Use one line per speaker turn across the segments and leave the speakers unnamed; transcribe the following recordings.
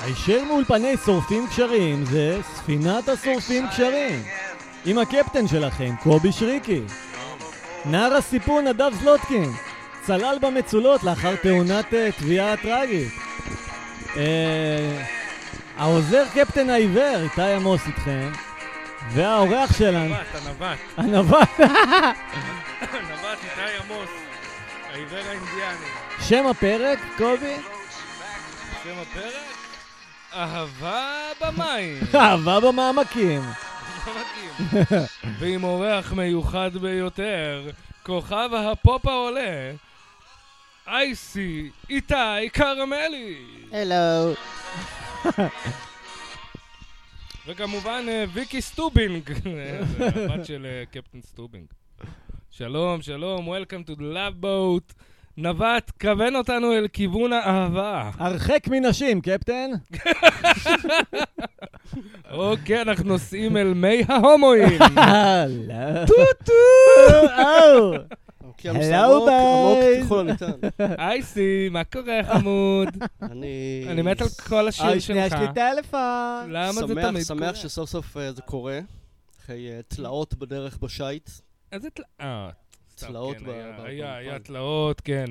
הישיר מאולפני שורפים קשרים זה ספינת השורפים קשרים עם הקפטן שלכם, קובי שריקי נער הסיפון, נדב זלוטקין צלל במצולות לאחר תאונת אה, טביעה טראגית אה, העוזר קפטן העיוור, איתי עמוס איתכם והאורח שלנו,
נווט, הנווט,
הנבל
הנווט איתי עמוס, העיוור האינדיאני.
שם הפרק, קובי?
שם הפרק? אהבה במים.
אהבה במעמקים
לא מתאים. ועם אורח מיוחד ביותר, כוכב הפופ העולה, אייסי איתי קרמלי.
הלו.
וכמובן אה, ויקי סטובינג, אה, זה הבת של אה, קפטן סטובינג. שלום, שלום, Welcome to the Love Boat. נווט, כוון אותנו אל כיוון האהבה.
הרחק מנשים, קפטן
אוקיי, אנחנו נוסעים אל מי ההומואים.
הלו. או.
ים
Hello,
סמוק,
guys.
אוקיי, עמוק ככל הניתן.
אייסי, מה קורה, חמוד?
אני...
אני מת על כל השיר
אוי, שנייה, יש
שלך.
לי טלפון.
למה זה
שמח-
תמיד קורה?
שמח שסוף סוף אה, זה קורה, אחרי אה, תלאות בדרך בשייט.
איזה תל- אה, סתם,
תלאות
כן,
ב-
היה-
ב-
היה, היה
באולפן.
תלאות, כן.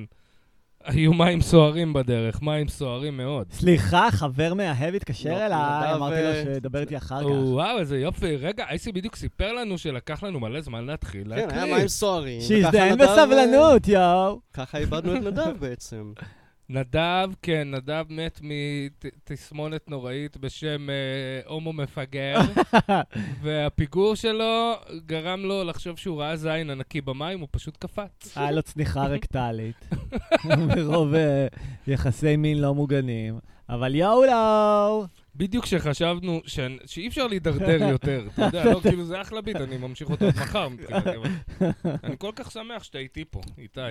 היו מים סוערים בדרך, מים סוערים מאוד.
סליחה, חבר מאהב התקשר
לא,
אליי,
נדב,
אמרתי
אה,
לו שדבר איתי אחר כך.
וואו, איזה יופי. רגע, אייסי בדיוק סיפר לנו שלקח לנו מלא זמן להתחיל
כן, היה
להקליט.
מים סוערים.
שיזדיין
וככה נדב, אה,
בסבלנות, יואו.
ככה איבדנו את נדב בעצם.
נדב, כן, נדב מת מתסמונת נוראית בשם אה, הומו מפגר, והפיגור שלו גרם לו לחשוב שהוא ראה זין ענקי במים, הוא פשוט קפץ.
היה לו צניחה רקטלית. מרוב אה, יחסי מין לא מוגנים. אבל יואו,
בדיוק כשחשבנו ש... שאי אפשר להידרדר יותר, אתה יודע, לא, כאילו זה אחלה ביט, אני ממשיך אותו עד מחר מבחינתי, אבל אני כל כך שמח שאתה איתי פה, איתי,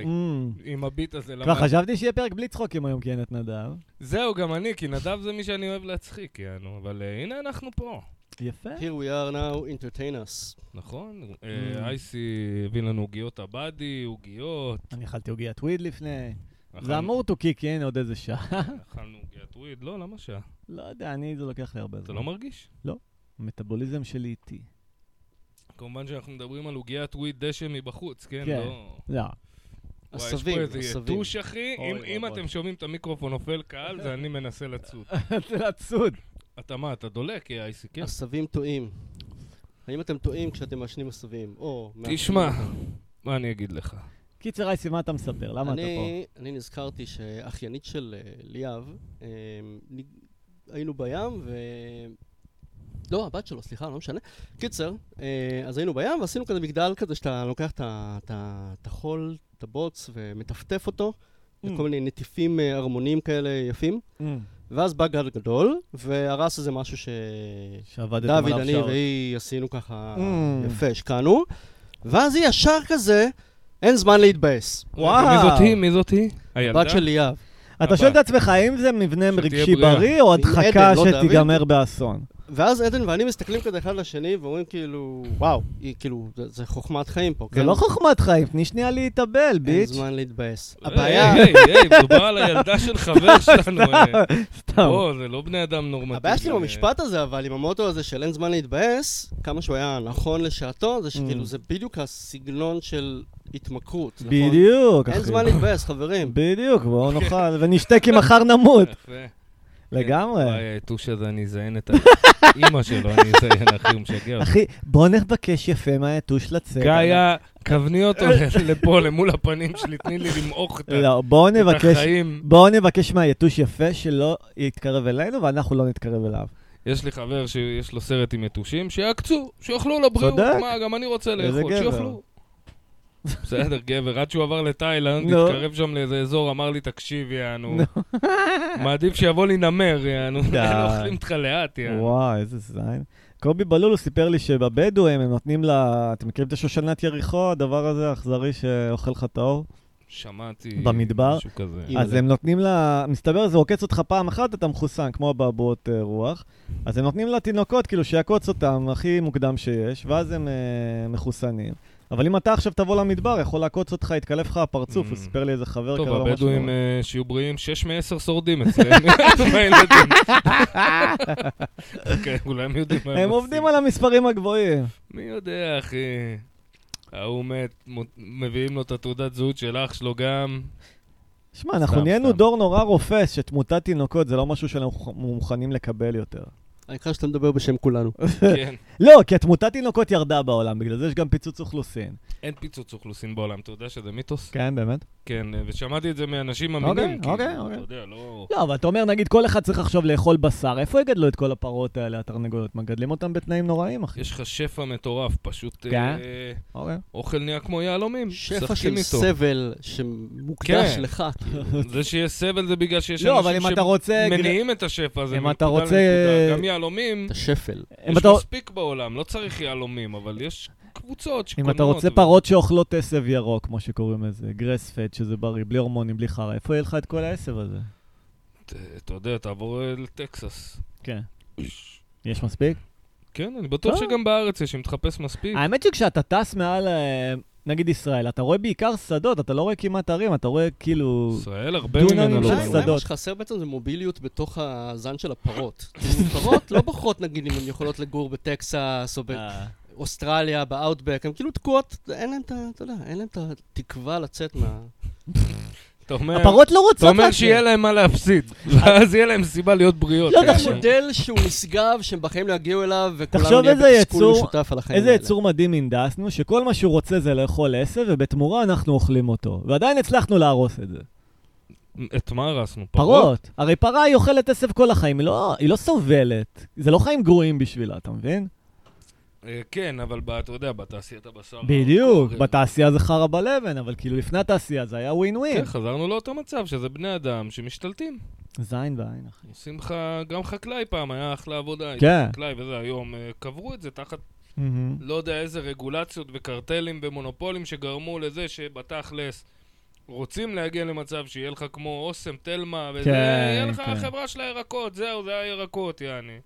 עם הביט הזה.
אמ,
לא
כבר
למה...
חשבתי שיהיה פרק בלי צחוקים היום, כי אין את נדב.
זהו, גם אני, כי נדב זה מי שאני אוהב להצחיק, יענו, אבל אה, הנה אנחנו פה,
יפה.
Here we are now, entertain us.
נכון? אה,
Mm.
אייסי הביא לנו עוגיות עבאדי, עוגיות.
אני אכלתי עוגיית וויד לפני.
אכלנו-
נכון.
זה אמור to kick in עוד איזה שעה.
אכלנו עוגיית וויד, לא, למה שעה?
לא יודע, אני, זה לוקח לי הרבה זמן.
אתה לא מרגיש?
המטאבוליזם שלי איטי.
כמובן שאנחנו מדברים על עוגיית וויד דשא מבחוץ, כן?
כן.
לא...
לא.
וואי, יש פה
עשבים,
איזה
עשבים.
יתוש, אחי.
אוי,
אם-
אוי,
אם
אוי.
אתם שומעים את המיקרופון נופל קהל, זה אני מנסה לצוד.
זה לצוד.
אתה מה, אתה דולק, אה, אייסי, כן?
עשבים טועים. האם אתם טועים כשאתם מעשנים עשבים? או... מעשנים
תשמע,
אותם?
מה אני אגיד לך?
קיצר, אייסי, מה אתה מספר? למה אתה פה?
אני, אני נזכרתי שאחיינית של אה, ליאב, אה, נ- היינו בים ו... לא, הבת שלו, סליחה, לא משנה. קיצר, אה, אז היינו בים ועשינו כזה מגדל כזה שאתה לוקח את ה- את ה- את החול, את הבוץ ומטפטף אותו,
Mm.
וכל מיני נטיפים אה, ערמוניים כאלה יפים,
Mm.
ואז בא גל גדול והרס איזה משהו ש...
שעבדתם עליו
דוד, אני
שעות.
והיא עשינו ככה
Mm.
יפה, השקענו, ואז היא ישר כזה, אין זמן להתבאס.
וואו.
מי זאת היא? מי זאת היא? הילדה?
בת של ליאב.
אתה
אה, הבא.
שואל את עצמך, האם זה מבנה
שתהיה
רגשי
בריאה.
בריא, או
עם
הדחקה
עדן, לא דוד.
שתיגמר באסון?
ואז עדן ואני מסתכלים כזה אחד לשני ואומרים כאילו, וואו, היא כאילו, זה, זה חוכמת חיים פה,
זה
כן?
לא חוכמת חיים, תני שנייה להתאבל,
אין
ביץ'.
זמן להתבאס.
היי,
הבעיה,
היי, היי, מדובר על הילדה של חבר שלנו. אה.
סתם.
או, זה לא בני אדם נורמטיבי.
הבעיה שלי עם
אה,
המשפט הזה, אבל עם המוטו הזה של אין זמן להתבאס, כמה שהוא היה נכון לשעתו, זה
Mm.
שכאילו זה בדיוק הסגנון של התמכרות, נכון?
בדיוק, אחי.
אין זמן להתבאס, חברים.
בדיוק, בואו נאכל, ונשתה כי מחר נמות.
יפה.
כן.
לגמרי.
וואי, היתוש הזה, אני אזיין את האימא שלו, אני אזיין, אחי, הוא משגע אותי.
אחי, בוא נבקש יפה מהיתוש לצאת.
גאיה, כווני אותו לפה, למול הפנים שלי, תני לי למעוך את ה-
לא, בואו
את
נבקש...
החיים.
בואו נבקש מהיתוש יפה שלא יתקרב אלינו, ואנחנו לא נתקרב אליו.
יש לי חבר שיש לו סרט עם יתושים, שיעקצו, שיאכלו לבריאות.
צודק.
מה, גם אני רוצה
איזה
לאכול,
גבר.
שיאכלו. בסדר, גבר, עד שהוא עבר לתאילנד,
נו.
התקרב שם לאיזה אזור, אמר לי, תקשיב, יענו. מעדיף שיבוא לי נמר, יענו.
די.
לא אוכלים אותך לאט, יענו.
וואי, איזה זין. קובי בלולו סיפר לי שבבדואים הם נותנים לה... אתם מכירים את השושנת יריחו, הדבר הזה האכזרי שאוכל לך את האור?
שמעתי
במדבר?
משהו כזה.
אימא.
אז הם נותנים לה... מסתבר, זה עוקץ אותך פעם אחת, אתה מחוסן, כמו אבעבועות אה, רוח. אז הם נותנים לה תינוקות, כאילו, שיעקוץ אותם הכי מוקדם שיש, ואז הם אה, מחוסנים. אבל אם אתה עכשיו תבוא למדבר, יכול לעקוץ אותך, יתקלף לך הפרצוף, הוא
Mm.
סיפר לי איזה חבר
טוב,
קרה לו לא משהו.
הבדואים אה, שיהיו בריאים, 6 מ-10 שורדים אצלנו. הילדים. כן, אולי הם יודעים מה
הם עובדים על המספרים הגבוהים.
מי יודע, אחי. ההוא מת, מו- מביאים לו את התעודת זהות של אח שלו גם.
שמע, אנחנו
סתם,
נהיינו
סתם.
דור נורא רופס, שתמותת תינוקות זה לא משהו שאנחנו מוכנים לקבל יותר.
העיקר שאתה מדבר בשם כולנו.
כן.
לא, כי התמותת תינוקות ירדה בעולם, בגלל זה יש גם פיצוץ אוכלוסין.
אין פיצוץ אוכלוסין בעולם, אתה יודע שזה מיתוס?
כן, באמת?
כן, ושמעתי את זה מאנשים
אוקיי,
אמינים. כאילו,
אוקיי, אוקיי.
אתה יודע, לא...
לא, אבל אתה אומר, נגיד, כל אחד צריך עכשיו לאכול בשר, איפה יגדלו את כל הפרות האלה, התרנגולות? מגדלים אותם בתנאים נוראיים, אחי.
יש לך שפע מטורף, פשוט
כן.
אה,
אוקיי.
אוכל נהיה כמו יהלומים.
שפע
משחקים
של
איתו.
סבל שמוקדש
כן.
לך, כאילו.
זה שיש סבל זה בגלל שיש
לא, אבל
אנשים
אם אתה רוצה...
שמניעים את השפע הזה.
אם
מנקודה
אתה רוצה-
לנקודה. גם יהלומים,
את השפל.
אם
יש
אתה-
מספיק בעולם, לא צריך יהלומים, אבל יש
אם
קבוצות שקונות.
אתה רוצה
ו-
פרות שאוכלות עשב ירוק, כמו שקוראים לזה, גרס פד, שזה בריא, בלי הורמונים, בלי חרא, איפה יהיה לך את כל העשב הזה?
ת- אתה יודע, תעבור אה, לטקסס.
כן. יש מספיק?
כן, אני בטוח
אה.
שגם בארץ יש, אם תחפש מספיק.
האמת שכשאתה טס מעל, אה, נגיד ישראל, אתה רואה בעיקר שדות, אתה לא רואה כמעט ערים, אתה רואה כאילו...
ישראל, הרבה
דונמים
ממנה לא
של
אולי
קורה.
אולי מה
שדות.
שחסר בעצם זה מוביליות בתוך הזן של הפרות. כאילו, פרות לא בוחרות, נגיד, אם הן יכולות לגור בטקסס או
אה,
באוסטרליה, באאוטבק, הן כאילו תקועות, אין להן את ה... אתה יודע, אין להן את התקווה לצאת מה...
אתה אומר-
הפרות לא
אה, אתה
רוצות
אומר
להקריב.
שיהיה להם מה להפסיד, ואז יהיה להם סיבה להיות בריאות.
לא,
כן,
תחשוב-
כן.
מודל שהוא נשגב, שהם בחיים לא יגיעו אליו,
תחשוב
וכולנו נהיה
איזה
בתסכול
יצור-
משותף על החיים האלה.
איזה יצור מדהים הנדסנו, שכל מה שהוא רוצה זה לאכול עשב, ובתמורה אנחנו אוכלים אותו. ועדיין הצלחנו להרוס את זה.
את מה הרסנו?
פרות. הרי פרה היא אוכלת עשב כל החיים, היא לא- היא לא סובלת. זה לא חיים גרועים בשבילה, אתה מבין?
אה, כן, אבל ב- אתה יודע, בתעשיית הבשר...
בדיוק,
כן.
בתעשייה זה חרא בלבן, אבל כאילו לפני התעשייה זה היה ווין ווין.
כן, חזרנו לאותו מצב, שזה בני אדם שמשתלטים.
זין בעין, אחי. אחי.
עושים לך, גם חקלאי פעם, היה אחלה עבודה.
כן.
היית חקלאי וזה, היום אה, קברו את זה תחת לא יודע איזה רגולציות וקרטלים ומונופולים שגרמו לזה שבתכלס רוצים להגיע למצב שיהיה לך כמו אוסם, תלמה, וזה,
כן,
יהיה לך
כן.
החברה של הירקות, זהו, זה הירקות, יעני.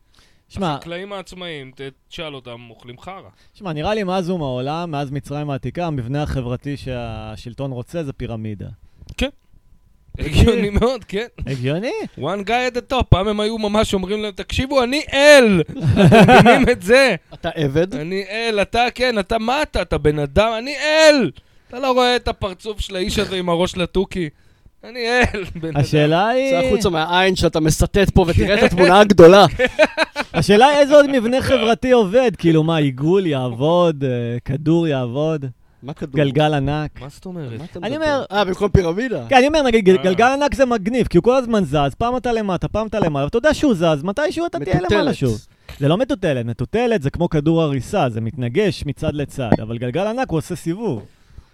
שמע,
החקלאים העצמאיים, ת- תשאל אותם, אוכלים חרא.
שמע, נראה לי מאז ומעולם, מאז מצרים העתיקה, המבנה החברתי שהשלטון רוצה זה פירמידה.
הגיוני מאוד, כן.
הגיוני?
one guy at the top, פעם הם היו ממש אומרים להם, תקשיבו, אני אל! אתם מבינים את זה?
אתה עבד?
אני אל, אתה כן, אתה מה אתה? אתה בן אדם, אני אל! אתה לא רואה את הפרצוף של האיש הזה עם הראש לתוכי? אני אל, בן אדם.
השאלה היא...
צא החוצה מהעין שאתה מסטט
כן.
פה ותראה את התמונה הגדולה.
השאלה היא איזה עוד מבנה חברתי עובד, כאילו מה, עיגול יעבוד, אה, כדור יעבוד,
מה כדור?
גלגל ענק.
מה זאת אומרת?
מה אתה
אני
מדבר?
אומר-
אה, במקום פירמידה?
כן, אני אומר, נגיד,
אה.
גל- גלגל ענק זה מגניב, כי הוא כל הזמן זז, פעם אתה למטה, פעם אתה למעלה, ואתה יודע שהוא זז, מתישהו אתה תהיה למעלה
מטוטלת.
שוב. זה לא מטוטלת, מטוטלת זה כמו כדור הריסה, זה מתנגש מצד לצד, אבל גלגל ענק הוא עושה סיבוב.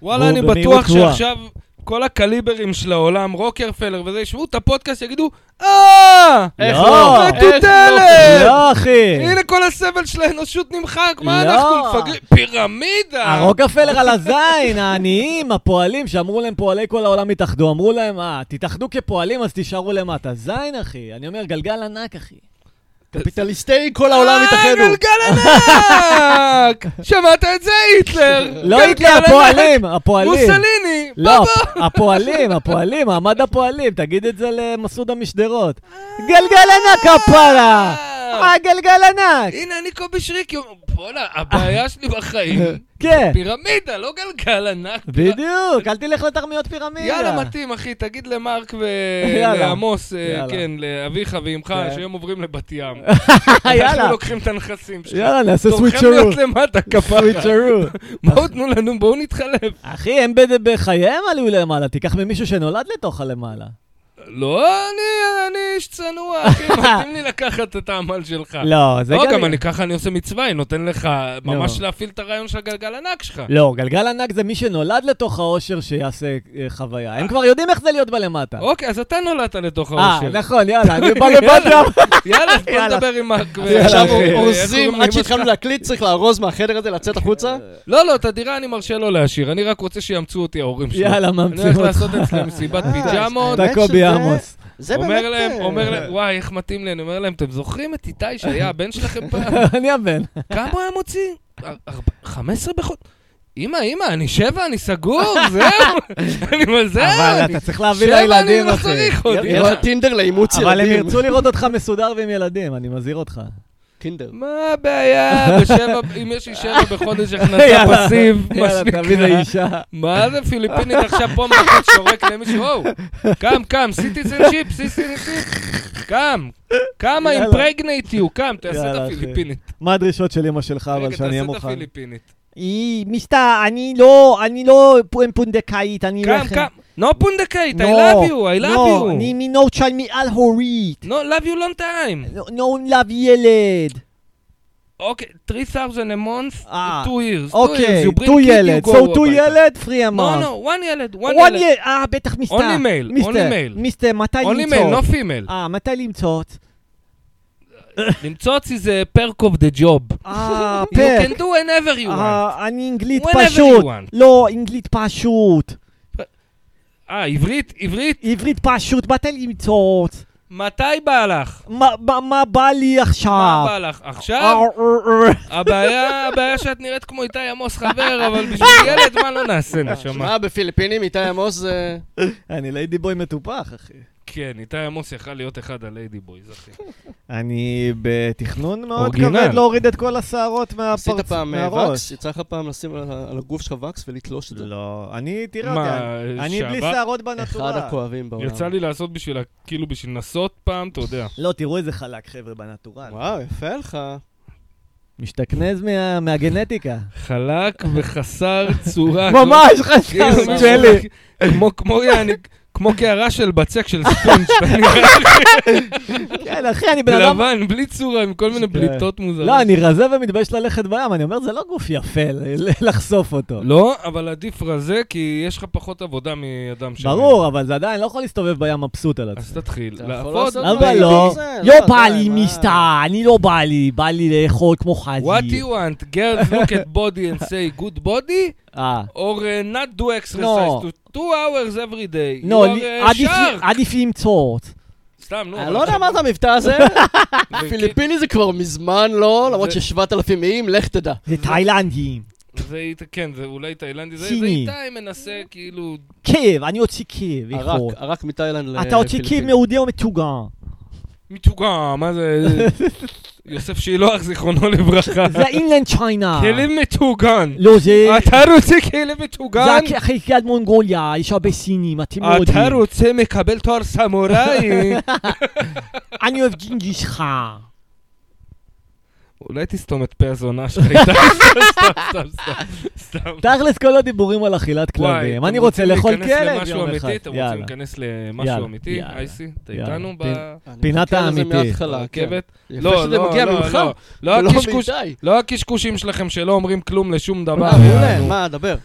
וואלה,
והוא
אני
במהירות
בטוח
גבוהה.
שעכשיו כל הקליברים של העולם, רוקרפלר וזה, ישמעו את הפודקאסט, יגידו, אה!
איך
לא.
לא?
זה
איך לא?
טוטלת!
לא, אחי!
הנה כל הסבל של האנושות נמחק, מה
לא.
אנחנו מפגרים? פירמידה!
הרוקפלר על הזין, העניים, הפועלים, שאמרו להם פועלי כל העולם התאחדו, אמרו להם, אה, תתאחדו כפועלים אז תישארו למטה. זין, אחי. אני אומר, גלגל ענק, אחי.
לא? קפיטליסטי כל העולם התאחדו.
אה, גלגל ענק! שמעת את זה, היטלר?
לא
גלגל
הייתי
ענק.
הפועלים, הפועלים.
מוסליני!
לא, הפועלים, הפועלים, מעמד הפועלים, תגיד את זה למסעודה משדרות.
אה.
גלגל ענק, הפרה! אה, גלגל ענק!
הנה, אני קובי שריקי, אומר, בואנה, הבעיה שלי בחיים,
כן,
פירמידה, לא גלגל ענק.
בדיוק, אל תלך לתרמיות פירמידה.
יאללה, מתאים, אחי, תגיד למרק
יאללה.
ולעמוס, אה,
יאללה.
כן, לאביך ואימך,
כן.
שהם עוברים לבת ים.
יאללה,
אנחנו לוקחים את הנכסים שלך.
יאללה, נעשה
תורכם
סוויצ'רו.
להיות למטה, כפרה.
סוויצ'רו.
בואו תנו לנו, בואו נתחלף.
אחי, הם בד- בחייהם עלו למעלה, תיקח ממישהו שנולד לתוך הלמעלה.
לא, אני אני איש צנוע, אחי, מתאים לי לקחת את העמל שלך.
לא, זה
לא,
גלגל.
גם אני ככה אני עושה מצווה, היא נותן לך ממש
לא.
להפעיל את הרעיון של הגלגל ענק שלך.
לא, גלגל ענק זה מי שנולד לתוך האושר שיעשה אה, חוויה. הם כבר יודעים איך זה להיות בלמטה.
אוקיי, אז אתה נולדת לתוך
לא. אה,
האושר.
נכון, יאללה, אני בא לבת
יאללה.
ים.
יאללה, אז בוא
יאללה.
נדבר עם מרק. ו-
עכשיו
אה, איך
אורזים,
קוראים
עד
לאמא שלך?
שהתחלנו להקליט צריך לארוז מהחדר הזה, לצאת החוצה.
לא, לא, את הדירה אני מרשה לו להשאיר, אני רק רוצה שיאמצו אותי ההורים שלי.
יאללה,
אני הולך
ממציאו אותך. אה,
לעשות אצלי מסיבת פיג'מות.
אתה
האמת
קובי
שזה-
עמוס.
זה באמת...
אומר להם,
אה,
אומר להם, וואי, איך מתאים לי, אני אומר להם, אתם זוכרים את איתי שהיה הבן שלכם פעם?
אני הבן.
כמה הוא היה מוציא? אר- ארבע- 15 בחודש? אמא, אמא, אני שבע, אני סגור, זהו. אני מזל.
אבל אתה צריך להביא לילדים,
שבע, אני לא
אחי.
צריך עוד.
יש-
יהיה לך טינדר כאילו לאימוץ ילדים.
אבל הם ירצו לראות אותך מסודר ועם ילדים, אני מזהיר אותך.
טינדר.
מה הבעיה? בשבע, אם יש לי שבע בחודש הכנסה
יאללה,
פסיב, מה
יאללה, תביא
שנקרא.
לאישה.
מה זה פיליפינית עכשיו פה מכות שורק למישהו? וואו, קם, קם, סיטיזן שיפ, סיטיזן שיפ. קם, קם,
יאללה.
אימפרגנייט יו, קם, תעשה את
יאללה, אחי.
הפיליפינית.
מה הדרישות של אמא שלך, אבל
רגע,
שאני אהיה
תעשה את
מוכן?
הפיליפינית.
היא, מיסטר, אני לא, אני לא פונדקאית, אני
קם,
לכם.
קם. No פונדקאית, I
No,
love you, I love
לא,
you.
אני מנו צ'יין מעל הורית.
No, love you long time.
לא לאו ילד.
אוקיי, 3,000 a month,
אה,
2 years. two years,
אוקיי,
you bring
טו
kid, you
ילד.
go
So טו
הביתה.
ילד, פרי
No,
אמר.
no, one ילד, one
one
ילד.
ילד. אה, בטח מיסטר.
Only male,
מיסטר,
only male.
מיסטר, מתי
Only
למצוא?
male, no female.
אה, מתי למצוא?
למצוא אותי זה perk of the job.
אה,
You
פרק.
can do whenever you want.
אה, אני אנגלית
Whenever
פשוט.
you want.
לא, אנגלית פשוט.
אה, עברית, עברית,
עברית פשוט, מתי למצוא?
מתי בא לך?
מה- מה- מה בא לי
מה
עכשיו?
בא לך? עכשיו?
אה, אה, אה.
הבעיה, הבעיה שאת נראית כמו איתי עמוס חבר, אבל בשביל
אה,
ילד, מה לא נעשה, נשמה?
שמע, בפיליפינים איתי עמוס אה, זה...
אני ליידי בוי מטופח, אחי.
כן, איתי עמוס יכל להיות אחד הליידי בויז, אחי.
אני בתכנון מאוד
אורגינל.
כבד להוריד את כל השערות
עשית
מהפרצ...
פעם אה, וקס?
מהראש.
יצא לך פעם לשים על ה- על הגוף שלך וקס ולתלוש את זה?
לא, אני, תראה
מה,
אותי, אני- אני בלי לא.
שעבר-
שערות
אחד
בנטורל.
הכואבים בעולם.
יצא לי לעשות בשביל, ה- כאילו בשביל לנסות פעם, אתה יודע.
לא, תראו איזה חלק, חבר'ה, בנטורל.
וואו, יפה לך.
משתכנז מה- מהגנטיקה.
חלק וחסר צורה.
ממש
כאילו,
חסר,
כאילו,
צ'לי.
כמו- כמו יעני, כמו קערה של בצק של ספונג', אתה נראה
כן, אחי, אני בן אדם...
לבן, בלי צורה, עם כל מיני
כן.
בליטות מוזרות.
לא, אני רזה ומתבייש ללכת בים, אני אומר, זה לא גוף יפה ל- לחשוף אותו.
לא, אבל עדיף רזה, כי יש לך פחות עבודה מאדם שמן.
ברור, אבל זה עדיין לא יכול להסתובב בים מבסוט על עצמו.
אז תתחיל.
אתה יכול
לעבוד.
לעשות
אבל
לא,
לא,
זה,
לא
לא,
בא
די,
לי
מה?
מסתר, אני לא בא לי, בא לי לאכול כמו חזי.
What do you want? Girls look at body and say good body,
אה.
or uh, not do exercise
No.
to two hours every day.
לא,
you
לי-
are uh,
עדיף-
shark.
עדיף למצוא.
סתם, נו.
אני
אבל
לא יודע
עכשיו-
מה זה המבטא הזה. פיליפיני זה כבר מזמן לא, למרות
כן. זה-
ש-7,000 איים, לך תדע.
זה
Mm-hmm.
תאילנדים.
זה איתה, כן, זה אולי תאילנדי, זה זה
סיני.
איתי מנסה כאילו...
כאב, אני אוציא כאב, יכול.
ערק, ערק מתאילנד
אה,
לפיליפינים.
אתה אוציא כאב מעודי או מתוגר.
מתוגה, מה זה? יוסף שילוח, זיכרונו לברכה.
זה אינלנד צ'יינה.
כלים מתוגן.
לא, זה...
אתה רוצה כלים
זה
מתוגן?
הכ- אחרי קריית מונגוליה, יש הרבה סינים, אתם לא
אתה
יודעים.
רוצה מקבל תואר סמוראי?
אני אוהב ג'ינגיס חאן.
אולי תסתום את פה הזונה שלך איתה. סתם, סתם, סתם, סתם.
תכלס כל הדיבורים על אכילת
וואי,
כלבים.
אתם
אני רוצה
רוצים
לאכול
להיכנס
כלב
למשהו
יום
אמיתי?
אחד.
אתם רוצים כן.
יאללה.
להיכנס
יאללה,
למשהו אמיתי?
יאללה,
אייסי, אתה
יאללה.
איתנו
פין-
אני
פינת
מחכה לזה
האמיתי.
מההתחלה, כן.
ברכבת?
יפה
לא,
שזה
לא,
מגיע
לא,
ממך,
לא. לא
ולא
הקשקוש-
מאיתי.
לא הקשקושים שלכם שלא אומרים כלום לשום דבר.
אה, מעולה, מה, דבר.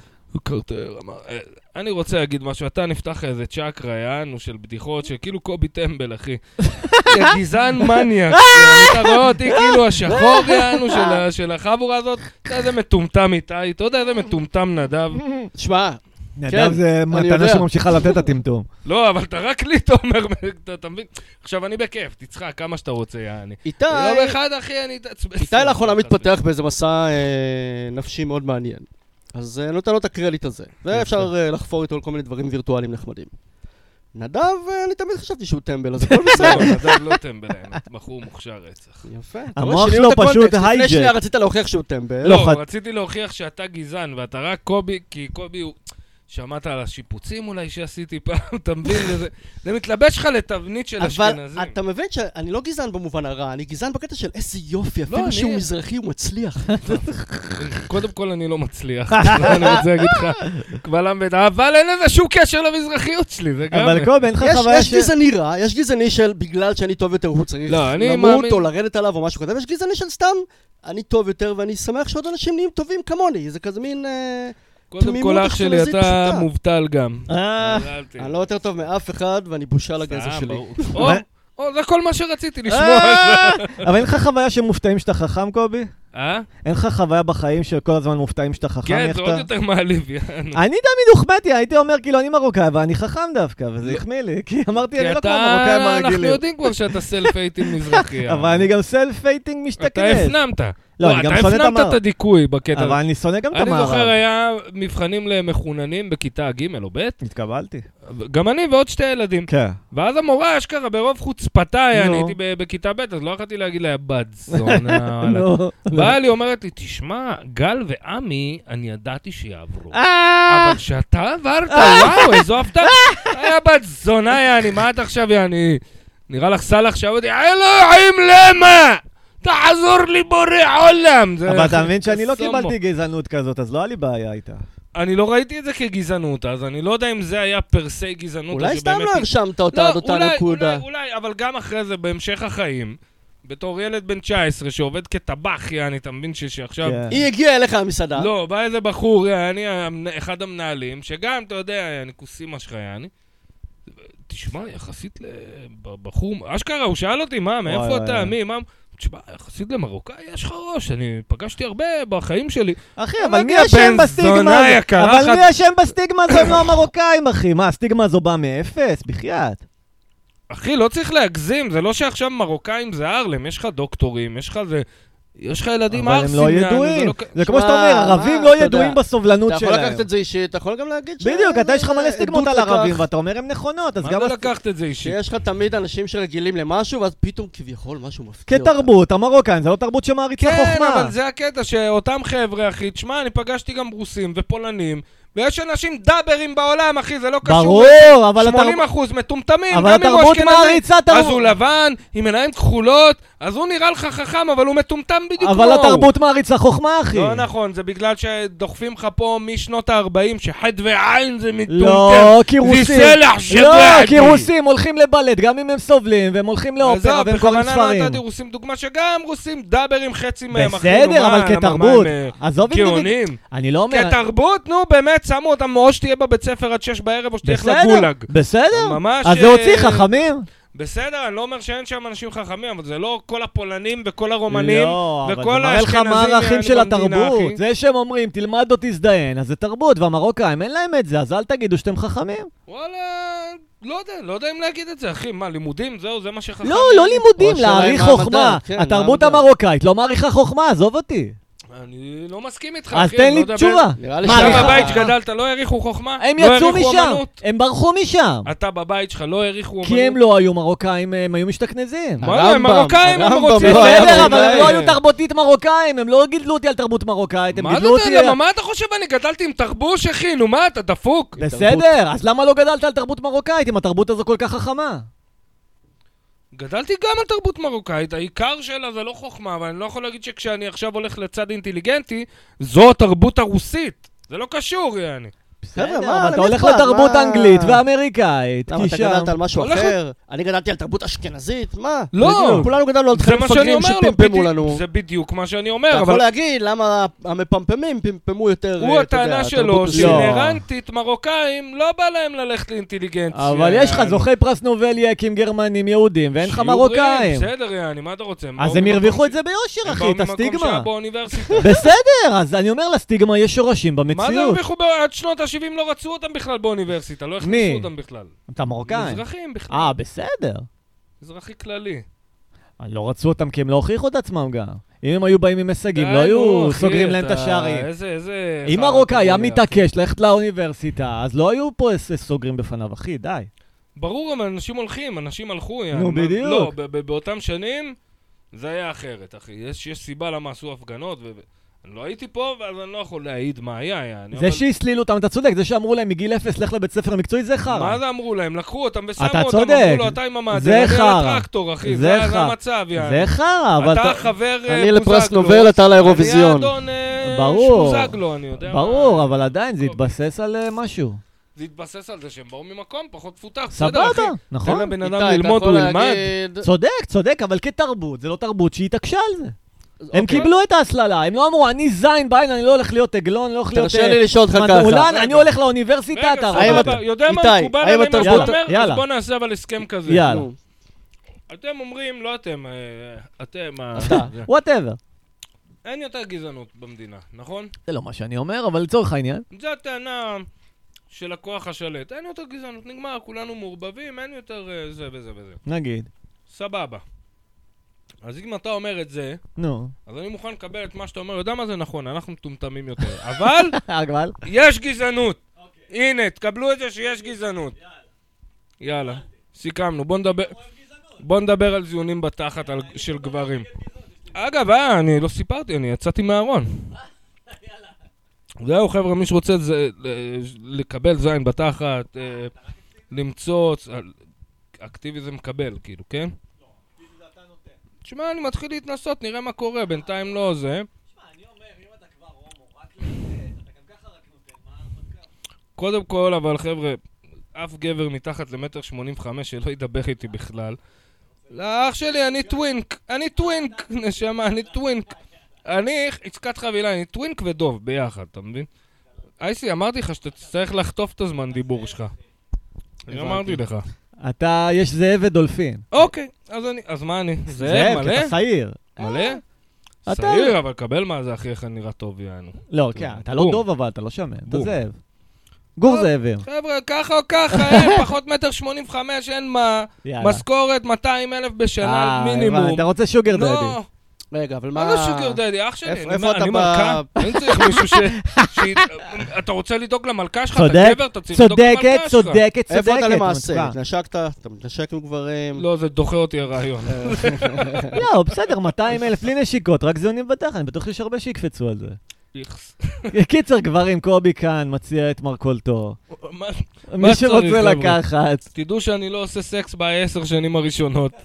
קרטר אמר, "אה, אני רוצה להגיד משהו, אתה נפתח איזה צ'קרה, יענו, של בדיחות, שכאילו קובי טמבל, אחי. יא גזען מניאק, כאילו, אתה רואה אותי כאילו השחור, יענו, של ה- של החבורה הזאת, אתה יודע איזה מטומטם איתי, אתה יודע איזה מטומטם נדב.
שמע,
נדב
כן,
זה
אני
מתנה
יודע.
שממשיכה לתת את הטמטום.
לא, אבל אתה רק לי, אתה אומר, אתה- אתה מבין? עכשיו, אני בכיף, תצחק כמה שאתה רוצה, יעני.
איתי,
יום אחד, אחי, אני לא אתעצבן.
איתי לאחרונה מתפתח באיזה מסע אה, נפשי מאוד מעניין. אז אה, נותן לו את הקרדיט הזה. ואפשר אה, לחפור איתו על כל מיני דברים וירטואליים נחמדים. נדב, אה, אני תמיד חשבתי שהוא טמבל, אז הכל
לא,
בסדר.
נדב לא טמבל, האמת, בחור מוכשר רצח.
יפה.
המוח שלו פשוט הייג'ק.
לפני שנייה רצית להוכיח שהוא טמבל.
לא,
לא,
חד-
רציתי להוכיח שאתה גזען, ואתה רק קובי, כי קובי הוא... שמעת על השיפוצים אולי שעשיתי פעם, אתה מבין? זה- זה מתלבש לך לתבנית של
אבל
כן, אשכנזים.
אתה מבין שאני לא גזען במובן הרע, אני גזען בקטע של איזה יופי,
אני-
אפילו שהוא מזרחי הוא מצליח.
קודם כל, אני לא מצליח, אני רוצה להגיד לך, קבל עם ועדה, אבל אין לזה שום קשר למזרחיות שלי, זה גם...
אבל קובי, אין לך
יש-
חוויה
יש גזעני רע, יש גזעני של בגלל שאני טוב יותר הוא צריך
לא, אני מאמין-
למות או לרדת עליו או משהו כזה, ויש גזעני של סתם, אני טוב יותר ואני שמח שעוד אנשים נהיים טובים כמוני, זה כזה מין... אה,
קודם כל,
תמימות
אח שלי,
אשכנזית
אתה
פשוטה.
מובטל גם.
אה,
מזלתי.
אני לא יותר טוב מאף אחד ואני בושה לגזע
כן. סתם,
שלי.
ברור. או, או, זה כל מה שרציתי לשמוע.
אה! אבל אין לך חוויה שמופתעים שאתה חכם, קובי?
אה?
אין לך חוויה בחיים שכל הזמן מופתעים שאתה חכם?
כן,
איך
זה
אתה-
עוד יותר מעליב, יענו.
אני תמיד הוחמאתי, הייתי אומר כאילו אני מרוקאי, אבל אני חכם דווקא, וזה החמיא לי, כי אמרתי אני
לא. כי
לא כמו
אתה,
מרוקאים
אנחנו
הרגילים.
יודעים כבר שאתה סלף אייטינג מזרחי.
אבל אני גם סלף פייטינג
אתה
משתכנס.
הפנמת.
לא, אני גם
אתה
שונא את
הפנמת
המערב.
את הדיכוי בקטע.
אבל אני שונא גם את
אני זוכר
המערב.
היה מבחנים למחוננים בכיתה ג' או ב',
התקבלתי.
גם אני ועוד שתי ילדים.
כן.
ואז המורה אשכרה ברוב חוצפתה,
נו.
אני הייתי ב- בכיתה ב', אז לא יכולתי להגיד לה, יא בת זונה. וואלה."
נו.
באה לי, אומרת לי, תשמע, גל ועמי, אני ידעתי שיעברו.
אה,
אבל כשאתה עברת,
אה.
וואו, איזו הפתעה. היה בת זונה, יעני, מה את עכשיו, יעני? נראה לך סאלח שאודי, אלוהים, למה? תעזור לי בורא עולם! זה
אבל אתה
הכי
מבין שאני לא
קסומו.
קיבלתי גזענות כזאת, אז לא היה לי בעיה איתה.
אני לא ראיתי את זה כגזענות, אז אני לא יודע אם זה היה פר סי גזענות. או
אולי סתם
שבאמת
לא
היא-
הרשמת אותה עד אותה
אולי,
נקודה.
אולי, אולי, אבל גם אחרי זה, בהמשך החיים, בתור ילד בן 19 שעובד כטבח, יעני, אתה מבין ש- שעכשיו...
כן.
היא הגיעה אליך למסעדה.
לא, בא איזה בחור, יעני, המנ- אחד המנהלים, שגם, אתה יודע, יעני, כוסימה שלך, יעני. תשמע, יחסית לבחור, אשכרה, הוא שאל אותי, מה,
וואי,
מאיפה
וואי,
אתה,
וואי.
מי, מה... תשמע, יחסית למרוקאי יש לך ראש, אני פגשתי הרבה בחיים שלי.
אחי,
לא
אבל
אבל מי
גם
אשם
בן
בסטיגמה
זונה
הזאת?
יקרה
אבל
אחת.
מי אשם בסטיגמה הזאת אם לא המרוקאים, אחי? מה, הסטיגמה הזו באה מאפס? בחייאת.
אחי, לא צריך להגזים, זה לא שעכשיו מרוקאים זה ארלם, יש לך דוקטורים, יש לך זה... יש לך ילדים
אבל הם
ערסים.
לא
יענו, זה
ידועים.
לא כ-
זה כמו שאתה
שמע,
אומר, ערבים
מה,
לא
אתה
ידועים
יודע.
בסובלנות
אתה יכול
שלהם.
לקחת את זה אה, אישית, אתה יכול גם להגיד ש...
בדיוק, אתה יש לך מלא סטיגמות על
עדות לכך
ערבים, ואתה אומר הן נכונות, אז
מה
גם...
זה לא-
הס-
לקחת את זה אישית?
שיש לך תמיד אנשים שרגילים למשהו, ואז פתאום כביכול משהו מפתיע אותך.
כתרבות, המרוקאים, זה לא תרבות שמעריצה
כן,
חוכמה.
אבל זה הקטע שאותם חבר'ה, אחי, תשמע, אני פגשתי גם רוסים ופולנים, ויש אנשים דאברים בעולם, אחי, זה לא קשור.
ברור, אבל התרבות...
80 אחוז מטומטמים,
אבל
גם אם הוא
התרבות
אשכנזי,
מעריצה תרבות.
אז הוא לבן, עם עיניים כחולות, אז הוא נראה לך חכם, אבל הוא מטומטם בדיוק
אבל
כמוהו.
התרבות מעריצה חוכמה, אחי.
לא נכון, זה בגלל שדוחפים לך פה משנות ה-40 שחד ועין זה מטומטם.
לא, כי
זה
רוסים...
סלח
לא,
שבעתי.
כי רוסים הולכים לבלט, גם אם הם סובלים, והם הולכים לאופרה,
עזוב,
והם קוראים
בכוונה לא
ספרים.
נתתי רוסים דוגמה שגם רוסים דאברים חצי מהם, אחי,
בסדר,
נו, מה,
אבל
למה, מה,
כתרבות.
הם,
עזוב
אה,
אינדיביד-
גאונים.
אני לא אומר...
כתרבות, נו, באמת, שמו אותם, או שתהיה בבית ספר עד שש בערב, או שתלך
בסדר,
לגולאג.
בסדר.
ממש...
אז זה
אה,
הוציא חכמים?
בסדר, אני לא אומר שאין שם אנשים חכמים, אבל זה לא כל הפולנים וכל הרומנים
לא, אבל זה
וכל
מראה לך
האשכנזים
מה הערכים
יענו
של
במדינה,
התרבות.
אחי.
זה שהם אומרים, תלמד או תזדיין, אז זה תרבות, והמרוקאים אין להם את זה, אז אל תגידו שאתם חכמים.
וואלה, לא יודע, לא יודע אם להגיד את זה, אחי. מה, לימודים? זהו, זה מה שחכם.
לא, לא לימודים,
או השאלה
להעריך
היא מה
חוכמה.
המדד, כן, מה
התרבות
המדד.
המרוקאית לא מעריכה חוכמה, עזוב אותי.
אני לא מסכים איתך, אחי.
אז
אני
תן
לא
לי
יודע
תשובה.
באיזה-
נראה לי
מה,
אתה
מעריכה-
בבית שגדלת, לא העריכו חוכמה?
הם
לא
יצאו
העריכו
משם,
אומנות?
הם ברחו משם.
אתה בבית שלך, לא העריכו
כי הם
אומנות?
לא היו מרוקאים, הם היו משתכנזים.
מה, הם
הרמב"ם,
מרוקאים, הם
הרמב"ם
רוצים...
לא היה
בסדר,
מרוקאי.
אבל הם לא היו תרבותית מרוקאים, הם לא גידלו אותי על תרבות מרוקאית, לא- הם
מה
גידלו
אתה
אותי...
יודע? למה? מה אתה חושב? אני גדלתי עם תרבוש, אחי? נו, מה, אתה דפוק?
בסדר, אז למה לא גדלת על תרבות מרוקאית אם התרבות הזו כל כך חכמה?
גדלתי גם על תרבות מרוקאית, העיקר שלה זה לא חוכמה, אבל אני לא יכול להגיד שכשאני עכשיו הולך לצד אינטליגנטי, זו התרבות הרוסית. זה לא קשור, יעני.
חבר'ה,
בסדר,
מה,
אבל אתה
לא, למי
הולך
אכפת?
לתרבות
מה?
האנגלית והאמריקאית,
למה
כי
אתה
שם...
גדלת על משהו
הולך-
אחר? אני גדלתי על תרבות אשכנזית? מה?
לא.
כולנו גדלנו על
זה
תכנים
מה שאני
מפגרים
אומר לו,
שפמפמו
בדיוק-
לנו.
זה בדיוק מה שאני
אתה
אומר,
יכול
אבל
להגיד למה המפמפמים פמפמו יותר,
הוא
אה, אתה יודע,
הטענה שלו,
תרבות
לא.
מסוימת.
שאינרנטית מרוקאים, לא בא להם ללכת לאינטליגנציה.
אבל יש לך
יעני.
זוכי פרס נובליאקים, גרמנים, יהודים, ואין לך
שיעורים,
מרוקאים.
בסדר, יעני, מה אתה רוצה?
אז
באו
הם
ממקום
הרוויחו
ש-
את זה ביושר,
הם
אחי, את
באו ממקום שהיה
הסטיגמה.
באוניברסיטה.
בסדר, אז אני אומר, לסטיגמה יש שורשים
מה זה
במציאות.
הרוויחו? ב- עד שנות ה-70 לא רצו אותם בכלל באוניברסיטה, לא הכניסו
מי?
אותם בכלל.
אתה מרוקאי.
מזרחים בכלל,
אה, בסדר.
מזרחי כללי.
לא רצו אותם כי הם לא הוכיחו את עצמם גם. אם הם היו באים עם הישגים, לא
די, נו,
היו
אחי,
סוגרים להם את
אתה-
השערים.
איזה, איזה...
אם
חרא
מרוקאי היה
אתה בונה, אחי.
מתעקש ללכת לאוניברסיטה, אז לא היו פה ס- סוגרים בפניו, אחי, די.
ברור, אבל אנשים הולכים, אנשים הלכו. יעני,
נו,
מה-
בדיוק.
לא, ב- ב- באותם שנים זה היה אחרת, אחי. יש יש סיבה למה עשו הפגנות, ו... אני לא הייתי פה, ואז אני לא יכול להעיד מה היה, יעני.
זה
אבל
שהסלילו אותם, אתה צודק, זה שאמרו להם מגיל אפס, לך לבית ספר מקצועי, זה חרא.
מה זה אמרו להם? לקחו אותם ושמו
אתה
אותם,
צודק.
אמרו לו, אתה עם המעדן,
זה
אני
חרא.
על הטרקטור, אחי.
זה
זה
חרא.
זה המצב, יעני.
זה חרא, אבל
אתה
אתה...
חבר אה,
אני לפרס
בוזגלו,
נובל, אתה
אני
לאירוויזיון.
אדון אה,
ברור.
שבוזגלו, אני יודע. מה.
ברור, אבל עדיין זה
טוב.
התבסס על אה, משהו.
זה התבסס על זה שהם באו ממקום פחות מפותח. בסדר, אחי.
סבבה,
תן
נכון?
לבן
איתי,
אדם
אתה
ללמוד,
יכול
הוא ילמד.
להגיד-
צודק, צודק, אבל כתרבות, זה לא תרבות שהתעקשה על זה. הם
אוקיי.
קיבלו את ההסללה, הם לא אמרו, אני זין בעין, אני לא הולך להיות עגלון, לא הולך להיות...
תרשה
אה,
לי לשאול אותך ככה.
מנעולן, אני הולך לאוניברסיטה,
רגע,
אתה...
סבבה,
האם
רואה?
אתה-
יודע מה
איתי,
מקובל
האם
עליי מה שאתה
התרבות-
אומר? אז
יאללה.
בוא נעשה אבל הסכם כזה.
יאללה.
נו,
אתם אומרים, לא אתם, אה, אתם, ה-
וואטאבר.
אין יותר גזענות במדינה, נכון?
זה לא מה שאני אומר, אבל לצורך העניין.
זו הטענה של הכוח השלט. אין יותר גזענות, נגמר, כולנו מעורבבים, אין יותר אה, זה וזה וזה.
נגיד.
סבבה. אז אם אתה אומר את זה,
נו.
אז אני מוכן לקבל את מה שאתה אומר, יודע מה זה נכון, אנחנו מטומטמים יותר. אבל
אבל?
יש גזענות. הנה, תקבלו את זה שיש גזענות. יאללה. סיכמנו, בוא נדבר... בוא נדבר על זיונים בתחת על- של גברים. אגב, אה, אני לא סיפרתי, אני יצאתי מהארון. זהו, חבר'ה, מי שרוצה זה- ל- לקבל זין בתחת, אה, למצוץ, אה, אקטיביזם מקבל, כאילו, כן? תשמע, אני מתחיל להתנסות, נראה מה קורה, בינתיים לא זה. קודם כל, אבל חבר'ה, אף גבר מתחת למטר שמונים וחמש שלא ידבר איתי בכלל. לאח שלי, אני טווינק, אני טווינק, נשמה, אני טווינק. אני עסקת חבילה, אני טווינק ודוב ביחד, אתה מבין? אייסי, אמרתי לך שאתה תצטרך לחטוף את הזמן דיבור שלך. אני אמרתי לך.
אתה, יש זאב ודולפין.
אוקיי, אז אני, אז מה אני? זאב
כי
מלא?
אתה שעיר.
מלא?
אתה-
שעיר, אבל קבל מה זה, אחי, איך אני נראה טוב, יענו.
לא, כן, אתה לא
בום.
דוב אבל, אתה לא שמן, אתה
בום.
זאב. גור
אה,
זאבים.
חבר'ה, ככה או ככה, אין, פחות מטר שמונים וחמש, אין מה.
יאללה.
משכורת 200 אלף בשנה
אה, הבנתי,
מינימום.
אתה רוצה שוגר דדי.
לא,
רגע, אבל מה...
מה זה שוגר דדי? אח שלי,
איפה-
אני
איפה
מה-
אתה
אני
ב-
מלכה? אני צריך מישהו ש... ש- אתה רוצה לדאוג למלכה שלך? אתה
צודק,
גבר, אתה צריך לדאוג למלכה
צודקת,
שלך.
צודקת, צודקת.
איפה אתה למעשה?
מתווה.
התנשקת? אתה מתנשק עם גברים?
לא, זה דוחה אותי הרעיון.
לא, בסדר, 200 אלף, בלי נשיקות, רק זיונים בתחת, אני בטוח שיש הרבה שיקפצו על זה.
איכס.
קיצר, גברים, קובי כאן מציע את מרכולתו.
מה-
מי שרוצה
צריך, חבר'ה?
לקחת.
תדעו שאני לא עושה סקס בעשר שנים הראשונות. לא,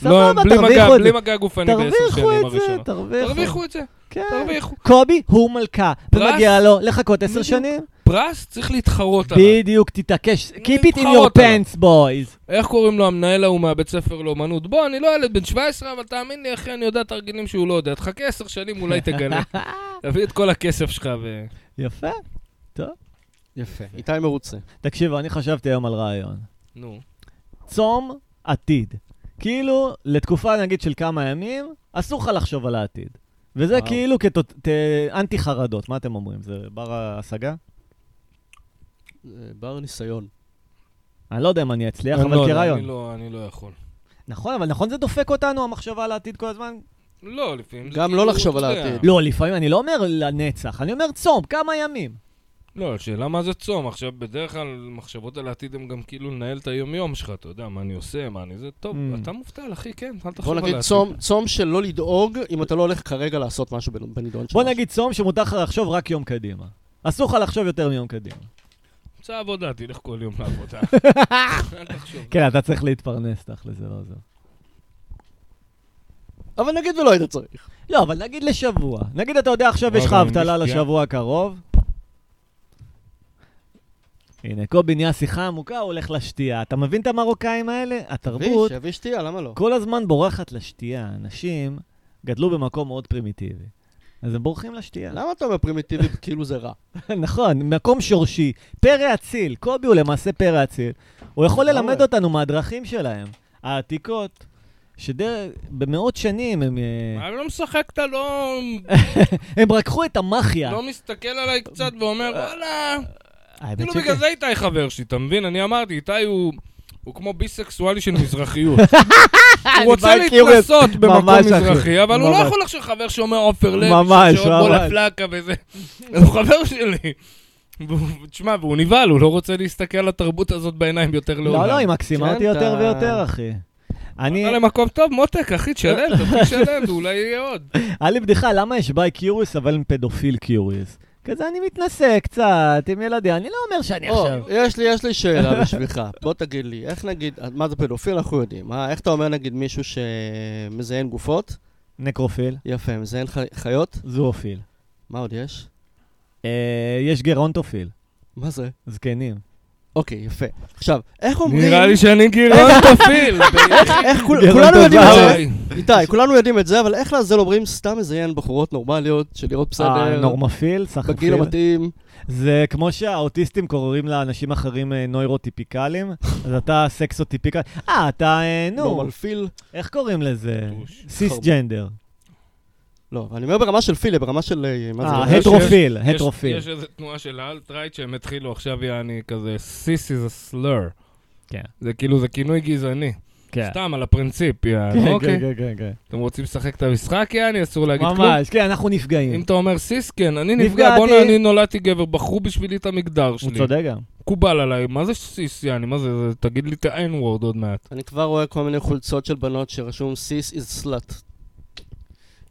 סבבה,
בלי מגע,
תרוויחו את
בלי
זה.
מגע גופני בעשר
תרוויחו
שנים
את זה,
הראשונות.
תרוויחו.
תרוויחו את זה,
כן.
תרוויחו.
קובי הוא מלכה,
פרס?
ומגיע לו לחכות עשר
בדיוק.
שנים.
פרס צריך להתחרות עליו.
בדיוק, תתעקש. Keep it in your
להתחרות עליו.
pants, boys.
איך קוראים לו המנהל ההוא מהבית ספר לאומנות? בוא, אני לא ילד בן 17, אבל תאמין לי, אחי, אני יודע תרגילים שהוא לא יודע. תחכה עשר שנים, אולי תגלה. תביא את כל הכסף שלך ו...
יפה.
יפה. איתי מרוצה.
תקשיבו, אני חשבתי היום על רעיון.
נו.
צום עתיד. כאילו, לתקופה נגיד של כמה ימים, אסור לך לחשוב על העתיד. וזה
וואו.
כאילו כתות... ת... אנטי חרדות, מה אתם אומרים? זה בר השגה?
אה, בר ניסיון.
אני לא יודע אם אני אצליח,
אני לא
אבל
יודע,
כרעיון.
אני לא- אני לא יכול.
נכון, אבל נכון זה דופק אותנו, המחשבה על העתיד כל הזמן?
לא, לפעמים זה
גם
כאילו,
לא לחשוב
אתה
על
יודע.
העתיד.
לא, לפעמים, אני לא אומר לנצח, אני אומר צום, כמה ימים.
לא, השאלה מה זה צום. עכשיו, בדרך כלל, מחשבות על העתיד הם גם כאילו לנהל את היום-יום שלך, אתה יודע, מה אני עושה, מה אני זה. טוב,
Mm.
אתה מובטל, אחי, כן, אל תחשוב
בוא
על העתיד.
נגיד צום, צום של לא לדאוג אם אתה לא הולך כרגע לעשות משהו בנ- בנידון שלך.
בוא נגיד צום שמותר לך לחשוב רק יום קדימה. אסור לך לחשוב יותר מיום קדימה.
צא עבודה, תלך כל יום לעבודה. אל תחשוב.
כן, אתה צריך להתפרנס, תכל'ס, זה לא עוזר.
אבל נגיד ולא היית צריך.
לא, אבל נגיד לשבוע. נגיד אתה יודע עכשיו
וואי,
יש לך
וואי,
אבטלה
נפגע.
לשבוע הקרוב. הנה, קובי נהיה שיחה עמוקה, הוא הולך לשתייה. אתה מבין את המרוקאים האלה? התרבות
אביש, אביש שתייה, למה לא?
כל הזמן בורחת לשתייה. אנשים גדלו במקום מאוד פרימיטיבי. אז הם בורחים לשתייה.
למה אתה אומר פרימיטיבי כאילו זה רע?
נכון, מקום שורשי. פרא אציל, קובי הוא למעשה פרא אציל. הוא יכול
לגמרי.
ללמד אותנו מהדרכים שלהם, העתיקות, שבמאות שנים הם... אה,
אני לא משחק, אתה לא...
הם רקחו את המאחיה.
לא מסתכל עליי קצת ואומר, וואלה,
האמת
כאילו
שכן.
בגלל זה איתי חבר שלי, אתה מבין? אני אמרתי, איתי הוא... הוא כמו ביסקסואלי של מזרחיות. הוא רוצה
אה, אני מכיר את-
להתנסות במקום
ממש, אחי.
מזרחי, אבל הוא לא
ממש.
יכול לחשוב חבר שאומר עופר לב,
ממש,
שעוד בוא
ממש.
לפלקה וזה. אז הוא חבר שלי. והוא- תשמע, והוא נבהל, הוא לא רוצה להסתכל על התרבות הזאת בעיניים יותר לעולם.
לא, לא, היא מקסימה
כן,
אותי יותר
אתה-
ויותר, אחי. אני,
אתה למקום טוב, מותק, אחי, תשלם, תתחיל לשלם, ואולי יהיה עוד.
היה לי בדיחה, למה יש ביי קיוריוס אבל הם פדופיל קיוריוס? כזה אני מתנשא קצת עם ילדים, אני לא אומר שאני
או,
עכשיו...
יש לי, יש לי שאלה בשבילך. בוא תגיד לי, איך נגיד, מה זה פדופיל? אנחנו יודעים. מה, איך אתה אומר נגיד מישהו שמזיין גופות?
נקרופיל,
יפה, מזיין חי- חיות?
זואופיל.
מה עוד יש?
אה, יש גרונטופיל,
מה זה?
זקנים.
אוקיי, יפה. עכשיו, איך אומרים...
נראה לי שאני גירעון תפיל.
איך כול-
גרון
כולנו
טוב
יודעים את זה?
אוי.
איתי, כולנו יודעים את זה, אבל איך לעזאזל אומרים סתם מזיין בחורות נורמליות, שנראות
אה,
בסדר,
נורמפיל,
בגיל
סחרפיל.
המתאים?
זה כמו שהאוטיסטים קוראים לאנשים אחרים אה, נוירוטיפיקלים, אז אתה סקסוטיפיקל.
לא,
אה, אתה, אה, נו,
נורמלפיל?
איך קוראים לזה?
טוש.
סיסג'נדר.
לא, אבל אני אומר ברמה של פילה, ברמה של... אה, מה זה?
אה,
ברמה
יש-
הטרופיל,
יש-
הטרופיל.
יש איזו תנועה של האלט-רייט שהם התחילו עכשיו, יעני, כזה, סיס is a slur.
כן.
זה כאילו, זה כינוי גזעני.
כן.
סתם, על הפרינציפ, יעני,
כן, כן,
אוקיי.
כן, כן, כן.
אתם רוצים לשחק את המשחק, יעני? אסור להגיד כלום.
ממש, כן, אנחנו
אם
נפגעים.
אתה אומר סיס, כן, אני נפגע,
נפגעתי.
בואנה, אני נולדתי גבר, בחרו בשבילי את המגדר
הוא
שלי.
צודק גם.
מקובל עליי, מה זה סיס, יעני? מה זה, זה- תגיד לי את ה-N-word עוד מעט.
אני כבר רואה כל מיני חולצות של בנות שרשום סיס is slut.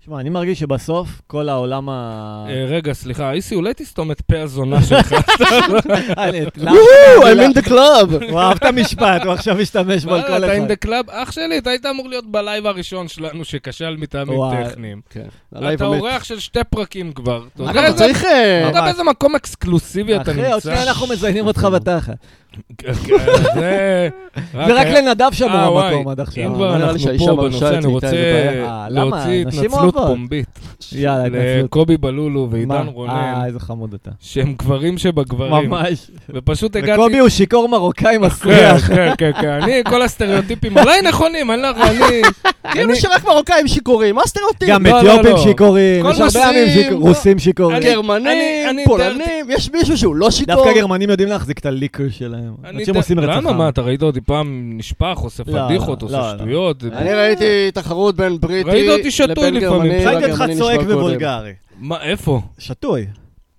שמע, אני מרגיש שבסוף כל העולם ה...
אה, רגע, סליחה, איסי, אולי תסתום את פה הזונה שלך.
אה, למה?
וואו, I'm in the club!
הוא אהב את המשפט, הוא עכשיו משתמש בו על
וואלה,
כל
אתה עם
אחד.
דה קלאב, אח שלי, אתה היית אמור להיות בלייב הראשון שלנו שכשל מטעמים
וואי.
טכניים.
כן, עליי
אתה
באמת.
אורח של שתי פרקים כבר. אתה יודע
אגב, אתה
איזה-
צריך... אה,
אתה יודע
ממש.
באיזה מקום אקסקלוסיבי אתה
אחי, אוקיי, עוד
נמצא? כן,
שנייה אנחנו מזיינים
אה,
אותך בתחת.
זה
זה רק לא, לנדב שמור
אוקיי. אה, וואי,
המקום עד
אם
עכשיו.
כבר
נראה לי
אנחנו
שהאישה
פה
מרשה
בנושא,
את
אני
מיטה, זה
רוצה
בעיה. אה, למה?
להוציא
נשים
התנצלות
אוהבות.
פומבית
יאללה, התנצלות.
לקובי בלולו ועידן
מה?
רונן,
אה, איזה חמוד אתה.
שהם גברים שבגברים.
ממש.
ופשוט הגעתי...
וקובי הוא שיכור מרוקאי
כן,
מסריח.
כן, כן, כן. אני, כל הסטריאוטיפים, אולי נכונים, אני לא... אני...
לא
כאילו שרק מרוקאים שיכורים, מה הסטריאוטיפ?
גם
לא, לא,
אתיופים
לא.
שיכורים,
כל
יש הרבה
נושאים,
עמים שיכורים,
לא.
רוסים שיכורים.
אני- אני- אני
גרמנים, פולנים, יש מישהו שהוא לא שיכור?
דווקא הגרמנים יודעים להחזיק את הליקו שלהם.
אני
אנשים
ד-
עושים רצח.
למה?
עם.
מה, אתה ראית אותי פעם נשפך, עושה
לא,
פדיחות,
לא,
עושה
לא.
שטויות? זה-
אני ראיתי תחרות בין בריטי
ראית אותי שתוי
לבין
לפעמים.
גרמני,
ראיתי
ראיתי
והגרמני
אותך
נשבר
צועק
קודם.
בבולגרי.
מה, איפה?
שתוי.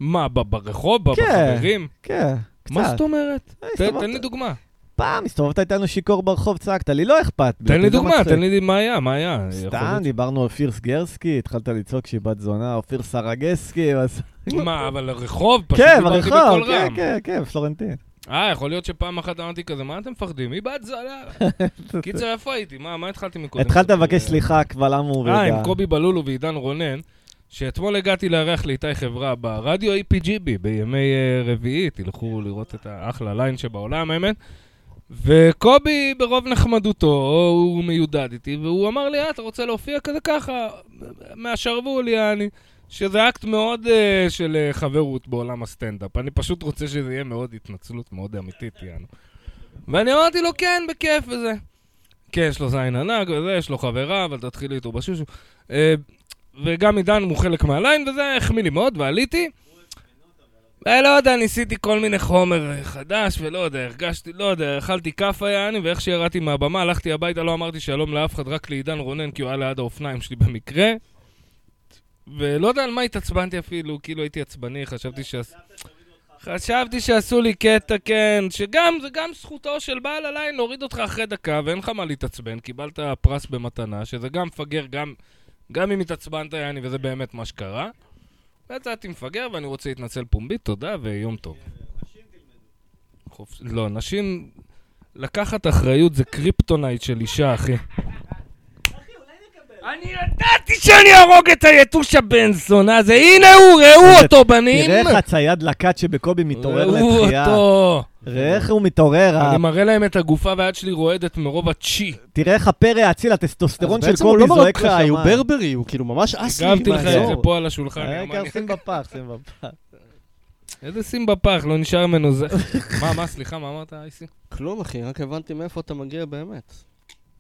מה, ב- ברחוב? ב-
כן.
בחברים?
כן, קצת.
מה זאת אומרת?
אה,
ת-
הסתובבת.
תן לי דוגמה.
פעם הסתובבת איתנו שיכור ברחוב, צעקת לי, לא אכפת. לי,
תן לי
זה
דוגמה,
מצחיק."
תן לי מה היה, מה היה.
סתם, דיברנו על אופיר סגרסקי, התחלת לצעוק שהיא בת זונה, אופיר סרגסקי, אז...
מה, אבל הרחוב? פשוט
כן,
דיברתי
ברחוב,
בקול
כן,
רם.
כן, כן, פלורנטין.
אה, יכול להיות שפעם אחת אמרתי כזה, מה אתם מפחדים? היא בת זונה. קיצר, איפה הייתי? מה, מה התחלתי מקודם?
התחלת לבקש סליחה קבל עם
אה,
ורגע.
עם קובי בלולו ועידן רונן, שאתמול הגעתי לארח לאיתי חברה ברדיו E APGB בימי אה, רביעי, תלכו לראות את האחלה ליין שבעולם, האמת. וקובי ברוב נחמדותו, הוא מיודד איתי, והוא אמר לי, אה, אתה רוצה להופיע כזה ככה, מהשרוול, יעני. שזה אקט מאוד uh, של uh, חברות בעולם הסטנדאפ. אני פשוט רוצה שזה יהיה מאוד התנצלות, מאוד אמיתית, יענו. ואני אמרתי לו, כן, בכיף וזה. כן, יש לו זין ענק וזה, יש לו חברה, אבל תתחילי איתו בשושו. אה, וגם עידן הוא חלק מהליין, וזה החמיא לי מאוד, ועליתי. אה, לא יודע, ניסיתי כל מיני חומר אה, חדש, ולא יודע, הרגשתי, לא יודע, אכלתי כאפה יעני, ואיך שירדתי מהבמה, הלכתי הביתה, לא אמרתי שלום לאף אחד, רק לעידן רונן, כי הוא היה ליד האופניים שלי במקרה. ולא יודע על מה התעצבנתי אפילו, כאילו הייתי עצבני, חשבתי שעש... חשבתי שעשו לי קטע, כן, שגם, זה גם זכותו של בעל הליין להוריד אותך אחרי דקה, ואין לך מה להתעצבן, קיבלת פרס במתנה, שזה גם מפגר, גם, גם אם התעצבנת, יעני, וזה באמת מה שקרה. יצאתי מפגר, ואני רוצה להתנצל פומבית, תודה ויום טוב. חופש... לא, נשים... לקחת אחריות זה קריפטונייט של אישה, אחי. אני ידעתי שאני אהרוג את היתוש הבן זונה הזה, הנה הוא, ראו
איזה-
אותו בנים!
תראה איך הצייד לקט שבקובי מתעורר לתחייה. אה.
ראו אותו!
ראה איך הוא מתעורר, ה-
אני מראה להם את הגופה והיד שלי רועדת מרוב הצ'י.
תראה איך הפרא האציל,
אז
הטסטוסטרון של
בעצם הוא
קובי
לא
זועק לשמיים.
מרוקאי, הוא ברברי, הוא כאילו ממש אסלי.
הגבתי לך את
מעזור.
זה פה על השולחן.
אה,
יא מניאק.
העיקר שים בפח, שים בפח.
איזה שים בפח, לא נשאר ממנו זה. מה, מה, סליחה, מה אמרת, אייסי?
כלום אחי, רק הבנתי מאיפה אתה מגיע באמת.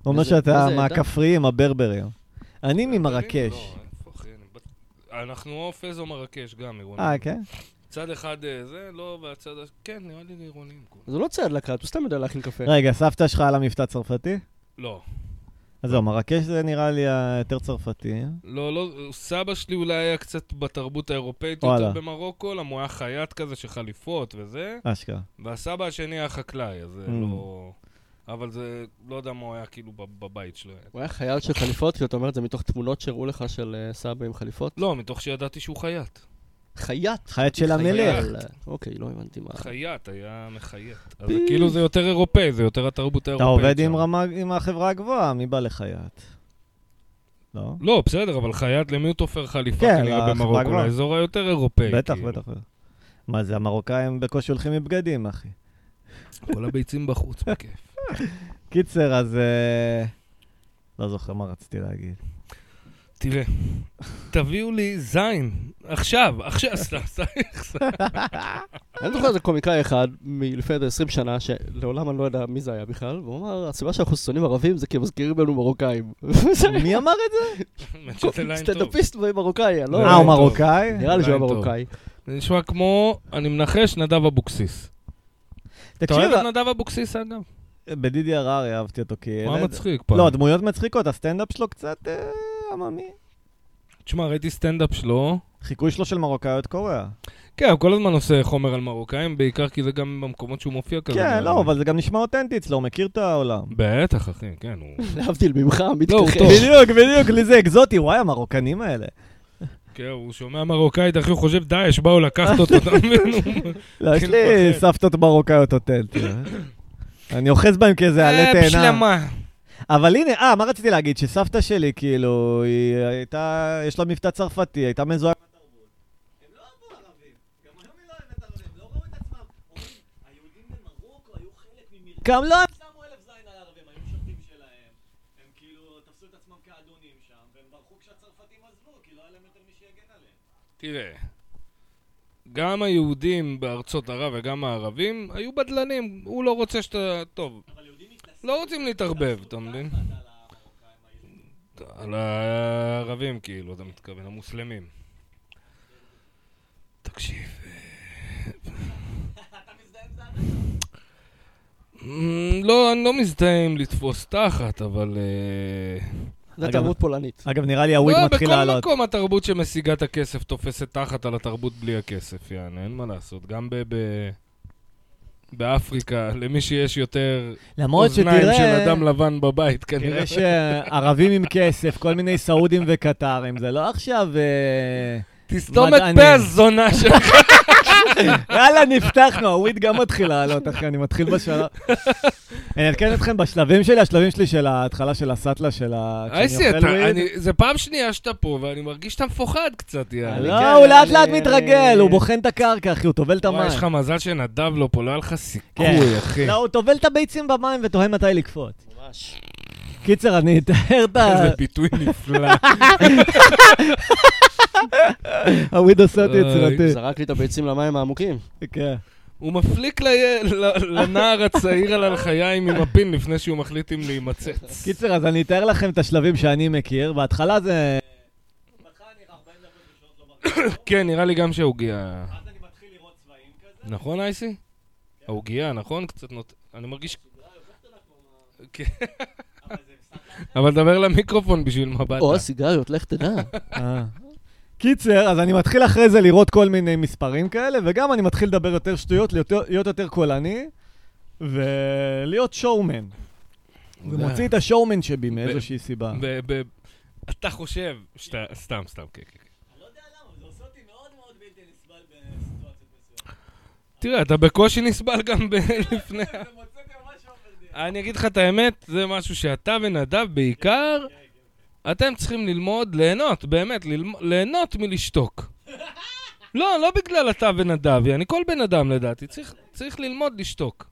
הוא אומר
איזה-
שאתה
איזה עדה?
מהכפריים, הברברים. אני ממרקש.
לא, איפה, אחי, אני בט- אנחנו או פז או מרקש גם, עירונים.
אה, כן?
צד אחד אה, זה, לא, והצד... הש- כן, נראה לי עירונים. כולם.
זה לא צייד לקט, הוא סתם יודע להכין קפה.
רגע, סבתא שלך על המבטא צרפתי?
לא.
אז זהו, מרקש זה נראה לי היותר צרפתי.
לא, לא, סבא שלי אולי היה קצת בתרבות האירופאית
וואלה.
יותר במרוקו, למה הוא היה חייט כזה של חליפות וזה,
אשכרה.
והסבא השני היה חקלאי, אז זה
Mm.
לא... אבל זה, לא יודע מה הוא היה כאילו בב- בבית שלו.
הוא היה חייל של חליפות, כי אתה אומר את זה מתוך תמונות שהראו לך של אה, סבא עם חליפות?
לא, מתוך שידעתי שהוא חייט.
חייט.
חייט של המלך.
חייל. אוקיי, לא הבנתי
אה.
מה.
חייט, היה מחייט. אז זה כאילו זה יותר אירופאי, זה יותר התרבות
אתה
האירופאית.
עובד
שם.
עם רמה- עם החברה הגבוהה, מי בא לחייט? לא?
לא, בסדר, אבל חייט, למי הוא תופר חליפה
כן,
כנראה
לחברה
במרוקו?
הגבוהה.
לאזור היותר אירופאי.
בטח,
כאילו.
בטח. בטח. מה זה, המרוקאים בקושי הולכים מבגדים, אחי.
כל הביצים בחוץ, בכיף.
קיצר, אז... אה, לא זוכר מה רציתי להגיד.
תראה, תביאו לי זין, עכשיו, עכשיו, סתם, סתם, סתם.
אני לא זוכר איזה קומיקאי אחד מלפני איזה 20 שנה, שלעולם אני לא יודע מי זה היה בכלל, והוא אמר, הסיבה שאנחנו שונאים ערבים זה כי הם מזכירים לנו מרוקאים. וזה
מי אמר את זה?
האמת שזה ליין טוב.
סטנדאפיסט מרוקאי, אני לא...
אה, הוא
טוב.
מרוקאי?
נראה לי שהוא
ליין
היה
טוב.
מרוקאי.
זה נשמע כמו, אני מנחש, נדב אבוקסיס. אתה
תקשיב, אה,
אוהב את נדב אבוקסיס, אגב?
בדידי הררי אהבתי אותו כילד.
מה מצחיק אה. פעם?
לא, דמויות מצחיקות, הסטנדאפ שלו קצת אה, עממי.
תשמע, ראיתי סטנדאפ שלו.
חיקוי שלו של מרוקאיות קוריאה.
כן, הוא כל הזמן עושה חומר על מרוקאים, בעיקר כי זה גם במקומות שהוא מופיע כזה.
כן, לא, אבל זה גם נשמע אותנטי אצלו, הוא מכיר את העולם.
בטח, אחי, כן, הוא...
להבדיל ממך, עמית
לא, הוא
ככה.
טוב.
בדיוק, בדיוק, לי זה אקזוטי, וואי, המרוקנים האלה.
כן, הוא שומע מרוקאית, אחי, הוא חושב, דאעש, באו לקחת אותו, אתה מבין? הוא-
לא, יש
כן,
לי
פחד.
סבתות מרוקאיות אותנטיות. אני אוחז בהם כאיזה עלה
אה,
תאנה.
בשלמה.
אבל הנה, אה, מה רציתי להגיד? שסבתא שלי, כאילו, היא הייתה, יש לה מבטא צרפתי, הייתה מזוהה עם התרבות. הם לא אהבו ערבים. גם היום היא לא אוהבת ערבים, לא ראו את עצמם. אומרים, היהודים במרוקו היו חלק ממרקם, לא... הם שמו אלף זין על הערבים, היו משרתים שלהם. הם כאילו תפסו את עצמם כאדונים שם, והם ברחו כשהצרפתים עזבו, כי לא היה להם יותר מי שיגן עליהם.
תראה, גם היהודים בארצות ערב וגם הערבים היו בדלנים, הוא לא רוצה שאתה... טוב. לא רוצים להתערבב, אתה מבין? על הערבים, כאילו, אתה מתכוון, המוסלמים. תקשיב... אה, לא, אני לא מזדהה עם לתפוס תחת, אבל... אה,
זה
אגב-
תרבות פולנית.
אגב, נראה לי הוויד
לא,
מתחיל לעלות.
בכל מקום התרבות שמשיגה את הכסף תופסת תחת על התרבות בלי הכסף, יעני, אין מה לעשות. גם ב... ב- באפריקה, למי שיש יותר
למרות
אוזניים של
שתראה...
אדם לבן בבית, כנראה.
תראה שערבים עם כסף, כל מיני סעודים וקטרים, זה לא עכשיו... אה,
תסתום את
מדענים.
פה הזונה שלך.
יאללה, נפתחנו, הוויד גם מתחיל לעלות, אחי, אני מתחיל בשלב... אני אעדכן אתכם בשלבים שלי, השלבים שלי של ההתחלה של הסאטלה, של ה... כשאני
אייסי,
אוכל
אתה-
וויד.
אני- זה פעם שנייה שאתה פה, ואני מרגיש שאתה מפוחד קצת, יאללה.
לא,
כן,
הוא לאט לאט
אני-
מתרגל, הוא בוחן את הקרקע, אחי, הוא טובל את
וואי,
המים.
יש לך מזל שנדב לא פה, לא היה לך
כן.
סיכוי, אחי.
לא, הוא טובל את הביצים במים ותוהה מתי לקפוץ.
ממש.
קיצר, אני אתאר את ה...
איזה ביטוי נפלא.
הוויד עושה אותי
אוי,
יצירתי.
אה. זרק לי את הביצים למים העמוקים.
כן.
הוא מפליק ל- ל- לנער הצעיר על הלחיים עם הפין לפני שהוא מחליט אם להימצץ.
קיצר, אז אני אתאר לכם את השלבים שאני מכיר. בהתחלה זה...
כן, נראה לי גם שהעוגיה... נכון, אייסי? העוגיה, נכון? קצת נות... אני מרגיש... כן. אבל דבר למיקרופון בשביל מבט.
או הסיגריות, לך תדע.
אה. קיצר, אז אני מתחיל אחרי זה לראות כל מיני מספרים כאלה, וגם אני מתחיל לדבר יותר שטויות, להיות- להיות יותר קולני, ולהיות שואומן. ומוציא את השואומן שבי מאיזושהי סיבה.
ב- ב- אתה חושב שאתה... סתם, סתם, כן, כן. כן. תראה, אתה בקושי נסבל גם ב- לפני... ה- אני אגיד לך את האמת, זה משהו שאתה ונדב בעיקר, אתם צריכים ללמוד ליהנות, באמת, ללמ- ליהנות מלשתוק. לא, לא בגלל אתה ונדב, אני כל בן אדם לדעתי, צריך- צריך ללמוד לשתוק.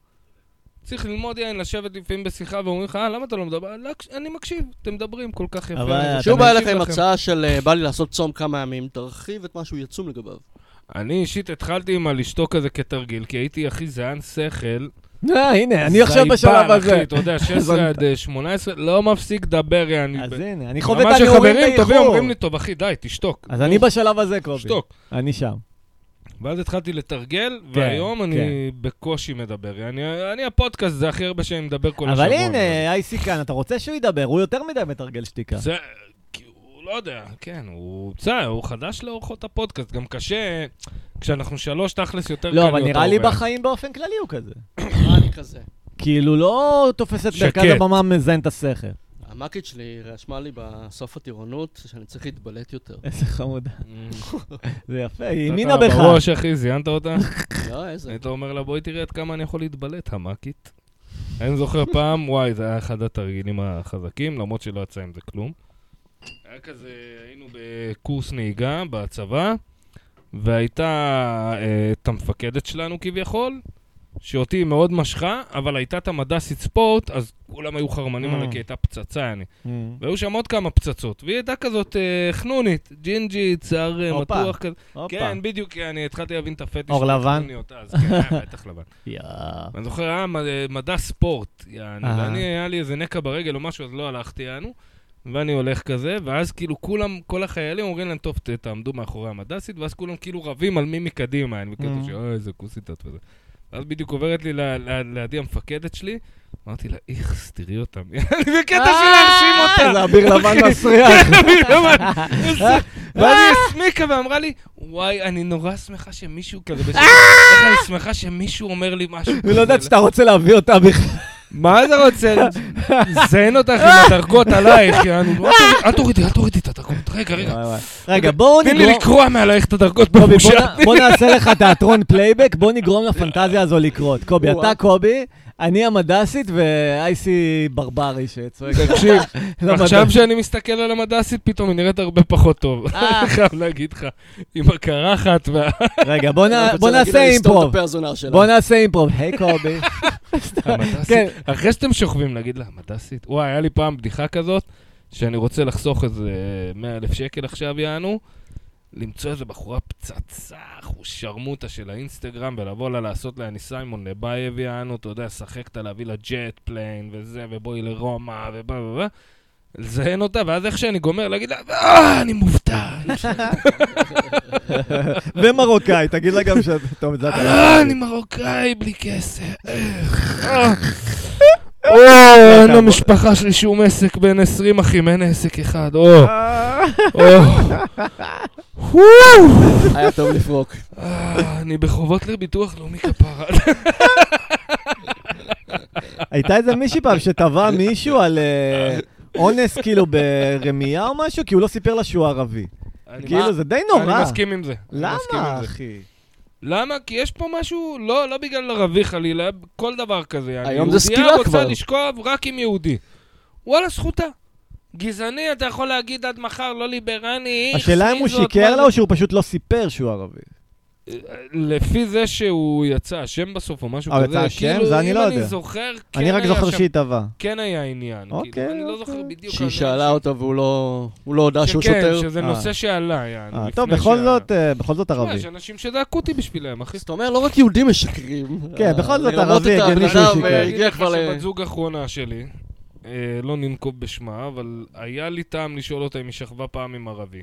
צריך ללמוד, יעני, לשבת לפעמים בשיחה ואומרים לך, אה, למה אתה לא מדבר? "לא, אני מקשיב, אתם מדברים כל כך יפה.
אבל
אני
אתה
כשהוא
מקשיב
בא אליך עם
לכם."
הצעה של אה, בא לי לעשות צום כמה ימים, תרחיב את מה שהוא יצום לגביו.
אני אישית התחלתי עם הלשתוק הזה כתרגיל, כי הייתי הכי זען שכל.
אה, הנה, אני עכשיו בשלב
זייבן, אחי,
הזה.
אתה יודע, 16 עד אה, 18, לא מפסיק לדבר, יעני.
אז
ב-
הנה, אני חווה
ממש
את הנאומים
שחברים טובים
באיחור.
אומרים לי, טוב, אחי, די, תשתוק.
אז אני לא בשלב הזה, קובי.
תשתוק.
אני שם.
ואז התחלתי לתרגל,
כן,
והיום אני בקושי מדבר. יעני, אני הפודקאסט, זה הכי הרבה שאני מדבר כל השבוע.
אבל הנה, אייסי כאן, אתה רוצה שהוא ידבר, הוא יותר מדי מתרגל שתיקה.
זה, כי הוא לא יודע, כן, הוא בסדר, הוא חדש לאורחות הפודקאסט, גם קשה, כשאנחנו שלוש תכלס יותר קל
לא,
להיות
אבל נראה לי
האורח.
בחיים באופן כללי הוא כזה.
נראה לי כזה.
כאילו, לא תופס את מרכז
שקט.
הבמה מזיין את השכל.
המאקית שלי רשמה לי בסוף הטירונות שאני צריך להתבלט יותר.
איזה חמודה. זה יפה, היא
Mm. אתה
האמינה בך.
בראש, אחי, זיינת אותה?
לא, איזה.
היית אומר לה, בואי תראה עד כמה אני יכול להתבלט, המאקית. אני זוכר פעם, וואי, זה היה אחד התרגילים החזקים, למרות שלא יצא עם זה כלום. היה כזה, היינו בקורס נהיגה בצבא, והייתה אה, את המפקדת שלנו כביכול, שאותי היא מאוד משכה, אבל הייתה את המדסית ספורט, אז כולם היו חרמנים
Mm.
עליה, כי הייתה פצצה, אני.
Mm.
והיו שם עוד כמה פצצות, והיא הייתה כזאת אה, חנונית, ג'ינג'ית, שיער אה,
הופה.
מתוח כזה.
הופה.
כן, בדיוק, כי אני התחלתי להבין את הפטיש.
אור
של
לבן?
החנוניות אז, כן, היה בטח לבן.
יאה.
ואני זוכר, היה מד- מדע ספורט, יעני,
אהה.
ואני, היה לי איזה נקע ברגל או משהו, אז לא הלכתי, יענו, ואני הולך כזה, ואז כאילו כולם, כל החיילים אומרים להם, טוב, ת- תעמדו מאחורי המדסית, ואז כולם כאילו רבים על מי מקדימה, אני בקטע
Mhm.
של, אוי, איזה כוסית את וזה. ואז בדיוק עוברת לי ל- ל- לידי המפקדת שלי, אמרתי לה, איכס, תראי אותם. אני בקטע של להרשים אותה.
אה! זה אביר לבן
אוקיי.
מסריח. אה,
כן, אביר לבן. ואני הסמיקה ואמרה לי, וואי, אני נורא שמחה שמישהו כזה בשביל... איך אני שמחה שמישהו אומר לי משהו כזה.
היא לא אה! יודעת שאתה רוצה להביא אותה בכלל.
מה אתה רוצה? זיין אותך עם
אה!
הדרגות עלייך, יענו. אל תורידי- אל תורידי, אל תורידי את הדרגות. רגע, רגע.
וואי, וואי. רגע, בואו
אוקיי. תן לי
נגרום...
לקרוע מעלייך את הדרגות
קובי, בוא
בבושה.
נ- בוא נעשה לך תיאטרון פלייבק, בוא נגרום לפנטזיה הזו לקרות. קובי,
וואו.
אתה קובי, אני המדסית ואייסי ברברי שצועק. לא
תקשיב,
למדע.
עכשיו שאני מסתכל על המדסית, פתאום היא נראית הרבה פחות טוב.
אה.
אני חייב להגיד לך, עם הקרחת וה...
רגע, בוא נ-
אני לא רוצה
בוא
להגיד לה
נעשה
לסתום את
אימפרוב.
הפה הזונה שלה.
בוא נעשה אימפרוב. היי קובי. כן.
המדסית. אחרי שאתם שוכבים, להגיד לה, המדסית? וואי, היה לי פעם בדיחה כזאת, שאני רוצה לחסוך איזה 100 אלף שקל עכשיו, יענו, למצוא איזה בחורה פצצה, אחושרמוטה של האינסטגרם, ולבוא לה לעשות לה, אני סיימון לבייב, יענו, אתה יודע, שחק אותה, להביא לה ג'ט פליין, וזה, ובואי לרומא, ובא ובא. לזיין אותה, ואז איך שאני גומר, להגיד לה, אה, אני מובטל,
ומרוקאי, תגיד לה גם שאתה... טוב, את זה אתה לא
אה,
יכול
אני
להגיד.
מרוקאי בלי כסף. אה. אה, אין למשפחה שלי שום עסק בין 20 אחים, אין עסק אחד. או,
אה,
או. וואו.
היה טוב לפרוק.
אה, אני בחובות לביטוח לאומי כפרה.
הייתה איזה מישהי פעם שטבע מישהו על אה, אונס כאילו ברמייה או משהו, כי הוא לא סיפר לה שהוא ערבי.
אני
כאילו,
מס-
זה די
אני
נורא. לא.
מסכים עם זה. אני מסכים עם
למה,
זה.
אחי?
למה? כי יש פה משהו, לא, לא בגלל ערבי חלילה, כל דבר כזה. יעני.
היום זה
יהודייה
סקילה
רוצה
כבר.
לשכב רק עם יהודי. וואלה, זכותה. גזעני, אתה יכול להגיד עד מחר, לא ליברני, איכס,
השאלה אם הוא
מי זאת, מה
שיקר
זה?"
לה או שהוא פשוט לא סיפר שהוא ערבי.
לפי זה שהוא יצא אשם בסוף או משהו
אה, הוא
כזה, כאילו,
יצא אשם? זה אני לא
אם אני
יודע.
זוכר, כן
אני רק
היה
זוכר
שם-
שהיא טבע.
כן היה עניין.
אוקיי,
כאילו, אני לא
אוקיי.
זוכר בדיוק.
שהיא
אני-
שאלה אותו והוא לא הוא לא הודה שהוא
שכן,
שוטר.
כן, שזה
אה.
נושא שעלה, יענו.
אה,
לפני
טוב, בכל
שה-
זאת, אה, בכל זאת
תשמע,
ערבי. אה,
יש אנשים שזעקו אותי בשבילם, אחי.
זאת אומרת, לא רק יהודים משקרים.
כן, בכל זאת,
לרמות
ערבי,
את הבן
הגיוני שהוא
אדם,
שיקר.
אה,
אני אגיד
הגיע
לך
כבר ל...
שבת זוג האחרונה שלי, אה, לא ננקוב בשמה, אבל היה לי טעם לשאול אותה אם היא שכבה פעם עם ערבי.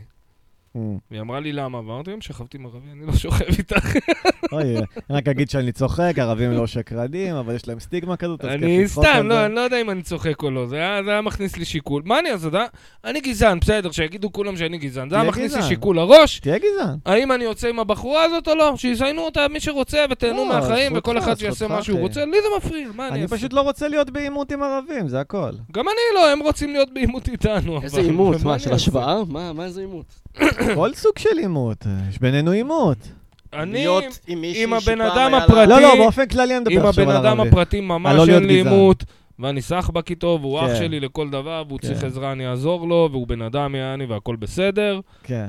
אה.
והיא אמרה לי למה, ואמרתי להם, שכבתי עם ערבי, אני לא שוכב איתך.
אוי, אה, אני רק אגיד שאני צוחק, ערבים לא שקרנים, אבל יש להם סטיגמה כזאת, אז כיף
אני
לצחוק על
סתם,
זה.
לא, אני לא יודע אם אני צוחק או לא, זה היה זה היה מכניס לי שיקול. מה אני אז יודע? אני גזען, בסדר, שיגידו כולם שאני גזען. זה היה
תהיה
מכניס לי
גזען.
שיקול לראש,
תהיה גזען.
האם אני יוצא עם הבחורה הזאת או לא? שיזיינו אותה מי שרוצה ותהנו
לא,
מהחיים,
זכותך,
וכל אחד שיעשה
זכותך,
מה שהוא
אחי.
רוצה, לי זה מפריע, מה אני
אני
אעשה?
פשוט לא רוצה להיות בעימות עם ערבים, זה הכל.
גם אני לא, הם רוצים להיות בעימות איתנו.
איזה
אבל-
עימות,
ומה
מה,
אני
של
אעשה?
השוואה? מה, מה איזה עימות?
כל סוג של עימות, אה, יש בינינו עימות.
אני,
להיות עם מישהי
עם הבן
שפעם
אדם
היה לה-
הפרטי.
לא, לא, באופן כללי אני
עם
מדבר עכשיו
הבן
על
אדם
ערבי.
הפרטי
אה, לא
ממש אין
להיות
לי
גזען.
עימות. ואני סחבק איתו, והוא אח
כן.
שלי לכל דבר, והוא
כן.
צריך עזרה, אני אעזור לו, והוא בן אדם, יעני, והכל בסדר.
כן.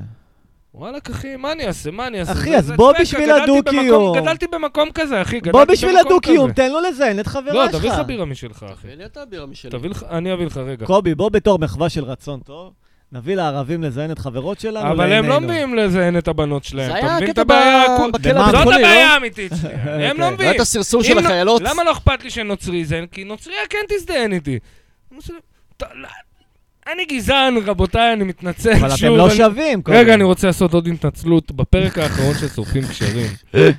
וואלכ, אחי, מה אני אעשה? מה אני אעשה?
אחי,
זה-
אז
זה
בוא
דפקה,
בשביל
גדלתי
הדו-קיום.
במקום- גדלתי במקום כזה, אחי.
בוא
גדלתי
בשביל
במקום
הדו-קיום,
כזה.
תן לו לזיין את
לא,
חברה
תביא לך
שלך.
בירה משלך, אחי.
תביא לי את הבירה משלי.
תביא לך, אני אביא לך, רגע.
קובי, בוא בתור מחווה של רצון טוב, נביא לערבים לזיין את חברות שלנו.
אבל הם לא
לעינינו.
מביאים לזיין את הבנות שלהם.
זה
אתה
היה
מבין את
הקטע
הבעיה?
ב-
הכו-
בכלא
במה?
הבית.
זאת
חולי, לא?
הבעיה האמיתית שלי. הם
אוקיי.
לא
זה היה
מביאים.
את הסרסור
אם
של
לא-
החיילות.
למה לא אכפת לי שנוצרי יזיין? כי נוצרי כן תזדיין איתי. ת- לא- אני גזען, רבותיי, אני מתנצל.
אבל אתם
שוב,
לא
אני-
שווים, קובי.
רגע, אני רוצה לעשות עוד התנצלות. בפרק האחרון של שורפים קשרים,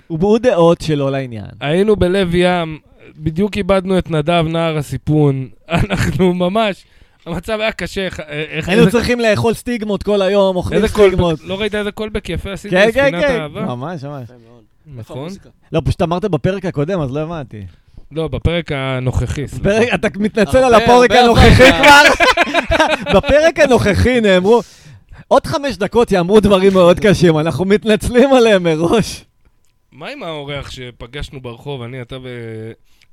הוא דעות שלא לעניין.
היינו בלב ים, בדיוק איבדנו את נדב, נער הסיפון. אנחנו ממש, המצב היה קשה. איך- איך-
היינו
איזה-
צריכים לאכול סטיגמות כל היום, אוכלים
איזה
סטיגמות.
קולבק, לא ראית איזה קולבק יפה עשית
כן, כן,
בספינת
כן,
האהבה?
ממש, ממש.
איפה
נכון?
המוזיקה?
לא, פשוט אמרת בפרק הקודם, אז לא הבנתי.
לא, בפרק הנוכחי. סליחה.
פרק- אתה מתנצל על
הרבה,
הפרק
הרבה
הנוכחי
הפרק
כבר? בפרק הנוכחי נאמרו, עוד חמש דקות יאמרו דברים מאוד קשים, אנחנו מתנצלים עליהם מראש.
מה עם האורח שפגשנו ברחוב, אני, אתה ו...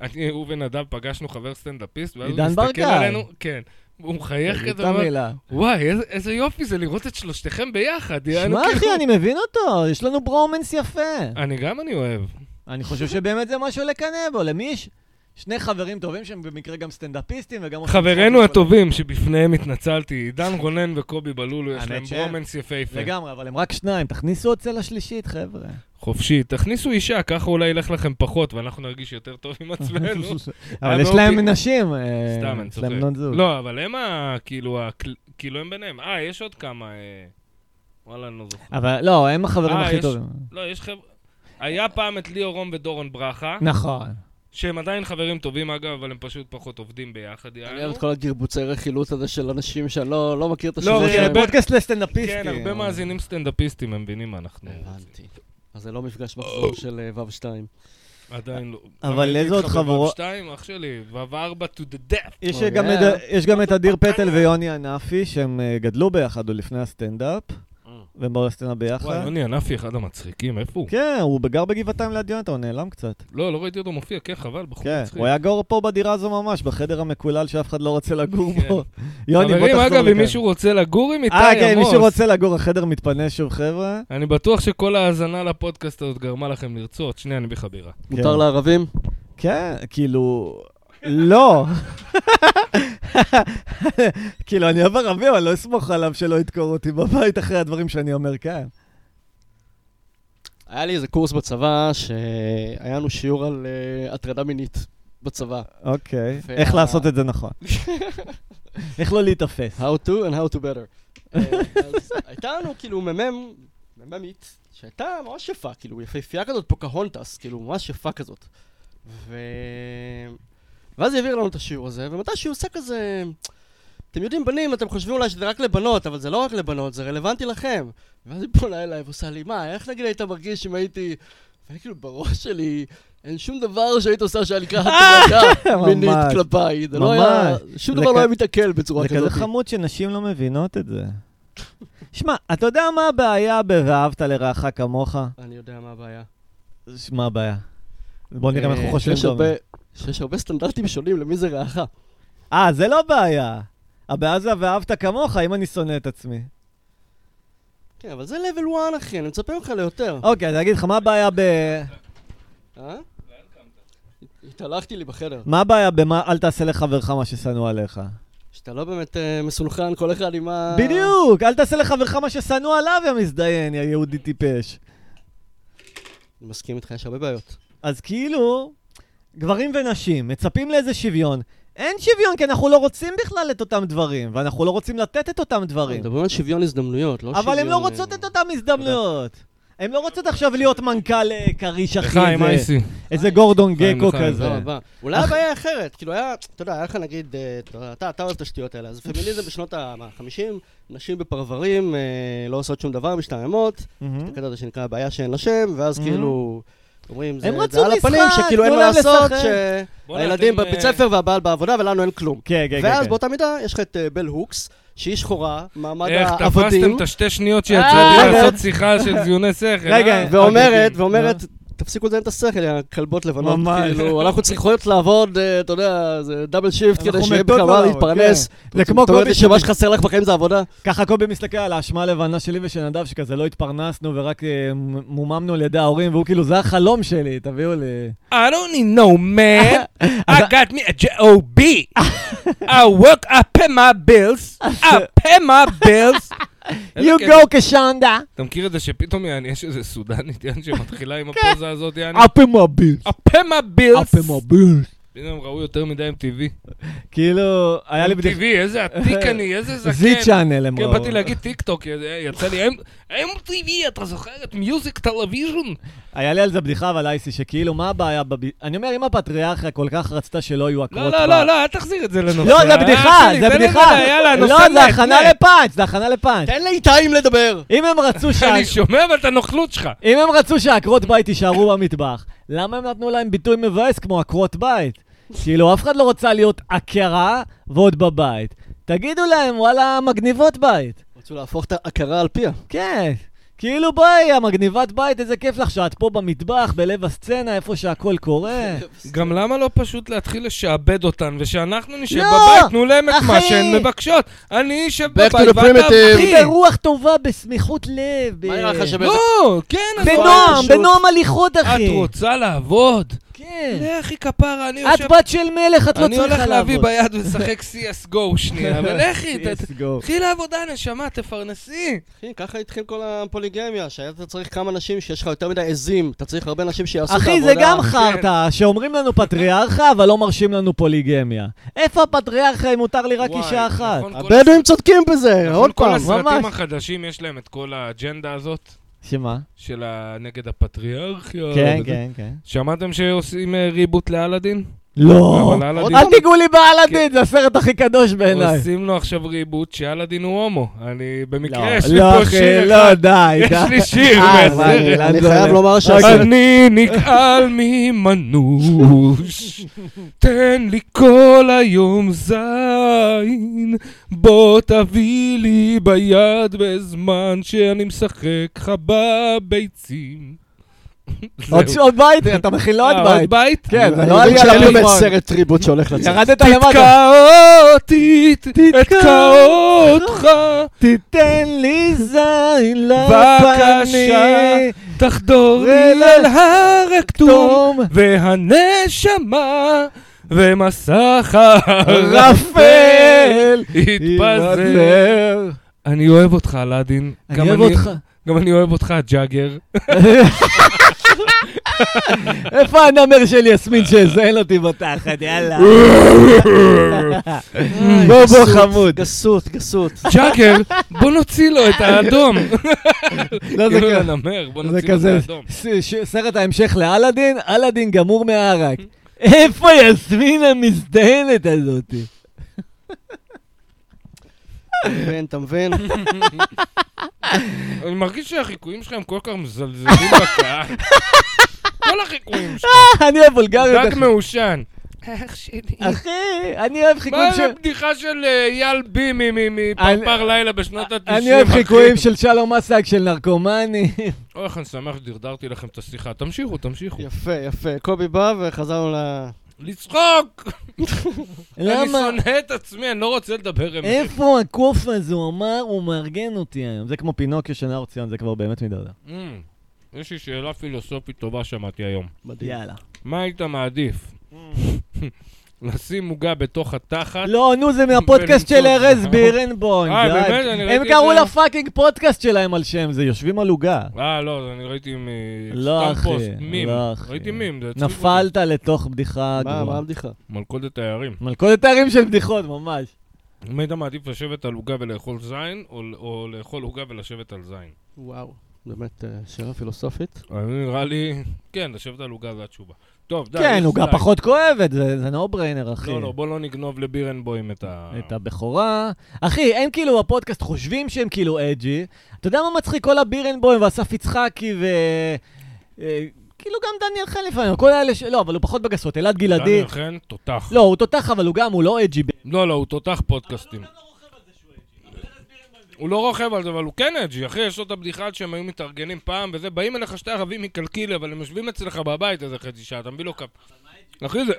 אני, הוא ונדב פגשנו חבר סטנדאפיסט, ואז הוא
עידן
מסתכל
ברקאי.
עלינו, כן. הוא מחייך כזה,
אותה
ואומר,
מילה.
וואי, איזה- איזה יופי זה לראות את שלושתכם ביחד. יענו,
שמע
כאילו-
אחי, אני מבין אותו, יש לנו ברומנס יפה.
אני גם אני אוהב.
אני חושב שבאמת זה משהו לקנא בו, למי יש שני חברים טובים שהם במקרה גם סטנדאפיסטים וגם... עושים
חברינו
צחוקים כל
הטובים שבפניהם התנצלתי, עידן רונן וקובי בלולו, יש
האמת
להם
ש-
ברומנס יפהפה.
היום. לגמרי, אבל הם רק שניים, תכניסו עוד צלע שלישית, חבר'ה.
חופשי. תכניסו אישה, ככה אולי ילך לכם פחות, ואנחנו נרגיש יותר טוב עם עצמנו.
אבל
היה
יש
מאוד
להם
טי-
נשים, אה,
לא סתם, אני
יש
צוחק.
להם בנות זוג.
לא, אבל הם ה... כאילו, הכל- כאילו הם ביניהם. אה, יש עוד כמה... אה, וואלה, אני לא זוכר.
אבל לא, הם החברים
אה,
הכי
יש-
טובים.
לא, יש חבר'ה... היה פעם את ליאור רום ודורון ברכה,
נכון.
שהם עדיין חברים טובים אגב, אבל הם פשוט פחות עובדים ביחד,
אני אוהב
יענו.
את כל הגרבוצי רכילות הזה של אנשים שאני לא לא מכיר את השם
לא,
זה
אבל-
שלהם.
כן, פודקאסט לסטנדאפיסטים.
כן, הרבה מאזינים סטנדאפיסטים, הם מבינים מה אנחנו...
הבנתי. אז זה לא מפגש מחזור של אה, וו 2.
עדיין לא.
אבל
הייתי
איזה עוד
איתך בוואב
חברות-
שתיים, אח שלי, וו ארבע to the death.
יש
אה,
גם
אה.
את- יש גם את אדיר פטל ויוני ענפי, שהם אה, גדלו ביחד עוד לפני הסטנדאפ, והם באו לסצנה
אה. וואי,
ביחד.
יוני ענפי אחד המצחיקים, איפה הוא?
כן, הוא גר בגבעתיים ליד יונתן, הוא נעלם קצת.
לא, לא ראיתי אותו מופיע, כן, חבל, בחור
כן,
מצחיק.
הוא היה גר פה בדירה הזו ממש, בחדר המקולל שאף אחד לא רוצה לגור
כן.
בו. יוני, בוא
חברים,
תחזור לכאן.
אגב, אם מישהו רוצה לגור עם איתי עמוס,
אה, כן, אם מישהו רוצה לגור, החדר מתפנה שוב, חבר'ה.
אני בטוח שכל ההאזנה לפודקאסט הזאת גרמה לכם לרצות. שנייה, אני בחבירה.
מותר לערבים?
כן, כאילו... לא. כאילו, אני אוהב ערבי, אבל לא אסמוך עליו שלא ידקור אותי בבית אחרי הדברים שאני אומר כן. כאן.
היה לי איזה קורס בצבא שהיה לנו שיעור על אה, הטרדה מינית בצבא.
אוקיי.
וה-
איך לעשות את זה נכון. איך לא להיתפס.
How to and how to better. אה, אז הייתה לנו כאילו מ"מ, מ"מית, שהייתה ממש יפה, כאילו יפהפייה כזאת, פוקהונטס, כאילו ממש יפה כזאת. ו... ואז היא העבירה לנו את השיעור הזה, ומתישהו עושה כזה... אתם יודעים, בנים, אתם חושבים אולי שזה רק לבנות, אבל זה לא רק לבנות, זה רלוונטי לכם. ואז היא פונה אליי ועושה לי, מה, איך נגיד היית מרגיש אם הייתי... ואני כאילו, בראש שלי, אין שום דבר שהיית עושה שהיה נקרא הטרדה
ממש.
מינית כלפיי. זה לא היה... שום
זה
דבר
כ-
לא היה מתעכל בצורה
זה
כזאת.
כזה חמוד שנשים לא מבינות את זה. שמע, אתה יודע מה הבעיה ב"ואהבת לרעך כמוך"?
אני יודע מה הבעיה.
ש- מה הבעיה? בוא נראה אם אנחנו
אה,
חושבים
שיש
דומה.
הרבה- שיש הרבה סטנדרטים שונים למי זה רעך.
אה, זה לא בעיה. הבעיה זה ה"ואהבת כמוך", אם אני שונא את עצמי.
כן, אבל זה level 1, אחי, אני מצפה ממך ליותר.
אוקיי, אז אני אגיד לך, מה הבעיה ב...
אה? התהלכתי לי בחדר.
מה הבעיה במה אל תעשה לחברך מה ששנוא עליך?
שאתה לא באמת אה, מסונכרן, כל אחד עם ה...
בדיוק! אל תעשה לחברך מה ששנוא עליו, יא מזדיין, יא יהודי טיפש.
אני מסכים איתך, יש הרבה בעיות.
אז כאילו, גברים ונשים מצפים לאיזה שוויון. אין שוויון, כי אנחנו לא רוצים בכלל את אותם דברים, ואנחנו לא רוצים לתת את אותם דברים.
מדברים על שוויון הזדמנויות, לא שוויון...
אבל הן לא
אה,
רוצות את אותם הזדמנויות. הן לא רוצות עכשיו להיות מנכ"ל אה, כריש, אחי,
לחיים,
איזה-
אייסי.
איזה גורדון
חיים,
גקו
לחיים,
כזה.
לא, הבא. אולי הבעיה היא אחרת, כאילו היה, אתה יודע, היה לך נגיד, אה, אתה יודע, אתה אתה אוהב את השטויות האלה, אז פמיניזם בשנות ה-50, נשים בפרברים, אה, לא עושות שום דבר, משתעממות,
מהמם. כן,
הקטע הזה שנקרא הבעיה שאין לה שם, ואז
Mhm.
כאילו... אומרים, זה
הם
זה
רצו
על
משחק,
הפנים, שכאילו אין
תנו
מה
להם
לעשות,
לשחק.
בואנה,
שהילדים
אתם,
בבית
אה,
ספר והבעל בעבודה ולנו אין כלום.
כן, כן, כן.
ואז
כן.
באותה מידה יש לך את אה, בל הוקס, שהיא שחורה, מעמד
איך תפסתם
העבדים,
את השתי שניות שיצאתי
אה,
לעשות שיחה של זיוני שכל, אה?
לא. רגע,
ואומרת, ואומרת, תפסיקו לזיין את השכל, יא כלבות לבנות,
אה? ממש.
כאילו, אנחנו צריכות לעבוד, אה, אתה יודע, זה דאבל שיפט
אנחנו
כדי שיהיה
מתות
בכלל מה
לעבוד,
להתפרנס.
זה כמו אה.
אתה אומר
קובי
לי שמה שחסר לך בחיים זה עבודה?
ככה קובי מסתכל על האשמה הלבנה שלי ושל נדב, שכזה לא התפרנסנו ורק אה, מ- מוממנו על ידי ההורים, והוא כאילו, זה החלום שלי, תביאו לי.
I don't need no man. I got me a J-O-B. I work, I pay my bills. I pay my bills. איזה
You
קטע.
go כשנדה.
כן, אתה מכיר את זה שפתאום יעני, יש איזה סודנית יעני שמתחילה עם הפוזה הזאת יעני?
אפי מביל.
כן. I pay my bills.
אפי מביל.
פתאום הם ראו יותר מדי MTV.
כאילו, היה לי בדיחה.
MTV, איזה עתיק אני, איזה זקן.
זי צ'אנל הם
כן,
ראו.
באתי להגיד טיק טוק, יצא לי "M- MTV, אתה זוכר את מיוזיק טלוויז'ון?
היה לי על זה בדיחה, אבל אייסי, שכאילו, מה הבעיה בב... אני אומר, אם הפטריארכיה כל כך רצתה שלא יהיו
לא,
עקרות
לא,
בר-
לא, לא, אל תחזיר את זה לנושא.
לא, זה
אה,
בדיחה,
שלי,
זה
תן לי
בדיחה.
רגע, יאללה, נושא
לא, זה
מת,
הכנה
מת.
לפאנץ', זה הכנה לפאנץ'.
תן לאיתיים לדבר!
אם הם רצו שה...
אני שומע אבל את הנוכלות שלך.
אם הם רצו שעקרות בית יישארו במטבח, למה הם נתנו להם ביטוי מבאס כמו עקרות בית? כאילו, אף אחד לא רוצה להיות עקרה ועוד בבית. תגידו להם, וואלה, מגניבות בית.
רצו להפוך את ההכרה על פיה.
כן. כאילו ביי, המגניבת בית, איזה כיף לך שאת פה במטבח, בלב הסצנה, איפה שהכל קורה.
גם למה לא פשוט להתחיל לשעבד אותן, ושאנחנו נשב
לא!
בבית, תנו להם את מה
אחי!
שהן מבקשות. אני אשב
Back to
בבית
the
אה,
primitive.
אחי, ברוח טובה, בסמיכות לב. ב-
מה נראה לך שבאיזה...
לא, כן, אני
בנועם,
פשוט-
בנועם הליכות, אחי.
את רוצה לעבוד?
כן.
לכי כפרה, אני
את
יושב...
בת של מלך, את לא
אני
צריכה לעבוד.
הולך להביא ביד ולשחק CSGO שנייה, אבל לכי, ת- ת-
CSGO.
תתחיל לעבודה, נשמה, תפרנסי.
אחי, ככה התחיל כל הפוליגמיה, שהיה אתה צריך כמה נשים שיש לך יותר מדי עזים, אתה צריך הרבה נשים שיעשו את העבודה.
אחי, זה
כן.
גם חרטא, שאומרים לנו פטריארכיה, אבל לא מרשים לנו פוליגמיה. איפה הפטריארכיה אם מותר לי רק
וואי,
אישה אחת?
נכון, כל
הבדואים צודקים בזה,
נכון,
עוד פעם.
כל הסרטים
ממש.
החדשים יש להם את כל האג'נדה הזאת
שמה?
של ה- נגד הפטריארכיה.
כן,
וזה.
כן, כן.
שמעתם שעושים אה, ריבוט לאלאדין?
לא.
אבל אלאדין-
אל תיגעו לי באלאדין, זה הסרט הכי קדוש בעיניי.
כן. עושים לו עכשיו ריבוט שאלאדין הוא הומו. אני במקרה, יש לי
לא,
פה
אחי,
שיר
לא,
אחד.
די,
יש
די.
לי שיר
אה,
מהסרט.
אבל-
אני חייב
אוקיי,
לומר שהסרט...
אני נגעל ממנוש, תן לי כל היום זין, בוא תביא לי ביד בזמן שאני משחק לך בביצים.
עוד
זהו.
עוד בית? אתה מכין לו עוד
אה,
בית.
בית?
כן, זה
אני
לא
מבין
עלייה
שאין לי באמת
ללימון.
סרט טריבוט שהולך לצאת.
ירדת למטה.
תתקע אותי, תתקע אותך,
תיתן לי זין
בבקשה,
לפנים.
תחדור לי
ול-
אל הר הכתום,
תום.
והנשמה ומסך הערפל
רפל.
התפזר.
יתפזר.
אני אוהב אותך, אלאדין.
אני
גם
אוהב אותך.
גם אני אוהב אותך, ג'אגר.
איפה הנמר של יסמין שזיין אותי בתחת, יאללה. בוא, בוא, חמוד.
גסות, גסות.
ג'אגר, בוא נוציא לו את האדום.
לא, זה
כאילו
כזה.
לנמר, בוא
זה
נוציא לו
כזה,
את האדום.
ס- ש- סרט ההמשך לאלאדין, אלאדין גמור מהערק. איפה יסמין המזדיינת הזאת? אה,
אתה מבין, אתה מבין?
אני מרגיש שהחיקויים שלך הם כל כך מזלזלים בקהל. כל החיקויים שלך.
אני אוהב וולגריות.
דג
אחי.
מעושן. אח שלי.
אחי, אני אוהב חיקויים
מה זה
של...
בדיחה של אה, אייל בי מ- מ- מפרפר לילה בשנות ה-90?
אני אוהב חיקויים של שלום אסק, של נרקומני.
אוי, איך אני שמח שדרדרתי לכם את השיחה. תמשיכו, תמשיכו.
יפה, יפה. קובי בא וחזרנו ל...
לצחוק! אני
למה?
שונא את עצמי, אני לא רוצה לדבר אמת.
איפה הקוף הזה? הוא אמר, הוא מארגן אותי היום. זה כמו פינוקיו של נאור ציון, זה כבר באמת מדרדר.
אמ, יש לי שאלה פילוסופית טובה שמעתי היום.
מדהים.
יאללה.
מה היית מעדיף?
Mm.
לשים עוגה בתוך התחת?
לא, נו, זה מהפודקאסט של
ולמצוא-
ארז בירנבוים.
אה,
די.
באמת? אני ראיתי
הם
את
קראו
זה.
לפאקינג פודקאסט שלהם על שם זה, יושבים על עוגה.
אה, לא, אני ראיתי מ...
לא,
סתם
אחי,
פוסט, מים.
לא, אחי.
ראיתי מים, זה הצחיק אותי.
נפלת לתוך בדיחה
מה, מה
גרועה.
הבדיחה?
מלכודת הערים.
מלכודת הערים של בדיחות, ממש.
אם היית מעדיף לשבת על עוגה ולאכול זין, או- או לאכול עוגה ולשבת על זין?
וואו. באמת, אה, שאלה פילוסופית.
אני נראה לי... כן, לשבת על עוגה זה התשובה. טוב, די.
כן,
יש
עוגה
די.
פחות כואבת, זה נו בריינר, אחי.
לא, אה. לא, בוא לא נגנוב לבירנבוים את ה...
את הבכורה. אחי, הם כאילו בפודקאסט חושבים שהם כאילו אג'י. אתה יודע מה מצחיק? כל הבירנבוים ואסף יצחקי ו... אה, כאילו גם דניאל חן לפעמים, כל האלה ש... לא, אבל הוא פחות בגסות, אלעד גלעדי.
דניאל חן, תותח.
לא, הוא תותח, אבל הוא גם, הוא לא אג'י.
לא, לא, הוא תותח פודקאסטים. לא הוא לא רוכב על זה, אבל הוא כן אג'י, אחי, יש לו את הבדיחה עד שהם היו מתארגנים פעם וזה, באים אליך שתי ערבים מקלקיליה, אבל הם יושבים אצלך בבית איזה חצי שעה, אתה מביא לו כפ... אחי, זה...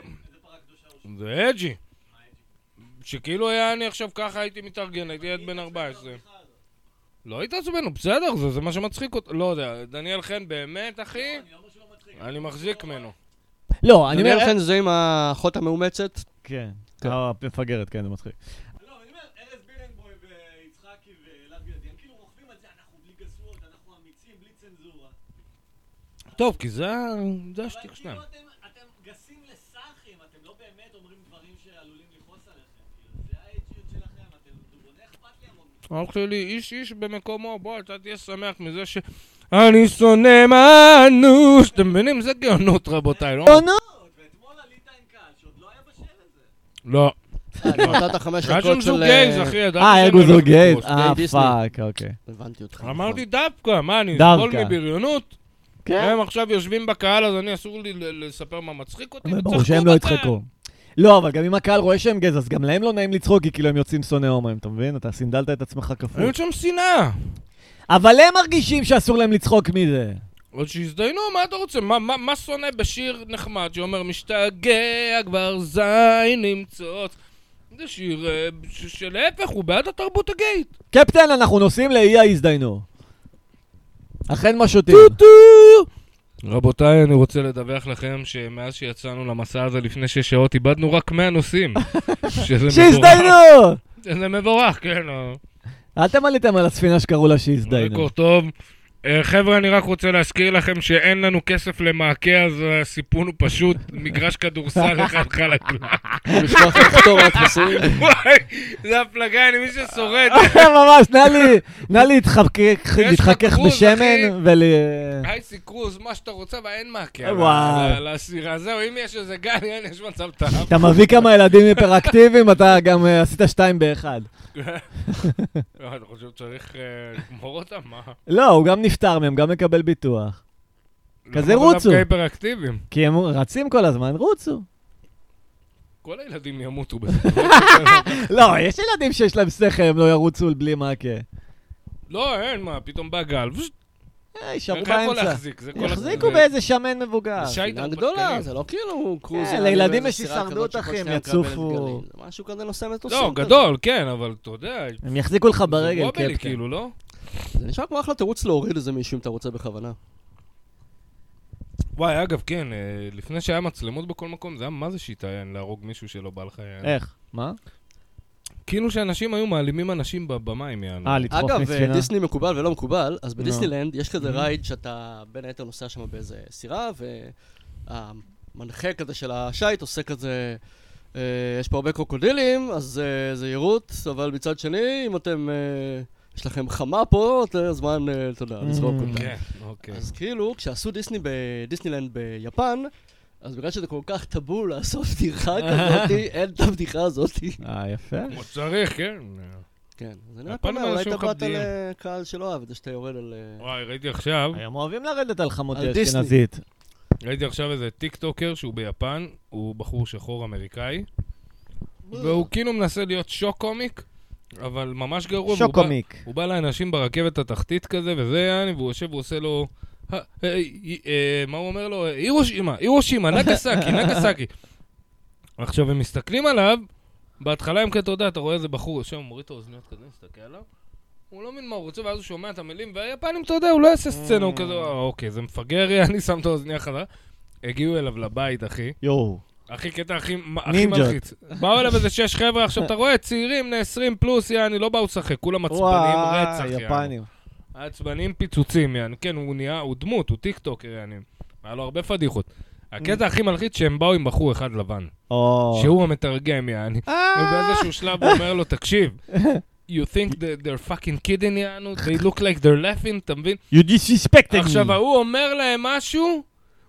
זה אג'י. שכאילו היה אני עכשיו ככה הייתי מתארגן, הייתי ילד בן 14. לא התעצבן, הוא בסדר, זה- זה מה שמצחיק אותו. לא יודע, דניאל חן באמת, אחי? לא, אני מחזיק ממנו.
לא, אני
אני אומר
אומר...
לכם, זה עם האחות המאומצת.
כן.
כן.
המפגרת, כן, זה מצחיק. כאילו
טוב, כי זה ה- זה השטיק שלהם.
כאילו לא כאילו,
אח שלי, איש איש במקומו, בוא, אתה תהיה שמח מזה ש... אני שונא מאנוש! אתם מבינים? זה גאונות, רבותיי, לא? לא.
אה, נתת חמש
היה שם
דקות של...
זוג גייז, אחי, ידעתי
אה,
שהם
ארגו
הולכים
זוג גייז.
לפרוס.
אה,
דיסני.
פאק, אוקיי.
הבנתי אותך.
אמרתי דווקא, מה, אני
דווקא. כן.
אסבול מבריונות? הם עכשיו יושבים בקהל, אז אני אסור לי ל- לספר מה מצחיק אותי?
אבל ברור
וצחקו
שהם לא
בצד.
יצחקו. לא, אבל גם אם הקהל רואה שהם גזע, אז גם להם לא נעים לצחוק, כי כאילו הם יוצאים שונאי הומואים, אתה מבין? אתה סינדלת את עצמך כפול.
אין שם שנאה.
אבל הם מרגישים שאסור להם לצחוק מזה.
עוד שיזדיינו, מה אתה רוצה? מה, מה, מה שונא בשיר נחמד שאומר משתגע כבר זין נמצאות? זה שיר אה, ש- שלהפך, הוא בעד התרבות הגייט.
קפטן, אנחנו נוסעים לאי ההזדיינו. אכן מה שותים.
רבותיי, אני רוצה לדווח לכם שמאז שיצאנו למסע הזה לפני שש שעות, איבדנו רק 100 נוסעים. שזה מבורך.
שהזדיינו!
זה מבורך, כן. אה.
אתם עליתם על הספינה שקראו לה שהזדיינו.
ריקור טוב. אה, חבר'ה, אני רק רוצה להזכיר לכם שאין לנו כסף למעקה, אז הסיפון הוא פשוט מגרש כדורסל אחד חלקלק.
לשלוח לכתוב על הטפסים.
וואי, זה הפלגה, אני מי ששורד.
ממש, נא לי- נא להתחכך-
יש
להתחכך
חכרות, אחי.
בשמן ול...
הייסי קרוז, מה שאתה רוצה, ואין מעקה.
אה, וואי.
על הסירה, זהו, אם יש איזה גן, אין, יש מצב טעם.
אתה מביא כמה ילדים היפראקטיביים, אתה גם אה, עשית שתיים באחד.
לא, אני חושב שצריך אה, לגמור אותם, מה?
לא, הוא גם נפטר מהם, גם מקבל ביטוח. כזה
למה
רוצו.
דווקא היפראקטיביים.
כי הם רצים כל הזמן, רוצו.
כל הילדים ימותו בזה.
לא, יש ילדים שיש להם שכל, הם לא ירוצו בלי מעקה.
לא, אין, מה, פתאום בא גל. פשוט,
אה, יישארו
אין לך איפה
באמצע.
להחזיק. זה כל-
יחזיקו
זה-
באיזה שמן מבוגר.
זה שייט
פינה
הרפתקני.
גדולה, זה לא כאילו קרוז.
כן,
עם
לילדים
איזה
יש
סירה
הישרדות,
כזאת שכל
אחי, הם
שנייה מקבלת
יצופו.
גלים. זה משהו כזה נושא מטוסים.
לא,
כזה.
גדול, כן, אבל אתה יודע,
הם יחזיקו לך
זה
ברגל, כן,
וובילי,
קפטן.
כאילו, לא?
זה נשמע כמו אחלה תירוץ להוריד איזה מישהו אם אתה רוצה בכוונה.
וואי, אגב, כן, אה, לפני שהיה מצלמות בכל מקום, זה היה מה זה שיטיין להרוג מישהו שלא בא לך יען.
איך? מה?
כאילו שאנשים היו מעלימים אנשים ב- במים יענו.
אה, לדחוף
אגב,
מספינה.
אה, דיסני מקובל ולא מקובל, אז
נו.
בדיסנילנד יש כזה
Mm-hmm.
רייד שאתה בין היתר נוסע שם באיזה סירה, והמנחה כזה של השייט עושה כזה... אה, יש פה הרבה קרוקודילים, אז אה, זהירות, אבל מצד שני, אם אתם... אה, יש לכם חמה פה, אתה- אז מה אם, אה, אתה יודע, לזרוק
Mm.
אותה.
כן, אוקיי.
אז כאילו, כשעשו דיסני בדיסנילנד ביפן, אז בגלל שזה כל כך טאבו לעשות בדיחה כזאתי, אין את הבדיחה הזאתי.
אה, יפה.
כמו שצריך, כן.
כן, אז אני רק
הפנים
אומר, אולי
אנשים
אתה באת
מכבדים.
לקהל שלא אוהב את זה שאתה יורד על... אה,
וואי, ראיתי עכשיו,
היום אוהבים לרדת על
על
חמותי
דיסני.
אשכנזית.
ראיתי עכשיו איזה טיק טוקר שהוא ביפן, הוא בחור שחור אמריקאי, והוא כאילו מנסה להיות שוק קומיק, אבל ממש גרוע. והוא בא-
שוקומיק.
הוא בא לאנשים ברכבת התחתית כזה, וזה יעני, והוא יושב ועושה לו... "אה, אה, אה, מה הוא אומר לו? הירושימה, הירושימה, נגסקי, נגסקי. עכשיו, הם מסתכלים עליו, בהתחלה הם כזה, אתה יודע, אתה רואה איזה בחור יושב, מוריד את האוזניות כזה, מסתכל עליו, הוא לא מבין מה הוא רוצה, ואז הוא שומע את המילים, והיפנים, אתה יודע, הוא לא יעשה סצנה, הוא כזה, "אה, אוקיי, זה מפגר, אני שם את האוזניה חזרה. הגיעו אליו לבית, אחי.
יואו.
הכי קטע הכי הכי
נינג'ות.
מלחיץ. באו אליו איזה שש חבר'ה, עכשיו אתה רואה, צעירים, בני 20 פלוס, יעני, לא באו לשחק, כולם עצבנים,
וואי,
רצח, יעני.
יפנים.
עצבנים פיצוצים, יעני. כן, הוא נהיה, הוא דמות, הוא טיקטוק, יעני. היה לו הרבה פדיחות. הקטע הכי מלחיץ שהם באו עם בחור אחד לבן,
או. אה.
שהוא המתרגם, יעני. ובאיזשהו שלב הוא אומר לו, תקשיב, you think that they're fucking kidding, יענו, they look like they're laughing, אתה מבין?
You disrespected me.
עכשיו, ההוא אומר להם משהו,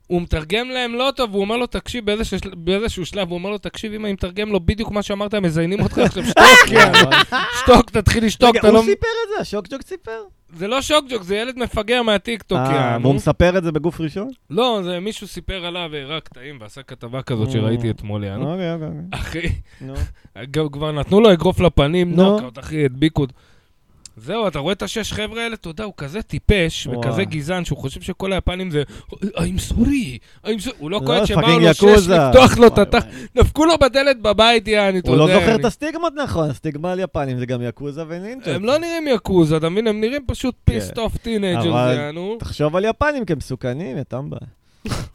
הוא מתרגם להם לא טוב, הוא אומר לו, תקשיב, באיזשהו, של- באיזשהו שלב, הוא אומר לו, תקשיב, אם אני מתרגם לו בדיוק מה שאמרת, הם מזיינים אותך עכשיו, שתוק, יאללה. שתוק, תתחיל לשתוק,
כן, רגע,
אתה לא...
הוא סיפר את זה, השוקג'וק סיפר?
זה לא שוקג'וק, זה ילד מפגר מהטיקטוק,
אה,
יענו.
והוא מספר את זה בגוף ראשון?
לא, זה מישהו סיפר עליו, הראה קטעים ועשה כתבה כזאת
Mm.
שראיתי אתמול, יענו.
אוקיי, אוקיי, אוקיי.
אחי,
נו.
לא גם כבר נתנו לו אגרוף לפנים,
נו.
נוקאוט, אחי, הדביקו. זהו, אתה רואה את השש חבר'ה האלה? אתה יודע, הוא כזה טיפש
וואי.
וכזה גזען, שהוא חושב שכל היפנים זה... I'm sorry, I'm sorry. הוא לא
לא,
קולט שבאו
fucking
לו שש
יקוזה.
לפתוח לו את
וואי,
התח...
וואי.
דפקו לו בדלת בבית, יעני, אתה
הוא
יודע.
לא זוכר את
אני-
הסטיגמות נכון, הסטיגמה על יפנים זה גם יקוזה ונינג'ות.
הם לא נראים יקוז, אתה מבין? הם נראים פשוט פיסט
כן.
אוף טינג'ר,
אבל-
יענו.
תחשוב על יפנים כי הם מסוכנים, יא טמבה.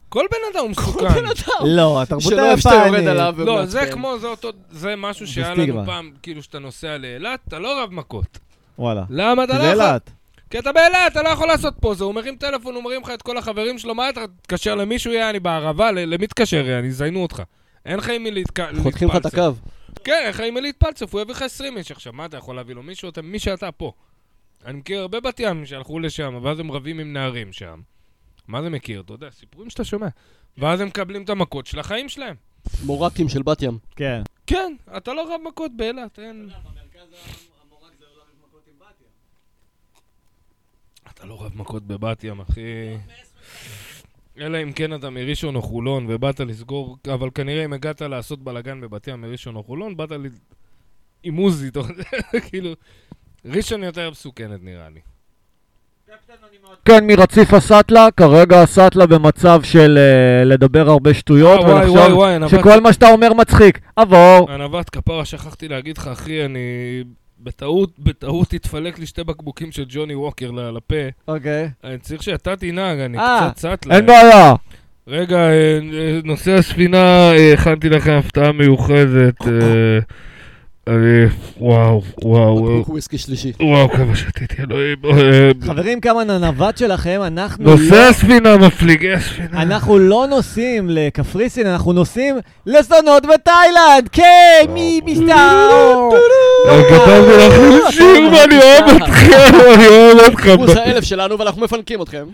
כל בן אדם הוא
כל
מסוכן.
בן אדם.
לא, התרבות
שלא אוהב שאתה יורד עליו.
היפנית.
לא, זה
ומעצבן.
כמו, זה אותו, זה משהו שהיה לנו
בסטיגמה.
פעם, כאילו, שאתה נוסע לאילת, אתה לא רב מכות.
וואלה.
למה אתה
זה
לא יכול?
לאילת.
כי אתה באילת, אתה לא יכול לעשות פוזה. הוא מרים טלפון, הוא מרים לך את כל החברים שלו, מה אתה תתקשר למישהו, יעני, בערבה, ל- למי תתקשר, יעני, יזיינו אותך. אין לך עם מי להתק- להתפלסף.
חותכים לך את הקו.
כן, אין לך עם מי להתפלסף, הוא יביא לך 20 איש עכשיו. מה אתה יכול להביא לו? מישהו, אתה, מי שאתה פה. אני מכיר הרבה בת ים שהלכו לשם, ואז הם רבים עם נערים שם. מה זה מכיר? אתה יודע, סיפורים שאתה שומע. ואז הם מקבלים את המכות של החיים שלהם.
מורקים של בת ים.
כן.
כן, אתה לא רב מכות באילת, אין... אתה לא רב מכות בבת ים, אחי. אלא אם כן אתה מראשון או חולון ובאת לסגור, אבל כנראה אם הגעת לעשות בלאגן בבת ים מראשון או חולון, באת ל... עם עוזי, אתה יודע, כאילו... ראשון יותר מסוכנת נראה לי.
כן, מרציף הסטלה, כרגע הסטלה במצב של אה, לדבר הרבה שטויות,
וואי, וואי,
ולחשוב
וואי, נבט.
שכל מה שאתה אומר מצחיק. עבור.
ענבת כפרה, שכחתי להגיד לך, אחי, אני בטעות, בטעות התפלק לי שתי בקבוקים של ג'וני ווקר ל- לפה.
אוקיי.
אני צריך שאתה תנהג, אני
אה,
קצת צט להם.
אין בעיה.
רגע, אה, אה, נושא הספינה, אה, הכנתי לכם הפתעה מיוחדת. אה, אני... וואו, וואו, אה,
בקבוק וויסקי שלישי.
וואו, כמה שתיתי, אלוהים. אה,
חברים, כמה ננבט שלכם, אנחנו
נושא
לא-
הספינה, מפליגי הספינה.
אנחנו לא נוסעים לקפריסין, אנחנו נוסעים לזונות בתאילנד! כן, מי מסתער?
אה, גדלתי לך שיר ואני אוהב אותך, אני אוהב אותך.
קורס האלף שלנו ואנחנו מפנקים אתכם.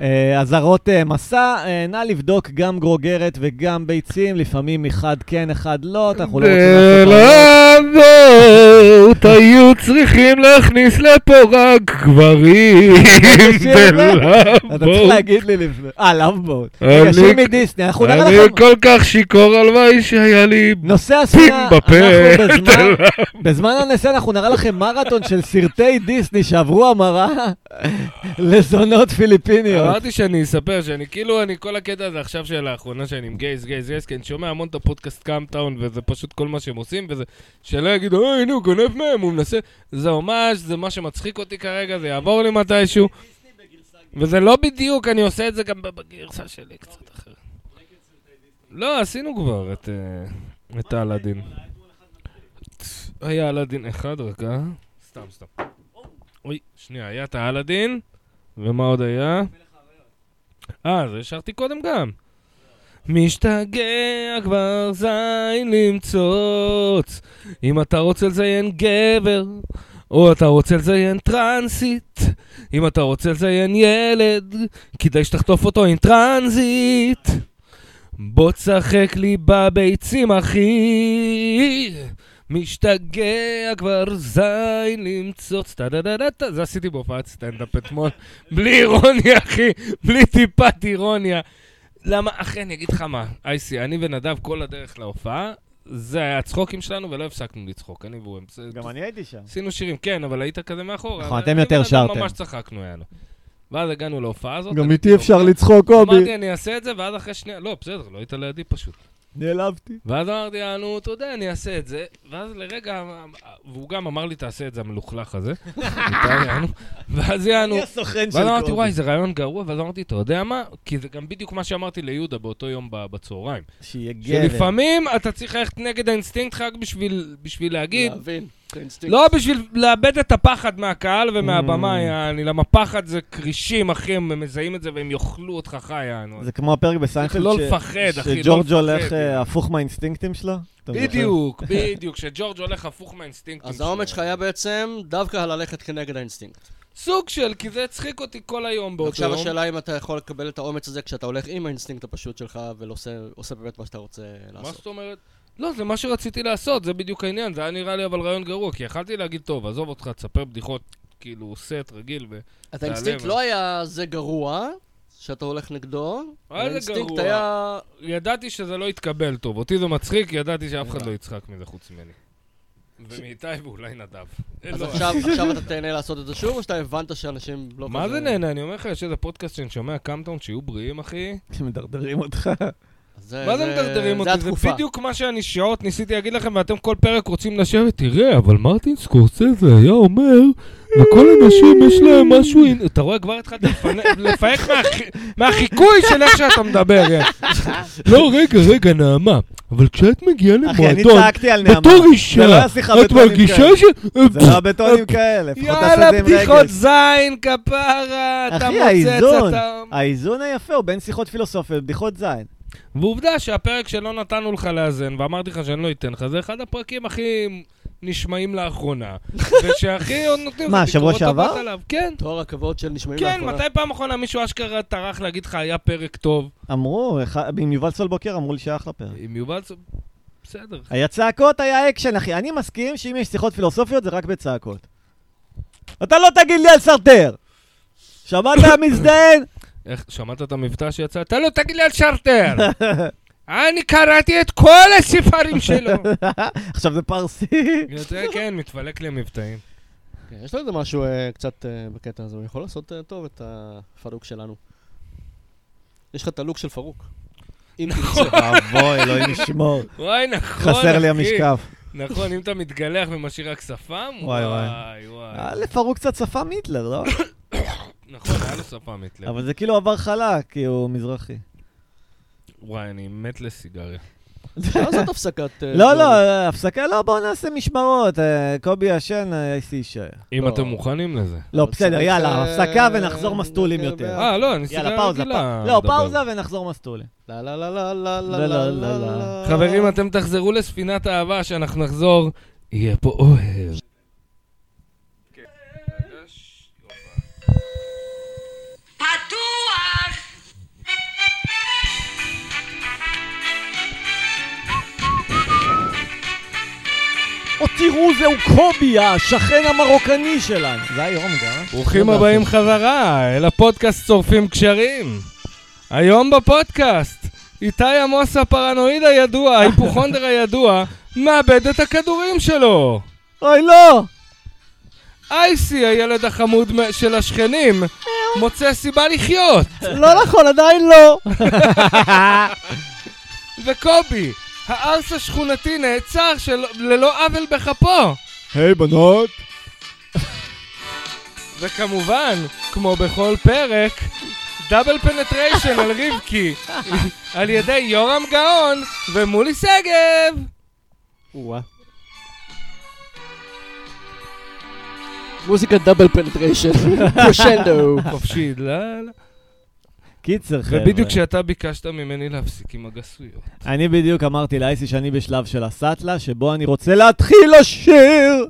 אה, אזהרות אה, מסע, אה, נא לבדוק גם גרוגרת וגם ביצים, לפעמים אחד כן, אחד לא, אנחנו לא רוצים
אה,
לעשות... הרבה.
בלעדות היו צריכים להכניס לפה רק גברים
השיר הזה? אתה צריך
בלעדות.
להגיד לי לפני... אה, לאבבוט.
אני-
רגע, שיר מדיסני, אנחנו נראה
אני
לכם...
כל כך שיכור, הלוואי שהיה לי
נושא
פין
הספינה, אנחנו
בפה. אה,
בזמן... בזמן הנסיעה אנחנו נראה לכם מרתון של סרטי דיסני שעברו המרה לזונות פיליפיניות.
אמרתי שאני אספר שאני כאילו, אני כל הקטע הזה עכשיו של האחרונה שאני עם גייז, גייז, גייז, כי אני שומע המון את הפודקאסט קאמפטאון, וזה פשוט כל מה שהם עושים, וזה... שלא יגידו, אה, הנה הוא גונב מהם, הוא מנסה... זה ממש, זה מה שמצחיק אותי כרגע, זה יעבור לי מתישהו. וזה לא בדיוק, אני עושה את זה גם בגרסה שלי קצת אחרת. לא, עשינו כבר את... אה, את האלאדין. היה אלאדין אחד רק, אה? סתם, סתם. אוי, שנייה, היה את האלאדין, ומה עוד היה? אה, זה שרתי קודם גם. משתגע כבר זין למצוץ, אם אתה רוצה לזיין גבר, או אתה רוצה לזיין טרנסית, אם אתה רוצה לזיין ילד, כדאי שתחטוף אותו עם טרנזיט. בוא תשחק לי בביצים, אחי. משתגע כבר זין למצוץ, טה דה דה דה טה, זה עשיתי בהופעת סטנדאפ אתמול, בלי אירוניה אחי, בלי טיפת אירוניה. למה, אחי, אני אגיד לך מה, אייסי, אני ונדב כל הדרך להופעה, זה היה הצחוקים שלנו ולא הפסקנו לצחוק, אני והוא, הם-
גם אני הייתי שם.
עשינו שירים, כן, אבל היית כזה מאחורה.
נכון,
אבל
אתם
אני
יותר
ואדם
שרתם.
ממש צחקנו, יאללה. ואז הגענו להופעה הזאת.
גם
אני- כאילו
איתי אפשר לצחוק, קובי.
אמרתי, אני אעשה את זה, ואז אחרי שנייה, לא, בסדר, לא היית לידי פשוט.
נעלבתי.
ואז אמרתי, "אה, נו, אתה יודע, אני אעשה את זה. ואז לרגע, והוא גם אמר לי, תעשה את זה, המלוכלך הזה. איתי, יענו. ואז יענו,
הסוכן
לא
ואז אמרתי, וואי, זה רעיון גרוע, ואז אמרתי, אתה יודע מה? כי זה גם בדיוק מה שאמרתי ליהודה באותו יום ב- בצהריים.
שיהיה גבר.
שלפעמים אתה צריך ללכת נגד האינסטינקט רק בשביל בשביל להגיד,
להבין. זה אינסטינקט.
לא בשביל לאבד את הפחד מהקהל
Mm.
ומהבמה, יעני, למה פחד זה כרישים, אחי, הם מזהים את זה והם יאכלו אותך חי, יענו.
זה כמו הפרק בסיינפלד
לא
ש-
לפחד, אחי, לא
שג'ורג'
לפחד.
הולך אה, הפוך מהאינסטינקטים שלו? אתה זוכר?
בדיוק, בדיוק, שג'ורג' הולך הפוך מהאינסטינקטים
אז האומץ שלך היה בעצם דווקא ללכת כנגד האינסטינקט.
סוג של, כי זה הצחיק אותי כל היום באותו
עכשיו
יום.
השאלה אם אתה יכול לקבל את האומץ הזה כשאתה הולך עם האינסטינקט הפשוט שלך ועושה עושה באמת מה שאתה רוצה
מה
לעשות.
זאת אומרת? לא, זה מה שרציתי לעשות, זה בדיוק העניין, זה היה נראה לי אבל רעיון גרוע, כי יכלתי להגיד, טוב, עזוב אותך, תספר בדיחות, כאילו, סט רגיל, ו...
אז
תעלה,
האינסטינקט
אבל-
לא היה זה גרוע, שאתה הולך נגדו,
היה זה
האינסטינקט
גרוע.
היה...
ידעתי שזה לא יתקבל טוב. אותי זה מצחיק, ידעתי שאף אחד לא יצחק מזה חוץ ממני. ומאיתי ואולי נדב.
אז
לא,
עכשיו עכשיו אתה תהנה לעשות את זה שוב, או שאתה הבנת שאנשים לא...
מה
כזה-
זה נהנה? אני אומר לך, יש איזה פודקאסט שאני שומע, קאמטאון, שיהיו בריאים, אחי.
שמדרדרים אותך.
מה זה מדרדרים אותי? זה
התקופה.
בדיוק מה שאני שעות ניסיתי להגיד לכם, ואתם כל פרק רוצים לשבת, תראה, אבל מרטין סקורסזה היה אומר, לכל הנשים יש להם משהו... אין-" אתה רואה, כבר התחלתי לפנ- לפהק מהח- מהחיקוי של איך שאתה מדבר. יא. לא, רגע, רגע, נעמה, אבל כשאת מגיעה
אחי, אני
למועדון,
צעקתי על נעמה.
בתור
זה לא
אישה,
היה שיחה
את
בטונים
מרגישה
כאלה.
ש...
זה לא בטונים כאלה, לפחות תעשה את
יאללה,
זה עם
בדיחות
רגש.
זין, כפרה, אתה
אחי,
מוצץ,
האיזון.
אתה...
האיזון היפה הוא בין שיחות פילוסופיות לבדיחות זין.
ועובדה שהפרק שלא נתנו לך לאזן, ואמרתי לך שאני לא אתן לך, זה אחד הפרקים הכי נשמעים לאחרונה. ושהכי עוד נותנים לך
מה, שבוע
ביקורות טובות
שעבר?
עליו. כן,
תואר הכבוד של נשמעים
כן,
לאחרונה.
מתי פעם אחרונה מישהו אשכרה טרח להגיד לך, היה פרק טוב?
אמרו, אחד- עם יובל סולבוקר אמרו לי שהיה אחלה פרק.
עם יובל סוף... בסדר.
היה צעקות, היה אקשן, אחי. אני מסכים שאם יש שיחות פילוסופיות זה רק בצעקות. אתה לא תגיד לי על סרטר! שמעת המזדיין?
איך, שמעת את המבטא שיצא? אתה לא תגיד לי על שרטר! אני קראתי את כל הספרים שלו!
עכשיו זה פרסי.
זה כן, מתפלק לי מבטאים.
כן, יש לו איזה משהו אה, קצת אה, בקטע הזה, הוא יכול לעשות אה, טוב את הפלוק שלנו. יש לך את הלוק של פרוק. אם
נכון.
תרצה.
אבוי, אלוהים ישמור.
וואי, נכון,
חסר לי
אחי.
המשקף.
נכון, אם אתה מתגלח ומשאיר רק שפם,
וואי,
וואי,
וואי. אה,
וואי. וואי.
א', פרוק קצת שפם היטלר, לא?
נכון, היה לו שפם אצלנו.
אבל זה כאילו עבר חלק, כי הוא מזרחי.
וואי, אני מת לסיגריה.
אפשר לעשות הפסקת... אה,
לא,
זמן.
לא, הפסקה, לא, בואו נעשה משמרות. אה, קובי ישן, אה, איסי יישאר.
אם
לא.
אתם מוכנים לזה.
לא,
אבל
בסדר,
צריך,
יאללה,
אה,
הפסקה ונחזור מסטולים
אה,
יותר.
אה, לא, אני
יאללה,
סיגריה
פאוזה.
רגילה.
פא- לא,
מדבר.
פאוזה ונחזור מסטולים.
לה לה לה לה לה
לא,
לה לה
לא,
לה
לא,
לה. אוקיי,
חברים, אתם תחזרו לספינת האהבה, שאנחנו נחזור, יהיה פה אוהב.
פתוח!
או תראו, זהו קובי, השכן המרוקני שלנו. זה היום
אה?
גם.
ברוכים הבאים חזרה אל הפודקאסט צורפים קשרים. היום בפודקאסט, איתי עמוס הפרנואיד הידוע, ההיפוכונדר הידוע, מאבד את הכדורים שלו.
אוי, לא!
אייסי, הילד החמוד מ- של השכנים, מוצא סיבה לחיות.
לא נכון, עדיין לא!
וקובי, הארס השכונתי נעצר של... ללא עוול בכפו.
היי, בנות!
וכמובן, כמו בכל פרק, דאבל פנטריישן על רבקי, על ידי יורם גאון ומולי שגב.
וואה. מוזיקה דאבל פנטריישן, קרשנדו.
חופשי, לא, לא.
קיצר, חבר'ה.
ובדיוק כשאתה ביקשת ממני להפסיק עם הגסויות.
אני בדיוק אמרתי לאייסי שאני בשלב של הסאטלה, שבו אני רוצה להתחיל לשיר!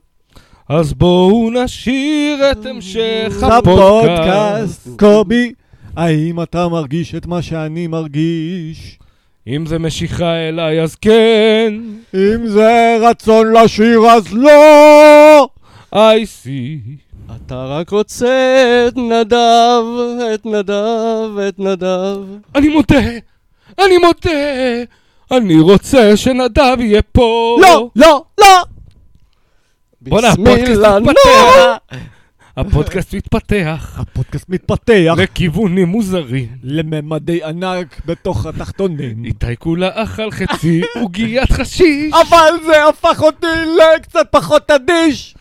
אז בואו נשאיר את המשך הפודקאסט.
הפודקאסט, קובי, האם אתה מרגיש את מה שאני מרגיש?
אם זה משיכה אליי, אז כן,
אם זה רצון לשיר, אז לא!
I see.
אתה רק רוצה את נדב, את נדב, את נדב.
אני מודה, אני מודה, אני רוצה שנדב יהיה פה.
לא! לא! לא!
בואנה, הפודקאסט
ביסמילה, נו.
מתפתח. הפודקאסט מתפתח
הפודקאסט מתפתח
לכיוונים מוזרים.
לממדי ענק בתוך התחתונים.
איתי כולה אכל חצי עוגיית חשיש.
אבל זה הפך אותי לקצת פחות אדיש!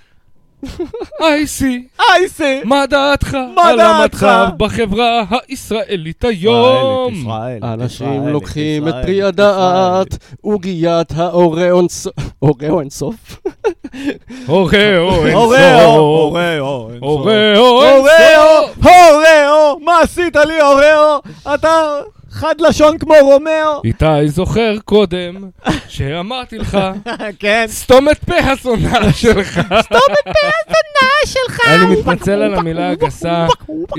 אייסי,
אייסי!
מה דעתך
מה
על
דעתך?
המצב בחברה הישראלית היום?
אנשים לוקחים את פרי הדעת, עוגיית האורeo אינסוף. אורeo אינסוף?
אוראו,
אוראו,
אין סוף.
אוראו, אין סוף.
אוראו, אין
אוראו,
סוף.
אוראו, מה עשית לי אוראו? אתה חד לשון כמו רומאו?
איתי זוכר קודם שאמרתי לך,
כן.
סתום את פה הזונה שלך.
שלך.
אני מתנצל על המילה הגסה,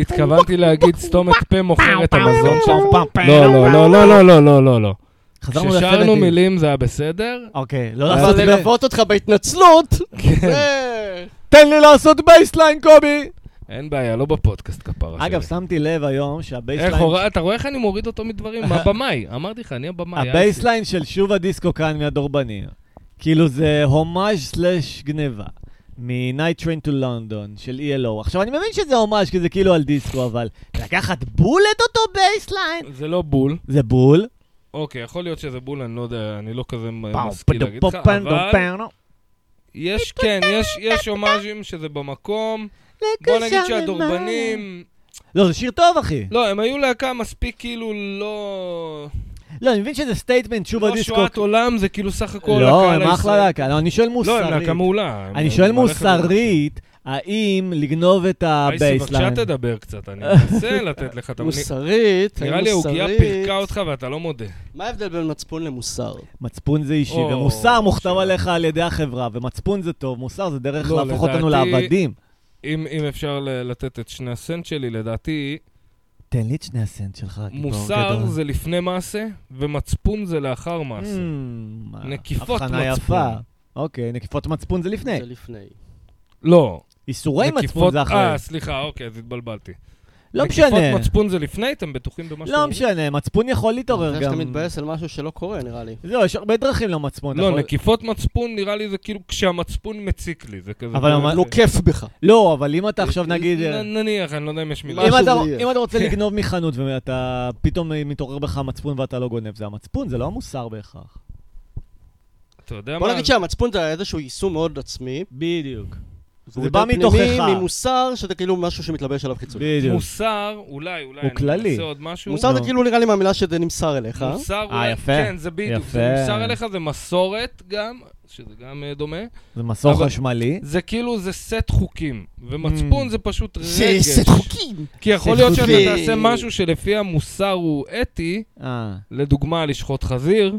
התכוונתי להגיד סתום את פה מוכרת המזון שם. לא, לא, לא, לא, לא, לא, לא, לא, לא. כששרנו מילים אה, זה היה בסדר?
אוקיי, לא
אבל
לעשות ב...
ללוות אותך בהתנצלות?
כן.
זה-
תן לי לעשות בייסליין, קובי!
אין בעיה, לא בפודקאסט כפרה שלי.
אגב, שמתי לב היום
איך,
שהבייסליין...
הורה- אתה רואה איך אני מוריד אותו מדברים? הבמאי, אמרתי לך, אני הבמאי.
הבייסליין של שוב הדיסקו כאן מהדורבנים. כאילו זה הומאז' סלאש גניבה. מ-Night Train to London של ELO. עכשיו, אני מבין שזה הומאז' כי זה כאילו על דיסקו, אבל לקחת בול את אותו בייסליין?
זה לא בול.
זה בול.
אוקיי, יכול להיות שזה בול, אני לא יודע, אני לא כזה
פאו,
משכיל
פדו,
להגיד
פאו,
לך,
פנדו,
אבל
פאו.
יש, כן, יש- יש הומאז'ים שזה במקום. בוא נגיד שהדורבנים...
לא, זה שיר טוב, אחי.
לא, הם היו להקה מספיק כאילו לא...
לא, אני מבין שזה סטייטמנט, שוב
לא
הדיסקו.
שואת עולם, זה כאילו סך הכל
לא,
הקהל
הם אחלה
הישראלי.
להקה. לא, אני שואל
לא, הם
מוסרית.
להקה מעולה. הם-
אני שואל
הם מערכת מעולה.
מוסרית, האם לגנוב את
אייסי, בבקשה
הבייסליין?
תדבר קצת, אני מנסה לתת לך את המ-
מוסרית,
נראה לי העוגיה
מוסרית.
פירקה אותך ואתה לא מודה.
מה ההבדל בין מצפון למוסר?
מצפון זה אישי,
או,
ומוסר מוכתב
שאלה.
עליך על ידי החברה, ומצפון זה טוב, מוסר זה דרך
לא,
להפוך אותנו
לדעתי-
לעבדים.
אם, אם אפשר ל- לתת את שני הסנט שלי, לדעתי,
תן לי את שני הסנט שלך, גיבור
מוסר
גדול.
זה לפני מעשה, ומצפון זה לאחר מעשה.
Mm,
נקיפות
Hmm, הבחנה
מצפון.
יפה. אוקיי, נקיפות מצפון זה לפני.
זה לפני.
לא.
איסורי מצפון
נקיפות-
זה אחרי.
אה, סליחה, אוקיי, אז התבלבלתי.
לא
נקיפות
משנה.
מצפון זה לפני, אתם בטוחים במה שאתם
לא משנה, מצפון יכול להתעורר
שאתה
לא, גם.
מתבאס על משהו שלא קורה, נראה לי.
לא, יש הרבה דרכים למצפון.
לא,
נכון?
נקיפות מצפון נראה לי זה כאילו כשהמצפון מציק לי, זה כזה...
אבל
זה-
אמר-
זה-
נו, כיף בך.
לא, אבל אם אתה עכשיו נגיד... אה,
נ- נניח, אני לא יודע אם יש מילה.
מה
אם
שזה
אתה-
יהיה.
אם אתה רוצה
כן.
לגנוב מחנות ואתה פתאום אה, מתעורר בך המצפון ואתה לא גונב, זה המצפון, זה לא המוסר בהכרח.
אתה יודע
בוא
מה?
נגיד שהמצפון זה איזשהו יישום מאוד עצמי.
בדיוק.
והוא
זה בא
יותר
מתוכך.
פנימי ממוסר, שזה כאילו משהו שמתלבש עליו חיצוני.
בדיוק.
מוסר, אולי, אולי,
הוא כללי.
אני אעשה עוד משהו.
מוסר זה
נו.
כאילו נראה לי מהמילה שזה נמסר אליך.
מוסר אולי,
אה, יפה.
כן, זה בדיוק.
יפה.
זה מוסר אליך זה מסורת גם, שזה גם אה, דומה.
זה מסור
אבל-
חשמלי.
זה כאילו, זה סט חוקים. ומצפון
Mm.
זה פשוט רגש.
זה סט חוקים!
כי יכול
סט
להיות שאתה
חוקים.
תעשה משהו שלפי המוסר הוא אתי,
אה.
לדוגמה, לשחוט חזיר,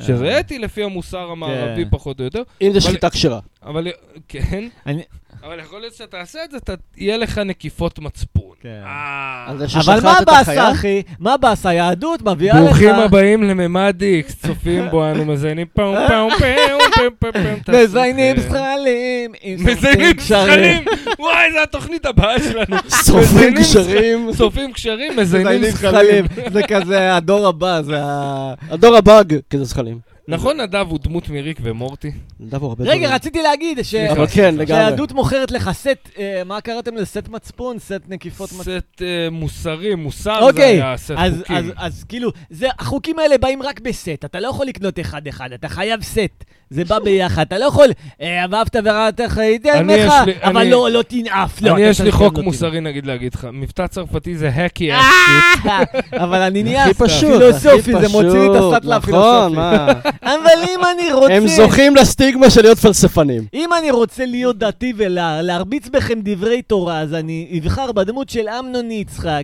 שזה
אה.
אתי לפי המוסר המערבי
כן. פחות
פחות או יותר,
אם זה
אבל-
שליטה כשרה.
אבל כן,
אני-
אבל יכול להיות שאתה תעשה את זה, אתה- יהיה לך נקיפות מצפון.
כן.
אה.
על זה
אבל מה
ששחטת את החיה?
הבאסה, אחי? מה הבאסה? היהדות מביאה לך...
ברוכים הבאים לממד איקס, צופים בו, אנו מזיינים פעם פעם פעם פעם פעם פעם. תעשו
מזיינים
את זה. כן.
זכלים, עם
מזיינים
סופים קשרים.
זכלים! וואי, זו התוכנית הבאה שלנו.
שורפים
מזיינים
קשרים.
צופים קשרים, מזיינים
מזיינים
זכלים.
זכלים. זה כזה הדור הבא, זה ה...
הדור כן, הבאג, כזה זכלים.
נכון, נדב הוא דמות מריק ומורטי?
נדב הרבה דברים.
רגע, רציתי להגיד ש...
סליחה.
אבל כן, לגמרי.
שהיהדות מוכרת לך סט, אה, מה קראתם לזה? סט מצפון? סט נקיפות מצפון?
סט אה, מוסרי, מוסר זה
אוקיי,
היה סט
אז-
חוקים.
אז- אז כאילו, זה- החוקים האלה באים רק בסט, אתה לא יכול לקנות אחד-אחד, אתה חייב סט. זה בא ביחד, אתה לא יכול, אה, ואהבת ורעתך הייתי
אני
עמך,
יש לי-
אבל
אני-
לא, לא תנאף, לא.
אני
אתה
יש לי
צריך
חוק
גם לא
מוסרי, נגיד, להגיד לך. מבטא צרפתי זה האקי
אה,
אסי.
תנאף. אבל אני נהיה
הכי פשוט,
פילוסופי,
הכי
זה מוציא את
פשוט.
הסטלה
נכון,
הפילוסופי.
מה?
אבל אם אני רוצה...
הם זוכים לסטיגמה של להיות פלספנים.
אם אני רוצה להיות דתי ולהרביץ בכם דברי תורה, אז אני אבחר בדמות של אמנון יצחק,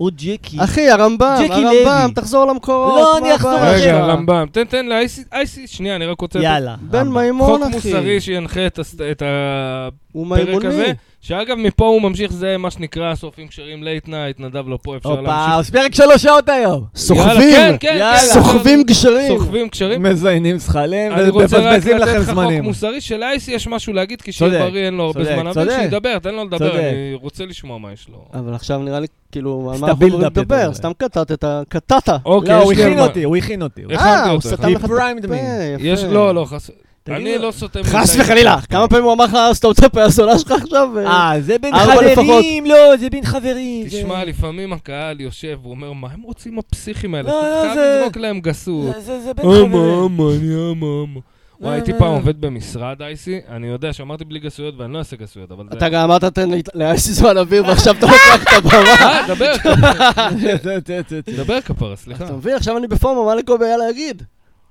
או ג'קי.
אחי, הרמב"ם,
ג'קי
הרמב"ם,
לוי.
תחזור למקורות.
לא,
מה
אני אחזור
הבעיה
רגע,
שלך?
רמב"ם. תן, תן לאייסי, אייסי, שנייה, אני רק רוצה...
יאללה.
בן
רמב"ם.
מימון,
חוק
אחי.
מוסרי שינחה את הס- את ה...
הוא
הפרק
מימוני.
הזה, שאגב, מפה הוא ממשיך, זה מה שנקרא סופים כשרים לייט נייט, נדב לא פה, אפשר
הופה,
להמשיך.
אז פרק שלוש שעות היום.
יאללה, כן,
סוחבים,
כן,
יאללה.
כן,
סוחבים גשרים.
סוחבים קשרים.
מזיינים זכלים
אני רוצה רק
ומבזבזים
לתת
לכם
לך חוק
זמנים.
מוסרי שלאייסי יש משהו להגיד, כי שיהיה
צודק,
בריא אין לו הרבה
צודק,
זמן, אבל
צודק.
שידבר, תן לו לדבר,
צודק.
אני רוצה לשמוע מה יש לו.
אבל עכשיו נראה לי, כאילו, על
סתם
מה אנחנו אמורים
build-up
לדבר?
יותר.
סתם קטעת, קטעת.
אוקיי,
לא,
יש
הוא
לי
הכין
על מה-
אותי, הוא הכין אותי. הוא-
איך-
אה,
הכנתי
הוא
אותו,
סתם
הכנתי.
לך את
He primed
הפה, יפה.
יש, לא, לא, חס...
תגיד
אני
לו.
לא סותם...
חס
מדי.
וחלילה, כמה פעמים הוא אמר לך, סתום את הפה הזולה שלך עכשיו? ו-
אה, זה בין
ארבע לפחות.
חברים, לא, זה בין חברים. זה-
תשמע, לפעמים הקהל יושב ואומר, מה הם רוצים הפסיכים האלה?
לא, לא,
אתה
זה-
חייב לזרוק להם גסות.
זה- זה זה בין
אמה,
חברים.
אמה, אני אמה, אמה. וואי, הייתי
לא,
פעם
לא.
עובד במשרד אייסי, אני יודע שאמרתי בלי גסויות ואני לא אעשה גסויות, אבל זה...
אתה גם אמרת, תן לי לאייסי זמן אוויר, ועכשיו אתה לוקח את הבמה.
אה, דבר, כפרה,
זה- זה- זה- זה.
דבר כפרה, סליחה.
אתה מבין, עכשיו אני בפומו, מה לקובי היה להגיד?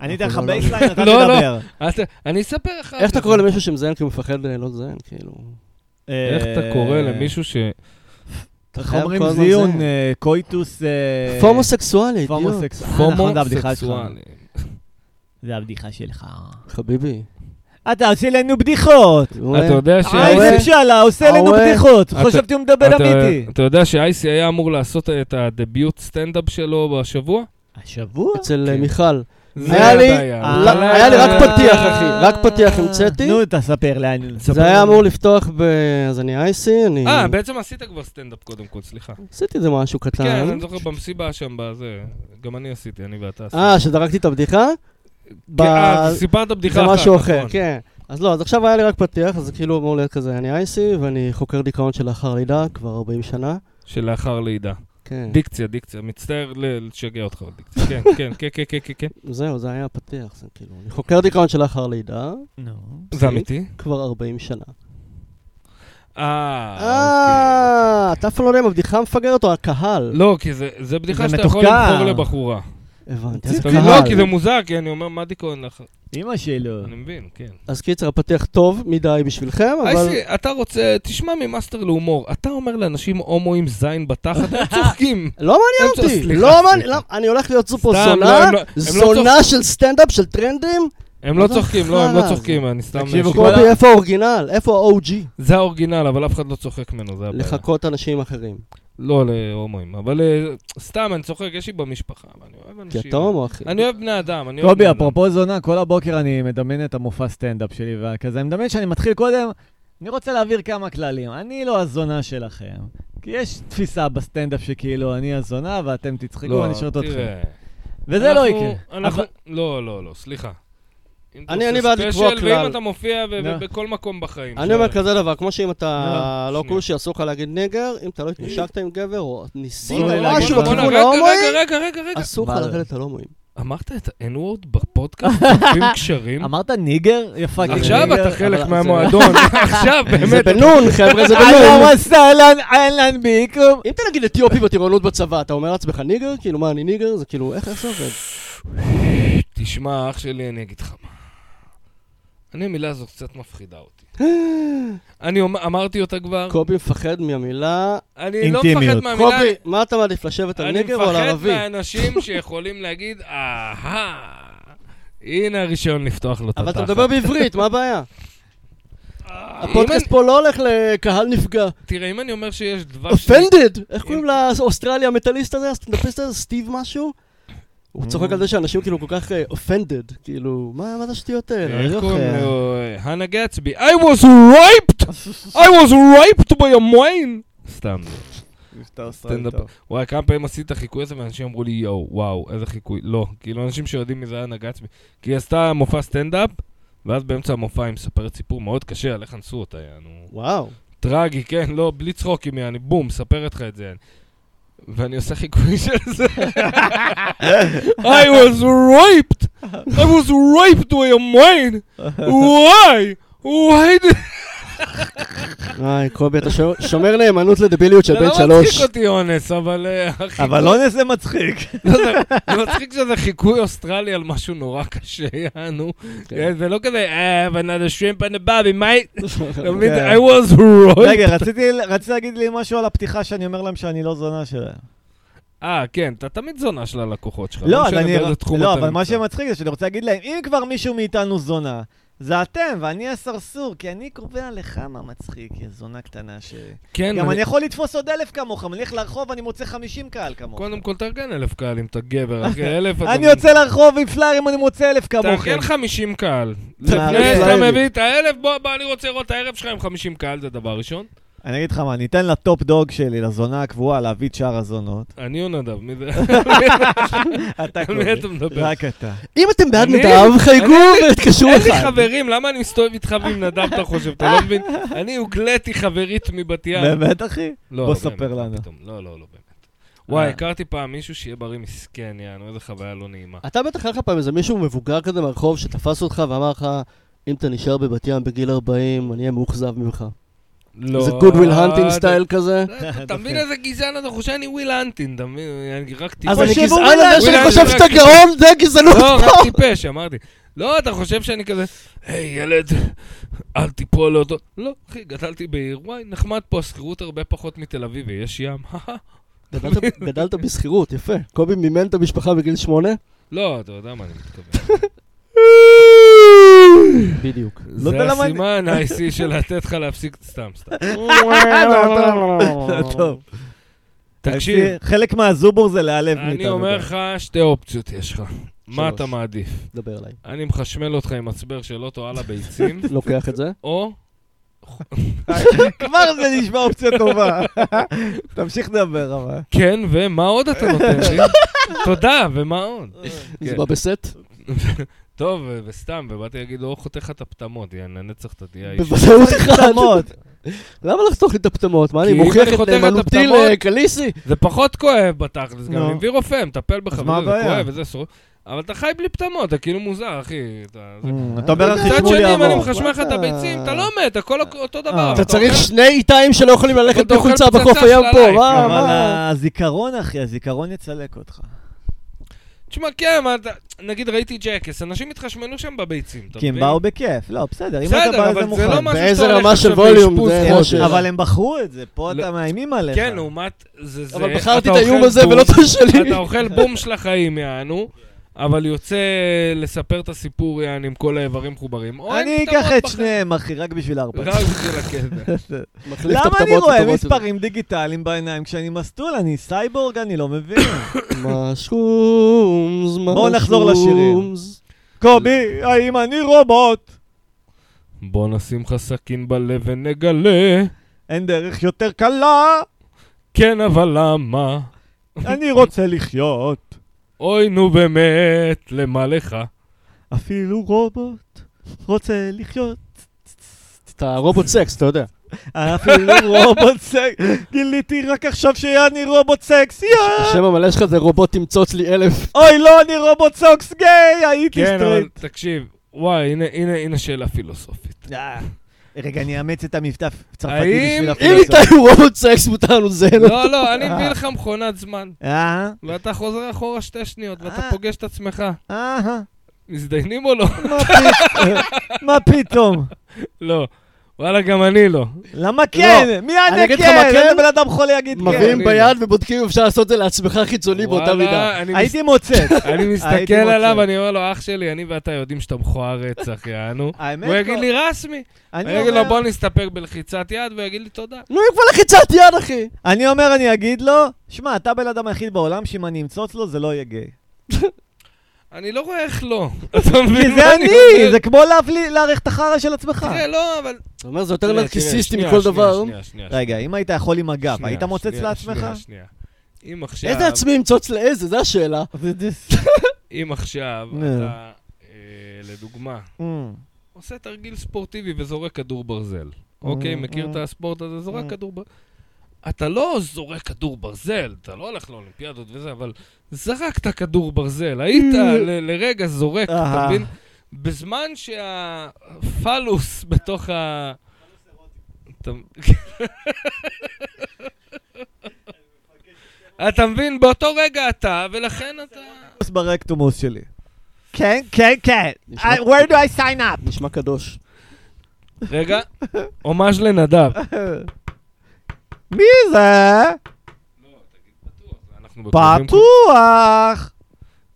אני אתן לך
לא, לא, לא.
בייסליין, אתה
לא, לא.
תדבר.
אז ת- אני אספר אחר כך.
איך אתה קורא למישהו שמזיין כי הוא מפחד אה, לא לזיין, כאילו?
איך אתה קורא למישהו ש...
אה, איך
חייב
אומרים
כל הזמן
זיון,
זה.
אה, קויטוס... אה,
פומוסקסואלי, בדיוק.
פומוסקס- אה, נכון, זה הבדיחה שלך.
הומוסקסואלי?
זה הבדיחה שלך.
חביבי.
אתה עושה לנו בדיחות.
אתה יודע ש...
האייסים שלה עושה לנו
אה,
בדיחות.
אתה-
חשבתי הוא מדבר
אתה-
אמיתי.
אתה יודע שאייסי היה אמור לעשות את הדביוט סטנדאפ שלו בשבוע?
השבוע?
אצל אה,
כן.
מיכל.
זה
היה לי-
הבעיה.
אה,
לא,
אבל
היה לי רק פתיח, אחי. רק פתיח המצאתי.
נו, תספר לאן.
זה היה אמור לפתוח ב... אז אני אייסי, אני...
אה, בעצם עשית כבר סטנדאפ קודם כל, סליחה.
עשיתי איזה משהו
כן,
קטן.
אני זוכר במסיבה שם, בזה. גם אני עשיתי, אני ואתה עשינו.
אה, שזרקתי את הבדיחה? ב-
כן, אה, סיפרת
זה
בדיחה אחת,
משהו אחר,
נכון.
כן. אז לא, אז עכשיו היה לי רק פתיח, אז כאילו אמור להיות כזה, אני אייסי, ואני חוקר דיכאון שלאחר לידה, כבר 40 שנה.
שלאחר לידה.
כן.
דיקציה, דיקציה. מצטער ל- לשגע אותך עוד דיקציה. כן, כן, כן, כן, כן, כן, כן.
זהו, זה היה הפתיח, זה כאילו, אני חוקר דיכאון שלאחר לידה,
זה אמיתי?
כבר 40 שנה.
אה, אוקיי.
אה, אתה אף פעם לא יודע אם הבדיחה מפגרת או הקהל.
לא, כי זה- זה בדיחה
זה
שאתה יכול
מתוחכם.
לבחור לבחורה.
הבנתי, אז
אתה
קהל.
מבין? לא, כי זה מוזר, כי אני אומר, מה דיכאון לך?
אה.
אמא שלו.
אני מבין, כן.
אז קיצר, הפתיח טוב מדי בשבילכם, לא, אבל...
אייסי, אתה רוצה, תשמע ממאסטר להומור, אתה אומר לאנשים הומואים זין בתחת, הם צוחקים.
לא
הם צוחקים,
מעניין אותי,
סליחה,
לא מעניין,
סליחה.
לא, אני הולך להיות סופר
סתם, לא,
זונה,
הם לא- הם לא
זונה של סטנדאפ, של טרנדים.
הם לא
איזה
צוחקים, לא, הם לא
חרא
צוחקים, אני סתם...
תקשיבו,
שוב,
כל
קובי, איפה האורגינל? איפה ה-OG?
זה האורגינל, אבל אף אחד לא צוחק ממנו, זה הבעיה.
לחקות אנשים אחרים.
לא להומואים, אבל אה, סתם, אני צוחק, יש לי במשפחה, ואני אוהב אנשים. כן.
כי אתה הומו, אחי.
אני אוהב בני אדם, אני אוהב
קובי,
בני אדם.
אפרופו זונה, כל הבוקר אני מדמיין את המופע סטנדאפ שלי, וכזה, אני מדמיין שאני מתחיל קודם, אני רוצה להעביר כמה כללים. אני לא הזונה שלכם, כי יש תפיסה בסטנדאפ שכאילו אני הזונה ואתם תצחקו ואני שואל אתכם.
לא, תראה,
וזה לא
אנחנו-
יקרה.
אנחנו-
אבל-
לא, לא, לא, סליחה. אם אתה
אני-
עושה
אני בעד לקבוע
ספיישל,
כלל.
ואם אתה מופיע ו-
לא.
ובכל מקום בחיים.
אני אומר
שלך.
כזה דבר, כמו שאם אתה
לא,
לא
שנייה.
כושי, אסור לך להגיד נגר, אם אתה לא התנשקת עם גבר, או ניסית
בוא'נה, להגיד
משהו
לך.
בוא'נה,
בכיוון
רגע,
ההומואי,
רגע, רגע, רגע, רגע.
אסור לך
מה זה?
לרדת על הומואים.
אמרת את ה-N-word בפודקאסט, חופים קשרים?
אמרת ניגר? יא פאקינג ניגר.
עכשיו אתה חלק אה,
אבל-
מהמועדון, עכשיו
זה
באמת.
בנון, חבר'ה, זה
אהלן
לא,
בנון.
וסהלן, אהלן ביקום.
אם אתה נגיד אתיופי בטירונות בצבא, אתה אומר לעצמך ניגר? כאילו, מה, אני ניגר? זה כאילו, איך איך זה עובד?
תשמע, אח שלי, אני אגיד לך מה. אני, המילה הזו קצת מפחידה אותי. אני אומר- אמרתי אותה כבר,
קובי מפחד מהמילה...
אני לא
אינטימיות.
מפחד מהמילה,
קובי, מה אתה מעדיף, לשבת על
אני
ניגר או על
מפחד
ערבי?
מהאנשים שיכולים להגיד, אהה, הנה הרישיון לפתוח לו את
אבל
התחת.
אתה מדבר בעברית, מה הבעיה?
אה, אם
הפודקאסט
אני-
פה לא הולך לקהל נפגע.
תראה, אם אני אומר שיש דבש...
אופנדד! איך קוראים לאוסטרלי המטאליסט הזה, הסטנדאפיסט הזה, סטיב משהו? הוא
Mm.
צוחק על זה שאנשים כאילו כל כך אופנדד, כאילו, מה מה זה השטויות האלה? לא
איך
זוכר.
קוראים לו? אה, הנה גצבי. I was raped! I was raped by a mine! סתם. סטנדאפ. וואי, כמה פעמים עשיתי את החיקוי הזה, ואנשים אמרו לי, יואו, וואו, איזה חיקוי. לא, כאילו, אנשים שיודעים מי זה היה נגצבי. כי היא עשתה מופע סטנדאפ, ואז באמצע המופע היא מספרת סיפור מאוד קשה על איך אנסו אותה, יענו.
וואו.
טרגי, כן, לא, בלי צחוקים, יעני, בום, מספרת לך את זה, יעני. ואני עושה חיקוי של זה. I was raped! I was raped by a mine! Why? Why did...
היי, קובי, אתה שומר- שומר נאמנות לדביליות של
זה
בן
לא
שלוש.
מצחיק אותי אונס, אבל... אה, החיקוי-
אבל אונס זה מצחיק.
זה מצחיק שזה חיקוי אוסטרלי על משהו נורא קשה, יענו.
כן.
זה לא כזה, אה, another shrimp and a bobby, mate. אתה מבין?
כן.
I was right.
רגע, רציתי רציתי להגיד לי משהו על הפתיחה שאני אומר להם שאני לא זונה שלהם.
אה, כן, אתה תמיד זונה של הלקוחות שלך.
לא, אז
משנה
אני...
באיזה תחום
לא,
אתה
אבל מה
נמצא.
שמצחיק זה שאני רוצה להגיד להם, אם כבר מישהו מאיתנו זונה, זה אתם, ואני הסרסור, כי אני קובע לך מה מצחיק, יא זונה קטנה ש...
כן,
גם
אני-
אני יכול לתפוס עוד אלף כמוך, אני הולך לרחוב, אני מוצא 50 קהל כמוך.
קודם כל תארגן אלף קהל אם אתה גבר, אחרי אלף אתה...
אני יוצא לרחוב עם פלארים, אני מוצא אלף כמוכם.
תארגן 50 קהל.
תארגן
לפני שאתה
פליירים.
מביא את האלף, בוא, בוא, אני רוצה לראות את הערב שלך עם 50 קהל, זה דבר ראשון.
אני אגיד לך מה, אני אתן לטופ דוג שלי, לזונה הקבועה, להביא את שאר הזונות.
אני או נדב, מי זה?
אתה
על מי
קובי,
אתה מדבר?
רק אתה.
אם אתם בעד
אני-
נדב, חייגו ותקשרו
אין לי
אחד.
חברים, למה אני מסתובב איתך ועם נדב, אתה חושב? אתה לא מבין? אני הוגלתי חברית מבת ים.
באמת, אחי?
לא,
בוא
לא,
ספר
באמת, מה
לנו.
פתאום? לא, לא, לא באמת. וואי,
אה.
הכרתי פעם מישהו שיהיה בריא מסכן, יענו, איזה חוויה לא נעימה.
אתה בטח היה לך פעם איזה מישהו מבוגר כזה ברחוב שתפס אותך ואמר לך, אם אתה נשאר בבת ים בגיל 40, אני אהיה מאוכזב ממך.
לא.
זה good will hunting
אתה-
סטייל כזה.
אתה- אתה מבין איזה גזען אתה חושב? אני וויל הנטין, אתה מבין? אני רק טיפש.
אז אני
תחשבו
גזען
אולי-
על זה שאני
אולי
חושב
זה
שאתה
רק-
גאון, זה גזענות
לא,
פה.
רק טיפש, אמרתי. לא, אתה חושב שאני כזה, היי ילד, אל תיפול לאותו... לא, אחי, גדלתי בעיר, וואי, נחמד פה, השכירות הרבה פחות מתל אביב, ויש ים.
גדלת- גדלת בשכירות, יפה. קובי מימן את המשפחה בגיל שמונה?
לא, אתה יודע מה אני מתכוון.
בדיוק.
לא יודע
זה
למה אני-
הסימן ה-IC של לתת לך להפסיק, סתם, סתם.
לא, טוב.
תקשיב,
חלק מהזובור זה להיעלב מאיתנו.
אני אומר לך, שתי אופציות יש לך. מה
שלוש.
אתה מעדיף?
דבר אליי.
אני מחשמל אותך עם מצבר של אוטו על הביצים,
לוקח את זה?
או...
כבר זה נשמע אופציה טובה. תמשיך לדבר, אבל.
כן, ומה עוד אתה נותן לי? תודה, ומה עוד?
זה
כן.
בא בסט?
טוב, ו- וסתם, ובאתי להגיד, או חותך את הפטמות, יעני, הנצח אתה תהיה האיש.
בוודאות אחד.
תמות.
למה לחתוך לי את הפטמות? מה, אני
כי אם
מוכיח
אני
את
חותך את
נאמנותי
הפטמות- אה,
לקליסי?
זה פחות כואב בתכלס, גם
נו.
הביא רופא, מטפל בך,
אז מה
וזה, זה
הבעיה?
כואב וזה סור... אבל אתה חי בלי פטמות, אתה כאילו מוזר, אחי. אתה- זה-
Mm, אתה אומר
מצד
אחי
מצד
שמולי
שני, אם אני
יעבור.
מחשמל לך את
וואטה.
הביצים, אתה לא מת, הכל אותו
אה.
דבר.
אתה צריך
אוכל-
שני איטיים שלא יכולים ללכת
אתה אוכל
בחולצה
פצצה
בחוף הים
של
פה,
הלייק,
מה?
אבל
מה?
הזיכרון, אחי, הזיכרון יצלק אותך.
תשמע, כן, מה אתה... נגיד ראיתי ג'קס, אנשים התחשמנו שם בביצים, אתה
כי
כן,
מבין?
הם באו בכיף. לא, בסדר, אם אתה
בסדר,
בא לזה
אבל זה לא
מוכן.
משהו
באיזה
שאתה הולך
רמה של
עכשיו
ווליום,
לאשפוז
זה
חודש.
השאלה.
אבל הם בחרו את זה, פה
לא-
אתה מאיימים עליך.
כן, לעומת זה, זה...
אבל בחרתי
אתה
את האיום
אוכל
הזה
בום,
ולא את השלי.
אתה אוכל בום של החיים, יענו, אבל יוצא לספר את הסיפור, יענו, עם כל האיברים מחוברים. או אין
אני
פתרון
אקח את
בחיים.
שניהם, אחי, רק בשביל ארבע.
רק בשביל הכסף.
מחליף
למה
את
אני
הפטמות
רואה
לטובות.
מספרים דיגיטליים בעיניים כשאני מסטול? אני סייבורג, אני לא מבין.
משרומס, משרומס.
בואו נחזור לשירים. קובי, האם אני רובוט?
בוא נשים לך סכין בלב ונגלה,
אין דרך יותר קלה,
כן אבל למה?
אני רוצה לחיות.
אוי נו באמת, למה לך?
אפילו רובוט רוצה לחיות.
אתה רובוט סקס, אתה יודע.
אפילו רובוט סקס. גיליתי רק עכשיו שאני רובוט סקס, יאה!
השם המלא שלך זה רובוט תמצוץ לי אלף.
אוי, לא, אני רובוט סוקס גיי! הייתי
כן, אבל
סטרייט.
תקשיב, וואי, הנה, הנה, הנה שאלה פילוסופית.
אה, רגע, אני אאמץ את המבטא צרפתי
האם-
בשביל
אם
הפילוסופיה.
איתי הוא רובוט סקס, מותר לנו זה.
לא, לא, אני מביא לך מכונת זמן,
אה,
ואתה חוזר אחורה שתי שניות, ואתה
אה.
פוגש את עצמך.
אה,
מזדיינים או לא?
מה פתאום? מה פתאום?
לא. וואלה, גם אני לא.
למה כן? מי
אני
יענה
אגיד לך
כן?
מה כן?
איזה בן אדם חולה יגיד
מביאים
כן?
אני
ביד ובודקים אם אפשר לעשות את זה לעצמך חיצוני באותה
וואלה,
מידה.
אני מס-
כן. הייתי מוצאת.
אני מסתכל
הייתי מוצא.
עליו, אני אומר לו, אח שלי, אני ואתה יודעים שאתה מכוער רצח, יענו.
האמת
הוא יגיד
לא.
לי, רסמי. אני אגיד לו, בוא נסתפק בלחיצת יד, והוא יגיד לי, תודה.
נו, היא כבר לחיצת יד, אחי.
אני אומר, אני אגיד לו, שמע, אתה בן אדם היחיד בעולם שאם אני אמצוץ לו זה לא יהיה גיי.
אני לא רואה איך לא. אתה מבין
כי
מה
זה
אומר?
אני, זה כמו להבלי- להעריך את החרא של עצמך.
תראה, לא, אבל...
אתה אומר, זה יותר
תראה,
נרקיסיסטי
תראה,
מכל
שנייה,
דבר.
שנייה, שנייה,
רגע, אם היית יכול עם הגב,
שנייה,
היית מוצץ
שנייה,
לעצמך?
שנייה, שנייה. אם עכשיו...
איזה עצמי ימצוץ לאיזה, זו השאלה.
אם עכשיו
נו.
אתה, אה, לדוגמה,
אה.
עושה תרגיל ספורטיבי וזורק כדור ברזל. אוקיי, מכיר את הספורט הזה? זורק
אה.
כדור ברזל. אתה לא זורק כדור ברזל, אתה לא הולך לאולימפיאדות וזה, אבל זרקת כדור ברזל. היית ל- לרגע זורק, אתה
אהה.
מבין? בזמן שהפלוס בתוך ה... אתה- אתה מבין? באותו רגע אתה, ולכן אתה...
פוס ברקטומוס שלי. כן, כן, כן.
נשמע-
I- where do I sign up?
נשמע קדוש.
רגע, הומאז' לנדב.
מי זה?
אנחנו בקרובים
פתוח.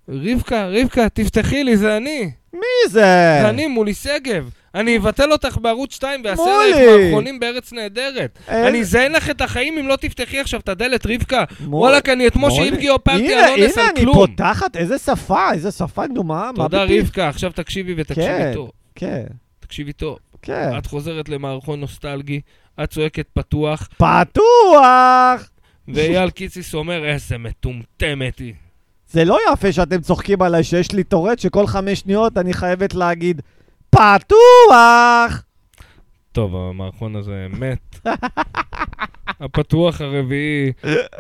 רבקה, רבקה, תפתחי לי, זה אני.
מי זה?
זה אני, מולי שגב. אני אבטל אותך בערוץ 2 ואעשה
מולי.
לך מערכונים בארץ נהדרת.
אין-
אני אזיין לך את החיים אם לא תפתחי עכשיו את הדלת, רבקה.
מול-
וואלכ, אני אתמול
מולי.
שאם גיאופרטי
הנה,
על אונס
הנה,
על
אני
לא כלום.
פותחת, איזה שפה, איזה שפה דומה. מה
תודה,
בפיך?
רבקה, עכשיו תקשיבי
כן.
ותקשיבי טוב.
כן,
תקשיבי טוב.
כן.
את חוזרת למערכון נוסטלגי, את צועקת פתוח,
פתוח!
ואייל קיציס אומר, איזה מטומטמת היא.
זה לא יפה שאתם צוחקים עליי שיש לי טורט שכל חמש שניות אני חייבת להגיד פתוח!
טוב, המערכון הזה מת. הפתוח הרביעי,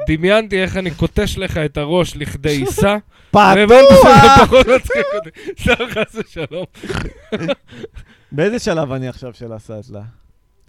דמיינתי איך אני קוטש לך את הראש לכדי עיסה. והבנתי שזה
פתוח!
פחות מצחיק אותי. סתם חס ושלום.
באיזה שלב אני עכשיו של הסטלה?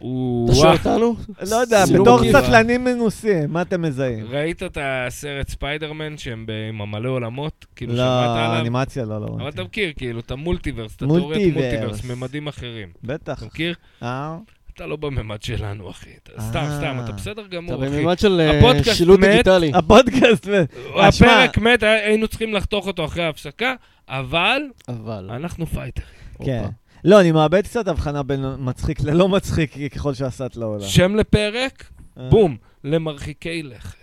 אתה שואל
וואו.
אותנו?
לא יודע,
סילום
בתור
קיבה.
סטלנים מנוסים, מה אתם מזהים?
ראית את הסרט ספיידרמן שהם ב- עם המלא עולמות? כאילו
לא,
שמעת עליו?
אנימציה לא, לא.
אבל
ראיתי.
אתה מכיר, כאילו, את המולטיברס, את התיאוריית
מולטיברס.
מולטיברס, ממדים אחרים.
בטח.
אתה מכיר?
אה?
אתה לא בממד שלנו, אחי. אתה- סתם,
אה.
סתם, אתה בסדר
אתה
גמור, אחי.
במימד של אה,
הפודקאסט
שילוט
מת.
דיגיטלי.
הפודקאסט, ו- אה, שמע.
הפרק מת, היינו צריכים לחתוך אותו אחרי ההפסקה, אבל
אבל...
אנחנו פייטרים.
כן.
הופה.
לא, אני מאבד קצת הבחנה בין מצחיק ללא מצחיק ככל שהסטלה עולה.
שם לפרק,
אה.
בום, למרחיקי לכת.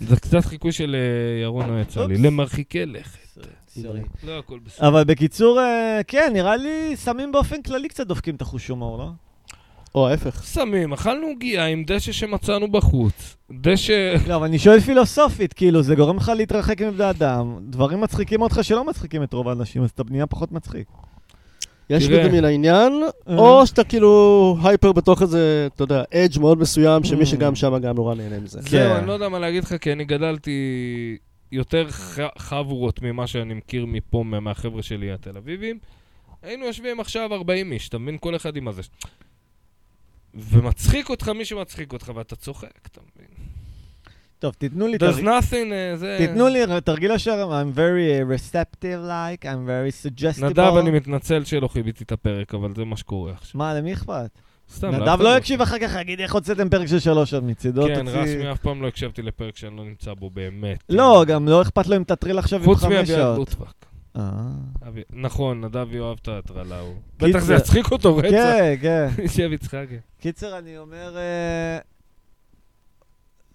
זה קצת חיקוי של אה, ירון לא יצא לי,
אופס.
למרחיקי לכת. לא הכל בסדר.
אבל בקיצור, אה, כן, נראה לי סמים באופן כללי קצת דופקים את החוש הומור, לא?
או ההפך.
סמים, אכלנו עוגיה עם דשא שמצאנו בחוץ. דשא...
לא, אבל אני שואל פילוסופית, כאילו, זה גורם לך להתרחק מבני אדם, דברים מצחיקים אותך שלא מצחיקים את רוב האנשים, אז אתה בנייה פחות מצחיק.
יש
תראה.
בזה מן העניין,
אה.
או שאתה כאילו הייפר בתוך איזה, אתה יודע, אדג' מאוד מסוים, שמי
אה.
Mm.
שגם שם גם נורא נהנה מזה.
זהו, אני לא יודע מה להגיד לך, כי אני גדלתי יותר ח- חבורות ממה שאני מכיר מפה, מה- מהחבר'ה שלי התל אביבים. היינו יושבים עכשיו 40 איש, אתה מבין? כל אחד עם הזה. ומצחיק אותך מי שמצחיק אותך, ואתה צוחק, אתה מבין?
טוב, תיתנו לי...
There's
תרג-
nothing, אה, זה...
תיתנו לי תרגיל השער, I'm very uh, receptive like, I'm very suggestible.
נדב, אני מתנצל שלא חיביתי את הפרק, אבל זה מה שקורה עכשיו.
מה, למי אכפת?
סתם,
נדב לא יקשיב אחר כך, יגיד איך הוצאתם פרק של שלוש שעות מצידו,
כן,
תוציא-
רשמי, אף פעם לא הקשבתי לפרק שאני לא נמצא בו באמת.
לא, גם לא אכפת לו אם תטריל עכשיו עם
חוץ
חמש
מאביעד
שעות.
לוטפק.
אה.
אבי- נכון, נדב יאהב את ההטרלה, הוא...
קיצר-
בטח זה יצחיק אותו רצח.
כן, כן.
ישב יצחקי.
קיצר, אני אומר... אה,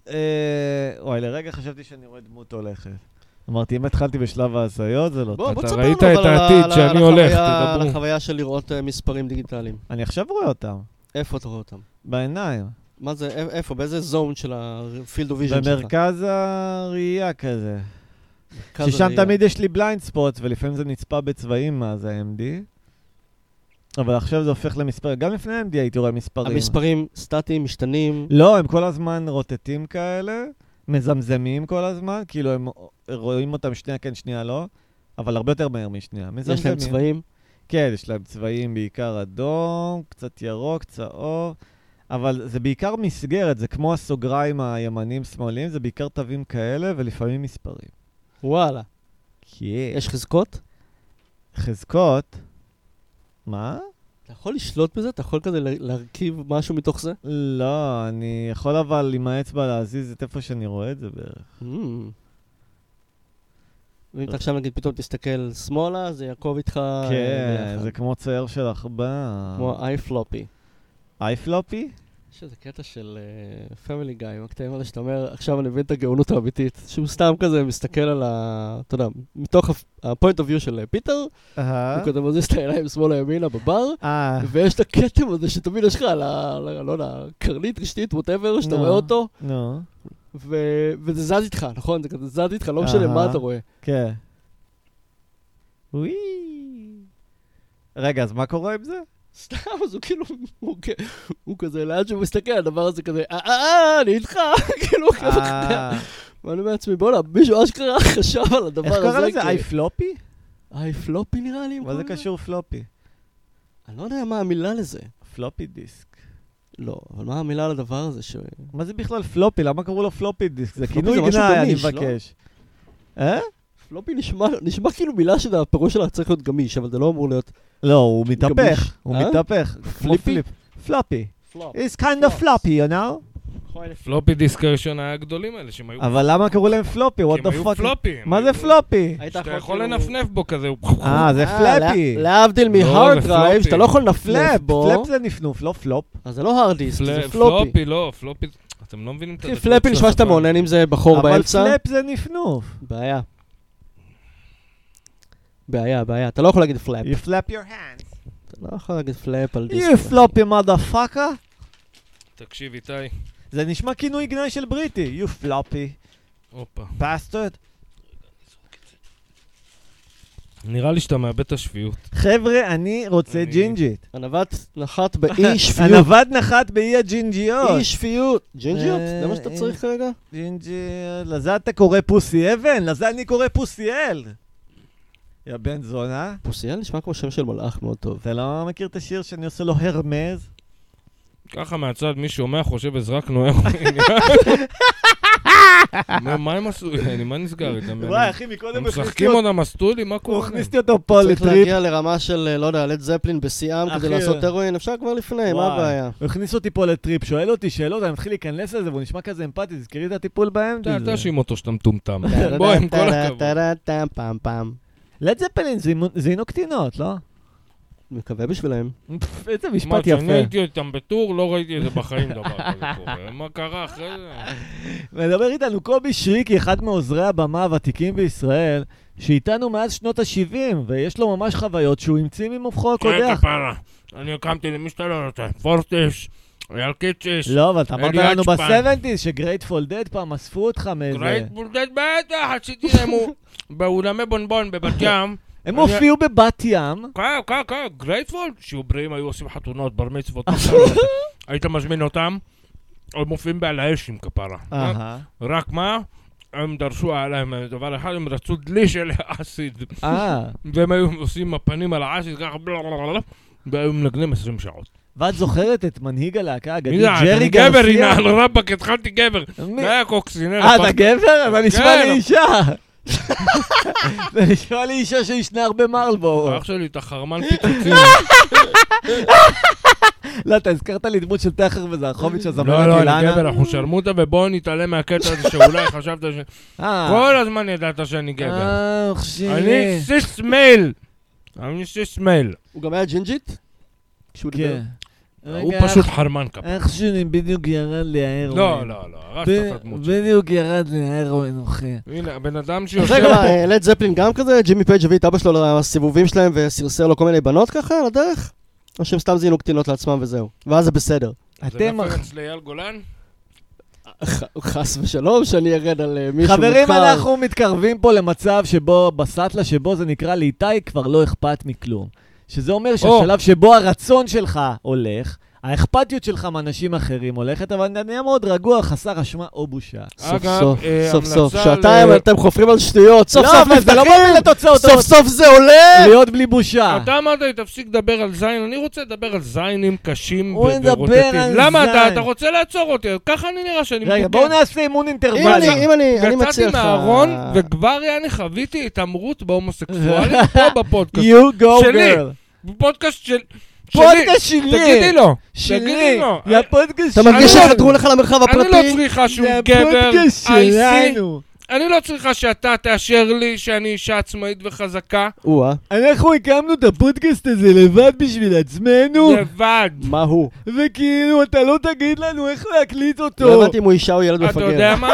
אה, וואי, לרגע חשבתי שאני רואה דמות הולכת. אמרתי, אם התחלתי בשלב ההזיות, זה לא
בוא,
טוב.
בוא
אתה
תספר לנו
ראית
אבל
את
על ה-
העתיד
על ה-
שאני
על
הולך,
החוויה-
תדברו.
על החוויה של לראות אה, מספרים דיגיטליים.
אני עכשיו רואה אותם,
איפה אתה רואה אותם?
בעיניים.
מה זה, איפ- איפה? באיזה זון של ה-field of vision שלך?
במרכז הראייה כזה.
מרכז
ששם
הראייה.
תמיד יש לי בליינד ספוט, ולפעמים זה נצפה בצבעים אז ה-MD. אבל עכשיו זה הופך למספר, גם לפני ה-MD הייתי רואה מספרים.
המספרים סטטיים, משתנים.
לא, הם כל הזמן רוטטים כאלה, מזמזמים כל הזמן, כאילו הם רואים אותם שנייה כן, שנייה לא, אבל הרבה יותר מהר משנייה. מזמזמים.
יש להם צבעים.
כן, יש להם צבעים בעיקר אדום, קצת ירוק, צהוב, אבל זה בעיקר מסגרת, זה כמו הסוגריים הימניים-שמאליים, זה בעיקר תווים כאלה ולפעמים מספרים.
וואלה.
כן.
יש חזקות?
חזקות, מה?
אתה יכול לשלוט בזה? אתה יכול כזה לה- להרכיב משהו מתוך זה?
לא, אני יכול אבל עם האצבע להזיז את איפה שאני רואה את זה בערך.
Mm.
Hmm.
ואם אתה עכשיו נגיד פתאום תסתכל שמאלה, זה יעקוב איתך אה,
כן,
ביחד.
זה כמו צייר של עכבר.
כמו אייפלופי.
אייפלופי?
יש איזה קטע של פמילי גיא, עם הקטעים האלה שאתה אומר, עכשיו אני מבין את הגאונות האמיתית. שהוא סתם כזה מסתכל על ה... אתה יודע, מתוך הפוינט אוף יו של אה, פיטר,
אהה.
הוא כזה מזיז את העיניים שמאלה ימינה בבר,
אה,
ויש את הכתם הזה שתמיד יש לך על ה... על ה- לא יודע, קרנית, רשתית, ווטאבר, שאתה
נו.
רואה אותו,
נו,
ו- וזה זז איתך, נכון? זה כזה זז איתך, לא משנה מה
אהה.
אתה רואה.
כן. וואי. רגע, אז מה קורה עם זה?
סתם, אז הוא כאילו, הוא כ- הוא כזה, לאן שהוא מסתכל, הדבר הזה כזה, אה, אה, אה, אני איתך, כאילו, הוא כזה,
אה,
ואני אומר לעצמי, בואנה, מישהו אשכרה חשב על הדבר
איך
הזה.
קורא לזה?
כ-
אייפלופי?
איי פלופי נראה לי. הם
מה זה
קוראים
קשור פלופי?
אני לא יודע מה המילה לזה.
פלופי דיסק.
לא, אבל מה המילה לדבר הזה ש...
מה זה בכלל פלופי? למה קראו לו פלופי דיסק? זה
פלופי
כינוי
זה משהו
גנאי, אני
גמיש, לא?
מבקש. אה?
פלופי נשמע, נשמע כאילו מילה שהפירוש שלה צריך להיות גמיש, אבל זה לא אמור להיות
לא, הוא
גמיש.
מתהפך, הוא
אה?
מתהפך. כמו
פליפי?
פליפ. פלופי.
פלופ.
It's kind of
Flops.
floppy, you know?
פלופי דיסק הראשון היה הגדולים האלה, שהם היו
אבל למה קראו להם פלופי?
כי
What
הם
the
היו
fuck?
פלופים.
מה זה
היו-
פלופי?
שאתה יכול כאילו- לנפנף בו כזה, הוא...
אה, זה פלאפי.
להבדיל
לא,
מהארד
זה
דרייב,
פלופי.
שאתה לא יכול לנפנף
פלאפ,
בו,
פלאפ זה נפנוף, לא פלופ.
אז זה לא הארד דיסק, זה
פל-
פלופי.
פלופי, לא, פלופי... אתם לא מבינים את
אחי,
הדקות
פלאפי
של
נשמע שאתה
השפה.
מעונן עם זה בחור
אבל
באמצע.
פלאפ זה נפנוף.
בעיה. בעיה, בעיה. אתה לא יכול להגיד פלאפ.
You flap your hands.
אתה לא יכול להגיד פלאפ על דיסק.
You floppy motherfucker.
תקשיב, איתי.
זה נשמע כינוי גנאי של בריטי. You floppy
הופה.
bastard.
נראה לי שאתה מאבד את השפיות.
חבר'ה, אני רוצה
אני-
ג'ינג'ית. אה,
ענוות נחת באי שפיות.
הנווד נחת באי הג'ינג'יות.
אי שפיות. ג'ינג'יות?
אה,
זה מה שאתה
אה.
צריך כרגע?
ג'ינג'יות. לזה אתה קורא פוסי אבן? לזה אני קורא פוסי אל. יא בן זונה.
פוסיאל נשמע כמו שם של מלאך מאוד טוב.
אתה לא מכיר את השיר שאני עושה לו הרמז?
ככה מהצד, מי שומע חושב אזרק נוער. אומר, מה הם עשו? יעני, מה נסגר איתם?
וואי,
יעני?
אחי,
הם
מקודם הכניסתי
משחקים
אותו-
אותם הסטולי? מה
הוא
קורה? להם?
הכניסתי אותו פה
צריך
לטריפ.
להגיע לרמה של, לא יודע, לד זפלין בשיאם
אחי,
כדי לעשות הרואין, אפשר כבר לפני, מה
וואי.
הבעיה?
הוא הכניס אותי פה לטריפ, שואל אותי שאלות, אני מתחיל להיכנס לזה, והוא נשמע כזה אמפתי, תזכרי את הטיפול באמצע.
אתה אתה תאשים אותו שאתה מטומטם. בוא, עם כל הכבוד.
טה-טה-טה-טה, פעם פעם.
לד זפלין זימו- זינו קטינות, לא?
מקווה בשבילהם.
פפ, איזה
מה,
משפט
כשאני
יפה.
הייתי איתם בטור, לא ראיתי את זה בחיים דבר כזה קורה. מה קרה אחרי זה?
מדבר איתנו קובי שריקי, אחד מעוזרי הבמה הוותיקים בישראל, שאיתנו מאז שנות ה-70, ויש לו ממש חוויות שהוא המציא ממוחו
כן,
הקודח.
כפרה. אני הקמתי למי שאתה לא רוצה. פורטיש, ילקיציש,
לא, אבל אתה אמרת
אלי
לנו
אצבע.
בסבנטיז שגרייטפול דד פעם אספו אותך מאיזה...
גרייט בולדד בטח, עשיתי להם הוא- באולמי בונבון בבת ים.
הם
אני-
הופיעו בבת ים.
כן, כן, כן, גרייטפול, שיהיו בריאים, היו עושים חתונות, בר מצוות,
אה.
היית מזמין אותם, הם מופיעים בעל האש עם כפרה.
אהה.
רק מה? הם דרשו עליהם דבר אחד, הם רצו דלי של אסיד.
אה,
והם היו עושים עם הפנים על האסיד ככה, בלה, בלה, בלה, בלה, והיו מנגנים 20 שעות.
ואת זוכרת את מנהיג הלהקה
מי
האגדית
זה? אני
ג'רי
גבר,
גרסיה?
הנה, על רבאק, התחלתי גבר.
מי-
זה היה קוקסינר.
אה, אתה גבר? אתה נשמע
לא, כן.
לי אישה. זה נשמע לי אישה שישנה הרבה מרלבורו.
אח שלי, אתה חרמן
אה,
פיצוצים.
לא, אתה הזכרת לי דמות של טכר וזרחוביץ'
לא,
הזמרת
לא, אני
אילנה.
גבר, אנחנו שרמוטה, ובואו נתעלם מהקטע הזה שאולי חשבת ש...
אה.
כל הזמן ידעת שאני גבר.
אה, אח
אני
שלי.
סיס מייל. אני סיס מייל.
הוא גם היה ג'ינג'ית? כשהוא דיבר?
כן.
הוא
רגע, אה,
פשוט
אח-
חרמן כפה.
אח שלי בדיוק ירד לי ההרואין.
לא, לא, לא, הרסת
ב-
את הדמות שלו.
בדיוק ירד לי ההרואין, אחי.
הנה, הבן אדם
אז
שיושב...
רגע, מה, אה, לד זפלין גם כזה? ג'ימי פייג' הביא את אבא שלו לסיבובים שלהם וסרסר לו כל מיני בנות ככה על הדרך? או שהם סתם זיינו קטינות לעצמם וזהו. ואז זה בסדר.
אתם...
זה רפרנס לאייל גולן?
ח- חס ושלום שאני ארד על אה, מישהו מוכר.
חברים, אנחנו מתקרבים פה למצב שבו, בסטלה שבו זה נקרא לאיתי כבר לא אכפת מכלום. שזה אומר שהשלב שבו הרצון שלך הולך, האכפתיות שלך מאנשים אחרים הולכת, אבל אתה נהיה מאוד רגוע, חסר אשמה או בושה.
סוף
אגב,
סוף,
אה,
סוף סוף,
המלצה
שעתיים
ל-
אתם חופרים על שטויות, סוף
לא,
סוף
אבל זה לא
נפתחים,
מוביל לתוצאות
סוף
טובות.
סוף זה עולה!
להיות בלי בושה.
אתה אמרת לי, תפסיק לדבר על זין, אני רוצה לדבר על זיינים קשים ו-
הוא מדבר
ורוטטים.
על
למה אתה,
זין.
אתה רוצה לעצור אותי? ככה אני נראה שאני
רגע, בואו נעשה אימון
אם
אינטרוולים.
אני, אם אני, אני מציע
יצאתי
לך...
מהארון, וכבר יעני חוויתי התעמרות בהומוסקסואלים פה בפודקאסט.
You go
שלי.
girl.
בפודקאסט של... שלי.
פודקאסט שלי.
תגידי לו.
שלי.
תגידי לו.
יא פודקאסט
אתה
שלי.
מרגיש
אני לא-
שחדרו לך למרחב
אני לא
הפרטי?
צריכה שום
זה
גבר,
הפודקאסט
אייסי.
שלנו.
אני לא צריכה שאתה תאשר לי שאני אישה עצמאית וחזקה.
או-אה,
אנחנו הקמנו את הפודקאסט הזה לבד בשביל עצמנו.
לבד.
מה הוא?
וכאילו, אתה לא תגיד לנו איך להקליט
לא
אותו.
הבנתי אם הוא אישה או ילד
אתה
מפגר.
יודע מה?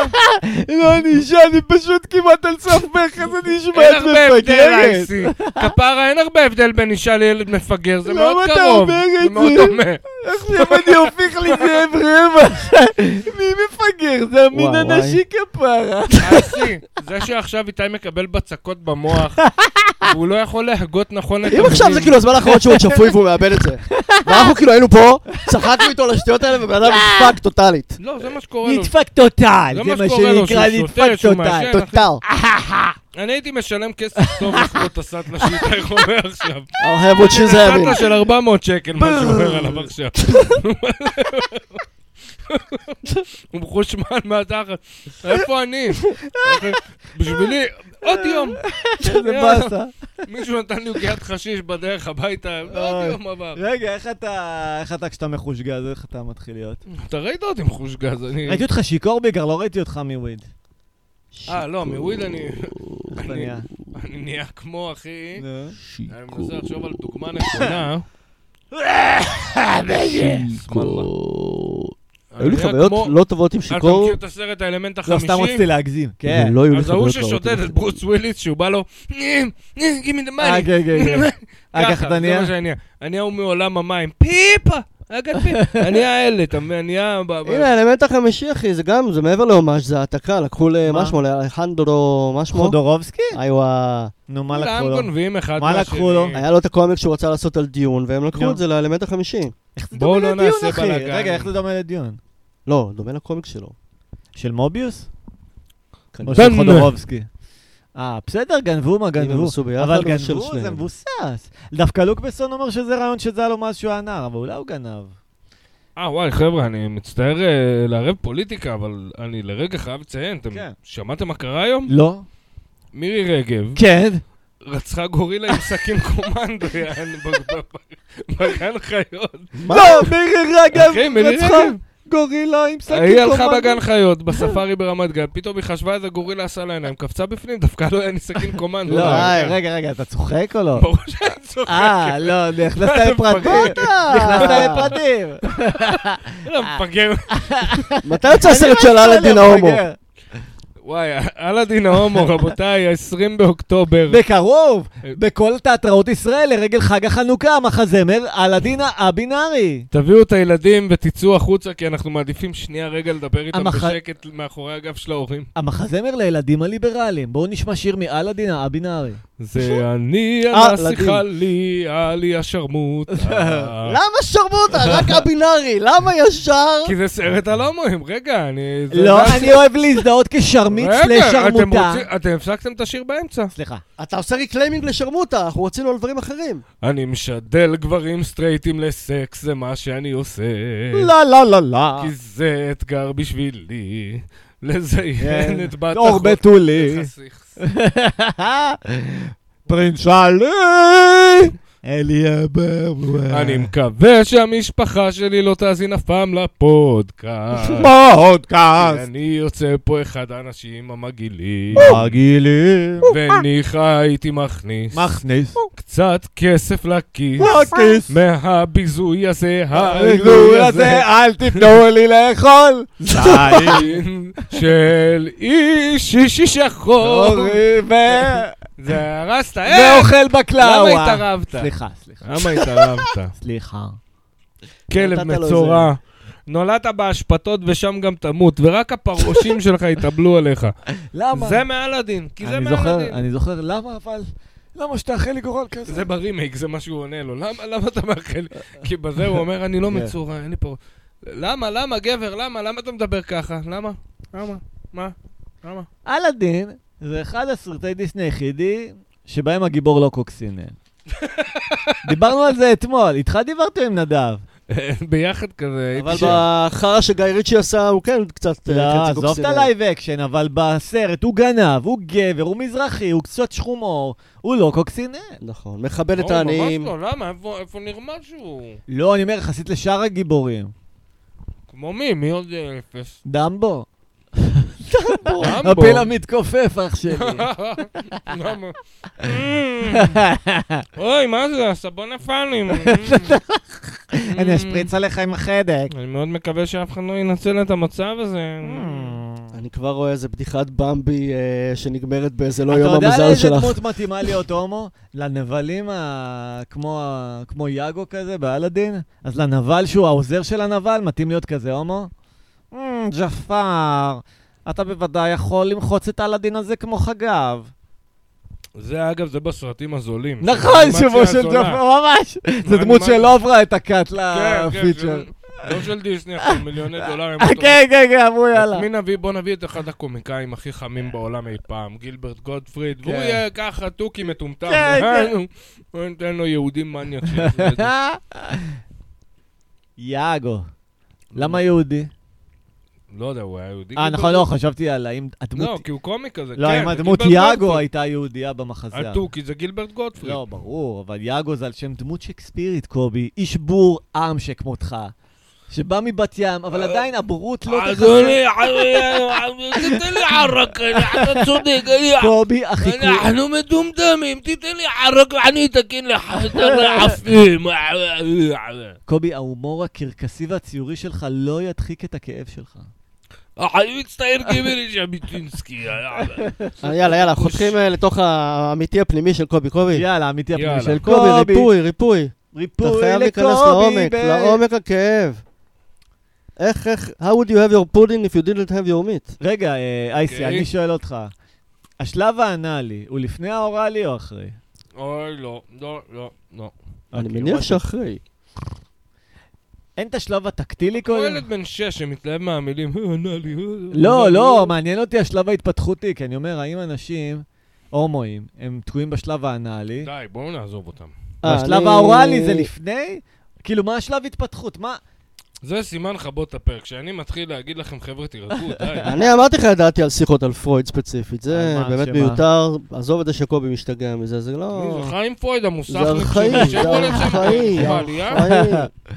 לא, אני אישה, אני פשוט כמעט על סף בכך, אני
אין
נשמעת
הרבה הבדל, אה,
מפגרת.
אייסי. כפרה, אין הרבה הבדל בין אישה לילד מפגר, זה
למה
מאוד
אתה
קרוב.
אומר
זה
את
מאוד
זה?
דומה.
עכשיו אני הופך לזאב רווח. מי מפגר? זה המין
וואי, וואי.
הנשי כפרה.
אייסי, זה שעכשיו איתי מקבל בצקות במוח, והוא לא יכול להגות נכון את
אם עכשיו זה
המילים.
כאילו הזמן האחרון שהוא עוד שפוי והוא מאבד את זה. ואנחנו כאילו היינו פה, צחקנו איתו על השטויות האלה ובן אדם נדפק טוטאלית.
לא, זה מה שקורה לו.
נדפק טוטל,
זה
זה
מה
מה
שקורה לו,
שנקרא
שהוא שותה,
נדפק
שהוא
טוטל.
מעשן.
טוטל.
אני הייתי משלם כסף טוב לכבוד את הסטלה שאיתי אומר עכשיו.
I'll have what she's having.
סטלה של 400 שקל, מה שעובר עליו עכשיו. הוא מחושמל מהתחת. איפה אני? אוקיי? בשבילי, עוד יום.
זה באסה.
מישהו נתן לי עוגיית חשיש בדרך הביתה, עוד יום עבר.
רגע, איך אתה, איך אתה כשאתה מחושגז, איך אתה מתחיל להיות?
אתה ראית אותי עם חוש גז, אני...
ראיתי אותך שיכור בעיקר, לא ראיתי אותך מוויד.
אה, לא, מוויד אני...
איך אתה
אני-
נהיה?
אני נהיה כמו אחי.
נו.
אני מנסה לחשוב על דוגמה נכונה. אני
היו לי
נהיה
חוויות
כמו- אה,
לא טובות עם
אתה
שיכור,
מכיר את הסרט האלמנט
לא,
החמישי?
סתם רציתי להגזים. כן.
ולא היו לי
אז ההוא
חוויות לא טובות.
ששודד את ברוס וויליס, שהוא בא לו, "נים, נים, גימי דה
אה,
מאני.
כן, כן, כן. אה, ככה אתה
זה
נהיה?
מה שאני נהיה. אני ההוא מעולם המים, פיפה! I got pip. אני האלה, אתה מבין? אני ה... ב- ב-
הנה, האלמנט החמישי, אחי, זה גם, זה מעבר להומאז', זה העתקה, לקחו
מה?
למה שמו, לאלחנדרו, מה שמו?
חודורובסקי?
איווה.
נו, מה
כולם
לקחו לו?
גונבים אחד
מה לקחו לו?
מהשני.
היה לו את הקומיק שהוא רצה לעשות על דיון, והם לקחו
נו.
את זה לאלמנט החמישי.
איך זה
בואו
דומה
לא
לדיון,
נעשה
אחי?
בלאגן.
רגע, איך זה דומה לדיון?
לא, דומה לקומיק שלו.
של מוביוס? או
כנראה.
של
בן.
חודורובסקי? אה, בסדר, גנבו מה
אם הם
גנבו.
עשו ביחד,
אבל
או של
גנבו זה
שניהם?
מבוסס. דווקא לוקבסון אומר שזה רעיון שזה היה לו מאז שהוא היה נער, אבל אולי הוא גנב.
אה, וואי, חבר'ה, אני מצטער אה, לערב פוליטיקה, אבל אני לרגע חייב לציין, אתם
כן.
שמעתם מה קרה היום?
לא.
מירי רגב
כן.
רצחה גורילה עם סכין קומנדו, יעני, ב- ב- ב- בגן חיות.
לא, מירי
אחי,
רגב
מירי
רצחה
רגב.
גורילה עם סכין
היא הלכה
קומנדו.
בגן חיות, בספארי ברמת גן, פתאום היא חשבה איזה גורילה עשה לה עיניים, קפצה בפנים, דווקא לא היה לי סכין קומנדו.
לא,
אה,
רגע, רגע, רגע, אתה צוחק או לא?
ברור כן. שאני צוחק.
אה, לא, נכנסת לפרטים. נכנסת לפרטים.
לא,
אה.
מפגר.
מתי יוצא
לא
הסרט של אלאדין ההומו?
וואי, אלאדין ההומו, רבותיי, ה-20 באוקטובר.
בקרוב, בכל תיאטראות ישראל, לרגל חג החנוכה, מחזמר אלאדין הבינארי.
תביאו את הילדים ותצאו החוצה, כי אנחנו מעדיפים שנייה רגע לדבר איתם
המח-
בשקט מאחורי הגב של ההורים.
המחזמר לילדים הליברליים. בואו נשמע שיר מאלאדין הבינארי.
זה אני,
אה,
הנסיכה
ילדים.
לי, עלי השרמוט.
לא.
למה שרמוטה? רק הבינארי, למה ישר?
כי זה סרט על הומואים, רגע, אני... זה-
לא,
זה-
אני אוהב להזדהות כשרמית
רגע,
סלש
אתם
שרמוטה.
רוצים- אתם הפסקתם את השיר באמצע.
סליחה.
אתה עושה ריקליימינג לשרמוטה, אנחנו רצינו על דברים אחרים.
אני משדל גברים סטרייטים לסקס, זה מה שאני עושה.
לא, לא, לא, לא.
כי זה אתגר בשבילי, לזיין את בת
כן. אור
אחות-
בתולי.
חסיך.
פרינס עלי! אלי אברבואר.
אה. אני מקווה שהמשפחה שלי לא תאזין אף פעם לפודקאסט.
פודקאסט.
אני יוצא פה אחד האנשים המגעילים.
אה. מגעילים.
וניחא הייתי מכניס
מכניס.
קצת כסף לכיס
לא פודקאסט.
מהביזוי הזה,
הריגול הזה, אה. אל תיתנו לי לאכול. די.
של איש אישי שחור.
אורי ו...
זה הרסת, אה?
ואוכל בקלאווה.
למה התערבת?
סליחה, סליחה.
למה התערבת?
סליחה.
כלב
נתת לו
מצורע. נולדת בהשפתות ושם גם תמות, ורק הפרעושים שלך יתאבלו עליך.
למה?
זה מעל הדין, כי זה
אני
מעל
זוכר,
הדין.
אני זוכר, למה אבל? למה שתאכל לי גורל כזה?
זה ברימייק, זה מה שהוא עונה לו. למה למה אתה מאחל? לי?" כי בזה הוא אומר, אני לא
כן.
מצורע, אין לי פרעוש. למה, למה, גבר, למה? למה אתה מדבר ככה? למה? למה? מה? למה?
אלאדין זה אחד הסרטי דיסני היחידי שבהם הגיבור לא קוקסינל. דיברנו על זה אתמול, איתך דיברתי עם נדב.
ביחד כזה, הייתי
אבל
שם.
בחרא שגיא ריצ'י עשה, הוא כן קצת אה,
לא,
חצי
עזוב את
קוקסינל.
הלייב אקשן, אבל בסרט הוא גנב, הוא גבר, הוא מזרחי, הוא קצת שחום עור, הוא לא קוקסינל.
נכון, מכבד את
לא, ממש
העניים.
לא, למה? איפה- איפה נרמז שהוא?
לא, אני אומר, יחסית לשאר הגיבורים.
כמו מי? מי עוד אה, אפס?
דמבו.
דמבו.
הפיל המתכופף, אח שלי.
למה? Mm. אוי, מה זה? הסבונפנים.
אני אשפריץ כן, עליך עם החדק.
Mm. אני מאוד מקווה שאף אחד לא ינצל את המצב הזה.
Mm.
אני כבר רואה איזה בדיחת במבי אה, שנגמרת באיזה לא
אתה
יום
יודע
המזל
לאיזה
שלך.
דמות מתאימה להיות הומו? לנבלים ה- כמו ה- כמו יאגו כזה באלאדין? אז לנבל שהוא העוזר של הנבל, מתאים להיות כזה הומו? "אמ, ג'פר, אתה בוודאי יכול למחוץ את אלאדין הזה כמו חגב.
זה, אגב, זה בסרטים הזולים.
נכון, שובו של
אנימציה הזולה.
ג'פר, ממש. זו דמות
מה-
שלא עברה את הקאט אה,
כן, כן,
לפיצ'ר.
של- לא של דיסני, אבל מיליוני דולרים.
אה, כן, כן, כן, אמרו יאללה.
את מי נביא? בוא נביא את אחד הקומיקאים הכי חמים בעולם אי פעם, גילברט גודפריד, והוא
כן.
יהיה ככה תוכי מטומטם.
כן, כן.
בוא ניתן לו יהודים מניאק. שיעשו את זה.
יאגו. למה יהודי?
לא יודע, הוא היה יהודי.
אה,
גילברט
נכון, לא, חשבתי על האם הדמות...
לא, כי הוא קומי כזה,
לא,
כן.
אם
זה
הדמות
גילברט
יאגו
גודפריד.
הייתה יהודייה במחזה.
התוכי זה גילברט גודפריד.
לא, ברור, אבל יאגו זה על שם דמות שקספירית, קובי. איש בור עם שכמותך. שבא מבת ים,
אה,
אבל עדיין הבורות לא תחסר.
אדוני, אה, תיתן לי ערק, אה, אתה צודק, אני-
קובי, החיקוי...
אנחנו מדומדמים, תיתן לי ערק ואני אתקן לך אה, את הרעפים. אה,
קובי, ההומור הקרקסי והציורי שלך לא ידחיק את הכאב שלך.
אה. אני מצטער גיברי ז'ביטינסקי.
אה, יאללה, יאללה, חותכים אה, לתוך האמיתי הפנימי של קובי. קובי,
יאללה, אמיתי הפנימי
יאללה.
של
קובי,
קובי.
ריפוי, ריפוי. אתה
ריפוי
חייב להיכנס
לקובי.
לעומק,
ב-
לעומק הכאב. איך, איך, how would you have your pudding if you didn't have your meat?
רגע, אה, אייסי,
אוקיי.
אני שואל אותך. השלב האנאלי הוא לפני האוראלי או אחרי?
אוי, לא, לא, לא, לא.
אני
אוקיי,
מניח
what-
שאחרי.
אין את השלב הטקטילי
כמו
קודם?
ילד בן שש שמתלהב מהמילים, "אה, ענה לי, אה, ענה
לא,
לי,
לא,
אה."
מעניין אותי השלב ההתפתחותי, כי אני אומר, האם אנשים הומואים, הם תקועים בשלב האנאלי,
די, בואו נעזוב אותם.
אה,
והשלב
אני-
האוראלי זה לפני? כאילו, מה השלב התפתחות? מה?
זה סימן לכבות את הפרק, כשאני מתחיל להגיד לכם, חבר'ה, תירגעו, די.
אני אמרתי לך את דעתי על שיחות על פרויד ספציפית, זה
על מה,
באמת
שמה?
מיותר, עזוב את זה שקובי משתגע מזה, זה לא...
זה חיים פרויד,
זה
המוסכניק.
ארכאי, זה ארכאי, ארכאי.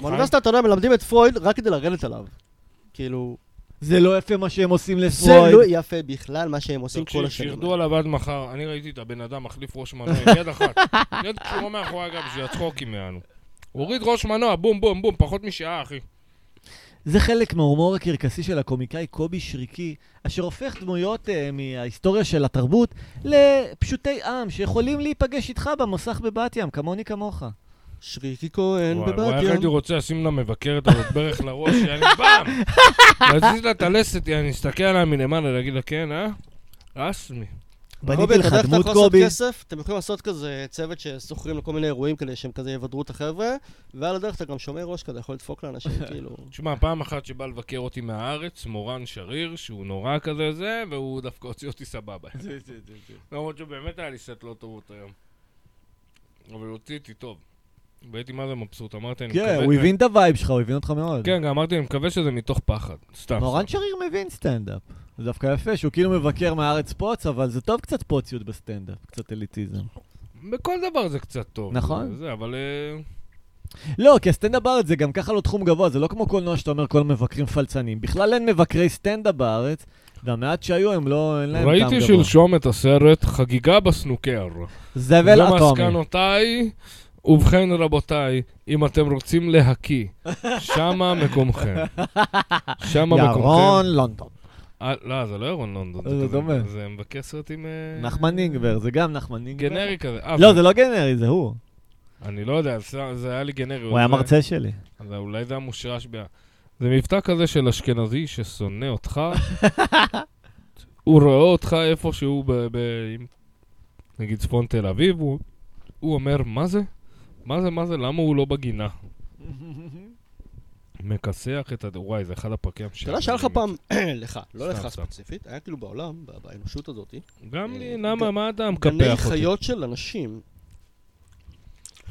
באוניברסיטה, אתה יודע, מלמדים את פרויד רק כדי לרדת עליו. כאילו,
זה לא יפה מה שהם עושים
זה לא
לפרויד.
יפה בכלל מה שהם עושים כל השנים.
שירדו עליו עד מחר, אני ראיתי את הבן אדם מחליף ראש מנוע, יד אחת. יד קשורה מאחורי הגב, בשביל הצחוקים שלנו. הוריד ראש מנוע, בום, בום, בום, פחות משעה, אחי.
זה חלק מההומור הקרקסי של הקומיקאי קובי שריקי, אשר הופך דמויות אה, מההיסטוריה של התרבות לפשוטי עם שיכולים להיפגש איתך במוסך בבת ים, כמוני כמוך.
שריקי כהן
וואי,
בבת
וואי, איך הייתי
ים.
רוצה לשים למבקרת הזאת ברך לראש, יעני, פעם! להזיז לה את הלסת, יעני, להסתכל עליה מלמעלה, להגיד לה, כן, אה? רסמי.
בניתי לך
לא, אתה יודע איך אתה
דמות
יכול אוקיי, לעשות
קובי.
כסף? אתם יכולים לעשות כזה צוות ששוכרים לכל מיני אירועים כדי שהם כזה יבדרו את החבר'ה, ועל הדרך אתה גם שומר ראש כזה, יכול לדפוק לאנשים, כאילו...
כן,
תשמע, פעם אחת שבא לבקר אותי מהארץ, מורן שריר, שהוא נורא כזה זה, והוא דווקא הוציא אותי סבבה. למרות שבאמת היה לי סט לא טוב אותו היום. אבל הוציא אותי טוב. והייתי מה זה מבסוט, אמרתי, אני
כן,
מקווה...
הוא הבין את הווייב שלך, הוא הבין אותך מאוד.
כן, גם אמרתי, אני מקווה שזה מתוך פחד. סתם.
מורן שריר מבין סטנדאפ. זה דווקא יפה, שהוא כאילו מבקר מהארץ פוץ, אבל זה טוב קצת פוציות בסטנדאפ, קצת אליטיזם.
סתם. בכל דבר זה קצת טוב.
נכון.
זה, אבל... אה,
לא, כי הסטנדאפ בארץ זה גם ככה לא תחום גבוה, זה לא כמו קולנוע שאתה אומר כל המבקרים פלצנים. בכלל אין מבקרי סטנדאפ בארץ, והמעט שהיו הם לא, אין להם טעם
ראיתי
גבוה.
שלשום את הסרט חגיגה בסנוקר.
זבל אטומי.
ומסקנותיי, ובכן רבותיי, אם אתם רוצים להקיא, שמה מקומכם. שמה מקומכם.
ירון לונדון.
אה, לא, זה לא ירון לונדון.
זה
כזה-
דומה.
זה מבקר סרטים... אה,
נחמן נינגבר, זה גם נחמן נינגבר.
גנרי כזה. אה,
לא, זה לא גנרי, זה הוא.
אני לא יודע, זה- זה היה לי גנרי.
הוא היה
זה-
מרצה שלי.
אז אולי זה המושרש ב... זה מבטא כזה של אשכנזי ששונא אותך, הוא רואה אותך איפשהו ב... ב... עם- נגיד צפון תל אביב, הוא... הוא אומר, מה זה? מה זה, מה זה, למה הוא לא בגינה? מכסח את הד... וואי, זה אחד הפרקים ש...
אתה יודע שהיה לך פעם, לך, לא לך
סתם, סתם.
ספציפית, היה כאילו בעולם, ב- באנושות הזאת,
גם לי,
אה,
למה,
ג-
מה אתה
גני
מקפח אותי?
חיות של אנשים.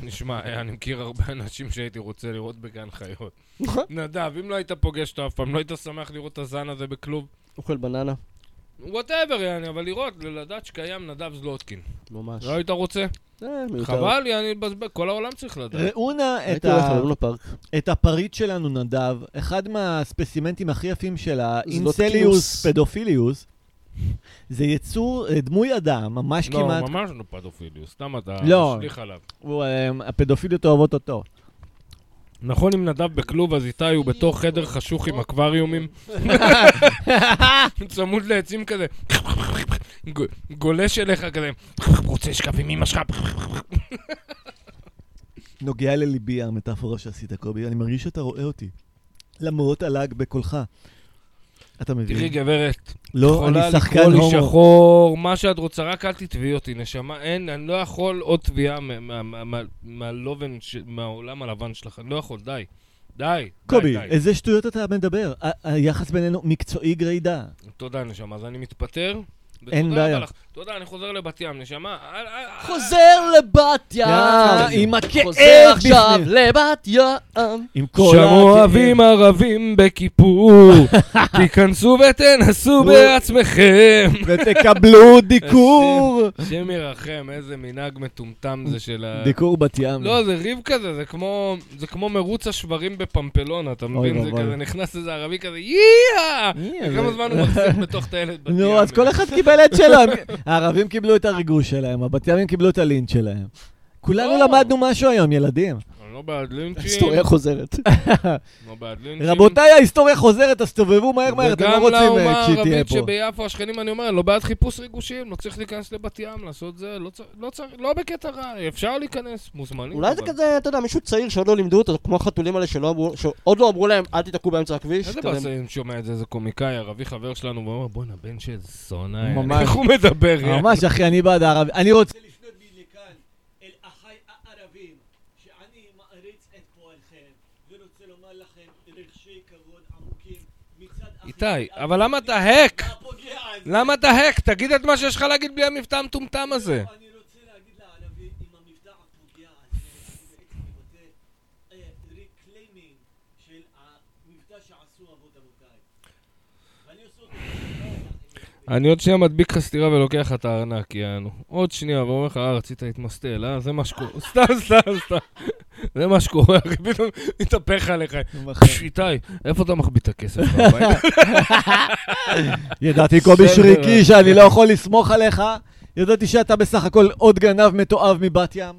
נשמע, אה, אני מכיר הרבה אנשים שהייתי רוצה לראות בגן חיות.
נכון.
נדב, אם לא היית פוגש אותו אף פעם, לא היית שמח לראות את הזן הזה בכלוב?
אוכל בננה,
וואטאבר, יעני, אבל לראות, לדעת שקיים נדב זלוטקין.
ממש.
לא היית רוצה?
זה
לא.
מיותר.
חבל לי, אני מבזבז, כל העולם צריך
אה,
לדעת.
ראונה את
הייתי
ה-
הולך ללונה פארק.
את הפריט שלנו, נדב, אחד מהספסימנטים הכי יפים של
לא
האינסליוס
זלוטקיוס.
פדופיליוס, זה יצור אה, דמוי אדם, ממש
לא,
כמעט...
ממש לא פדופיליוס, סתם אתה
לא.
משליך עליו.
הוא, אה, הפדופיליות אוהבות אותו.
נכון, אם נדב בכלוב, אז איתי הוא בתוך חדר חשוך עם אקווריומים. צמוד לעצים כזה. ג- גולש אליך כזה. רוצה לשכב עם אמא שלך?
נוגע לליבי המטאפורה שעשית, קובי, אני מרגיש שאתה רואה אותי. למרות הלעג בקולך. אתה מבין?
תראי, גברת,
לא, אני
יכולה
שחקן
לקרוא לי
הומו.
שחור, מה שאת רוצה, רק אל תתבעי אותי, נשמה. אין, אני לא יכול עוד תביעה מה- מה- מה- מה- מהלובן, ש- מהעולם הלבן שלך. אני לא יכול, די. די. די,
קובי,
די.
איזה שטויות אתה מדבר? ה- היחס בינינו מקצועי גרידא.
תודה, נשמה, אז אני מתפטר.
אין
ותודה
בעיה.
רבה לך. תודה, אני חוזר לבת ים, נשמה. אל- אל- אל-
חוזר לבת ים,
יאללה, עם הכאב
חוזר עכשיו
בפנים.
לבת ים.
עם כל
שם
הכאב.
אוהבים ערבים בכיפור, תיכנסו ותנסו
לא.
בעצמכם.
ותקבלו דיקור.
השם ירחם, איזה מנהג מטומטם זה של ה...
דיקור בת ים.
אה. לא, זה ריב כזה, זה כמו, זה כמו מרוץ השברים בפמפלונה, אתה מבין? זה
ואבוי.
כזה נכנס איזה ערבי כזה, יאה!
יאה,
כמה
זה-
זמן הוא מחזיק בתוך טיילת בת ים.
נו, אז כל אחד קיבל את שלו. הם- הערבים קיבלו את הריגוש שלהם, הבת ימים קיבלו את הלינץ' שלהם. כולנו
לא.
למדנו משהו היום, ילדים.
אני לא בעד לינצ'ים,
היסטוריה חוזרת.
לא בעד לינצ'ים.
רבותיי, ההיסטוריה חוזרת, אז תסתובבו מהר מהר, אתם לא רוצים
וגם
אה,
לאומה
כשהיא תהיה
הערבית
פה.
שביפו, השכנים, אני אומר, לא בעד חיפוש ריגושים, לא צריך להיכנס לבת ים, לעשות זה, לא צריך, לא צריך, לא בקטע רע, אפשר להיכנס, מוזמנים.
אולי זה
אבל-
כזה, אתה יודע, מישהו צעיר שעוד לא לימדו אותו, כמו החתולים האלה שלא אמרו- שעוד לא אמרו להם, אל תיתקעו באמצע הכביש.
איזה
אתה יודע,
באסה אם שומע את זה, איזה קומיקאי ערבי חבר שלנו, והוא אומר, בואנה, בן של זונה, יעני."
ממש.
איך הוא מדבר, יעני?
ממש, אחי, אני בעד הערבים. אני רוצה... לפנות בי לכאן, אל אחיי הערבים, שאני מעריץ את פועלכם, ורוצה לומר לכם רגשי כבוד עמוקים מצד
איתי, אבל למה אתה האק? למה אתה האק? תגיד את מה שיש לך להגיד בלי המבטא המטומטם הזה.
אני רוצה להגיד לערבי עם המבטא הפוגע הזה, שהוא בעצם מבטא אה, reclaiming של המבטא שעשו אבות אבותיי. ואני עושה אותו
אני עוד שנייה מדביק לך סטירה ולוקח לך את הארנק, יענו. עוד שנייה, ואומר לך, אה, רצית להתמסטל, אה? זה מה שקורה. סתם, סתם, סתם. זה מה שקורה, אחי, פתאום מתהפך עליך. פש, איתי, איפה אתה מחביא את הכסף?
אוקיי.
בבית?
ידעתי, קובי
בסדר,
שריקי,
אה.
שאני לא יכול לסמוך עליך. ידעתי שאתה בסך הכל עוד גנב מתועב מבת ים.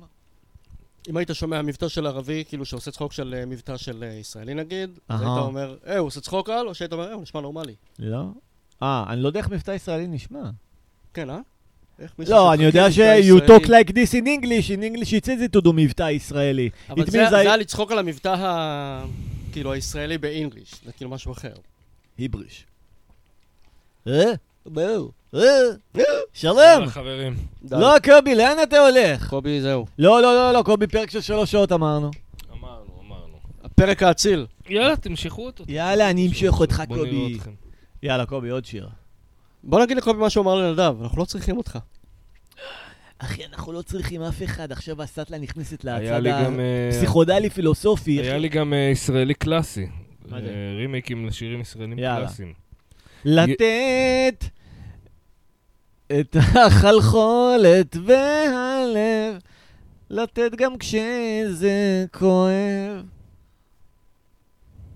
אם היית שומע מבטא של ערבי, כאילו שעושה צחוק של אה, מבטא של אה, ישראלי נגיד, אז
אהה.
היית אומר, אה, הוא עושה צחוק על? או שהיית אומר, אה, הוא נשמע נורמלי.
לא. אה, אני לא יודע איך מבטא ישראלי נשמע.
כן, אה? איך מישהו
לא,
שחקן
אני יודע
מבטא
ש- you
ישראלי-
talk like this in English, in English it says it to do מבטא ישראלי.
אבל
It
זה
means
זה
I-
היה לצחוק על המבטא ה... כאילו הישראלי באינגליש, זה כאילו משהו אחר.
היבריש. אה? אה? שלום.
יאללה, חברים.
די.
לא, קובי, לאן אתה הולך?
קובי, זהו.
לא, לא, לא, לא, קובי, פרק של שלוש שעות אמרנו.
אמרנו, אמרנו.
הפרק האציל.
יאללה, תמשכו אותו.
יאללה, אני אמשוך אותך,
בוא נראה
קובי.
אתכם.
יאללה, קובי, עוד שיר.
בוא נגיד לקובי מה שהוא אמר לנדב, אנחנו לא צריכים אותך.
אחי, אנחנו לא צריכים אף אחד, עכשיו הסטלה נכנסת
היה
להצד
לי גם, אה,
הפסיכודלי פילוסופי.
היה לי גם אה, ישראלי קלאסי.
מה זה?
אה, רימייקים לשירים ישראלים
יאללה.
קלאסיים.
לתת את החלחולת והלב, לתת גם כשזה כואב.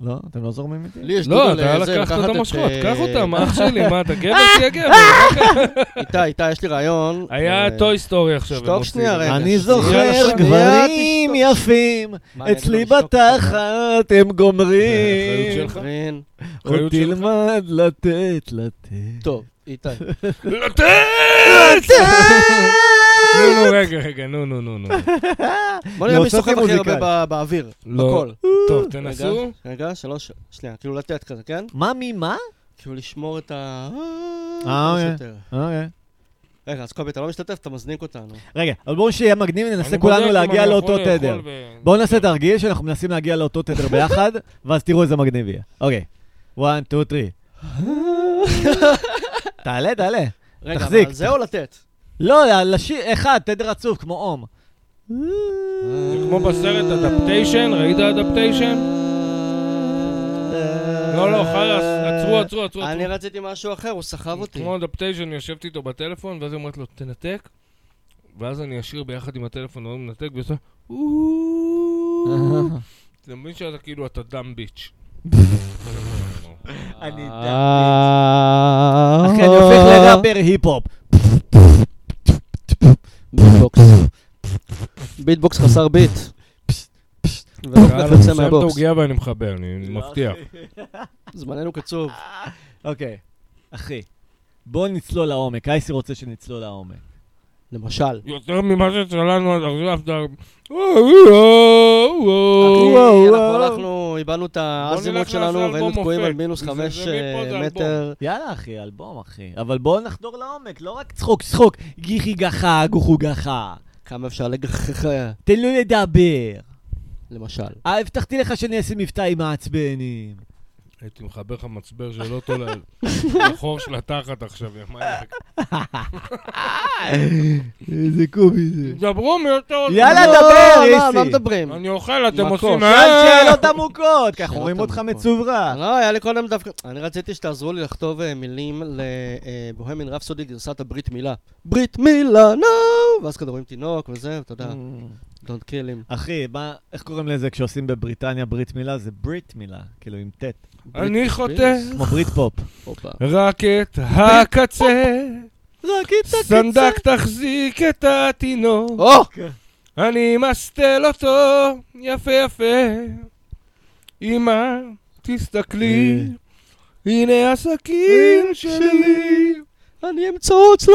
לא? אתם לא זורמים איתי?
לי יש
לא,
דודה
אתה
לזה,
לקחת
לקחת
את המושכות,
אה,
קח אותם, אח שלי, מה, אתה גבר תהיה גבר. מה קרה?
איתי, איתי, יש לי רעיון. אה,
היה טוי סטורי עכשיו.
שתוק
הם
שנייה,
עושים.
רגע.
אני
שנייה,
זוכר
שנייה,
גברים יפים,
מה, אני
אצלי
אגיד לו לשתוק?
בתחת הם
זה האחריות
גומרים.
שלך.
גרין.
אחריות
עוד תלמד לתת, לתת.
טוב, איתי.
לתת! נו, נו, רגע, רגע, נו, נו, נו, נו.
בוא נראה מי
להוציא
סוחב הכי הרבה
מוזיקאי.
בא- באוויר,
לא.
בקול.
טוב,
רגע,
תנסו.
רגע, שלוש, שנייה, כאילו לתת כזה, כן?
מה ממה?
כאילו לשמור את ה...
אה,
כמה
אוקיי.
שיותר.
אוקיי.
רגע, אז קובי, אתה לא משתתף, אתה מזניק אותנו.
רגע, אבל בואו שיהיה מגניב וננסה
אני בודק
כולנו
אם
להגיע
אני
לאותו
יכול
תדר.
לאכול ב-
בואו נעשה תרגיל שאנחנו מנסים להגיע לאותו תדר ביחד, ואז תראו איזה מגניב יהיה. אוקיי. 1, 2, 3. תעלה, תעלה.
רגע,
תחזיק.
אבל זה או לתת?
לא, לשיר, אחד, תדר עצוב, כמו אום.
זה כמו בסרט אדפטיישן, ראית אדפטיישן? לא, לא, חלאס, עצרו, עצרו, עצרו.
אני
עצרו.
רציתי משהו אחר, הוא סחב אותי.
כמו אדפטיישן, יושבת איתו בטלפון, ואז היא אומרת לו, תנתק. ואז אני אשיר ביחד עם הטלפון, הוא מנתק, ועושה... אתה מבין שאתה כאילו, אתה דם ביץ'.
אני
אה.
אחי, אני הופך לראפר היפ-הופ.
ביטבוקס. ביטבוקס חסר ביט. ולא כל כך
יאללה,
יוצא
אני שם את
מהבוקס.
העוגיה ואני מחבר, אני מבטיח.
זמננו קצוב.
אוקיי, אחי, בואו נצלול לעומק. אייסי רוצה שנצלול לעומק.
למשל.
יותר ממה שצללנו עד עכשיו, אתה...
אחי, אוקיי, אנחנו
וואו.
הלכנו, איבדנו את האזימות
נלך
שלנו
נעשה
והיינו
אלבום
תקועים על
מופת.
מינוס
זה- זה
חמש
מפה, זה
אה,
אלבום.
מטר.
יאללה, אחי, אלבום, אחי. אבל בואו נחדור לעומק, לא רק צחוק, צחוק. גיחי גחה, גוחו גחה.
כמה אפשר לגחך,
תן לו לדבר.
למשל.
אה, הבטחתי לך שאני אעשה מבטאים מעצבנים.
הייתי מחבר לך מצבר של אוטו ל- לחור של התחת עכשיו, יא מניאק.
איזה קובי זה.
דברו מאותו...
יאללה,
לא,
דבר,
לא,
איסי.
מה מדברים?
אני אוכל, אתם
מקור.
עושים...
שאל
אה?
שאלות עמוקות, כי אנחנו
שאלות
רואים אותך
עמוקות.
מצוב רע.
לא, היה לי קודם דווקא... אני רציתי שתעזרו לי לכתוב אה, מילים לבוהמין רפסודי גרסת הברית מילה. ברית מילה, נו! ואז כזה רואים תינוק וזה, אתה יודע,
Mm.
don't kill him.
אחי, מה, איך קוראים לזה כשעושים בבריטניה ברית מילה? זה ברית מילה, כאילו עם טט,
אני
ברית
חוטא
ספירס.
כמו ברית פופ.
הופה.
רק את הקצה,
רק את
סנדק תחזיק את התינוק,
או!
כן.
אני מסטל אותו יפה יפה. אמא, תסתכלי, הנה הסכין שלי.
אני אמצוץ לו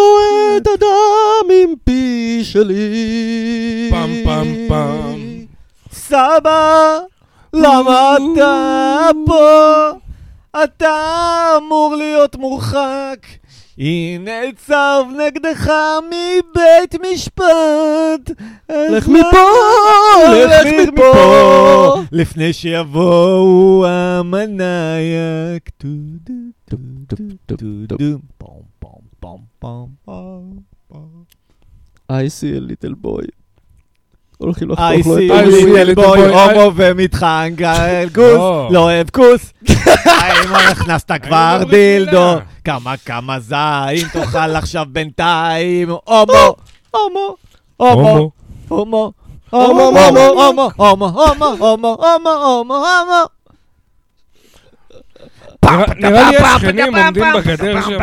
את הדם עם פי שלי.
פעם, פעם, פעם.
סבא, למה אתה פה? אתה אמור להיות מורחק. הנה צו נגדך מבית משפט. אז
לך
מה-
מפה, לך מפה.
לפני שיבואו המנאייק. טו דו טו דו טו דו. פום פום פום פום פום.
אייסי ליטל בוי. הולכים
I
לחתוך לו
see
I
את
you
see
הוויל.
little
little boy
boy,
לא הומו ומתחנגל כוס,
לא.
לא אוהב כוס. האם הכנסת כבר
אומרים
דילדו?
מילה.
כמה כמה זין תאכל עכשיו בינתיים? הומו, הומו, הומו, הומו, הומו,
הומו,
הומו,
הומו.
הומו, הומו, הומו, הומו, הומו, הומו, הומו.
נראה- נראה לי השכנים עומדים בגדר שם.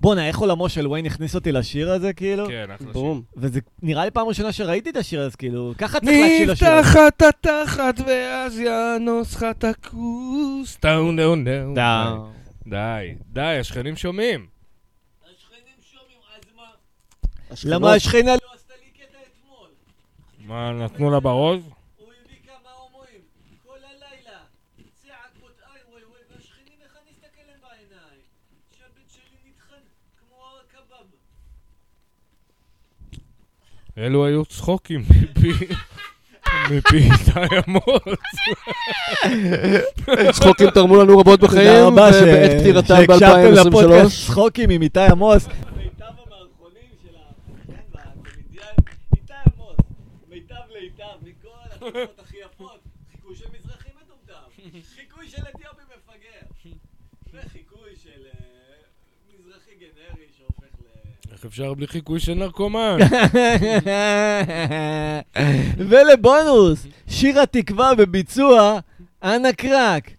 בואנה, איך עולמו של וויין הכניס אותי לשיר הזה, כאילו?
כן, אחלה
בום.
וזה נראה לי פעם ראשונה שראיתי את השיר הזה, כאילו, ככה צריך להקשיב לשיר הזה.
נפתחת התחת ואז יאנוס לך את הכוס. טאו נאו נאו.
טאו.
די, די, השכנים שומעים.
השכנות.
למה השכנה לא עשתה לי קטע אתמול?
מה, נתנו לה בראש?
הוא הביא כמה הומואים, כל הלילה, צעקות איי ווי ווי, והשכנים איך אני אסתכל להם בעיניים? שהבן שלי נטחן כמו הקבב.
אלו היו צחוקים מפי... מפי איתי עמוס.
צחוקים תרמו לנו רבות בחיים, ובעת פטירתה
שהקשבתם אה, לפודקאסט
ב-2023.
צחוקים עם איתי עמוס. מיטב המערכונים של השחקן והקומדיאן, איתי עמוס, מיטב לאיטב, מכל התקופות הכי יפות, חיקוי של מזרחי מטומטם, חיקוי של אתיופי מפגר, וחיקוי של... אה,
מזרחי גנרי שהופך ל...
איך אפשר בלי חיקוי של נרקומן?
ולבונוס, שיר התקווה בביצוע אנה קרק.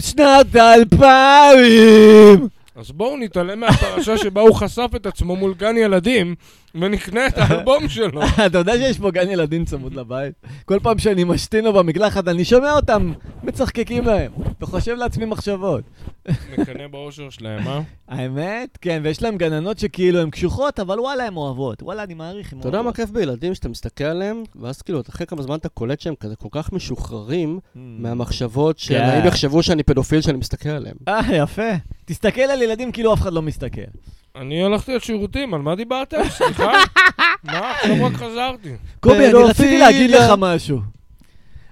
שנת אלפיים!
אז בואו נתעלם מהפרשה שבה הוא חשף את עצמו מול גן ילדים, ונקנה את האלבום שלו.
אתה יודע שיש פה גן ילדים צמוד לבית? כל פעם שאני משתין לו במקלחת, אני שומע אותם מצחקקים להם, וחושב לעצמי מחשבות.
נקנא באושר שלהם, אה?
האמת? כן, ויש להם גננות שכאילו הן קשוחות, אבל וואלה, הן אוהבות. וואלה, אני מעריך, הן
אתה
אוהבות.
יודע מה כיף בילדים, שאתה מסתכל עליהם, ואז כאילו, אחרי כמה זמן אתה קולט שהם כזה כל כך משוחררים
Hmm.
מהמחשבות של
כן.
האם יחשבו שאני פדופיל שאני מסתכל עליהם.
אה, יפה. תסתכל על ילדים כאילו אף אחד לא מסתכל.
אה,
אני הלכתי לשירותים, על מה דיברתם? סליחה? מה? עכשיו רק חזרתי.
קובי, אני רציתי
פדופיליה.
להגיד לך משהו.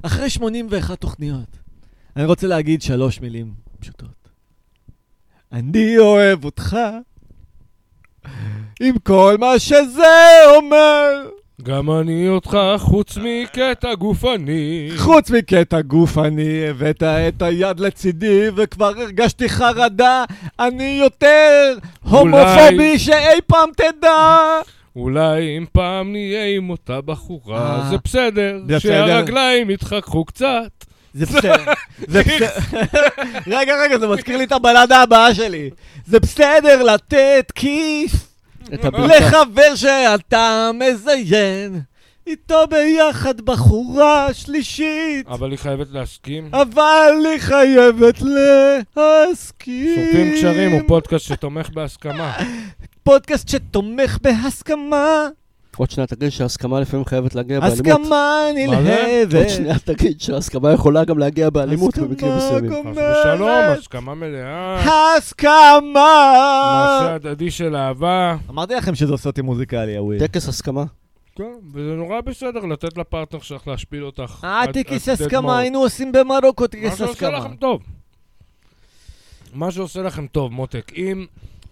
אחרי 81 תוכניות, אני רוצה להגיד שלוש מילים פשוטות. אני אוהב אותך עם כל מה שזה אומר,
גם אני אותך, חוץ מקטע גופני.
חוץ מקטע גוף אני הבאת את היד לצידי וכבר הרגשתי חרדה, אני יותר הומופובי שאי פעם תדע.
אולי אם פעם נהיה עם אותה בחורה,
אה,
זה בסדר,
זה בסדר.
שהרגליים יתחככו קצת.
זה בסדר, זה בסדר. רגע, רגע, זה מזכיר לי את הבלדה הבאה שלי. זה בסדר לתת כיף
Mm-hmm.
את
לא.
הבלתה.
לחבר שאתה מזיין, איתו ביחד בחורה שלישית,
אבל היא חייבת להסכים.
אבל היא חייבת להסכים.
שורפים קשרים הוא פודקאסט שתומך בהסכמה.
פודקאסט שתומך בהסכמה,
עוד שנייה תגיד שההסכמה לפעמים חייבת להגיע באלימות.
הסכמה
מה זה?
נלהבת.
עוד שנייה תגיד שההסכמה יכולה גם להגיע באלימות במקרים
הסכמה
מסוימים.
חס
גומרת.
ושלום, הסכמה מלאה. מעשה
הסכמה!
הדדי של אהבה.
אמרתי לכם שזה עושה אותי מוזיקלי, הוויל.
טקס הסכמה.
כן, וזה נורא בסדר לתת לפרטנר שלך להשפיל אותך.
אה,
עד-
טקס
עד dead
הסכמה,
mode.
היינו עושים במרוקו
מה
טקס
שעושה
הסכמה.
לכם טוב. מה שעושה לכם טוב, מותק. אם...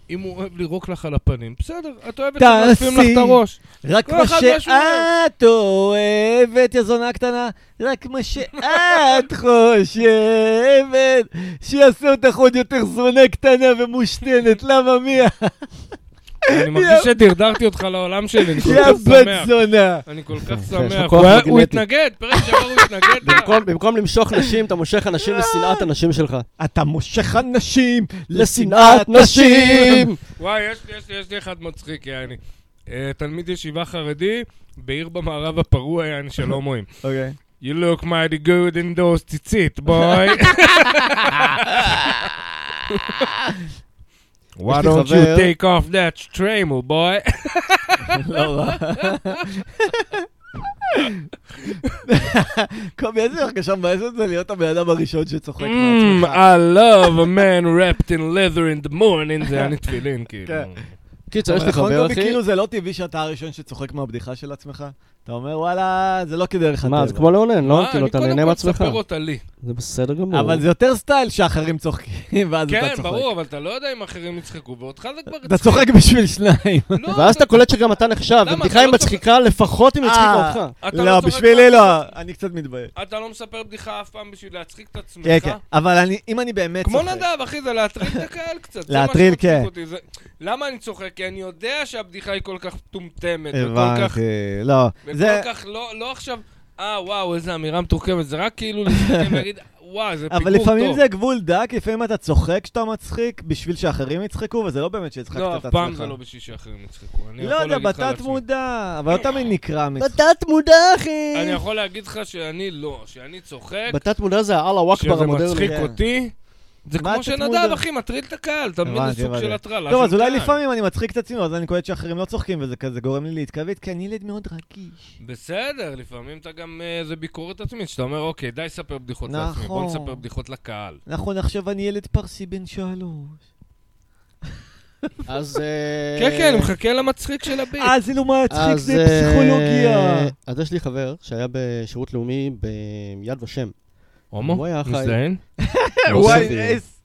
אם הוא אוהב לירוק לך על הפנים, בסדר, את אוהבת שמלפים לך
תעשי.
את הראש.
רק
כל
מה
אחד משהו
שאת אוהבת, יא זונה קטנה, רק מה שאת חושבת, שיעשו אותך עוד יותר זונה קטנה ומושתנת, למה מי?
אני מרגיש שדרדרתי אותך לעולם שלי, אני כל
יא
כך
בת
שמח.
זונה.
אני כל כך
לו
שמח.
כוח
הוא היה- הוא
מגנטי.
התנגד, פרק שעבר הוא התנגד. אה, לה.
במקום- במקום למשוך נשים, אתה מושך
לא.
אנשים לשנאת הנשים שלך.
אתה מושך אנשים
לשנאת נשים!
וואי, יש לי, יש לי, יש לי אחד מצחיק, יעני. אה, תלמיד ישיבה חרדי בעיר במערב הפרוע, יעני, של הומואים.
אוקיי.
You look mighty good in those ציצית, boy. Why
יש לי
don't you
חבר-
take off that tremel, boy?
לא רע. קובי, איזה הרגשה מבאסת זה להיות הבן אדם הראשון שצוחק
Mm,
מעצמך.
I love a man wrapped in leather in the morning, זה אני תפילין, כאילו.
כן.
קיצר, יש לי
נכון,
חבר,
קובי,
אחי.
כאילו זה לא טבעי שאתה הראשון שצוחק מהבדיחה של עצמך? אתה אומר, וואלה, זה לא כדרך הטבע.
מה, זה כמו לאונן, לא? כאילו, אתה נהנה
אה, אני קודם
מעצמך.
כל מספר אותה לי.
זה בסדר גמור.
אבל זה יותר סטייל שאחרים צוחקים, ואז אתה
כן,
צוחק.
ברור, אבל אתה לא יודע אם אחרים יצחקו, ואותך זה כבר...
אתה צוחק בשביל שניים.
לא,
ואז אתה קולט שגם אתה נחשב,
למה?
ובדיחה
אתה
היא
לא
מצחיקה לפחות אם הצחיקה
אה,
אותך.
אתה לא
לא,
צוחק
בשבילי לא, אני קצת מתבייש.
אתה לא מספר בדיחה אף פעם בשביל להצחיק את עצמך.
כן, כן, אבל אני- אם אני באמת
כמו
צוחק...
נדב, אחי, זה להטריל את הקהל קצת. זה
להטריל,
מה שמצחיק
כן.
אותי, זה- למה אני צוחק? כי אני יודע שהבדיחה היא כל כך מטומטמת, וכל כך...
הבנתי, לא. זה...
וכל כך לא לא עכשיו... אה, וואו, איזה אמירה מטורקמת, זה רק כאילו להסתכל ולהגיד, וואי, זה
אבל
פיגור טוב.
לפעמים זה גבול דק, לפעמים אתה צוחק כשאתה מצחיק בשביל שאחרים יצחקו, וזה לא באמת שהצחקת את
לא, אף
עצמך.
פעם זה לא בשביל שאחרים יצחקו. אני
לא
יכול
יודע,
להגיד לך על
בתת
עצמי.
מודע, אבל לא תמיד נקרע מצחוק.
בתת מודע, אחי!
אני יכול להגיד לך שאני לא, שאני צוחק,
בתת מודע זה האללה וואכבר
שזה
המודרני.
מצחיק
כן.
אותי. זה
מה
כמו
אתה
שנדב,
מודע?
אחי, מטריל את הקהל, תמיד זה
הבנתי,
סוג
הבנתי.
של הטרלה.
טוב,
של
אז אולי
קהל.
לפעמים אני מצחיק את עצמי, אז אני קולט שאחרים לא צוחקים, וזה כזה גורם לי להתכווץ, כי אני ילד מאוד רגיש.
בסדר, לפעמים אתה גם, אה, זה ביקורת עצמית, שאתה אומר, אוקיי, די לספר בדיחות
נכון.
לעצמי, בוא נספר בדיחות לקהל.
נכון, עכשיו אני ילד פרסי בן שלוש.
אז... אה,
כן, כן, אני מחכה למצחיק של הביט.
אה, זה לא מצחיק,
אז,
זה
אה,
פסיכולוגיה.
אז יש לי חבר שהיה בשירות לאומי ביד ושם.
הומו,
הוא היה חי.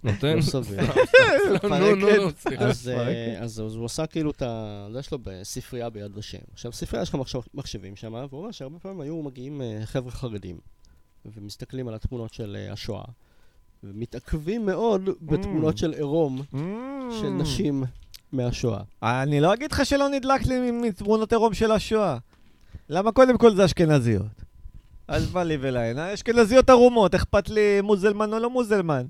מזדיין,
לא סביר.
נותן.
לא סביר.
לא, נו, נו, נו, סליחה.
אז,
אוקיי.
אה, אז אז הוא עשה כאילו את ה... זה שלו בספרייה ביד ושם. עכשיו, ספרייה, יש לך מחשב- מחשבים שם, והוא אומר שהרבה פעמים היו מגיעים אה, חבר'ה חרדים, ומסתכלים על התמונות של אה, השואה, ומתעכבים מאוד בתמונות
Mm.
של עירום
Mm.
של נשים מהשואה.
אני לא אגיד לך שלא נדלק לי מתמונות עירום של השואה. למה קודם כל זה אשכנזיות? אז בא לי ולעין, האשכנזיות ערומות, אכפת לי מוזלמן או לא מוזלמן.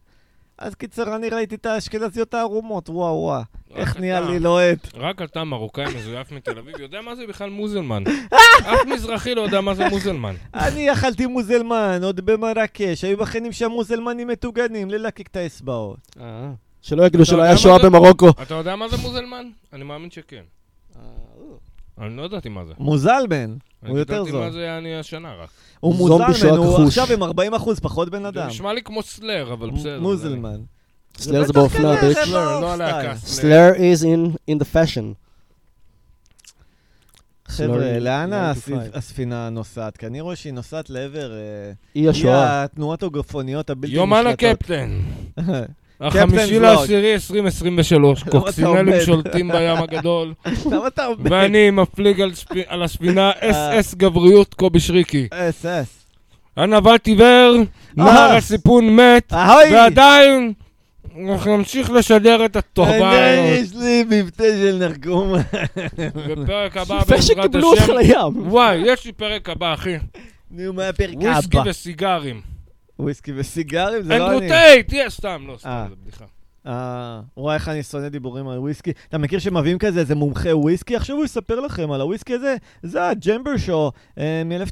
אז קיצר, אני ראיתי את האשכנזיות הערומות, וואו וואו. איך
אתה-
נהיה לי לוהט?
רק אתה מרוקאי מזויף מתל אביב יודע מה זה בכלל מוזלמן.
אה!
אף מזרחי לא יודע מה זה מוזלמן.
אני אכלתי מוזלמן, עוד במרקש, היו מכינים שם מוזלמנים מטוגנים, ללקק את האצבעות.
שלא יגידו
אה. אתה
שלא
יודע
היה
מה
שואה
זה?
במרוקו.
אתה יודע מה זה מוזלמן? אני מאמין שכן. אני לא ידעתי מה זה.
מוזלמן, הוא יותר
אני ידעתי
זול.
מה זה היה אני השנה רק.
הוא
זומבי
מוזלמן,
שואה
הוא
כחוש.
עכשיו עם 40 אחוז פחות בן
זה
אדם.
נשמע לי כמו סלר, אבל בסדר.
מוזלמן.
סלר זה
בטח
באופנה,
כזה,
ביץ'.
זה
סלר, לא
באופסטייל.
הלהקה. סלר.
סלר is in- in the fashion.
חבר'ה,
Slurry,
לאן
95.
הספ- הספינה נוסעת? כי אני רואה שהיא נוסעת לעבר... אה,
אי
היא
השואה.
התנועות הגופניות הבלתי
יומן
נשלטות.
הקפטן.
קפטן
החמישי
זלוג.
לעשירי 2023,
אתה עומד?
קוקסינלים שולטים בים הגדול,
למה אתה עומד?
ואני מפליג על ספי- על הספינה
אה.
אס-אס גבריות קובי שריקי.
אס אס.
הנווט עיוור,
אה.
נער הסיפון מת,
אהוי!
ועדיין אנחנו נמשיך לשדר את התוכבה
אני,
הזאת.
יש לי מבטא של נרגום.
בפרק הבא,
יפה
בעזרת
שקיבלו אותך
השם.
לים.
וואי, יש לי פרק הבא, אחי.
נו, מה הפרק
וויסקי
הבא?
וסיגרים.
וויסקי וסיגרים? זה לא
אנדרו
אני.
טייט, יש, סתם, לא, סתם,
אה.
זו בדיחה.
אה, וואי, איך אני שונא דיבורים על וויסקי. אתה מכיר שמביאים כזה איזה מומחה וויסקי? עכשיו הוא יספר לכם על הוויסקי הזה. זה הג'מבר שו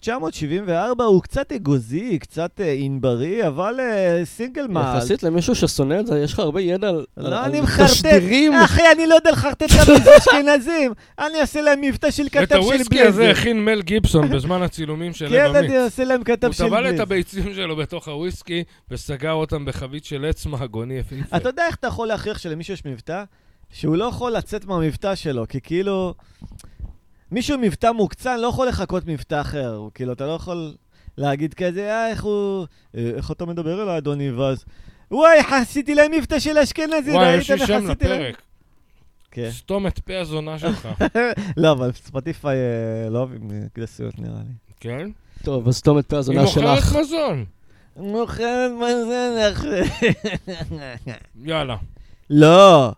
מ-1974, הוא קצת אגוזי, קצת אה, ענברי, אבל אה, סינגל מאל.
יחסית למישהו ששונא את זה, יש לך הרבה ידע על על-
לא,
על
אני מחרטט.
תשדירים.
אחי, אני לא יודע לחרטט גם איזה אשכנזים. אני אעשה להם מבטא של
את
כתב של
הוויסקי הזה
בלייזר. הכין
הכין מל גיבסון בזמן הצילומים של
כן,
לב אמיץ.
אני אעשה להם כתב
הוא
של
טבל את
בלייזר.
הביצים שלו בתוך הוויסקי וסגר אותם בחבית של עץ מעגוני יפהפה.
אתה יודע איך אתה יכול להכריח שלמישהו יש מבטא? שהוא לא יכול לצאת מהמבטא שלו, כי כאילו... מישהו עם מבטא מוקצן לא יכול לחכות מבטא אחר. הוא כאילו, אתה לא יכול להגיד כזה, אה, איך הוא... אה, איך אתה מדבר אליי, אדוני, ואז... וואי, עשיתי להם מבטא של אשכנזי,
וואי, יש
ראיתם
לי
איך
שם
עשיתי להם?
לפרק.
כן.
סתום את פה הזונה שלך.
לא, אבל ספוטיפיי אה, לא אוהבים אה, גרסיות, נראה לי.
כן?
טוב, אז תום את פה
היא
הזונה
מוכרת
שלך.
מזון.
מוכרת מזון אחרי.
יאללה.
לא,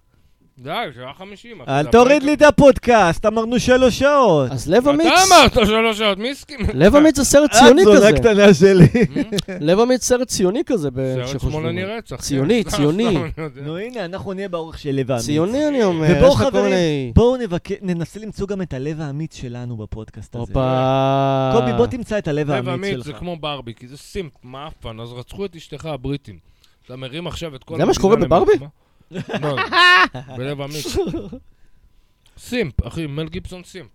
די, שעה חמישים. אחי,
אל
זה
תוריד
הפרק-
לי את הפודקאסט, אמרנו שלוש שעות.
אז לב אמיץ,
אתה אמרת שלוש שעות, מי הסכים?
לב אמיץ זה סרט
אה, את
ציוני
זונה
כזה.
קטנה שלי.
לב אמיץ סרט ציוני כזה, ב-
סרט
שחושבים.
שמאלני רצח. כן,
ציוני,
סתם,
ציוני.
סתם, אני יודע.
נו הנה, אנחנו נהיה באורך של לב האמיץ.
ציוני אני אומר,
ובואו,
יש לך כל
חברים,
מיני...
בואו נבק- ננסה למצוא גם את הלב האמיץ שלנו בפודקאסט הזה.
הופה.
קובי, בוא תמצא את הלב
לב
האמיץ
אמיץ
שלך.
זה כמו ברבי, כי זה סימפ, מאפן, אז רצחו את אשתך הבריטים. אתה מרים עכשיו את כל...
זה מה
המדינה
שקורה בברבי?
למלחמה? לא, בלב אמיץ. סימפ, אחי, מל גיבסון סימפ.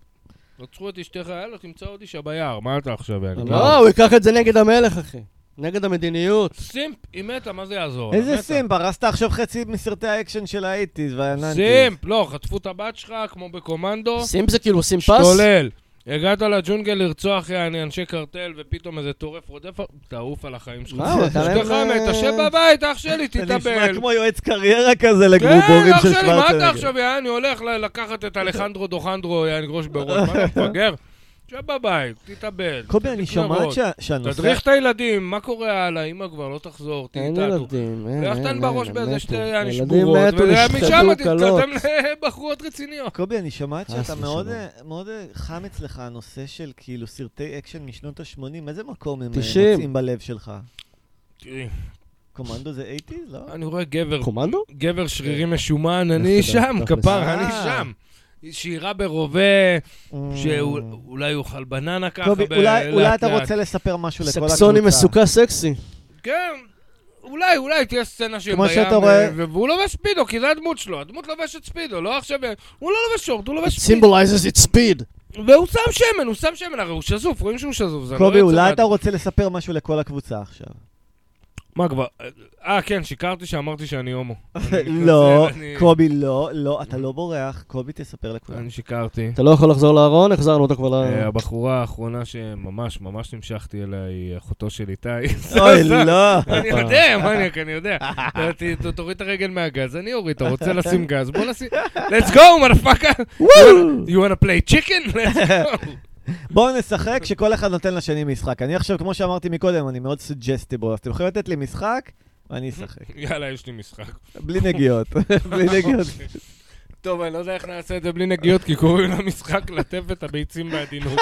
רצחו את אשתך, יאללה, תמצא עוד אישה ביער, מה אתה עכשיו, יאללה?
לא, הוא ייקח את זה נגד המלך, אחי. נגד המדיניות.
סימפ, היא מתה, מה זה יעזור? לה?
איזה
מתה.
סימפ, הרסת עכשיו חצי מסרטי האקשן של האייטיז והננטיז.
סימפ, לא, חטפו את הבת שלך, כמו בקומנדו,
שים זה כאילו שים פס?
שתולל. הגעת לג'ונגל לרצוח יעני אנשי קרטל, ופתאום איזה טורף רודף, תעוף על החיים שלך.
מה, הוא נתן להם,
אשתך
אה,
מתה, שב בבית, אח שלי,
זה נשמע
תתאבל.
כמו יועץ קריירה כזה
כן,
לגלובורים
אח
של
שלי, מה
אה,
אתה
שוורצנגר.
כן.
עכשיו, יעני, הולך ל- לקחת את אלחנדרו דוחנדרו, יעני, גרוש בראש, מה אתה מפגר? שב בבית, תתאבל.
קובי, אני
תדליק
שומעת
נרות.
שה- שהנושא...
תדריך את הילדים, מה קורה הלאה, אמא כבר לא תחזור, תהיי
אין
איתנו.
ילדים, אין,
לך
אין,
תן
אין,
בראש
הם
באיזה
מתו.
שתי יעני
הילדים
שבורות,
מתו,
ומשם
נשחטו קלות.
תתקדם לבחורות רציניות.
קובי, אני שומעת
חס
שאתה מאוד,
ושלום.
אה, מאוד אה, חם אצלך הנושא של כאילו סרטי אקשן משנות ה-80, איזה מקום הם אה,
90.
מוצאים בלב שלך?
תראי,
קומנדו זה 80? לא?
אני רואה גבר,
קומנדו?
גבר
כן.
שרירי משומן, אני
תדע,
שם,
תכלס.
כפר, אני
אה.
שם. שירה ברובה,
Mm.
שאולי יאכל בננה ככה.
קובי,
ב-
אולי- אולי
לאט
אתה
לאט.
רוצה לספר משהו לכל הקבוצה.
סקסוני מסוכה סקסי.
כן, אולי, אולי תהיה סצנה שהם
כמו
בים,
שאתה רואה-
ו- והוא לובש ספידו, כי זה הדמות שלו, הדמות לובשת ספידו, לא עכשיו... הוא לא לובש שורט, הוא לובש ספידו.
symbolizes its speed.
והוא שם שמן, הוא שם שמן, הרי הוא שזוף, רואים שהוא שזוף, זה לא
קובי,
יצא
אולי
מה-
אתה רוצה לספר משהו לכל הקבוצה עכשיו.
מה כבר? אה, כן, שיקרתי שאמרתי שאני הומו. אני מתנצל,
לא,
אני-
קובי, לא, לא, אתה לא בורח. קובי, תספר לכולם.
אני שיקרתי.
אתה לא יכול לחזור לארון, החזרנו אותה כבר
אה,
לארון.
הבחורה האחרונה שממש ממש נמשכתי אליה היא אחותו של איתי.
אוי, לא.
אני יודע, מניאק, אני יודע. ת- ת- תוריד את הרגל מהגז, אני אוריד, אתה רוצה לשים גז, בוא נשים... let's go, מלפאקה! you wanna play chicken? let's go!
בואו נשחק שכל אחד נותן לשני משחק. אני עכשיו, כמו שאמרתי מקודם, אני מאוד סוג'סטיבול, אז אתם יכולים לתת לי משחק, אני אשחק.
יאללה, יש לי משחק.
בלי נגיעות, בלי נגיעות.
טוב, אני לא יודע איך נעשה את זה בלי נגיעות, כי קוראים למשחק לטף את הביצים בעדינות.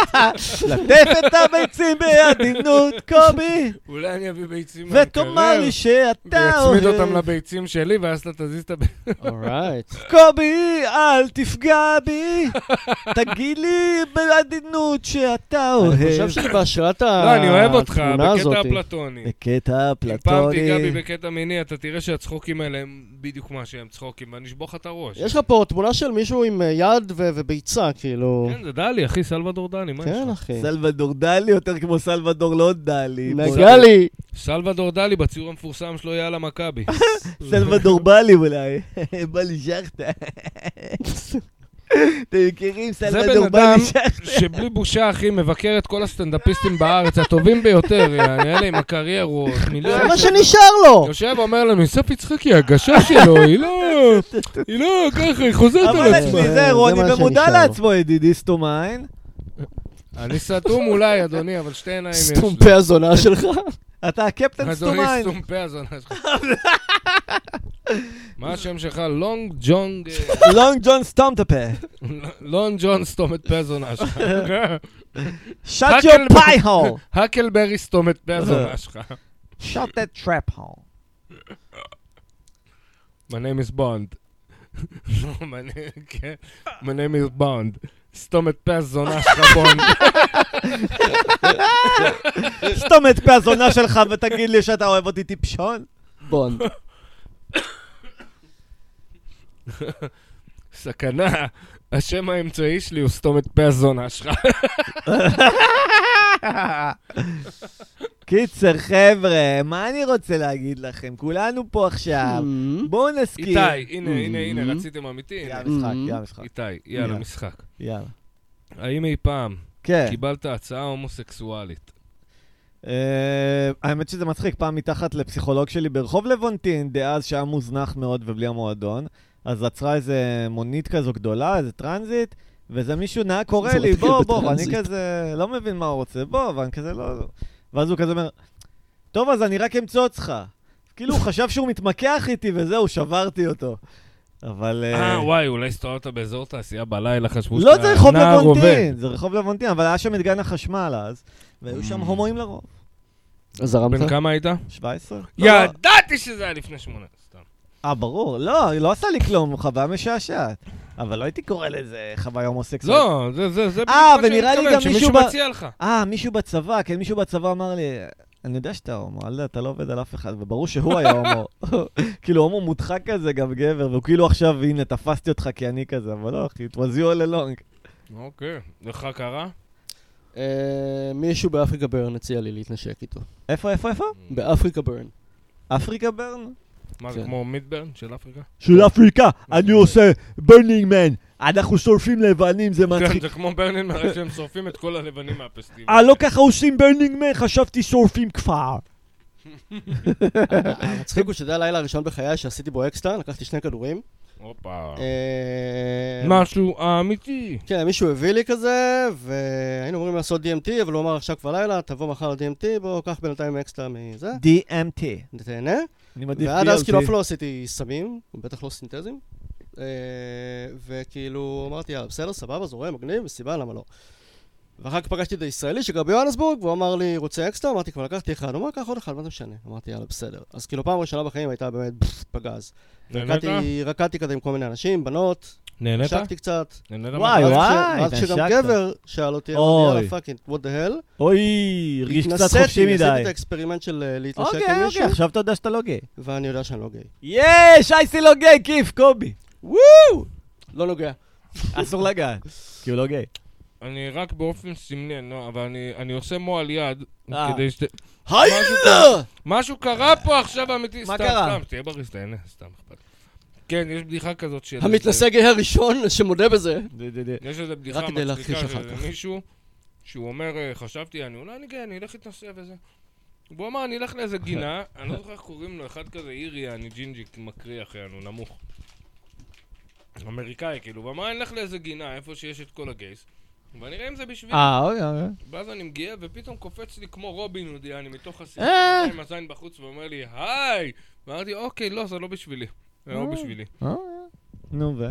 לטף את הביצים בעדינות, קובי,
אולי אני אביא ביצים מהמקרר,
ותאמר לי שאתה אוהב.
ויצמיד אותם לביצים שלי, ואז אתה תזיז את הב...
אורייט.
קובי, אל תפגע בי, תגיד לי בעדינות שאתה אוהב.
אני חושב שאני בהשראת ה-
לא, אני אוהב אותך,
אה, התמונה
בקטע
הזאתי.
הפלטוני.
בקטע
אם פעם תיגע בי
אפלטוני.
בקטע מיני, אתה תראה שהצחוקים האלה הם בדיוק מה שהם צחוקים, ואני אשבור לך את הראש.
יש לך פה תמונה של מישהו עם אה, יד ו- וביצה, כאילו.
כן, זה דלי, אחי, סלוודור דני, מה יש
כן,
לך?
אחי.
סלוודור דלי יותר כמו סלוודור לא דלי.
נגע לי.
סלוודור דלי בציור המפורסם שלו יאללה מכבי.
סלוודור בלי אולי. בלי שחטה. אתם מכירים
זה
סלוודור
בן אדם
בלי שחטה?
שבלי בושה, אחי, מבקר את כל הסטנדאפיסטים בארץ, הטובים ביותר, יעני, אלה עם הקריירות, מיליון...
זה מה שנשאר לו!
יושב ואומר לנו, יוסף יצחקי, ההגשה שלו, היא לא... היא לא ככה, היא חוזרת
אבל
על עצמה.
זה-
תיזהר,
זה
רוני
מה
במודע
שנשאר לו.
לעצמו, ידידי סתום העין.
אני סתום אולי, אדוני, אבל שתי עיניים יש לי.
סתום פה הזונה שלך.
אתה הקפטן סתום
אדוני
העין.
סתום פה הזונה שלך. מה השם שלך? לונג ג'ונג... אה,
לונג ג'ון סתום את הפה.
לונג ג'ון סתום את פה הזונה שלך.
Shut your
Huckleberry-
pie hole.
הקלברי סתום את פה הזונה שלך.
Shut that trap hole.
My name is Bond. לא, my name- כן. My name is Bond. סתום את פה הזונה שלך, בונד.
סתום את פה הזונה שלך ותגיד לי שאתה אוהב אותי טיפשון.
בונד.
סכנה. השם האמצעי שלי הוא סתום את פה הזונה שלך.
קיצר, חבר'ה, מה אני רוצה להגיד לכם? כולנו פה עכשיו.
Hmm. אמ,
בואו נזכיר.
איתי, הנה, הנה, הנה,
Mhm.
רציתם אמיתי?
יא
הנה.
המשחק,
Hmm.
יא המשחק.
איתי, יאללה,
Mm-hmm. יאללה.
משחק.
יאללה.
האם אי פעם
כן.
קיבלת הצעה הומוסקסואלית?
אה, האמת שזה מצחיק, פעם מתחת לפסיכולוג שלי ברחוב לבונטין, דאז שהיה מוזנח מאוד ובלי המועדון, אז עצרה איזה מונית כזו גדולה, איזה טרנזיט, ואיזה מישהו נהג קורא
זה
לי,
מתחיל
בוא, בוא, ואני
בטרנזיט.
כזה לא מבין מה הוא רוצה, בוא, ואני כזה לא... לא." ואז הוא כזה אומר, טוב, אז אני רק אמצוא אותך. כאילו, הוא חשב שהוא מתמקח איתי וזהו, שברתי אותו. אבל... אה,
אה, וואי, אולי הסתובבת באזור תעשייה בלילה, חשבו
לא, זה רחוב
נער עובד.
לבונטין, זה רחוב לבונטין, אבל היה שם את גן החשמל אז, והיו
Mm.
שם הומואים לרוב.
זרמת?
בן כמה היית?
17? לא, לא.
ידעתי שזה היה לפני שמונה. סתם.
אה, ברור. לא, היא לא עשה לי כלום, חוויה משעשעת. אבל לא הייתי קורא לזה חוויה הומוסקסואלית.
לא, זה- זה זה בדיוק
אה,
מה שאני
ונראה לי
מתכוון,
גם
שמישהו
מישהו ב-
מציע לך.
אה, מישהו בצבא, כן, מישהו בצבא אמר לי, אני יודע שאתה הומו, אל תדע, אתה לא עובד על אף אחד, וברור שהוא היה הומו. כאילו, הומו מודחק כזה, גם גבר, והוא כאילו עכשיו, הנה, תפסתי אותך כי אני כזה, אבל לא, אחי, it was you all along.
אוקיי, לך קרה?
אה, מישהו באפריקה ברן הציע לי להתנשק איתו.
איפה, איפה, איפה?
באפריקה ברן.
אפריקה ברן?
מה זה,
כן.
כמו מידברן של אפריקה?
של אפריקה, אני עושה ברנינג מן, אנחנו שורפים לבנים, זה
כן,
מצחיק.
זה כמו ברנין, הרי שהם שורפים את כל הלבנים מהפסטיבל.
אה, לא ככה עושים ברנינג מן, חשבתי שורפים כפר.
המצחיק הוא שזה הלילה הראשון בחיי שעשיתי בו אקסטה, לקחתי שני כדורים.
הופה.
אה,
משהו אמיתי.
כן, מישהו הביא לי כזה, והיינו אמורים לעשות DMT, אבל הוא אמר עכשיו כבר לילה, תבוא מחר DMT, בוא, קח בינתיים אקסטרה מזה,
DMT.
תהנה.
אני מעדיף
ועד אז
DLT.
כאילו אף לא עשיתי סמים, בטח לא סינתזים. אה, וכאילו אמרתי, יאללה, בסדר, סבבה, זורם, מגניב, מסיבה, למה לא? ואחר כך פגשתי את הישראלי שגר ביוהנסבורג, והוא אמר לי, רוצה אקסטרה? אמרתי, כבר לקחתי אחד. הוא אמר, קח עוד אחד, מה זה משנה? אמרתי, יאללה, בסדר. אז כאילו, פעם ראשונה בחיים הייתה באמת פפפ, פגז.
נהנית?
רקדתי- רקדתי כזה עם כל מיני אנשים, בנות,
נהנית?
שקתי קצת.
נהנית?
וואי,
מהקרב?
ואז כש-
וואי,
ואז כשגם
התנשקת.
גבר שאל אותי,
אוי.
אמרתי, יאללה, פאקינג, what the hell?
אוי, הרגיש קצת חופשי
התנסיתי, עשיתי
מדי.
את האקספרימנט של אה, להתנשק
אוקיי,
עם מישהו,
אוקיי, עכשיו אתה יודע שאתה לא גיי.
ואני יודע שאני לא גיי.
יש, אייסי לא גיי, כיף, קובי.
לא נוגע.
אסור לגעת, כי הוא לא גיי.
אני רק באופן סמלי, אני לא- אבל אני- אני עושה מועל יד,
אה.
כדי שת...
היי!
משהו קרה פה עכשיו אמיתי,
מה
סתם,
קרה?
סתם, שתהיה בריא, שתהנה, סתם אכפת. לי. כן, יש בדיחה כזאת של...
המתנשא גיי הראשון שמודה בזה.
יש איזו בדיחה
רק כדי
מצחיקה
להכחיש
של
אחר כך.
מישהו, שהוא אומר, אה, חשבתי, אני אולי אני גאה, אני אלך להתנשא וזה. והוא אמר, אני אלך לאיזה גינה, אני לא זוכר איך קוראים לו, אחד כזה אירי, אני ג'ינג'יק מקריא אחרינו, נמוך. אמריקאי, כאילו, הוא אמר, אני אלך לאיזה גינה, איפה שיש את כל הגייס, ואני אראה אם זה בשבילי.
אה, אוקיי, אוקיי.
ואז אני מגיע, ופתאום קופץ לי כמו רובין הודיאני מתוך
אה.
הסיפור, עם הזין בחוץ, ואומר לי, היי, ואמרתי, אוקיי, לא, זה לא בשבילי. זה לא
אה.
בשבילי.
אה, נו ו?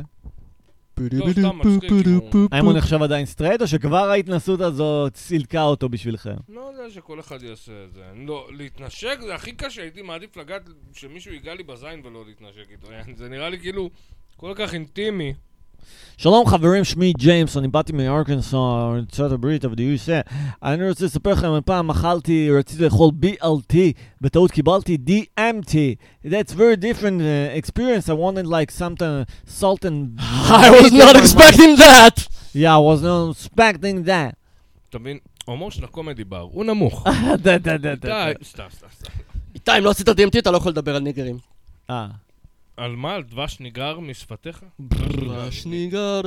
לא, סתם מצחיק, כאילו.
האם הוא נחשב עדיין סטרייט, או שכבר ההתנסות הזאת סילקה אותו בשבילכם?
לא יודע שכל אחד יעשה את זה. אני לא, להתנשק זה הכי קשה, הייתי מעדיף לגעת שמישהו ייגע לי בזין ולא להתנשק איתו. זה נראה לי כאילו כל כך אינטימי.
שלום חברים, שמי ג'יימס, אני באתי מארקנסו, ארצות הברית, אבל יהיו זה. אני רוצה לספר לכם, פעם אכלתי, רציתי לאכול BLT, בטעות קיבלתי DMT. That's very different uh, experience, I wanted like some uh, salt and...
I was not expecting that!
Yeah, I was not expecting that.
אתה מבין? ההומור של הקומדי בר, הוא נמוך.
דה, דה, דה, דה.
די, סתם, סתם, סתם.
איתי, אם לא עשית DMT אתה לא יכול לדבר על ניגרים.
אה.
על מה? על דבש ניגר משפתיך?
דבש ניגר.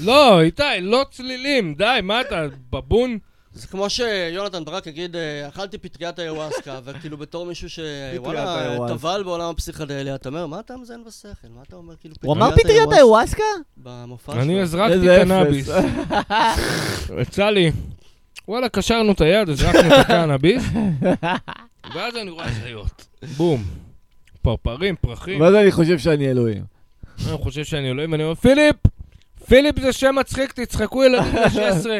לא, איתי, לא צלילים, די, מה אתה, בבון?
זה כמו שיונתן ברק יגיד, אה, אכלתי פטריית איוואסקה, וכאילו בתור מישהו שוואלה,
ayahuasca.
טבל בעולם הפסיכדליה, אתה אומר, מה אתה מזיין בשכל? מה אתה אומר כאילו
הוא אמר
ayahuasca?"
פטריות היוואסקה?
במופע שלו.
אני הזרקתי
איזה
קנאביס. יצא לי, וואלה, קשרנו את היד, הזרקנו את הקנאביס, ואז אני רואה חיות. בום. פרפרים, פרחים.
ואז אני חושב שאני אלוהים.
אני חושב שאני אלוהים, אני אומר, פיליפ! פיליפ זה שם מצחיק, תצחקו ילדים בני 16.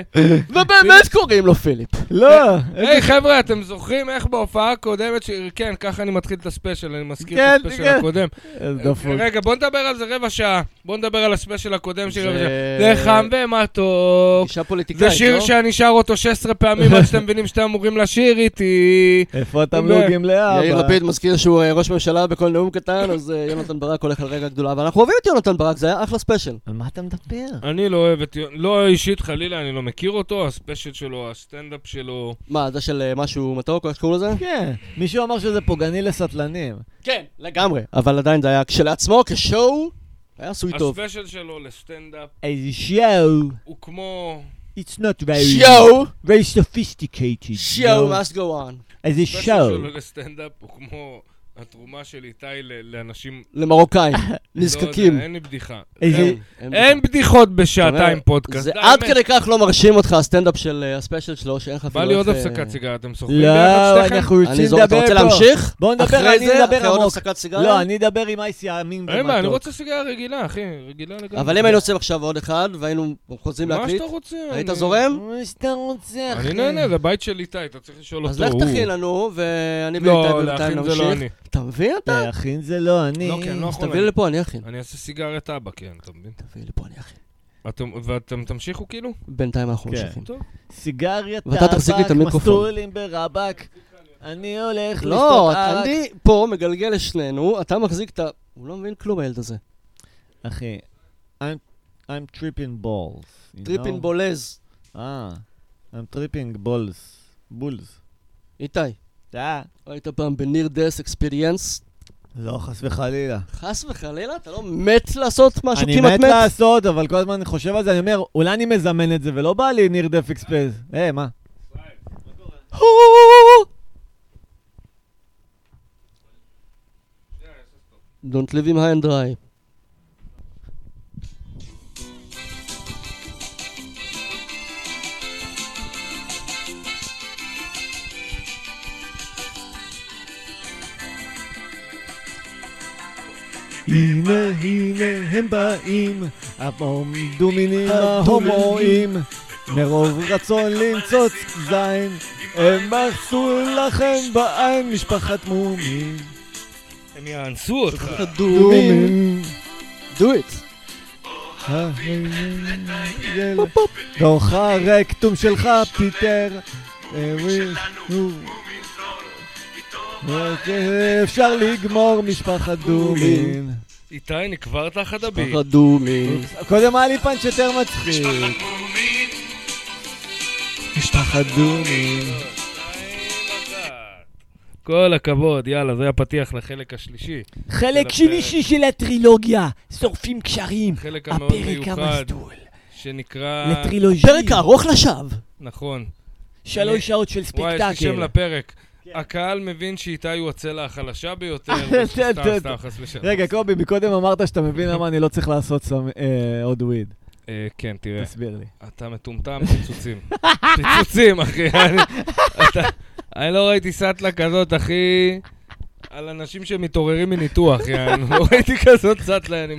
ובאמת קוראים לו פיליפ.
אוקיי.
לא!
היי חבר'ה, אתם זוכרים איך בהופעה הקודמת, ש- כן, ככה אני מתחיל את הספיישל, אני מזכיר את
כן,
הספיישל
כן.
הקודם.
איזה דפוק.
רגע, בוא נדבר על זה רבע שעה. בוא נדבר על הספיישל הקודם של רבע שעה.
זה-
זה חם
אה,
ומתוק.
אישה פוליטיקאית,
זה
לא?
שיר שאני שר אותו 16 פעמים עד שאתם מבינים שאתם אמורים לשיר איתי.
איפה התמלוגים לאבא?
יאיר לפיד מזכיר שהוא אה, ראש ממשלה בכל נאום קטן, אז אה, יונתן ברק הולך על רגע גדולה, אבל אנחנו אוהבים את יונתן ברק, זה היה אחלה ספיישל.
על מה אתה מדבר?
אני לא אוהב את... יו- לא אישית חלילה, אני לא מכיר אותו, הספיישל שלו, הסטנדאפ שלו.
מה, זה של אה, משהו מתוק, או איך שקוראים לזה?
כן, מישהו אמר שזה פוגעני לסטלנים.
כן, לגמרי. אבל עדיין זה היה כשלעצמו, כשואו, היה עשוי טוב.
הספיישל שלו לסטנדאפ
איזה שואו,
הוא כמו...
it's not very,
שואו,
very sophisticated.
שואו,
you know?
must go on.
איזה
הספיישל
שואו.
שלו לסטנדאפ הוא כמו התרומה של איתי ל- לאנשים...
למרוקאים,
לא
נזקקים.
יודע, אין לי בדיחה.
איזה...
אין- אין-
אין בדיחות
אתה
בשעתיים
אומר,
פודקאסט.
זה
די,
עד
מת.
כדי כך לא מרשים אותך הסטנדאפ של אה, הספיישל שלו, שאין לך אפילו
בא לי עוד
אה,
הפסקת סיגריה, אתם סוחרים ביחד
לא,
שתיכם?
אנחנו רוצים
אני זורק,
לדבר
אתה
פה.
רוצה להמשיך?
בוא נדבר,
אחרי
אני
זה,
אדבר
אחרי עוד
עמוק.
הפסקת סיגריה?
לא, אני אדבר עם אייסי האמין
אין בעיה, אה, אני
במתוק.
רוצה סיגריה רגילה, אחי, רגילה לגמרי.
אבל אם היינו עושים עכשיו עוד אחד, והיינו חוזרים
מה
להקליט,
שאתה רוצה.
היית
אני-
זורם?
מה שאתה רוצה, אחי.
אני נהנה, זה בית של איתי, אתה צריך לשאול אותו.
אז לך
הוא-
תכין לנו, ואני
לא,
ואיתי בינתיים
להכין זה לא
נמשיך.
אני.
אתה מבין אתה?
אה, אחי, זה לא אני.
לא, כן, לא
אז
יכול.
תביא לי לפה, אני אכין.
אני אעשה סיגריה טבק, כן, אתה מבין?
תביא לי לפה, אני אכין.
אתם- ואתם תמשיכו כאילו?
בינתיים אנחנו
כן.
ממשיכים.
טוב.
סיגריה,
ואתה תחזיק לי את
טבק,
המיקרופון.
מסטולים ברבק. אני הולך
לא,
לשתות ערק.
אני פה מגלגל לשנינו, אתה מחזיק את ה... הוא לא מבין כלום, הילד הזה.
אחי, I'm, I'm tripping balls. you
טריפין
know?
בולז.
אה, I'm tripping balls. בולס.
איתי,
אה.
היית פעם בניר דס אקספיריאנס?
לא, חס וחלילה.
חס וחלילה, אתה לא מת לעשות משהו
אני
כמעט
מת
מת?
לעשות, אבל כל הזמן אני חושב על זה, אני אומר, אולי אני מזמן את זה, ולא בא לי ניר דף אקספרס. היי, אה, מה?
הו! Don't live him high and dry.
הנה, הנה, הם באים, הדומינים ההומואים, מרוב רצון למצוץ זין, הם עשו לכם בעין משפחת מומים.
הם יאנסו אותך.
דומים.
Do it.
תוך הרקטום שלך, פיטר. אפשר לגמור משפחת דומין.
איתי, נקבר תחת הבי.
ככה דומי.
קודם היה לי פאנץ' יותר מצחיק. משפחת דומין.
כל הכבוד, יאללה, זה הפתיח לחלק השלישי.
חלק
הפרק.
שלישי של הטרילוגיה, שורפים קשרים,
החלק המאוד
הפרק
מיוחד,
המסדול,
שנקרא...
לטרילוגיה,
פרק הארוך לשווא.
נכון. אני-
שלוש שעות של
וואי, יש לי שם
ספקטקל.
לפרק.
כן.
הקהל מבין שאיתי הוא הצלע החלשה ביותר, וסתם, סתם, חס ושלום.
רגע, קובי, מקודם אמרת שאתה מבין למה אני לא צריך לעשות סם- אה, עוד וויד.
אה, כן, תראה,
תסביר לי.
אתה מטומטם פיצוצים. פיצוצים, אחי. אני- אתה- אני לא ראיתי סאטלה כזאת, אחי, על אנשים שמתעוררים מניתוח, יענו. לא ראיתי כזאת סאטלה, אני...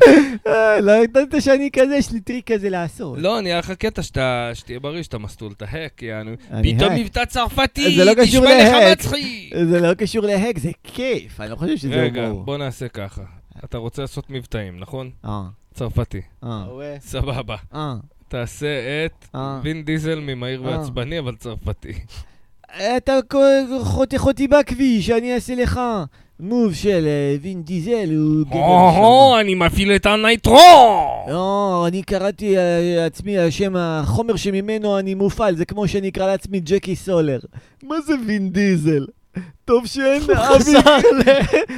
אה, לא ידעת שאני כזה, יש לי טריק כזה לעשות.
לא, נהיה לך קטע שאתה- שתהיה בריא, שאתה מסטול את ההק, יענו.
אני
פתאום
האק.
מבטא צרפתי,
זה לא קשור
תשמע לך
להאק.
מצחיק.
זה לא קשור להק, זה כיף, אני לא חושב שזה
רגע,
הומור.
בוא נעשה ככה. אתה רוצה לעשות מבטאים, נכון?
אה,
צרפתי.
אה,
אוקיי.
אה,
סבבה.
אה.
תעשה את
אה.
וין דיזל ממהיר
אה.
ועצבני, אבל צרפתי.
אתה כל- חותי חותי בכביש, אני אעשה לך מוב של אה, וין דיזל, הוא גבר שם.
אני מפעיל את הנייטרו!
לא, אני קראתי אה, עצמי, השם, החומר שממנו אני מופעל, זה כמו שנקרא לעצמי ג'קי סולר. מה זה וין דיזל? טוב שאין אבי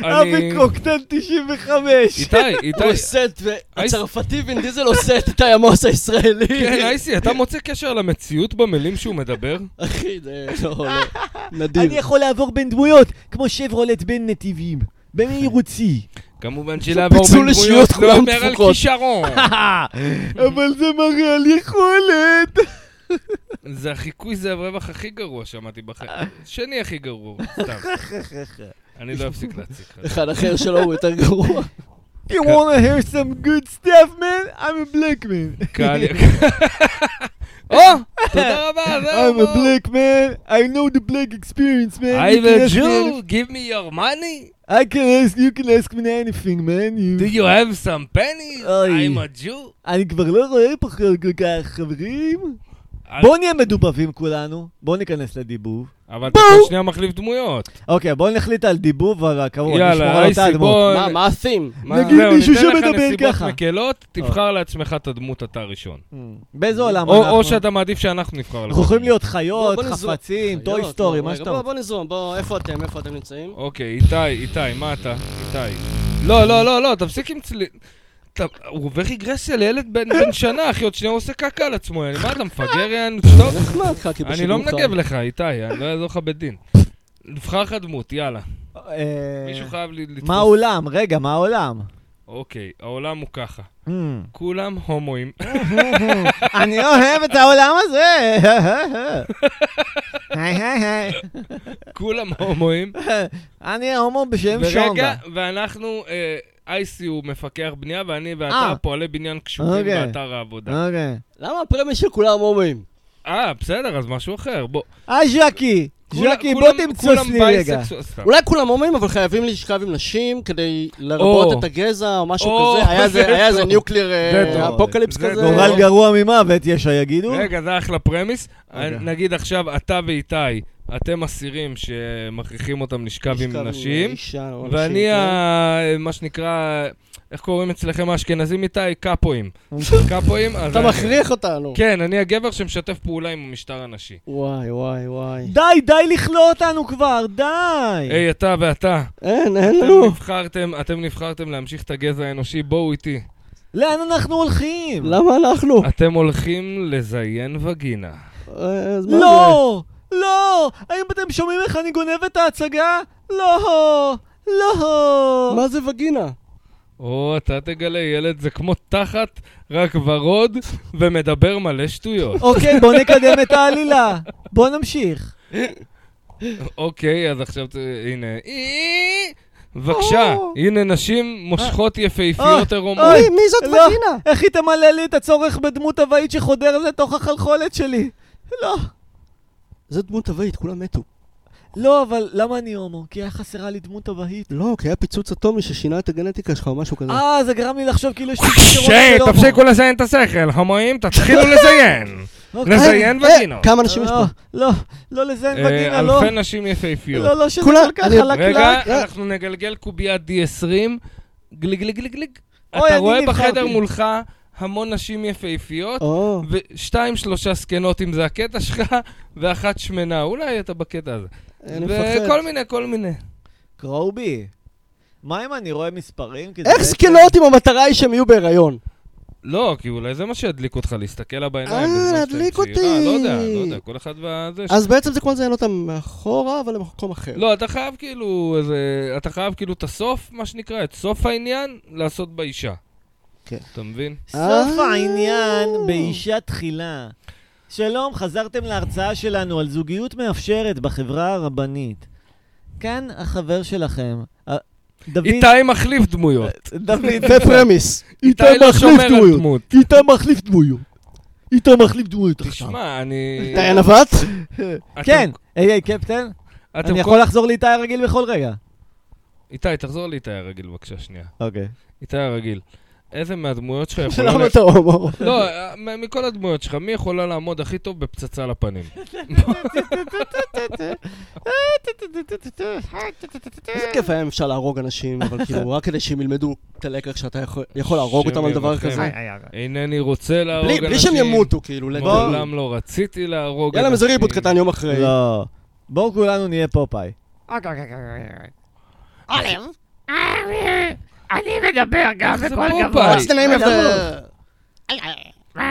אני-
אבי קוקטן 95.
איתי, איתי,
הוא עושה את...
אייס-
הצרפתי וין דיזל עושה את איתי עמוס הישראלי.
כן, אייסי, אתה מוצא קשר למציאות במילים שהוא מדבר?
אחי, זה... לא, לא.
אני
נדיר.
יכול לעבור בין דמויות, כמו שברולט בין נתיבים, במהירות שיא.
כמובן שלעבור
פיצול
בין דמויות
אישיות,
לא
כולם
אומר על
דפוקות.
כישרון.
אבל זה מראה על יכולת.
זה החיקוי, זה הרווח הכי גרוע שמעתי בחיים. שני הכי גרוע, סתם. אני לא אפסיק להציג לך.
אחד אחר שלו הוא יותר גרוע.
You wanna hear some good stuff, man? I'm a black man.
קהל יקר. או, תודה רבה,
אה, I'm a
זהו.
black man. I know the black experience, man. You
I'm
can
a
ask me
Jew, give me your money.
any- I can ask, you can ask me anything, man.
Do
You...
you have some pennies?
אוי.
I'm a Jew.
אני כבר לא רואה פה כל כך, חברים.
אז-
בואו נהיה מדובבים כולנו. בואו ניכנס לדיבוב.
אבל אתה
בואו.
כל שנייה מחליף דמויות.
אוקיי, בואו נחליט על דיבוב, אבל כמובן,
יאללה,
נשמור על אותה
אייסי,
דמות.
בוא-
מה, מה ה-theme? מה-
נגיד
זהו,
מישהו
ניתן לך
שמדבר
נסיבות
ככה. אה.
מקלות, תבחר לעצמך את הדמות אתה ראשון.
Hmm. באיזה עולם
או
אנחנו?
או שאתה מעדיף שאנחנו נבחר לך.
אנחנו יכולים להיות
בוא-
חיות,
בוא נזרום.
חפצים,
חיות,
טוי סטורי,
בוא,
מה
רגע,
שאתה
בוא-
רוצה.
בוא נזרום, בוא, איפה אתם? איפה אתם נמצאים?
אוקיי, איתי, איתי, מה אתה? איתי. לא, לא, לא, לא, תפסיק עם צליל. אתה- הוא עובר רגרסיה לילד בן בן שנה, אחי, עוד שנייה הוא עושה קקה על עצמו, יעני, מה אתה מפגר, יענו, טוב.
נחמד לך, כי
אני לא
בשידור
מנגב
חי.
לך, איתי, אני לא אעזור לך בדין. נבחר לך דמות, יאללה.
אה,
מישהו חייב לי לתפוס.
מה העולם? רגע, מה העולם?
אוקיי, העולם הוא ככה.
Hmm.
כולם הומואים.
אני לא אוהב את העולם הזה! היי היי היי.
כולם הומואים.
אני הומו בשם שונדה.
ורגע, ואנחנו, אה, אייסי הוא מפקח בנייה, ואני ואתה
אה.
פועלי בניין קשוחים
אוקיי.
באתר העבודה.
אוקיי.
למה הפרמיה של כולם הומואים?
אה, בסדר, אז משהו אחר. בוא.
אה, ז'קי!
כולם-
ז'קי,
כולם-
בוא תמצוץ
כולם
לי רגע.
בייסקסואל- סתם.
אולי כולם הומואים, אבל חייבים לשכב עם נשים כדי לרבות
או.
את הגזע או משהו
או,
כזה. היה
זה
זה- היה איזה
טוב.
ניוקליר אה,
זה טוב.
אפוקליפס
זה
כזה.
טוב.
גורל גרוע ממוות יש, שיגידו?
אה, רגע, זה אחלה פרמיס.
אוקיי.
נגיד עכשיו, אתה ואיתי, אתם אסירים שמכריחים אותם לשכב
לשכב
עם נשים,
אישה או נשים,
ואני,
כן.
ה- מה שנקרא, איך קוראים אצלכם האשכנזים איתי? קאפואים. קאפואים, אז...
אתה
אני-
מכריח אותנו.
כן, אני הגבר שמשתף פעולה עם המשטר הנשי.
וואי, וואי, וואי.
די, די לכלוא אותנו כבר, די!
היי, אתה ואתה,
אין, אין
לא.
אתם
לנו.
נבחרתם, אתם נבחרתם להמשיך את הגזע האנושי, בואו איתי.
לאן אנחנו הולכים?
למה אנחנו?
אתם הולכים לזיין וגינה.
אה, אז מה זה?
לא! לא! האם אתם שומעים איך אני גונב את ההצגה? לא! לא!
מה זה וגינה?
או, אתה תגלה, ילד, זה כמו תחת, רק ורוד, ומדבר מלא שטויות.
אוקיי, בוא נקדם את העלילה. בוא נמשיך.
אוקיי, אז עכשיו, זה- הנה. בבקשה, הנה נשים מושכות יפהפיות עירומות.
אה, אוי,
מי זאת
לא, איך היא תמלא לי את הצורך בדמות הוואית שחודר לתוך החלחולת שלי? לא.
זו דמות טבעית, כולם מתו.
לא, אבל למה אני הומו? כי היה חסרה לי דמות הוואית.
לא, כי היה פיצוץ אטומי ששינה את הגנטיקה שלך או משהו כזה.
אה, זה גרם לי לחשוב כאילו יש לי
שיי, תפסיקו לזיין את השכל, הומואים, תתחילו לזיין.
אוקיי.
נזיין
אה,
וגינות.
כמה אנשים יש
לא,
פה?
לא, לא לזיין
אה,
וגינה, לא.
אלפי נשים יפהפיות.
לא, לא, שזה
כולם-
כל כך
אני-
חלקלק.
כן.
רגע, אנחנו נגלגל קוביית D20, גליג גליג גליג גליג.
אוי,
אתה
אני
רואה
נבחרתי.
בחדר מולך המון נשים יפהפיות,
או,
ושתיים, שלושה זקנות אם זה הקטע שלך, ואחת שמנה, אולי אתה בקטע הזה.
אני
וכל
מפחד.
מיני, כל מיני.
קרובי, מה אם אני רואה מספרים? כי זה
איך
בעצם-
זקנות אם המטרה היא שהם יהיו בהיריון?
לא, כי אולי זה מה שידליק אותך, להסתכל לה בעיניים.
אה,
בזמן שאתה
להדליק
עם צעירה.
אותי.
לא יודע, לא יודע, כל אחד וזה. ש-
אז בעצם זה כמו לזיין אותם מאחורה, אבל למקום אחר.
לא, אתה חייב כאילו, איזה- אתה חייב כאילו את הסוף, מה שנקרא, את סוף העניין, לעשות באישה.
כן.
אתה מבין?
סוף
אה.
העניין באישה תחילה. שלום, חזרתם להרצאה שלנו על זוגיות מאפשרת בחברה הרבנית. כאן החבר שלכם, ה- דוד...
איתי מחליף דמויות.
דוד,
זה פרמיס.
איתי לא שומר על דמות.
איתה מחליף דמויות. איתה מחליף דמויות
תשמע, אני...
איתי הנווט?
אתם-
כן, היי היי קפטן,
אתם
אני
כל-
יכול לחזור לאיתי הרגיל בכל רגע.
איתי, תחזור לאיתי הרגיל בבקשה שנייה.
אוקיי.
איתי הרגיל. איזה מהדמויות שלך יכולה...
למה
לה-
אתה הומו?
לא, מ- מכל הדמויות שלך, מי יכולה לעמוד הכי טוב בפצצה לפנים?
איזה כיף היה אם אפשר להרוג אנשים, אבל כאילו, רק כדי שהם ילמדו את הלקח שאתה יכול- יכול להרוג אותם על דבר
שמי
כזה.
ירחם. אינני רוצה להרוג
בלי
אנשים.
בלי שהם ימותו, כאילו, לגמרי.
מעולם לא רציתי להרוג
יאללה,
אנשים.
איזה ריבוט קטן יום אחרי.
לא. בואו כולנו נהיה פופאי.
אולב, אני מדבר גם
זה
בקול גבוה.
פופאי.
What's the name of the... לא?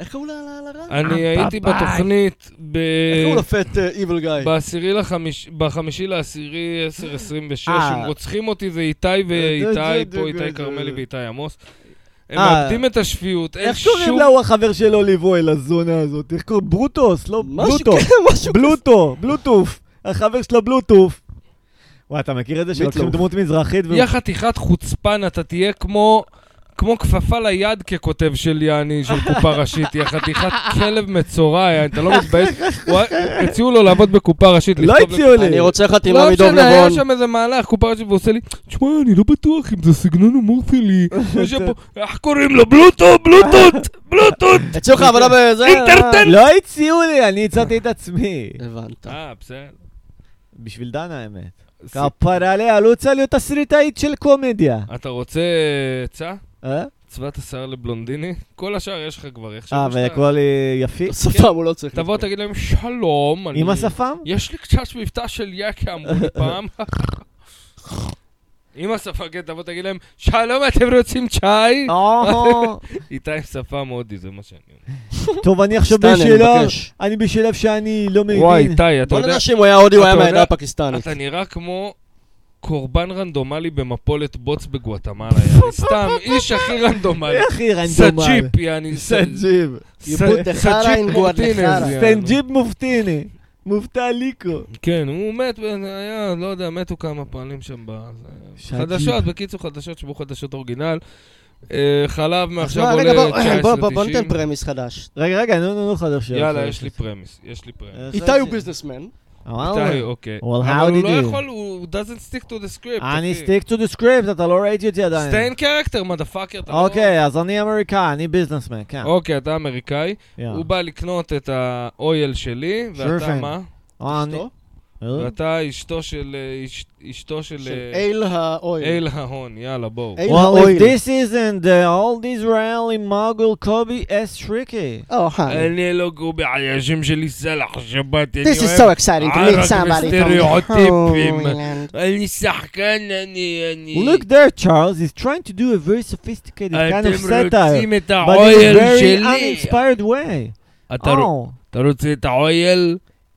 איך קראו לה- לה- לה- לה?
אני הייתי בתוכנית ב...
איך אה, קראו לפט איבל גיא?
בעשירי לחמיש... בחמישי לעשירי 1026,
אה.
אם רוצחים אותי זה איתי ואיתי פה, איתי כרמלי ואיתי עמוס. הם
אה.
מאבדים את השפיות, אין
איך
שום...
קוראים לה הוא החבר שלו ליבוי לזונה הזאת? איך קוראים? ברוטוס, לא
משהו
בלוטו.
כזה, משהו
בלוטו, בלוטוף. החבר שלו בלוטוף. וואי, אתה מכיר את זה שלוקחים
ביטלוף.
דמות מזרחית? ו-
יא חתיכת חוצפן, אתה תהיה כמו... כמו כפפה ליד ככותב של יעני, של קופה ראשית, יא חתיכת כלב מצורע, יעני, אתה לא מתבייש? הוא- הציעו לו לעבוד בקופה ראשית,
לא
לכתוב
הציעו לי.
אני רוצה חתימה
לא
מדוב
משנה, היה
נבון.
שם איזה מהלך, קופה ראשית, והוא עושה לי, תשמע, אני לא בטוח אם זה סגנון הומור שלי. הוא יושב פה, איך קוראים לו? בלוטו, בלוטות, בלוטות,
הציעו לך עבודה בזה?
אינטרטן.
לא הציעו לי, אני הצעתי את עצמי.
הבנת.
אה, בסדר.
בשביל דנה, האמת. כפרה עליה, לא רוצה להיות תסריטאית של קומדיה.
אתה רוצה עצה?
אה?
צבת השיער לבלונדיני? כל השאר יש לך כבר, איך
אה,
שאתה-
והכל אה, יפי?
שפם הוא לא צריך.
תבוא, תגיד להם, שלום, אני...
עם השפם?
יש לי קצת מבטא של יקה, אמרו לי פעם. עם השפה, כן, תבוא, תגיד להם, שלום, אתם רוצים צ'אי?
אה. או,
איתי עם שפה מאוד, זה מה שאני אומר.
טוב, אני עכשיו
סטן, אני
בשלב,
מבקש.
אני בשלב שאני לא מבין.
וואי, איתי, אתה
בוא
יודע...
נדע שאם הוא היה הודי, הוא היה
אתה יודע-
מהעדה הפקיסטנית.
אתה נראה כמו קורבן רנדומלי במפולת בוץ בגואטמלה, יעני. סתם, איש הכי רנדומלי.
הכי רנדומלי.
סג'יפ, יעני. ס-
סג'יב.
עיבוד
ס-
דחלה
סג'יפ
עם
מורטינז,
גואטמלה.
יעני.
סטנג'יב מופטיני. מופתע ליקו.
כן, הוא מת, היה, לא יודע, מתו כמה פעמים שם ב...
סג'יפ.
חדשות, בקיצור, חדשות שבו חדשות אורגינל. אה, חלב מעכשיו
שמע, רגע, בוא-
עולה
בוא- בוא- בוא
19.90.
ניתן פרמיס חדש.
רגע, רגע, נו, נו, נו, חדש.
יאללה, יש לי פרמיס, יש לי פרמיס.
איתי הוא ביזנסמן.
איתי, אוקיי.
Well, how
אבל הוא
did
לא
you?
יכול, הוא doesn't stick to the script.
אני stick to the script, אתה לא ראיתי אותי עדיין.
סטיין קרקטר, מדפאקר.
אוקיי, אז אני אמריקאי, אני ביזנסמן, כן.
אוקיי, אתה אמריקאי.
יאללה.
הוא בא לקנות את האויל שלי, ואתה
Surfing.
מה?
אה, אני-
אשתו?
אה?
ואתה אשתו של... אה, אש- אשתו של...
של
אה,
אייל האויל.
אל ההון, יאללה, בואו.
אייל
Well, if
האויל.
this isn't uh, the old Israeli mogul Kobe S. Tricky.
Oh, hi.
אני לא גובי עיישים שלי סלח שבת, אני
This is so
אוהב...
exciting to
I like
meet somebody from
stereotyping.
homeland.
אני שחקן, אני... אני...
Look there, Charles. He's trying to do a very sophisticated kind
אתם
of satire,
רוצים את
but in a
האויל
very
שלי.
uninspired way.
אתה רוצ-
Oh.
אתה רוצה את האויל?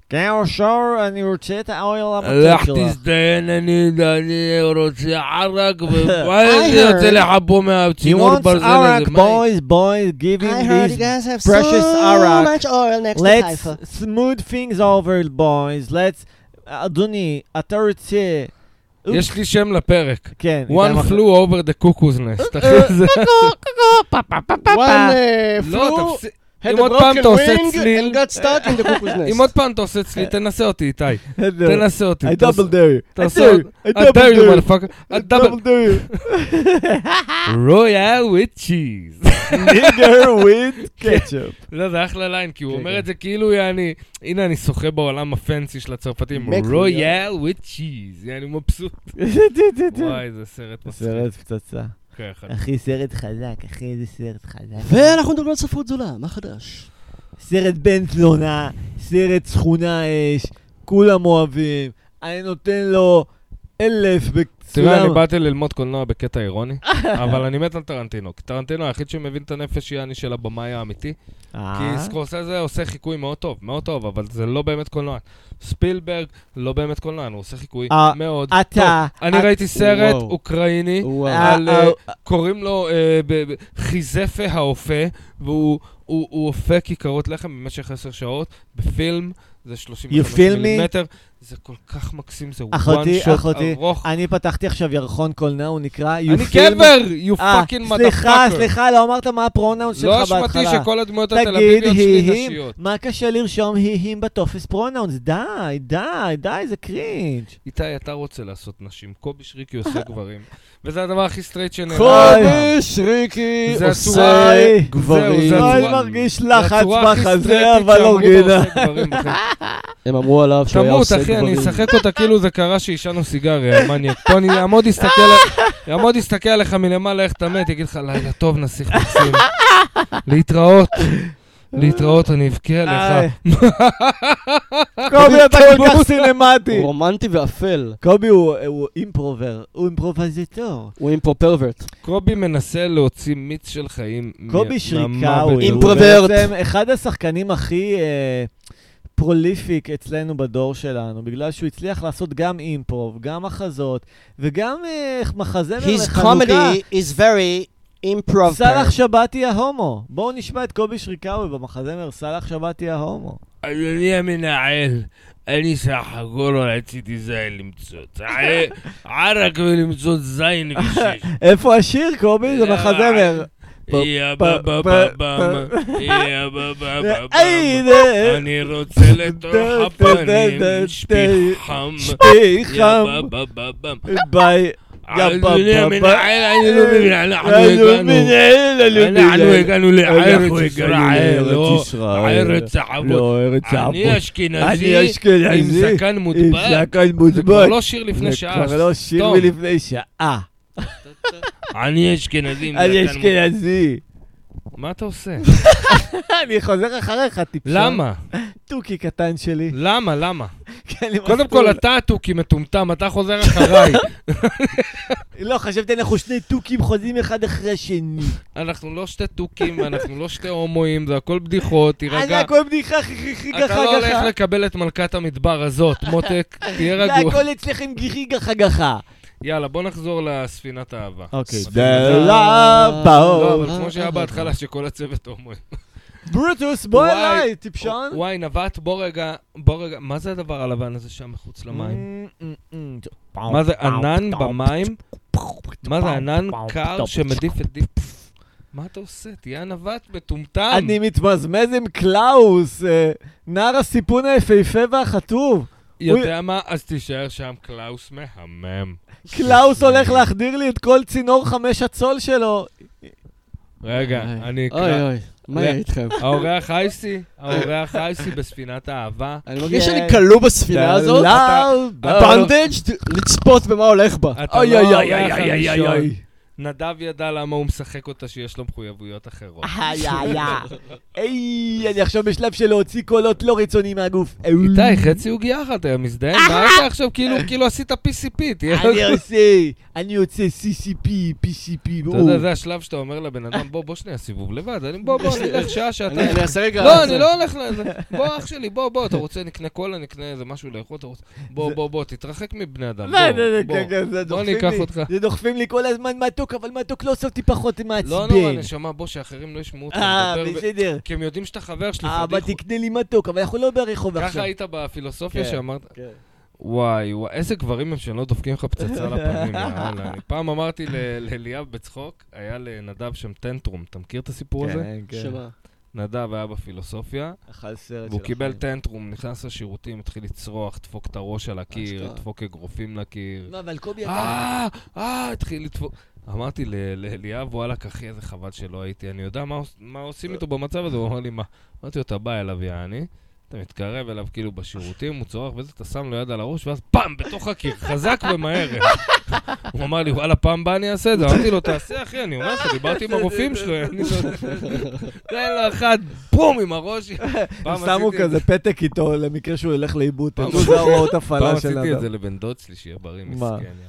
כן, או שור, אני רוצה את האויל
לך
המתוק שלך.
תזדיין, אני אני רוצה ערק, ומה
I
אני רוצה
heard-
לחבו
He
מהצינור
wants
ברזל הזה?
arak,
מה היא?
boys, boys, giving
I heard you
these...
guys have so
precious Iraq.
much oil next to
Let's
Haifa.
smooth things over, boys. Let's... uh, אדוני, אתה רוצה...
יש לי שם לפרק.
כן. איתי
One
מח-
flew over the cuckoo's nest, אחי, זה...
One uh,
לא,
flew,
תפסיק.
had
אם
a
עוד פעם
broken
אתה עושה
wing
צליל-
and got stuck in the cuckoo's nest.
אם עוד פעם אתה עושה צליל,
כן.
תנסה אותי, איתי. תנסה אותי.
אה, I double dare you. I
תעשה-
dare you. I double
דאר
dare
יו
you.
מלפאקר.
I double dare you.
רויאל with cheese.
Nigger with ketchup.
לא, זה אחלה ליין, כי הוא
כן,
אומר
כן.
את זה כאילו, יעני, הנה אני שוחה בעולם הפנסי של הצרפתים.
Mac
רויאל with cheese. יעני מבסוט. וואי, זה סרט מצחיק.
סרט אה, פצצה.
כן, אחד.
אחי, סרט חזק, אחי, איזה סרט חזק.
ואנחנו מדברים על ספרות זולה, מה חדש?
סרט בן תלונה, סרט שכונה אש, כולם אוהבים, אני נותן לו אלף
תראה,
בסולם.
אני באתי ללמוד קולנוע בקטע אירוני, אבל אני מת על טרנטינו. כי טרנטינו היחיד שמבין את הנפש יעני של הבמאי האמיתי.
אה?
כי סקורסזה עושה חיקוי מאוד טוב, מאוד טוב, אבל זה לא באמת קולנוען. ספילברג לא באמת קולנוען, הוא עושה חיקוי
אה,
מאוד
אתה-
טוב. אני
את-
ראיתי סרט
וואו.
אוקראיני,
וואו.
על,
אה,
אה, קוראים לו אה, ב- ב- חיזפה האופה, והוא הוא הוא הוא הופק כיכרות לחם במשך עשר שעות, בפילם זה
You
35
feel me?
מילימטר, זה כל כך מקסים, זה וואן
אחותי,
שוט
אחותי,
ארוך.
אני פתחתי עכשיו ירחון קולנוע, הוא נקרא... You
אני
Feel Me-
גבר, you
אה,
fucking
סליחה,
motherfucker.
סליחה, לא אמרת מה הפרונאונס שלך
לא
בהתחלה.
אשמתי שכל הדמויות התל
תגיד
אביביות שלי
היהים,
נשיות.
מה קשה לרשום היהים בטופס פרונאונס? די, די, די, זה קרינג'.
איתי, אתה רוצה לעשות נשים, קובי שריקי עושה גברים. וזה הדבר הכי סטרייט שנראה.
קובי
שריקי
זה הצורה-
אוי,
גברים. זה
אני
הצורה-
מרגיש
זה
לחץ
הצורה הכי
בחזה,
סטרייטית
אבל לא
שאמרו
אורגינל.
לו עושה גברים בחיים.
הם אמרו עליו שהוא היה
תמות,
עושה
אחי, אני
גברים.
אשחק אותה כאילו זה קרה שעישנו סיגריה, מניאק. פה אני אעמוד, אסתכל על- אעמוד, אסתכל עליך מלמעלה, איך אתה מת, יגיד לך, לילה טוב, נסיך מקסים. להתראות. להתראות, אני אבכה
איי.
עליך.
קובי, אתה כל כך סינמטי.
הוא רומנטי ואפל,
קובי הוא הוא אימפרובר, הוא אימפרובזיטור.
הוא אימפו פרוורט.
קובי מנסה להוציא מיץ של חיים.
קובי
מה-
שריקה
מהמוות.
הוא
אימפרוברט.
בעצם אחד השחקנים הכי אה, פרוליפיק אצלנו בדור שלנו, בגלל שהוא הצליח לעשות גם אימפרוב, גם מחזות, וגם אה, מחזמר
His
לחנוכה.
comedy is very improv.
סאלח שבתי ההומו. בואו נשמע את קובי שריקאווי במחזמר סאלח שבתי ההומו.
אדוני המנהל, אני סך הכל רציתי זין למצוץ. ערק ולמצוץ זין ושש.
איפה השיר, קובי? זה מחזמר.
יא בבבבם, יא בבבבם.
היי, זה-
אני רוצה לתוך
דה, דה, דה, דה.
הפנים, שפיך חם.
שפי
יא
חם,
בבבבם.
ביי.
אדוני
בבבם.
המנהל, אני לא מבין, אנחנו הגענו. אנחנו
הגענו.
הגענו לארץ
הגענו
ישראל, לא
לארץ ישראל.
ארץ העבוד.
לא, ארץ
אני
האבות.
אשכנזי עם
אשכנזי.
זקן
עם
מוטבע.
זקן
זה כבר
מודבק.
לא שיר לפני שעה.
זה כבר לא שיר
סתום.
מלפני שעה.
אני אשכנזי עם
אני
זקן מוטבע.
אשכנזי.
מה אתה עושה?
אני חוזר אחריך, טיפשון.
למה?
תוכי קטן שלי.
למה? למה?
כן, אני
קודם
מסטול.
כל, אתה התוכי מטומטם, אתה חוזר אחריי.
לא, חשבתי אנחנו שני תוכים חוזים אחד אחרי השני.
אנחנו לא שתי תוכים, ואנחנו לא שתי הומואים, זה הכל בדיחות,
זה
תירגע.
הכל בדיחה חיכי
אתה
גחה
לא הולך
גחה.
לקבל את מלכת המדבר הזאת, מותק, תהיה
זה
רגוע.
הכל אצלכם גיחי גחה גחה.
יאללה, בוא נחזור לספינת האהבה.
אוקיי.
זה-
לא,
לא,
באור.
אבל כמו שהיה
אה.
בהתחלה, שכל הצוות הומואים.
ברוטוס, בוא
וואי,
אליי, טיפשון.
וואי, נווט, בוא רגע, בוא רגע, מה זה הדבר הלבן הזה שם מחוץ למים?
מ- מ- מ-
מה זה ענן במים? מה זה ענן קר שמדיף את דיפ... מה אתה עושה? תהיה נווט מטומטם.
אני מתמזמז עם קלאוס, אה, נער הסיפון היפהפה והחטוב.
יודע מה? אז תישאר שם, קלאוס מהמם.
קלאוס הולך להחדיר לי את כל צינור חמש הצול שלו.
רגע,
אוי.
כן, אני
אוי
אקרא.
אוי, מה
לא.
יהיה איתכם?
האורח אייסי, האורח אייסי בספינת האהבה.
אני מרגיש שאני
כן.
כלוא בספינה הזאת.
אה,
בנדג'ד, לצפות במה הולך בה.
אתה
אוי
לא
אוי אוי
האורח
אוי אוי אוי
הראשון.
אוי.
נדב ידע למה הוא משחק אותה שיש לו מחויבויות אחרות.
איי, איי, איי, אני עכשיו בשלב של להוציא קולות לא רצוניים מהגוף.
איתי, חצי עוגיה אחת היה מזדהן, מה אתה עכשיו כאילו כאילו עשית PCP, תהיה...
אני עושה, אני עושה CCP, PCP,
אתה יודע, זה השלב שאתה אומר לבן אדם, בוא, בוא שנייה סיבוב לבד, אני- בוא, בוא, נלך שעה,
אני
שעתיים.
אני אעשה רגע...
לא, אני לא הולך לזה. בוא, אח שלי, בוא, בוא, אתה רוצה, נקנה קולה, נקנה איזה משהו לאכול, אתה רוצה... בוא, בוא, בוא, תתרחק מבני אדם.
לא,
בוא, בוא. בוא, אני אקח אותך.
כן, זה דוחפים לי כל הזמן מתוק, אבל מתוק לא עושה אותי פחות מעצבן.
לא נורא, נשמה, בוא, שאחרים לא ישמעו אותך
אה,
מדבר, ו-
בסדר.
כי הם יודעים שאתה חבר שלי,
אבא,
פדיחו.
אה, תקנה לי מתוק, אבל אנחנו לא ברחוב
ככה
עכשיו.
היית בפילוסופיה
כן,
שאמרת?
כן.
וואי, וואי, איזה גברים הם שלא דופקים לך פצצה לפנים, יאללה. אני פעם אמרתי ל- לאליאב בצחוק, היה לנדב שם טנטרום, אתה מכיר את הסיפור
כן,
הזה?
שמה?
נדב היה בפילוסופיה,
אכל סרט
והוא
של
קיבל
החיים.
טנטרום, נכנס לשירותים, התחיל לצרוח, דפוק את הראש על הקיר,
אשכרה.
דפוק אגרופים לקיר.
לא, אבל קובי, אתה...
אה, אה, התחיל לדפוק. אמרתי ל- לאליאב, וואלכ, אחי, איזה חבל שלא הייתי. אני יודע מה עוש- מה עושים איתו במצב הזה, הוא אמר לי, מה? אמרתי לו, אתה בא אליו, יעני, אתה מתקרב אליו כאילו בשירותים, הוא צורח וזה, אתה שם לו יד על הראש, ואז פעם, בתוך הקיר, חזק ומהר. הוא אמר לי, וואלה, פעם הבאה אני אעשה את זה. אמרתי לו, תעשה, אחי, אני אומר לך, דיברתי עם הרופאים שלו, אני לא... תן לו אחד, בום, עם הראש.
הם
פעם
שמו
עשיתי את
כזה פתק איתו למקרה שהוא ילך לאיבוד.
פעם
תדעו, זה ההוראות
פעם
הפעלה של
עשיתי את
האדם.
זה לבן דוד שלי, שיהיה בריא,
מה?
מסכן. יא.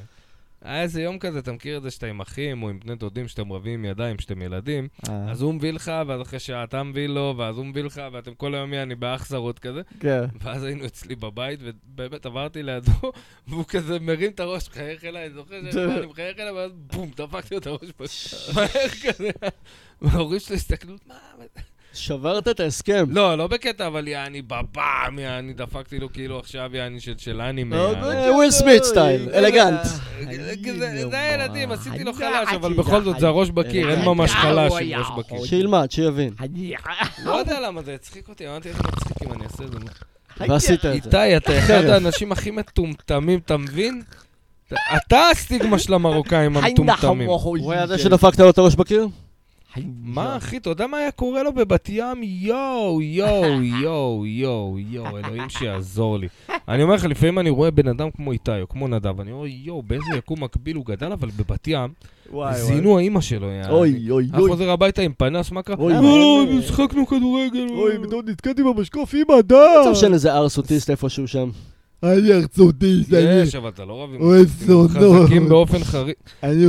היה איזה יום כזה, אתה מכיר את זה שאתה עם אחים או עם בני דודים, שאתם רבים עם ידיים, שאתם ילדים,
אה,
אז הוא מביא לך, ואז אחרי שעה אתה מביא לו, ואז הוא מביא לך, ואתם כל היום יעני באכזרות כזה,
כן.
ואז היינו אצלי בבית, ובאמת עברתי לידו, והוא כזה מרים את הראש, מחייך אליי, אני זוכר שאני מחייך אליי, ואז בום, דפקתי לו את הראש, בש- מהר כזה. וההורים שלו הסתכלו, מה? מה זה?"
שברת את ההסכם.
לא, לא בקטע, אבל יעני בבאם, יעני דפקתי לו כאילו עכשיו יעני של של אנימה.
מאוד
יעני.
מאוד
אה, וויל סמית סטייל, אלגנט.
אה, זה זה הילדים, עשיתי לו
אני
חלש,
יודעת,
אבל
אני
בכל זאת זה הראש בקיר, אין ממש
אה,
חלש
הוא
עם
היה
ראש בקיר.
שילמד, שיבין.
אני...
לא יודע למה זה הצחיק אותי, אמרתי איך זה מצחיק אם אני אעשה את זה.
ועשית את זה.
איתי, אתה אחד האנשים הכי מטומטמים, אתה מבין? אתה- אתה הסטיגמה של המרוקאים המטומטמים.
הוא היה זה שדפקת לו את הראש בקיר?
מה, אחי, אתה יודע מה היה קורה לו בבת ים? יואו, יואו, יואו, יואו, יואו, אלוהים שיעזור לי. אני אומר לך, לפעמים אני רואה בן אדם כמו איתי או כמו נדב, אני אומר, יואו, באיזה יקום מקביל הוא גדל, אבל בבת ים,
וואי,
זינו האמא שלו, יעני.
אוי, אוי,
היה
אוי.
חוזר הביתה עם פנס, מה קרה?
אוי,
לא, לא, משחקנו כדורגל.
אוי, בדיוק נתקעתי במשקוף, אמא,
צריך
די!
לשן איזה ארסוטיסט איפשהו שם.
אני ארצותי,
יש, אבל אתה לא רב עם...
אוי, לא.
אנשים חזקים באופן חריג.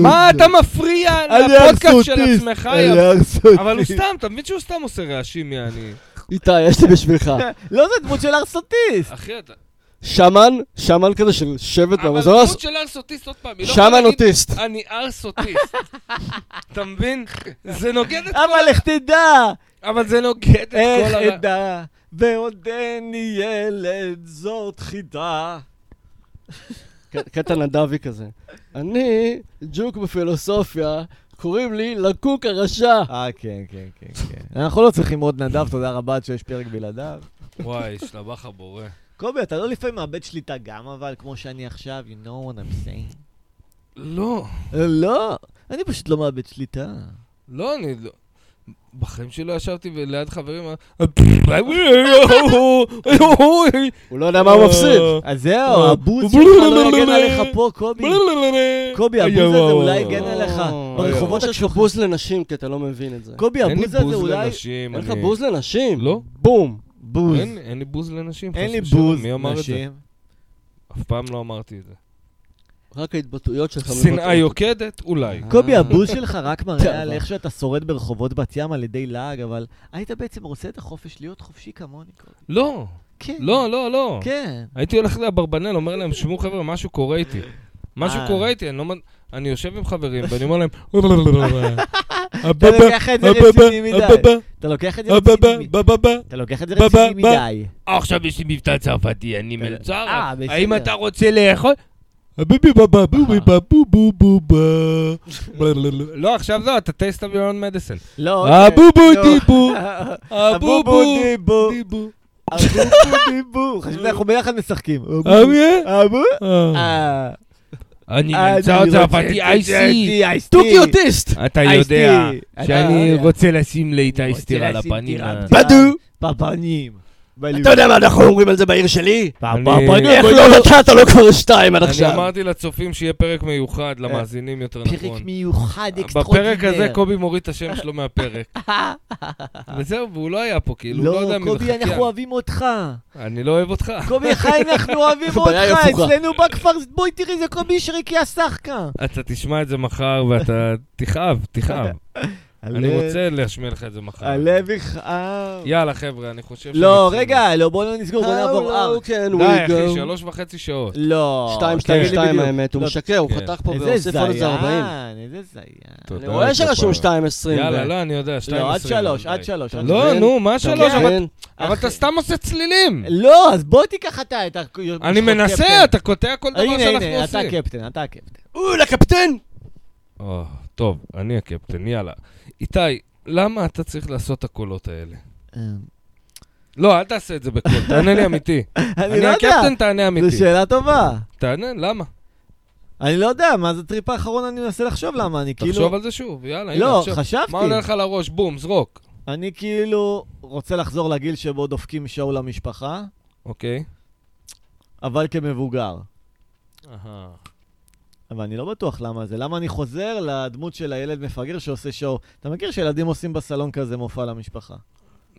מה אתה מפריע לפודקאסט של עצמך? יא-
ארסותי.
אבל הוא סתם, אתה מבין שהוא סתם עושה רעשים, יעני.
איתי, יש לי בשבילך.
לא, זה דמות של ארסוטיסט.
אחי, אתה...
שמן, שמן כזה של שבט
לא
אבל
במזון,
דמות של ארסוטיסט עוד פעם, היא לא יכולה
שמן
להגיד,
אוטיסט.
אני ארסוטיסט. אתה מבין? זה נוגד את
אבל איך תדע,
כל... אבל זה נוגד את כל...
איך
הר-
אדע, ועודני ילד, זאת חידה.
ק- קטע נדבי כזה. אני ג'וק בפילוסופיה, קוראים לי לקוק הרשע.
אה, כן, כן, כן, כן. אנחנו לא צריכים עוד נדב, תודה רבה עד שיש פרק בלעדיו.
וואי, שלבח הבורא.
קובי, אתה לא לפעמים מאבד שליטה גם, אבל כמו שאני עכשיו, you know what I'm saying.
לא,
לא, אני פשוט לא מאבד שליטה.
לא, אני לא... בחיים שלי לא ישבתי ליד חברים...
הוא לא יודע מה הוא מפסיד.
אז זהו, הבוז שלך לא יגן עליך פה, קובי. קובי, הבוז הזה אולי יגן עליך. ברחובות
יש לך אה, בוז לנשים, כי אתה לא מבין את זה.
קובי,
אין לי
הבוז הזה
בוז
אולי...
לנשים.
אין לך
אני-
בוז לנשים?
לא.
בום.
בוז.
אין- אין לי בוז לנשים.
אין
חס
לי
ושלום,
בוז,
מי אמר את זה?
נשים.
אף פעם לא אמרתי את זה.
רק ההתבטאויות שלך.
שנאה
מבטאות.
יוקדת? אולי.
קובי, הבוז שלך רק מראה על
טוב.
איך שאתה שורד ברחובות בת ים על ידי לעג, אבל היית בעצם רוצה את החופש להיות חופשי כמוני, קובי.
לא,
כן.
לא, לא, לא.
כן.
הייתי הולך לאברבנל, אומר להם, שמעו חבר'ה, משהו קורה איתי. משהו
אה.
קורה איתי, אני לא... מד- אני יושב עם חברים, ואני אומר להם...
אתה לוקח את זה רציני מדי. אתה לוקח את זה לא
אה,
רציני מדי. אתה לוקח את זה רציני
בא, בא.
מדי.
עכשיו יש לי מבטא צרפתי, אני מלצר.
אה, בסדר.
האם אתה רוצה לאכול? אה, לא, עכשיו זהו, אתה טייסט אביון מדסן.
לא, אוקיי.
הבובו
לא.
דיבו,
הבובו
הבובו
דיבו.
דיבו.
הבובו דיבו. חשבתי, אנחנו ביחד משחקים.
אריה?
הבו?
אה.
אה.
אני
אני
מלצר
רוצה
צרפתי,
את זה,
אייסי.
I see.
תוכי אוטיסט!
אתה
I
יודע
see.
שאני
אתה-
רוצה לשים לאיתי
רוצה
סטירה
לשים
לפנים.
סטירה.
אה.
בדו!
בפנים.
אתה יודע מה אנחנו אומרים על זה בעיר שלי?
אני-
איך לא נתת לו כבר שתיים עד
אני
עכשיו?
אמרתי לצופים שיהיה פרק מיוחד, למאזינים יותר
אה, פרק
נכון.
מיוחד אקסטרוטינר.
בפרק הזה קובי מוריד את השם שלו מהפרק. וזהו, והוא לא היה פה, כאילו, הוא לא יודע
לא,
מי זה
קובי, אנחנו
חקיין.
אוהבים אותך.
אני לא אוהב אותך.
קובי, איך אנחנו אוהבים
זה בעיה
אותך?
הפוכה.
אצלנו בכפר, בואי תראי, זה קובי שריקי השחקה.
אתה תשמע את זה מחר ואתה תכאב, תכאב. אני
הלב-
רוצה להשמיע לך את זה מחר.
הלב יכאב.
יאללה, אה, חבר'ה, אני חושב ש...
לא, רגע, לא, בואו לא נסגור, בואו
How
נעבור ארק.
low can
די,
we
אחי,
go?
שלוש וחצי שעות. אה,
לא.
אוקיי.
שתיים,
תגיד
שתיים,
לי
שתיים
בדיוק.
האמת, הוא
לא,
משקר, הוא
כן.
חתך פה
איזה
והוסיף עוד איזה 40.
זיין, איזה זיין.
תודה,
אני רואה שרשום
כפרה.
2.20.
יאללה, לא, אני יודע, שתיים
לא, עד
עשרים,
שלוש,
אבל
עד
די.
שלוש. עד שלוש.
לא, נו, מה שלוש? אבל-
כן,
אבל אתה סתם עושה צלילים.
לא, אז בוא תיקח אתה את ה...
אני מנסה, אתה קוטע כל דבר
כן. הנה,
שאנחנו
הנה, אתה
עושים.
הקפטן, אתה הקפטן.
הוא לקפטן!
אה, טוב, אני הקפטן, יאללה. איתי, למה אתה צריך לעשות את הקולות האלה? לא, אל תעשה את זה בקול, תענה לי אמיתי.
אני
אני
לא יודע, כאילו-
הקפטן, תענה
זו
אמיתי.
שאלה טובה.
תענה, למה?
אני לא יודע, מה זה טריפ האחרון, אני מנסה לחשוב למה, אני כאילו...
תחשוב על זה שוב, יאללה, הנה,
לא,
עכשיו.
חשבתי.
מה עולה לך לראש? בום, זרוק.
אני כאילו רוצה לחזור לגיל שבו דופקים שואו למשפחה,
אוקיי.
אבל כמבוגר. אבל אני לא בטוח למה זה. למה אני חוזר לדמות של הילד מפגר שעושה שואו? אתה מכיר שילדים עושים בסלון כזה מופע למשפחה.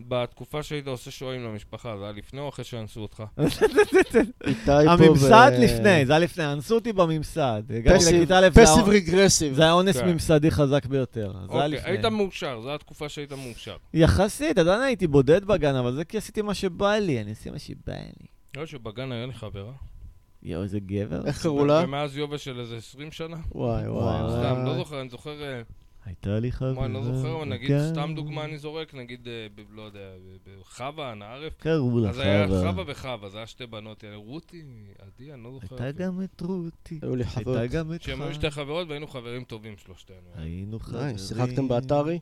בתקופה שהיית עושה שוהים למשפחה, זה היה לפני או אחרי שאנסו אותך?
איתי פה ו-
הממסד לפני, זה היה לפני, אנסו אותי בממסד. הגעתי
פסיב-
לכיתה א', זה היה-
פסיב רגרסיב.
זה היה אונס
כן.
ממסדי חזק ביותר. זה היה
אוקיי, היית
לפני.
מאושר, זו התקופה שהיית מאושר.
יחסית, עדיין הייתי בודד בגן, אבל זה כי עשיתי מה שבא לי, אני עושה מה שבא לי.
לא שבגן היה לי חברה.
יואו, איזה גבר.
איך קראו לה?
ומאז יובל של איזה 20 שנה?
אה.
וואי וואי.
וואי.
וואי.
סתם, לא זוכר, אני זוכר... אה,
הייתה לי חביבה. כן.
מה, אני לא זוכר, אבל נגיד,
מכאן.
סתם דוגמה אני זורק, נגיד, אה, ב- לא יודע, ב- ב- חווה, נערף.
קראו לה
אז היה
חווה.
חווה וחווה, אז היה שתי בנות, יעני, רותי, עדי, אני לא זוכר.
הייתה
אפילו.
גם את רותי.
היו לי חבר.
הייתה גם את
שהם היו שתי חברות והיינו חברים טובים שלושתנו.
היינו חברים.
די, אה, שיחקתם באתרי?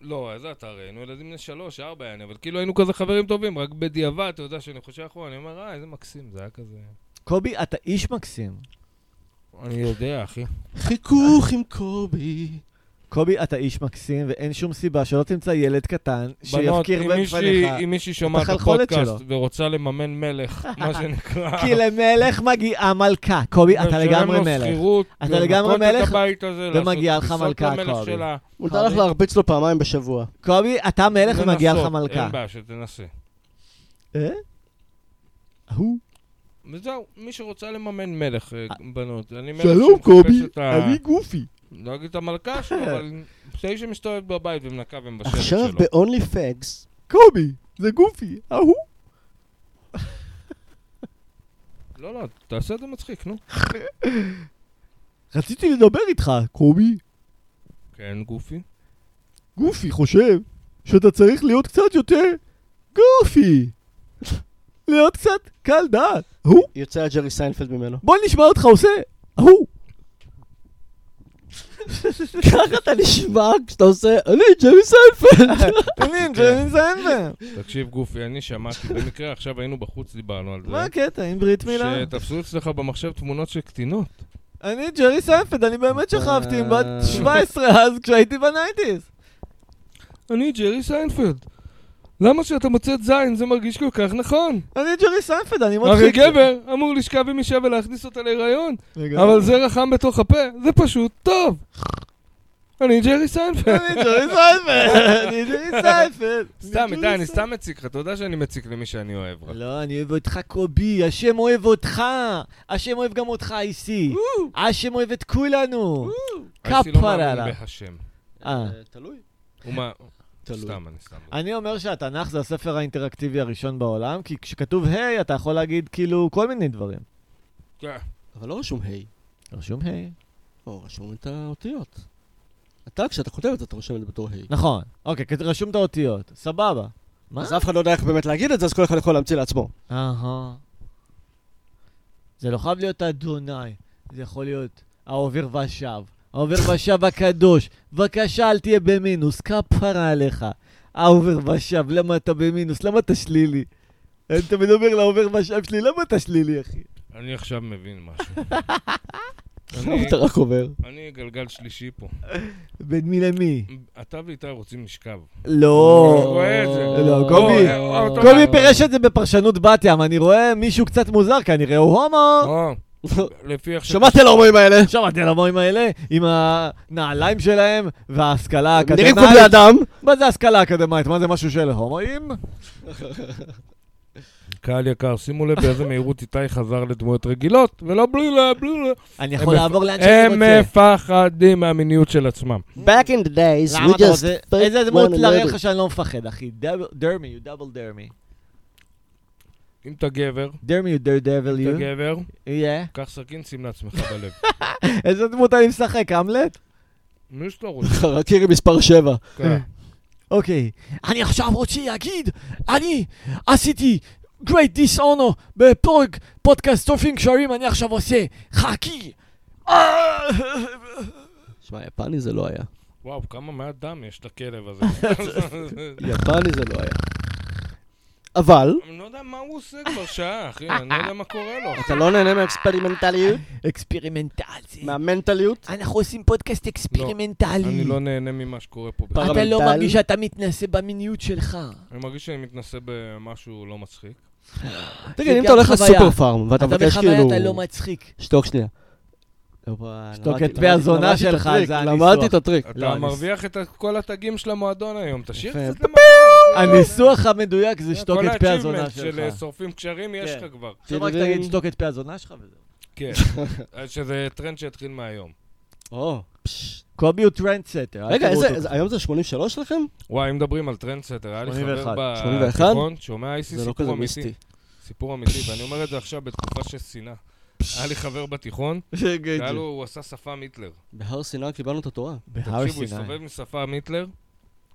לא, איזה אתה הרי, היינו ילדים בני שלוש, ארבע, יעני, אבל כאילו היינו כזה חברים טובים, רק בדיעבד, אתה יודע שאני חושב אחורה, אני אומר, אה, איזה מקסים, זה היה כזה...
קובי, אתה איש מקסים.
אני יודע, אחי.
חיכוך עם קובי.
קובי, אתה איש מקסים, ואין שום סיבה שלא תמצא ילד קטן
בנות,
שיפקיר
אם מישהי-
בפניך.
אם מישהי שומעת את
החלחולת
הפודקאסט
שלו.
ורוצה לממן מלך, מה שנקרא...
כי למלך מגיעה מלכה. קובי, אתה
ולשלם
לגמרי
לא, לו
מלך.
שכירות,
אתה לגמרי
לנקות את
מלך,
הבית הזה,
ומגיעה לך
לעשות טיסות
מלכה,
למלך
קובי.
שלה.
מותר לך להרביץ לו פעמיים בשבוע.
קובי, אתה מלך ומגיעה לך
לנסות,
מלכה.
אין בעיה, שתנסה.
אה? ההוא.
וזהו, מי שרוצה לממן מלך, אה, בנות. אני מלך
שלום,
שמחפש
קובי,
את ה-
אני אה. גופי.
לא אגיד את המלכה שלו, אבל תשע מסתובבת בבית ומנקה ומבשלת שלו.
עכשיו ב-only fags,
קובי, זה גופי, ההוא.
לא, לא, תעשה את זה מצחיק, נו.
רציתי לדבר איתך, קובי.
כן, גופי.
גופי חושב שאתה צריך להיות קצת יותר גופי. להיות קצת קל דעת. ההוא.
יוצא ג'רי סיינפלד ממנו.
בוא נשמע אותך עושה. ההוא.
ככה אתה נשמע כשאתה עושה, אני ג'רי סיינפלד.
כן.
אני מזיין בהם.
תקשיב, גופי, אני שמעתי במקרה, עכשיו היינו בחוץ, דיברנו על זה.
מה הקטע, עם ברית מילה?
שתפסו אצלך במחשב תמונות של קטינות.
אני ג'רי סיינפלד, אני באמת
אה.
שכבתי עם בת 17 אז כשהייתי בנייטיז.
אני ג'רי סיינפלד. למה שאתה מוצא את זין זה מרגיש כל כך נכון?
אני ג'רי סיינפלד, אני
הרי
מצחיק.
גבר אמור לשכב עם אישה ולהכניס אותה להיריון,
לא.
אבל זה רחם בתוך הפה, זה פשוט טוב. אני ג'רי סיינפלד.
אני ג'רי סיינפלד, אני ג'רי סיינפלד.
סתם,
ג'רי
איתי,
סיינפלד.
אני סתם מציק לך, אתה יודע שאני מציק למי שאני אוהב רק.
לא, אני אוהב אותך קובי, השם אוהב אותך! השם אוהב גם אותך איסי! השם אוהב את כולנו!
אייסי לא
כפרה
מאמין
עליו.
בהשם.
אה.
תלוי.
הוא מה...
תלוי.
סתם, אני סתם.
אני אומר שהתנ"ך זה הספר האינטראקטיבי הראשון בעולם, כי כשכתוב היי, אתה יכול להגיד כאילו כל מיני דברים.
כן.
אבל לא רשום היי.
רשום היי.
לא, רשום את האותיות. אתה, כשאתה כותב את זה, אתה רושם את זה בתור היי.
נכון. אוקיי, כת- רשום את האותיות. סבבה. מה?
אז אף אחד לא יודע איך באמת להגיד את זה, אז כל אחד יכול להמציא לעצמו.
אהה. זה לא חייב להיות אדוני, זה יכול להיות העובר ושב. העובר ושב הקדוש, בבקשה אל תהיה במינוס, כפרה עליך. העובר ושב, למה אתה במינוס? למה אתה שלילי? אני תמיד אומר לעובר ושב שלי, למה אתה שלילי, אחי?
אני עכשיו מבין משהו. אני-
למה אתה רק עובר?
אני גלגל שלישי פה.
בין מי למי?
אתה ואיתי רוצים לשכב.
לא.
רואה את זה.
לא, קובי,
או, או,
קובי פירש את זה בפרשנות בת ים, אני רואה מישהו קצת מוזר, כנראה הוא הומו.
או,
לא,
לפי איך ש...
שמעת על ההומואים האלה?
שמעתי על המורים האלה, עם הנעליים שלהם וההשכלה האקדמית.
נראים כמו בני אדם.
מה זה השכלה אקדמית? מה זה משהו של הומואים?
קהל יקר, שימו לב באיזה מהירות איתי חזר לדמויות רגילות, ולא בלילה, בלילה.
אני
יכול
יכול
מפ-
לעבור לאן שאני
הם אה,
רוצה.
מפחדים מהמיניות של עצמם.
Back in the days,
למה
we
אתה
just
רוצה?
fuck
איזה דמות
one
להראה
another.
לך שאני לא מפחד, אחי? דרמי, you double דרמי.
אם אתה גבר,
דרמי, you דר דבל,
אתה
you.
גבר,
יהיה.
קח סכין, שים לעצמך בלב.
איזה דמות אני משחק, המלט?
מי שאתה רוצה,
חרקירי מספר 7.
קח.
אוקיי. אני עכשיו רוצה להגיד, אני עשיתי great dishonor בפורק פודקאסט סופים קשרים, אני עכשיו עושה חכי. Ah.
שמע, יפני זה לא היה.
וואו, כמה מעט דם יש לכלב הזה.
יפני זה לא היה. אבל,
אני לא יודע מה הוא עושה כבר שעה, אחי, אני לא יודע מה קורה לו.
אתה לא נהנה מהאקספרימנטליות?
אקספרימנטל זה.
מהמנטליות?
אנחנו עושים פודקאסט
אני
אקספרימנטלי.
לא נהנה ממה שקורה פה.
פרלמנטל.
אתה לא מרגיש שאתה מתנסה במיניות שלך.
אני מרגיש שאני מתנסה במשהו לא מצחיק.
תגיד,
זה
אם אתה
גם
הולך
חוויה.
לסופר פארם, ואתה
אתה
מבקש
בחוויה
כאילו...
אתה לא מצחיק.
שתוק שנייה. לא,
שתוק את פי הזונה שלך, זה הניסוח.
למדתי את הטריק.
לא,
אתה
אני-
מרוויח את כל התגים של המועדון היום, תשאיר
יפה.
קצת למועדון.
הניסוח המדויק זה שתוק את פי הזונה
כל ה-achievement של אה,
שלך.
שורפים קשרים יש
כן.
לך כבר.
עכשיו רק תגיד שתוק את פי הזונה שלך וזהו.
כן. שזה טרנד שהתחיל מהיום.
או.
קובי הוא טרנדסטר. אל
רגע,
תראו
איזה-
אותו.
איזה- היום זה 83 שלכם?
וואי, אם מדברים על טרנדסטר, היה לי חבר
81.
שמונים ואחד?
בתיכון, שומע אייסי
זה לא
סיפור
כזה
אמיתי.
מיסטי.
סיפור אמיתי, ואני אומר את זה עכשיו בתקופה של שנאה. היה לי חבר בתיכון, היה לו, הוא עשה שפם היטלר.
בהר סיני קיבלנו את התורה.
בהר
תקשיבו, הוא
סיני.
הסתובב עם שפם היטלר,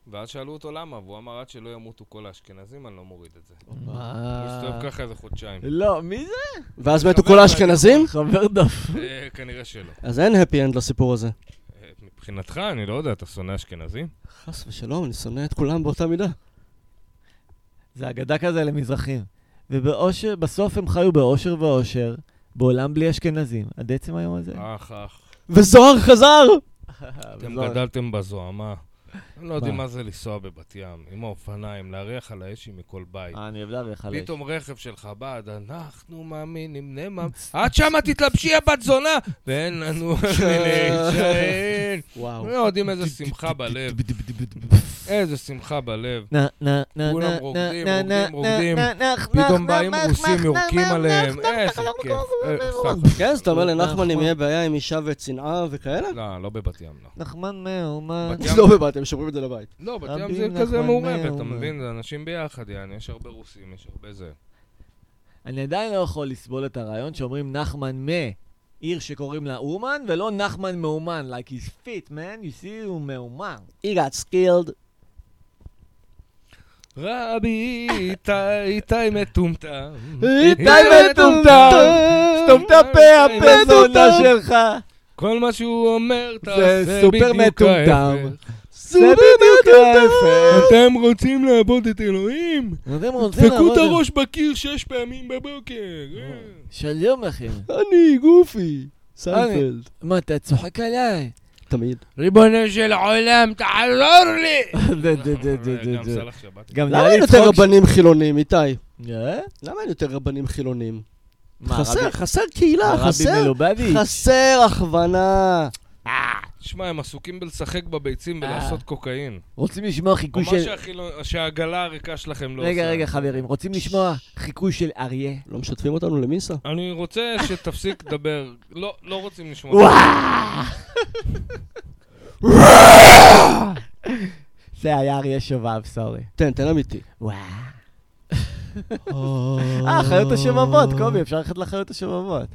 ואז שאלו אותו למה, והוא אמר, עד שלא ימותו כל האשכנזים, אני לא מוריד את זה. הוא
Ah.
הסתובב ככה איזה חודשיים.
לא, מי זה?
לא
ואז מתו כל האשכנזים?
חבר דף.
אה, כנראה שלא.
אז אין happy end לסיפור הזה.
אה, מבחינתך, אני לא יודע, אתה שונא אשכנזים?
חס ושלום, אני שונא את כולם באותה מידה.
זה אגדה כזה למזרחים. ובאושר, בסוף הם חיו באושר ואושר, בעולם בלי אשכנזים, עד עצם היום הזה.
אך, אך,
וזוהר חזר!
אה, אתם
לא.
גדלתם בזוהמה. הם לא יודעים
מה?
מה זה לנסוע בבת ים, עם האופניים, להריח על האש מכל בית.
אה, אני אוהב להריח עליי.
פתאום רכב של חב"ד, אנחנו מאמינים נאמן. את שמה תתלבשי הבת זונה! ואין לנו להישען.
וואו.
לא יודעים איזה שמחה בלב, איזה שמחה בלב.
נה, נה, נה,
כולם
נה,
רוקדים,
נה, נה,
רוקדים, רוקדים.
נה, נה, נה,
פתאום
נה,
באים
נה,
רוסים,
נה,
יורקים
נה,
עליהם.
נה,
איזה כיף.
לא
אה, סתם.
כן, אז אתה אומר לנחמן אם יהיה בעיה עם אישה וצנעה וכאלה?
לא, לא בבת ים, לא.
נחמן מאומן.
בת ים-
לא בבת, הם שומרים את זה לבית.
לא, בת ים
רבים נכון
זה כזה
נחמן
מעורבת, אתה
מאומן.
מבין? זה אנשים ביחד, יעני, יש הרבה רוסים, יש הרבה זה.
אני עדיין לא יכול לסבול את הרעיון שאומרים נחמן מה, עיר שקוראים לה אומן, ולא נחמן מאומן, like he's fit, man, you see, הוא מאומן.
He got skilled.
רבי איתי, איתי מטומטם.
איתי סתום
סתום
את הפה, הפה זונה שלך!
כל מה שהוא אומר, תעשה
סופר
בדיוק
מטומטם.
ההפך.
זה בדיוק ההפך!
אתם רוצים לעבוד את אלוהים?
אתם רוצים
דפקו
לעבוד...
את הראש בקיר שש פעמים בבוקר. אה.
שלום לכם.
אני גופי! סיינפלד.
מה, אתה צוחק עליי?
תמיד.
ריבונו של עולם, תעזור לי!
דה, דה, דה, דה, דה,
אה, גם
דה.
סלח שבת.
גם
למה אין יותר רבנים חילונים, איתי?
ש- אה?
למה אין יותר רבנים חילונים?
מה,
חסר,
רבי-
חסר קהילה,
הרבי
חסר...
מלובביץ'.
חסר הכוונה.
שמע, הם עסוקים בלשחק בביצים
אה.
ולעשות קוקאין.
רוצים לשמוע
או
חיקוי
מה
של...
שהחילו- שהעגלה הריקה שלכם לא עושה.
רגע, רגע, חברים, רוצים לשמוע חיקוי של אריה?
לא משתפים אותנו למיסה?
אני רוצה שתפסיק לדבר. לא, לא רוצים לשמוע.
זה היה אריה שובב, סורי.
תן, תן אמיתי.
וואו. אה, חיות השובבות, קובי, אפשר ללכת לחיות השובבות.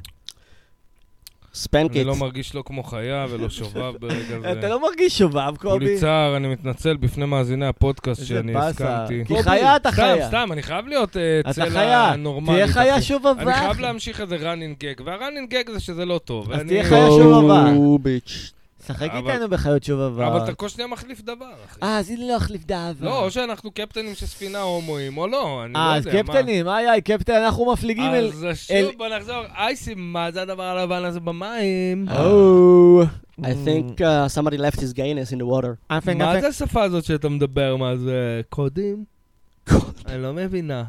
Spank
אני
it.
לא מרגיש לא כמו חיה ולא שובב ברגע זה.
אוקיי. אתה לא מרגיש שובב, קובי?
כולי צער, אני מתנצל בפני מאזיני הפודקאסט
איזה
שאני
באסה.
הסכמתי.
כי חיה אתה
סתם,
חיה.
סתם, אני חייב להיות אה,
אתה
צלע
חיה.
נורמלית.
תהיה חיה
אחי.
שובבה.
אני חייב
אחי.
להמשיך איזה running gag, וה-running gag זה שזה לא טוב.
אז
אני-
תהיה חיה שובבה.
ביץ'.
שחק
אבל-
איתנו בחיות שובבה.
אבל אתה כל שניה מחליף דבר, אחי.
אה, אז הנה לא אחליף דאבה.
לא, או שאנחנו קפטנים של ספינה הומואים, או לא, אני לא
אה, אז
יודע. מה.
קפטנים, איי איי, קפטן, אנחנו מפליגים אל...
אז שוב, בוא נחזור. אייסים, מה זה הדבר הלבן הזה במים?
אה,
Oh,
I think uh, somebody left his gayness in the water.
מה זה השפה הזאת שאתה מדבר? מה זה קודים? אני לא מבינה.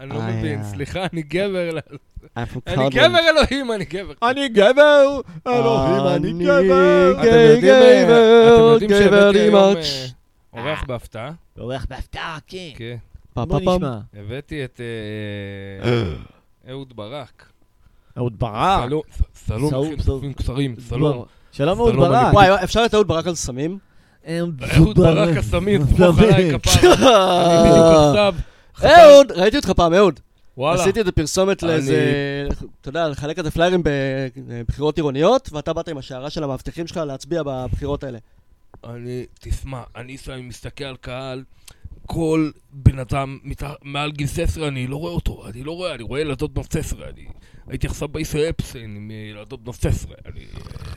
אני לא
אה,
איי,
מבין,
איי.
סליחה, אני גבר.
I'm from
אני כן גבר אלוהים, אני גבר.
אני גבר! אלוהים, אה, אני
אני
גבר!
אתם
גיי,
יודעים, אה,
גבר,
אתם יודעים שהבאתי
גבר עם
היום,
הץ'.
אה, אורח בהפתעה?
אורח בהפתעה, כן.
כן.
פעם
בוא
פעם פעם.
נשמע.
הבאתי את אה, אהוד ברק.
אהוד
אה.
ברק.
סלום, ס- סלום,
סלום,
אחים
סלום.
טובים קצרים, סלום.
לא, שלום אהוד
סלום,
ברק.
אני-
וואי, וואי, אפשר את אהוד ברק על סמים?
אהוד ברק הסמיר, סמוך עליי כפרה. אני בדיוק עכשיו.
אה. אהוד! ראיתי אותך פעם, אהוד.
וואלה.
עשיתי איזה פרסומת
אני-
לאיזה... אתה יודע, לחלק איזה פליירים בבחירות עירוניות, ואתה באת עם השערה של המאבטחים שלך להצביע בבחירות האלה.
אני, תשמע, אני לפעמים מסתכל על קהל, כל בן אדם מת- מעל גיל 16, אני לא רואה אותו, אני לא רואה, אני רואה ילדות בנות 16, אני הייתי עכשיו בעיסא אפסן עם אה, ילדות בנות 16, אני... אה,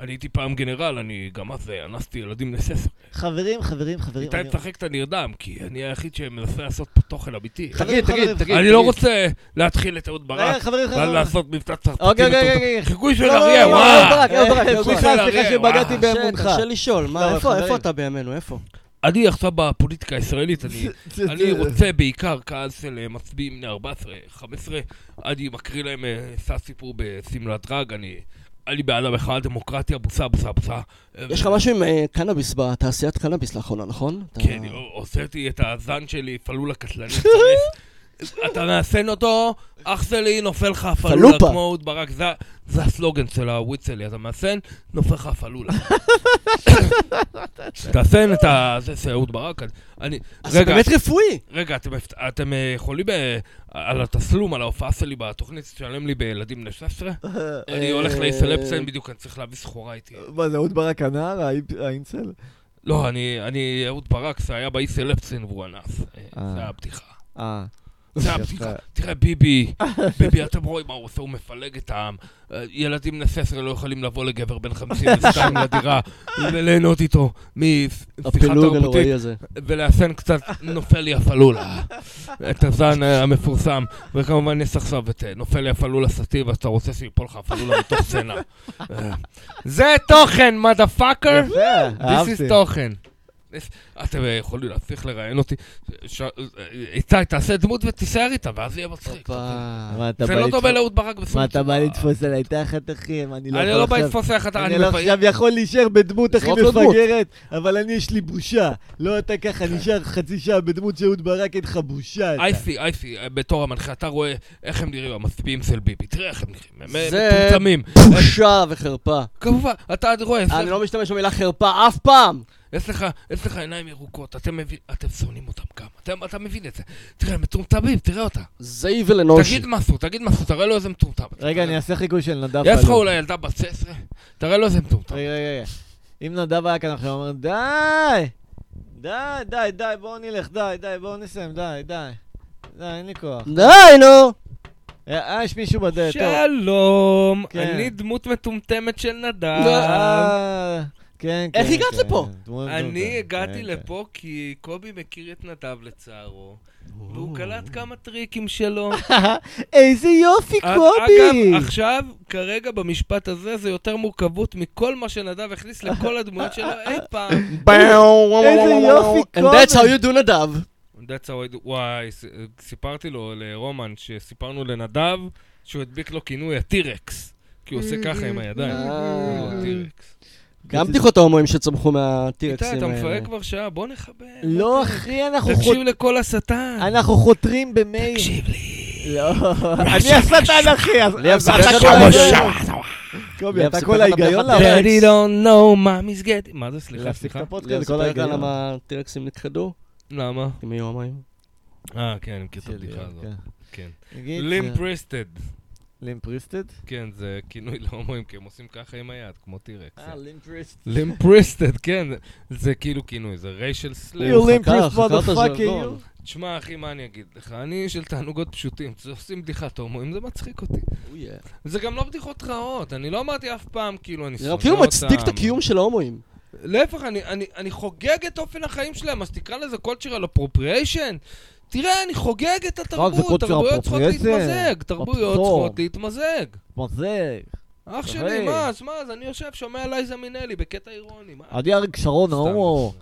אני הייתי פעם גנרל, אני גם אז אה, אנסתי ילדים בני 16.
חברים, חברים, חברים.
איתי
אני-
משחק את הנרדם, כי אני היחיד שמנסה לעשות פה תוכן אמיתי.
תגיד, תגיד, תגיד.
אני לא רוצה להתחיל את אהוד ברק,
רגע, חברים,
ואז
חברים.
לעשות מבצע צרפתי.
אוקיי, אוקיי,
מטומטם.
אוקיי.
חיקוי של
לא, לא, לא,
אריה,
לא, אהוד
וואו!
ברק, אהוד ברק,
אה,
אהוד ברק. סליחה,
אה,
סליחה
אה,
שבגדתי
אה,
באמונך.
תרשה לשאול,
לא,
מה, איפה,
חברים.
איפה אתה בימינו, איפה?
אני עכשיו בפוליטיקה הישראלית, אני
זה-
אני
זה-
רוצה בעיקר קהל של אה, מצביעים בני 14, 15, אני מקריא להם אה, סע סיפור בשמלת דרג, אני... אני בעד המחאה הדמוקרטיה, בוסה, בוסה, בוסה.
יש לך משהו עם אה, קנאביס, בתעשיית קנאביס לאחרונה, נכון? אתה-
כן, הוצאתי את הזן שלי, פלולה קטלנית, צרף. אתה מאסן אותו, אח שלי, נופל לך הפלולה,
פלופה.
כמו אהוד ברק, זה- זה הסלוגן של הוויד שלי, אתה מאסן, נופל לך הפלולה. תאסן את ה- זה של אהוד ברק, אני...
אז זה
רגע,
באמת רפואי.
רגע, אתם, אתם אה, יכולים ב- על התסלום, על ההופעה שלי בתוכנית, תשלם לי בילדים בני 16? אני הולך לאיסלפסן בדיוק, אני צריך להביא סחורה איתי.
מה זה, אהוד ברק הנער, האיפ- האינסל?
לא, אני, אני, אהוד ברק, זה היה באיסלפסן והוא אנס. אה, זה הבדיחה.
אה.
זה הבדיחה. תראה, ביבי, ביבי, אתם רואים מה הוא עושה, הוא מפלג את העם. אה, ילדים בני 16 לא יכולים לבוא לגבר בן 52 לדירה, וליהנות איתו משיחה
הפילוג
תרבותית.
הנוראי הזה.
ולאפן קצת נופל לי הפלולה, את הזן אה, המפורסם, וכמובן יש עכשיו את אה, נופל לי הפלולה סטיב, אז אתה רוצה שיפול לך הפלולה מתוך סצנה. אה, זה תוכן, מדה פאקר!
יפה,
This
אהבתי.
is תוכן. This- אתם אה, יכולים להפסיק לראיין אותי. ש- אה, איתי, תעשה דמות ותישאר איתה, ואז יהיה מצחיק.
מה, אתה
זה
בא
לא דומה
לתפוס-
לאהוד ברק בשום
מה, אתה בא
צורה.
לתפוס עליי תחת, אחי? מה, אני לא
אני
יכול
לא בא
עכשיו-
לתפוס איך אתה...
אני לא
מבייש-
עכשיו יכול להישאר בדמות הכי
זרוק לו דמות.
מפגרת, אבל אני יש לי בושה. לא אתה ככה נשאר חצי שעה בדמות שאהוד ברק, אין לך בושה. אתה.
אייסי, אייסי, אה, בתור המנחה, אתה רואה איך הם נראים, המצביעים של ביבי. תראה איך הם נראים, הם אה,
זה-
מטומטמים.
בושה וחרפה.
כמובן, אתה עוד רואה, יש
אני
לך-
לא משתמש במילה חרפה אף פעם.
יש לך- יש לך עיניים ירוקות, אתם מבין- אתם שונאים אותם גם, אתם- אתה מבין את זה. תראה, הם מטומטמים, תראה אותה.
זה איוויל אנושי.
תגיד משהו, תגיד משהו, תראה לו איזה מטומטם.
אוקיי. רגע, אני אעשה חיקוי של נדב.
יש לך
פלוט.
אולי ילדה בת 16? תראה לו איזה מטומטם.
רגע, רגע, רגע. אם נדב היה כאן עכשיו, הוא אומר, די! די, די, די, בואו נלך, די, די, בואו נסיים, די, די. די, אין לי כוח.
די, נו.
אה, יש מישהו בדלת, טוב.
שלום,
כן. לא,
אני דמות מטומטמת של נדב.
אה, כן, כן.
איך הגעת
כן.
לפה?
דמות-
אני
דמות-
הגעתי
כן,
לפה כי קובי מכיר את נדב לצערו, והוא קלט כמה טריקים שלו.
כן. איזה יופי, קובי!
אה, אגב, עכשיו, כרגע במשפט הזה, זה יותר מורכבות מכל מה שנדב הכניס לכל הדמויות שלו אי פעם.
איזה יופי,
And
קובי!
that's how you do נדב.
That's how I do- וואי, ס- סיפרתי לו, לרומן, שסיפרנו לנדב, שהוא הדביק לו כינוי הטירקס. כי הוא
Mm-hmm.
עושה ככה עם הידיים.
אה.
הוא הטירקס.
גם בדיחות ההומואים שצמחו מהטירקסים אה,
איתי,
האלה.
אתה מפרק כבר שעה, בוא נכבד.
לא, אחי, אנחנו
תקשיב
חותרים...
לכל השטן.
אנחנו חותרים במייל.
תקשיב לי.
לא. אני השטן, אחי. אז-
לי
אז
הפסקת
אתה כל
חמש
ההיגיון.
שעות.
קובי,
לי
אתה
הפסקת
כל ההיגיון
חמש שעות.
לארץ.
Daddy don't know mommy's getting... מה זה? סליחה,
להפסיק את
סליחה.
הפודקאסט, כל
לספר כאן
ההיגיון.
למה אה, הטירקסים נכחדו?
למה?
הם היו הומואים.
אה, כן, אני מכיר את הבדיחה הזאת. כן. לים פריסטד.
אה, לימפריסטד?
כן, זה כינוי להומואים, כי הם עושים ככה עם היד, כמו טירקס.
אה,
לימפריסט.
לימפריסטד, כן, זה- זה כאילו כינוי, זה ריישל סלאב.
You limp-wristed motherfucker, you.
תשמע, אחי, מה אני אגיד לך? אני איש של תענוגות פשוטים, כשעושים בדיחת הומואים זה מצחיק אותי. זה גם לא בדיחות רעות, אני לא אמרתי אף פעם, כאילו, אני שונא
זה
אותם.
כאילו מצדיק את הקיום של ההומואים.
להפך, אני- אני- אני חוגג את אופן החיים שלהם, אז תקרא לזה cultural appropriation. תראה, אני חוגג את
cultural
התרבות, תרבויות צריכות
appropriation.
להתמזג, תרבויות
אבסורד.
צריכות להתמזג.
מה זה?
אח
היי.
שלי, מה, אז מה, אז אני יושב, שומע לייזה מינלי בקטע אירוני, מה?
אני אריק שרון,
סתם.
ההומו.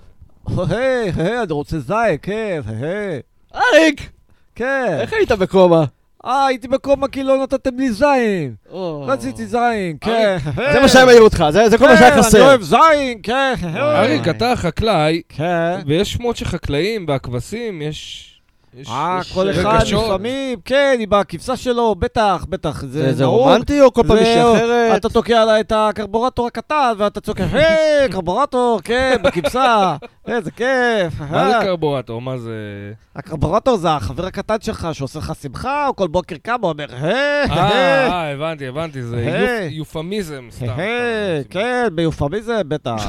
היי, היי, אני רוצה זייק, היי, היי.
אריק!
כן.
איך היית בקומה?
אה, הייתי בקומה כי לא נתתם לי זין.
או.
רציתי זין, כן.
זה מה שהם העירו אותך, זה זה כל מה שהיה
אני
חסר.
אוהב זין, כן. היי.
אריק, אתה חקלאי,
כן.
ויש שמות של חקלאים, והכבשים, יש... יש-
אה,
יש
כל אחד
רגשות.
לפעמים, כן, היא בכבשה שלו, בטח, בטח.
זה- זה
נהוג.
רומנטי או כל פעם מישהי
זהו,
אחרת?
אתה תוקע לה את הקרבורטור הקטן, ואתה צועק, היי, קרבורטור, כן, בכבשה, איזה כיף. אה.
מה זה קרבורטור? מה זה...
הקרבורטור זה החבר הקטן שלך שעושה לך שמחה, הוא כל בוקר קם, הוא אומר, היי,
אה,
היי,
אה, הבנתי, הבנתי, זה
היי.
יופ- יופמיזם סתם.
היי,
סתם.
אה. כן, ביופמיזם, בטח.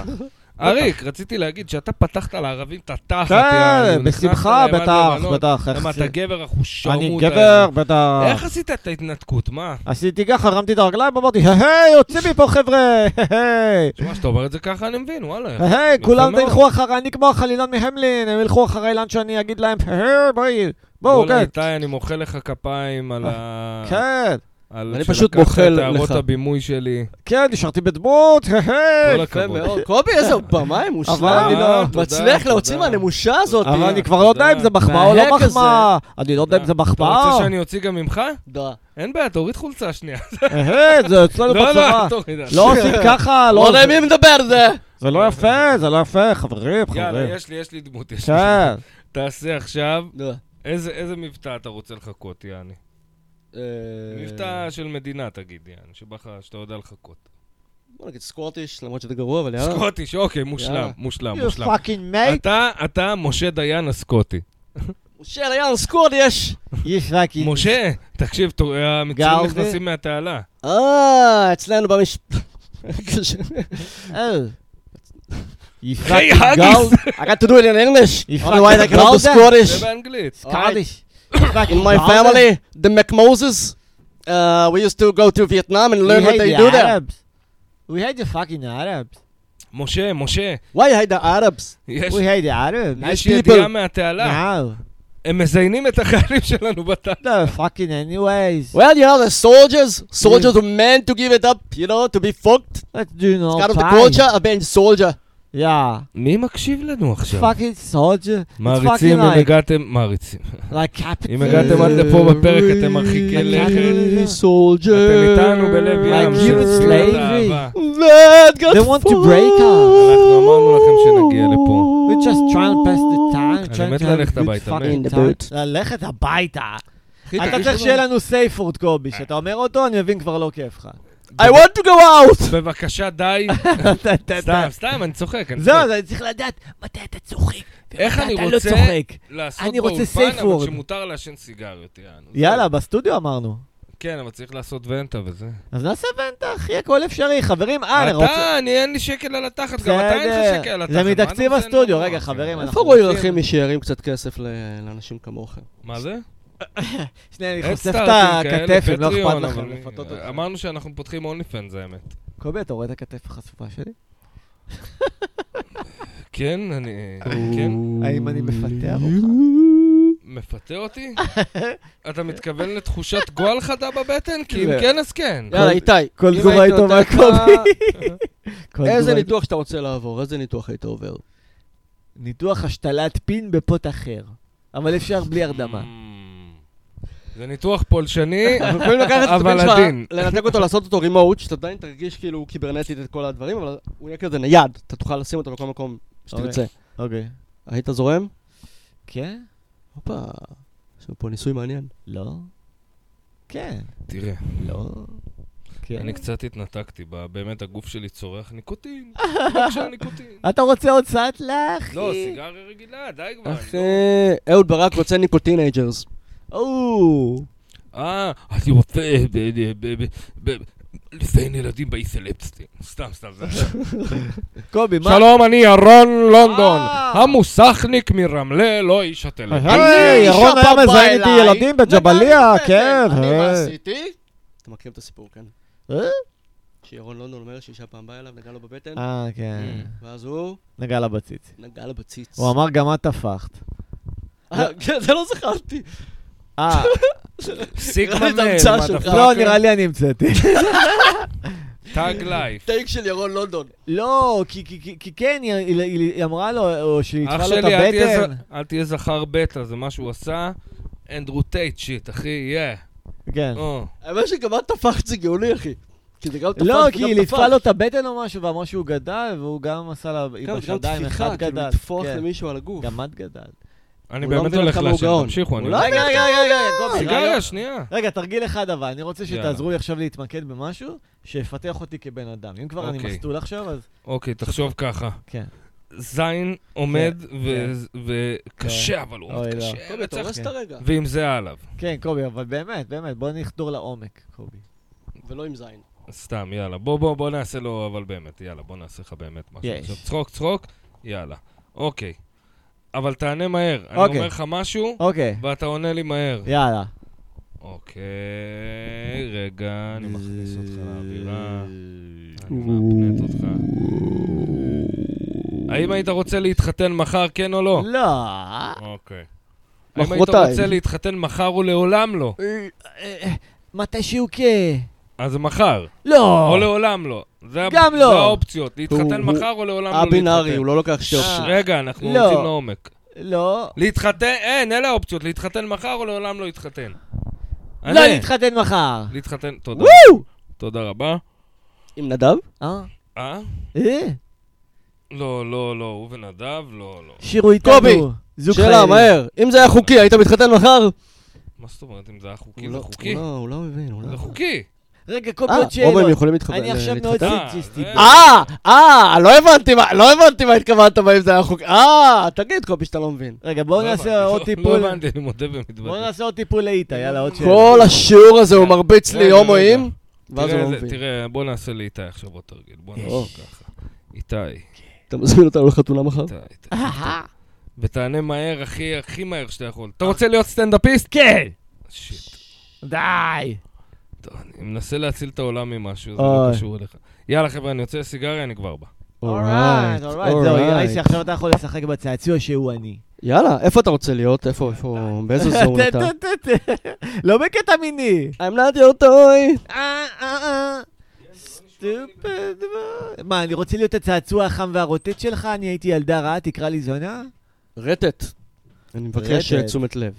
אריק, רציתי להגיד שאתה פתחת לערבים את התחת. יעני,
כן,
הוא נכנס
בשמחה,
אליהם עד
בטח,
לבנון.
בטח. איך
לא, למה
זה-
אתה גבר אחושרמוט.
אני
האלה.
גבר, בטח.
איך עשית את ההתנתקות? מה?
עשיתי ככה, הרמתי את הרגליים, אמרתי, היי, יוצאים מפה, חבר'ה, היי.
תשמע, שאתה אומר את זה ככה, אני מבין, וואלה.
היי,
יפה
כולם
מאוד.
תלכו אחריי, אני כמו החלילן מהמלין, הם ילכו אחריי לאן שאני אגיד להם, היי, בואי, בואו,
וואלה,
כן, אה.
איתי, אני מוחא לך כפיים על ה...
כן,
על
אני
שלקחת
פשוט מוחל
את הערות
לך.
הבימוי שלי.
כן, נשארתי בדמות,
כל
היי.
הכבוד.
קובי, איזה במאי
אבל
מושלם.
אני לא-
תודה,
מצליח להוציא
תודה.
מהנמושה הזאת.
אבל אני כבר לא יודע
תודה.
אם זה מחמאה או
מההק
לא
הזה.
מחמאה. אני לא יודע אם זה
אתה
מחמאה.
רוצה שאני אוציא גם ממך?
דה.
אין בעיה, תוריד חולצה שנייה.
היי, זה אצלנו
לא, לא,
בצבא.
אל תוריד. אל
לא עושים ככה,
לא
לא...
יודע עם מי מדבר זה.
זה לא יפה, זה לא יפה, חברים,
תוריד. יאללה,
חברים.
יש לי, יש לי דמות. יש לי.
כן.
תעשה עכשיו
דה.
איזה איזה מבטא אתה רוצה לחכות, יעני?
אה.
מבטא של מדינה, תגיד, יעני, שבא לך, שאתה יודע לחכות.
בוא נגיד סקוטיש, למרות שזה גרוע, אבל יאללה.
סקוטיש, אוקיי, מושלם,
יאללה.
מושלם,
You
מושלם.
fucking mate.
אתה, אתה משה דיין הסקוטי.
משה דיין סקוטיש!
You fucking...
משה, תקשיב, תור- המצרים
גאו זה?
נכנסים מהתעלה.
אה, אצלנו במש...
Oh. You
היי,
fucking
האגיס!
gold.
I got to do it in English.
You
Otherwise I
fucking
cannot do
Gouda.
Scottish.
זה באנגלית.
Scottish. You fucking
In my
Gouda.
family, the McMoses, uh, we used to go to Vietnam and
We
learn what
hate
they
the
do there.
Arabs. We hate the fucking Arabs.
משה, משה,
Why hate the Arabs?
יש
We hate the Arabs.
יש
people.
ידיעה מהתעלה.
No.
הם מזיינים את החיילים שלנו בתעלה.
No fucking anyways.
Well, you know, the soldiers, soldiers were meant to give it up, you know, to be fucked.
Let's do
It's
no
kind of the
time.
culture, I've been soldier.
Yeah.
מי מקשיב לנו עכשיו?
Fucking soldier. It's
מעריצים,
fucking
אם
like,
הגעתם, מעריצים.
like capital.
אם הגעתם עד לפה בפרק, אתם מרחיקי לכת.
Every
אתם איתנו בלב ים
Like
של
human
זכויות
slavery.
אהבה.
They want to break us.
אנחנו אמרנו לכם שנגיע לפה.
We're just trying to pass the time.
אני
trying
מת
to have
ללכת
good
הביתה,
fucking
מת. In the
time.
boot.
ללכת הביתה. אתה
תרגיש
צריך
לנו-
שיהיה לנו סייפורד קובי, שאתה אומר אותו, אני מבין כבר לא כיף לך.
I want to go out!
בבקשה, די.
אתה- אתה-
סתם,
אתה-
סתם, אני צוחק. אני
זהו,
צוחק.
אני צריך לדעת מתי אתה צוחק.
איך אני
מתי אתה לא
רוצה
צוחק.
לעשות
אני רוצה
באולפן,
safe
אבל
word.
שמותר לעשן סיגריות, יענו. זהו.
יאללה, בסטודיו אמרנו.
כן, אבל צריך לעשות ונטה וזה.
אז נעשה ונטה, אחי, הכל אפשרי. חברים, אה, אני רוצה...
אתה, אני אין לי שקל על התחת, גם אתה אין לך
בסדר.
שקל על התחת.
זה
מה לא, כן.
מתקציב
אני עושה
הסטודיו.
נורא?
רגע, חברים,
איפה
אנחנו
רועי
רוצים-
הולכים משאירים קצת כסף ל- לאנשים כמוכם?
מה זה?
שנייה, אני חושף את
הדסטארטים כאלה,
הכתף, אם לא אכפת
פטריון,
לכם
אבל-
לפתות אותך.
אמרנו שאנחנו פותחים אונלי פן, זה האמת.
קובי, אתה רואה את הכתף החשופה שלי?
כן, אני... כן?
האם
Mm.
אני מפתח אותך?
מפתה אותי? אתה מתכוון לתחושת גועל חדה בבטן? כי אם
כן.
כן, אז כן.
יאללה, איתי.
כל
אם
תגובה
הייתי
היא טובה,
נותן לך-
קובי. כל
איזה
תגובה-
ניתוח שאתה רוצה לעבור, איזה ניתוח היית עובר?
ניתוח השתלת פין בפוט אחר. אבל אפשר בלי
לא,
הרדמה.
Mm. זה ניתוח פולשני,
אנחנו יכולים לקחת את
אבל
הפין
עדין.
שלך, לנתק אותו, לעשות אותו רימוט, שאתה עדיין תרגיש כאילו קיברנטית את כל הדברים, אבל הוא יהיה כזה נייד, אתה תוכל לשים אותו בכל מקום שתרצה.
אוקיי.
היית זורם?
כן?
הופה, יש לנו פה ניסוי מעניין.
לא? כן.
תראה,
לא? כן.
אני קצת התנתקתי, ב- באמת הגוף שלי צורך ניקוטין. בבקשה, ניקוטין.
אתה רוצה עוד סאטלה, אחי?
לא, סיגריה רגילה, די כבר. אני
אחי, אהוד ברק רוצה ניקוטינג'רס.
או,
לא- אה, אני רוצה... ב- ב- ב- ב- ב- לזיין ילדים באיסלפסטי. סתם, סתם. זה-
קובי, מה?
שלום, אני ירון לונדון,
אה.
המוסכניק מרמלה, לא איש הטלפון.
אה?
היי,
אישה
ירון היה
בא
מזיין איתי
אליי,
ילדים בג'באליה,
נתן לי
כן.
בטן. אני
אה.
מה עשיתי? אתם מכירים את הסיפור כאן.
אה?
שירון לונדון אומר שאישה פעם באה אליו, נגע לו בבטן,
אה, כן.
ואז הוא
נגע לה בציצי.
נגע לו בציץ.
הוא אמר, גם את טפחת.
אה, כן, זה לא זכרתי.
אה,
סיגמה
ראיתי את
מייל,
ההמצאה
מה,
שלך.
דפק?
לא, נראה לי אני המצאתי.
טאג לייף.
טייק של ירון לונדון.
לא, כי- כי- כי- כי כן, היא- היא- היא היא אמרה לו, או שהיא
אח
יצרה לו את
שלי, אל תהיה
הבטן.
ז- אל תהיה זכר בטא, זה מה שהוא עשה. אנדרו טייט שיט, אחי, אה. יא.
כן.
או.
האמת שגם את טפחת זה גאוני, אחי. כי זה גם טפחת
לא,
וגם
כי היא
טפח.
ליטפה לו את הבטן או משהו, ואמרה שהוא גדל, והוא גם עשה לה... היא
כן, גם- גם
בשדיים,
טפיחה,
אחד
כאילו
גדל.
לטפוח
כן.
למישהו על הגוף.
גם את גדל.
אני
הוא לא
באמת
מבין
הולך
כמה הוא
לעשן,
גאון.
תמשיכו, אני...
הוא לא
רגע, רגע, רגע, קובי, רגע.
סיגריה, שנייה.
רגע, תרגיל אחד אבל, אני רוצה
יאללה.
שתעזרו לי עכשיו להתמקד במשהו שיפתח אותי כבן אדם. אם כבר אני
אוקיי.
מסטול עכשיו, אז...
אוקיי, תחשוב ככה.
כן.
זין עומד ו- וקשה, אבל הוא עומד
אוי, לא.
קשה.
קובי, אתה
וצריך-
הורס את הרגע.
ועם זה עליו.
כן, קובי, אבל באמת, באמת, בוא נחדור לעומק, קובי.
ולא עם זין.
סתם, יאללה. בוא, בוא, בוא נעשה לו, אבל באמת, יאללה, בוא נעשה לך באמת משהו.
יש.
עכשיו, צחוק, צחוק, יאללה. אוקיי. אבל תענה מהר. אני
אוקיי.
אומר לך משהו,
אוקיי,
ואתה עונה לי מהר.
יאללה.
אוקיי, רגע, אני מכניס אותך לאווירה. אני מאפנט אותך. האם היית רוצה להתחתן מחר, כן או לא?
לא.
אוקיי. האם היית
מחרתיים.
רוצה להתחתן מחר ולעולם לא?
מתישהו כן.
אז מחר.
לא.
או לעולם לא. זה ה-
גם לא.
זה האופציות. להתחתן
הוא-
מחר או לעולם לא להתחתן.
א-בינארי, הוא לא לוקח שתי
ש-
אופציות.
רגע, אנחנו
לא.
יוצאים לעומק.
לא.
להתחתן, אין, אלה האופציות. להתחתן מחר או לעולם לא להתחתן.
לא
ענה.
להתחתן מחר.
להתחתן, תודה. תודה רבה.
עם נדב?
אה?
אה?
אה?
לא, לא, לא, הוא ונדב, לא, לא.
שירו איתנו.
קובי,
זוג
שאלה,
חיילים.
מהר. אם זה היה חוקי, היית מתחתן מחר?
מה זאת אומרת אם זה היה חוקי?
הוא
זה
לא-
חוקי.
הוא לא, הוא לא מבין, הוא לא...
זה חוקי.
רגע, קובי,
אה,
עוד
רוב הם
שאלות.
יכולים להתחתן.
אני עכשיו מאוד
להתחתן?
אה,
סוציסטי.
זה-
אה, אה, לא הבנתי מה, לא הבנתי מה התכוונת בהם זה היה חוק. אה, תגיד קובי שאתה לא מבין.
רגע, בואו
לא
נעשה
הבנתי,
עוד
לא-
טיפול.
לא הבנתי, אני מודה
בואו
ומתוודה.
נעשה עוד טיפול לאיטה, יאללה, עוד שאלה.
כל השיעור הזה הוא מרביץ לי
רגע,
הומואים,
רגע.
ואז הוא
תראה
לא
איזה-
מבין.
תראה, בוא נעשה לאיתי עכשיו עוד תרגיל. בוא נעשה ככה. איתי, איתי,
אתה מזמין אותנו לחתונה מחר?
איתי. ותענה מהר, הכי, הכי מהר שאתה יכול. אתה רוצה להיות סטנדאפיסט?
כן!
שיט.
די!
טוב, אני מנסה להציל את העולם ממשהו, זה לא
אוי.
קשור אליך. יאללה, חבר'ה, אני יוצא לסיגריה, אני כבר בא.
אורייט,
אורייט, אורייט, זהו,
אורייט.
נראה לי שעכשיו אתה יכול לשחק בצעצוע שהוא אני.
יאללה, איפה אתה רוצה להיות? איפה, איפה, באיזה זון אתה?
לא בקטע מיני.
I'm not your toy.
אה, אה, אה. סטופד. מה, אני רוצה להיות הצעצוע החם והרוטט שלך? אני הייתי ילדה רעה, תקרא לי זונה?
רטט. אני מבקש
רטט.
אה, תשומת לב.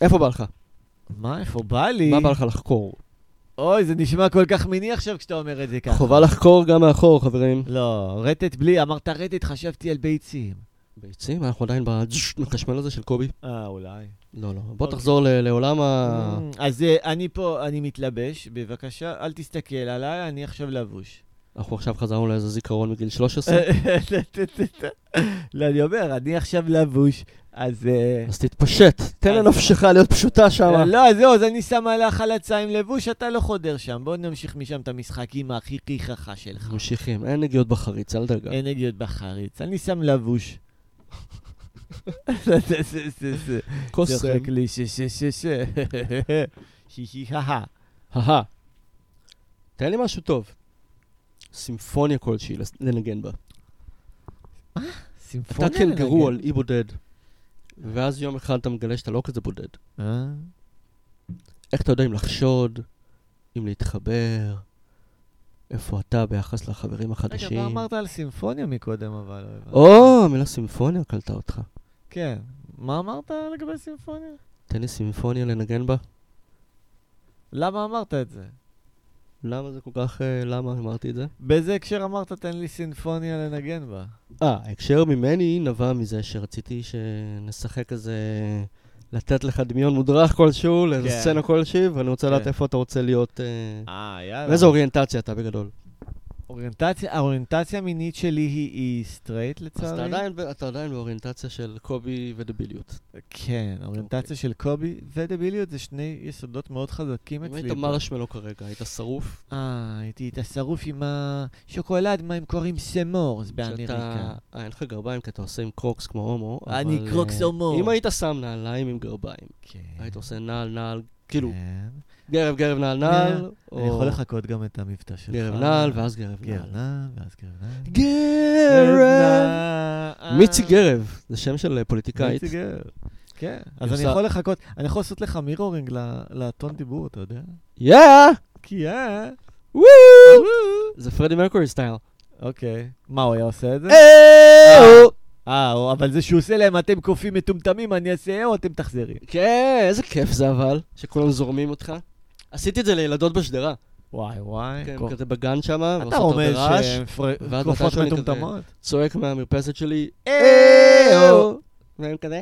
איפה בא לך?
מה, איפה בא לי?
מה בא לך לחקור?
אוי, זה נשמע כל כך מיני עכשיו כשאתה אומר את זה ככה.
חובה לחקור גם מאחור, חברים.
לא, רטט בלי, אמרת רטט, חשבתי על ביצים.
ביצים? אנחנו עדיין בחשמל הזה של קובי?
אה, אולי.
לא, לא. בוא תחזור ל- לעולם ה...
Mm, אז אה, אני פה, אני מתלבש, בבקשה, אל תסתכל עליי, אני עכשיו לבוש.
אנחנו עכשיו חזרנו לאיזה זיכרון מגיל 13,
לא, אני אומר, אני עכשיו לבוש, אז... אה,
אז תתפשט. תן
אז-
לנפשך להיות פשוטה שם.
אה, לא, אז זהו, אז אני שם עליך חלצה עם לבוש, אתה לא חודר שם. בוא נמשיך משם את המשחקים הכי חיככה שלך.
ממשיכים, אין נגיעות בחריץ, אל דאגה.
אין נגיעות בחריץ, אני שם לבוש. זה- זה- זה- זה- זה.
קוסם.
צוחק לי, ש... ש... ש... ש... שיחיהה.
אהה. תן לי משהו טוב. סימפוניה כלשהי לס- לנגן בה.
סימפוניה
אתה
לנגן.
קנגרו על אי בודד, ואז יום אחד אתה מגלה שאתה לא כזה בודד.
אה?
איך אתה יודע אם לחשוד, אם להתחבר, איפה אתה ביחס לחברים
רגע,
החדשים.
אתה אמרת על סימפוניה מקודם, אבל לא הבנתי.
או, המילה סימפוניה קלטה אותך.
כן. מה אמרת לגבי סימפוניה?
תן לי סימפוניה לנגן בה.
למה אמרת את זה?
למה זה כל כך... אה, למה אמרתי את זה?
באיזה הקשר אמרת תן לי סימפוניה לנגן בה?
אה, ההקשר ממני נבע מזה שרציתי שנשחק איזה... לתת לך דמיון מודרך כלשהו, לאיזה
כן.
סצנה כלשהי, ואני רוצה לדעת
כן.
איפה אתה רוצה להיות... אה,
אה, יאללה.
באיזה אוריינטציה אתה בגדול.
אוריינטציה, האוריינטציה המינית שלי היא, היא סטרייט
אז אתה
לצערי?
עדיין, ב- אתה עדיין באוריינטציה של קובי ודביליות.
כן,
אוקיי.
האוריינטציה של קובי ודביליות זה שני יסודות מאוד חזקים
אם
אצלי.
היית מרשמלו כרגע, היית שרוף.
אה, הייתי את השרוף עם השוקולד, מה הם קוראים סמורס באמריקה.
שאתה... אה, אין לך גרביים כי אתה עושה עם קרוקס כמו הומו.
אני
אבל,
קרוקס
אה,
הומו.
אם היית שם נעליים עם גרביים,
כן.
היית עושה נעל נעל, כאילו,
כן.
גרב גרב נעל נעל, או...
אה, אני יכול לחכות גם את המבטא שלך.
גרב נעל ואז גרב נעל.
גרנל, ואז גרנל.
גרב! מיצי גרב, זה שם של אה, פוליטיקאית.
מיצי גרב. כן, אז
היא
אני
עושה-
יכול לחכות, אני יכול לעשות לך מירורינג ל- לטון דיבור, אתה יודע?
יא!
כי אה...
וואו! זה פרדי מרקורי סטייל.
אוקיי. מה, הוא היה עושה את זה?
אה,
אה, הוא- אבל זה שהוא עושה להם, אתם קופים מטומטמים, אני אעשה אה או אתם תחזרי.
כן, איזה כיף זה אבל, שכולם זורמים אותך. עשיתי את זה לילדות בשדרה.
וואי, וואי.
כן,
קור-
כזה בגן שם,
אתה
ועושות הרבה
רומז
רעש.
שהן פר-
ואז
קופות
מתישהו אני כזה-
מטומטמות? אה.
צועק מהמרפסת שלי,
אה-או.
והם כזה,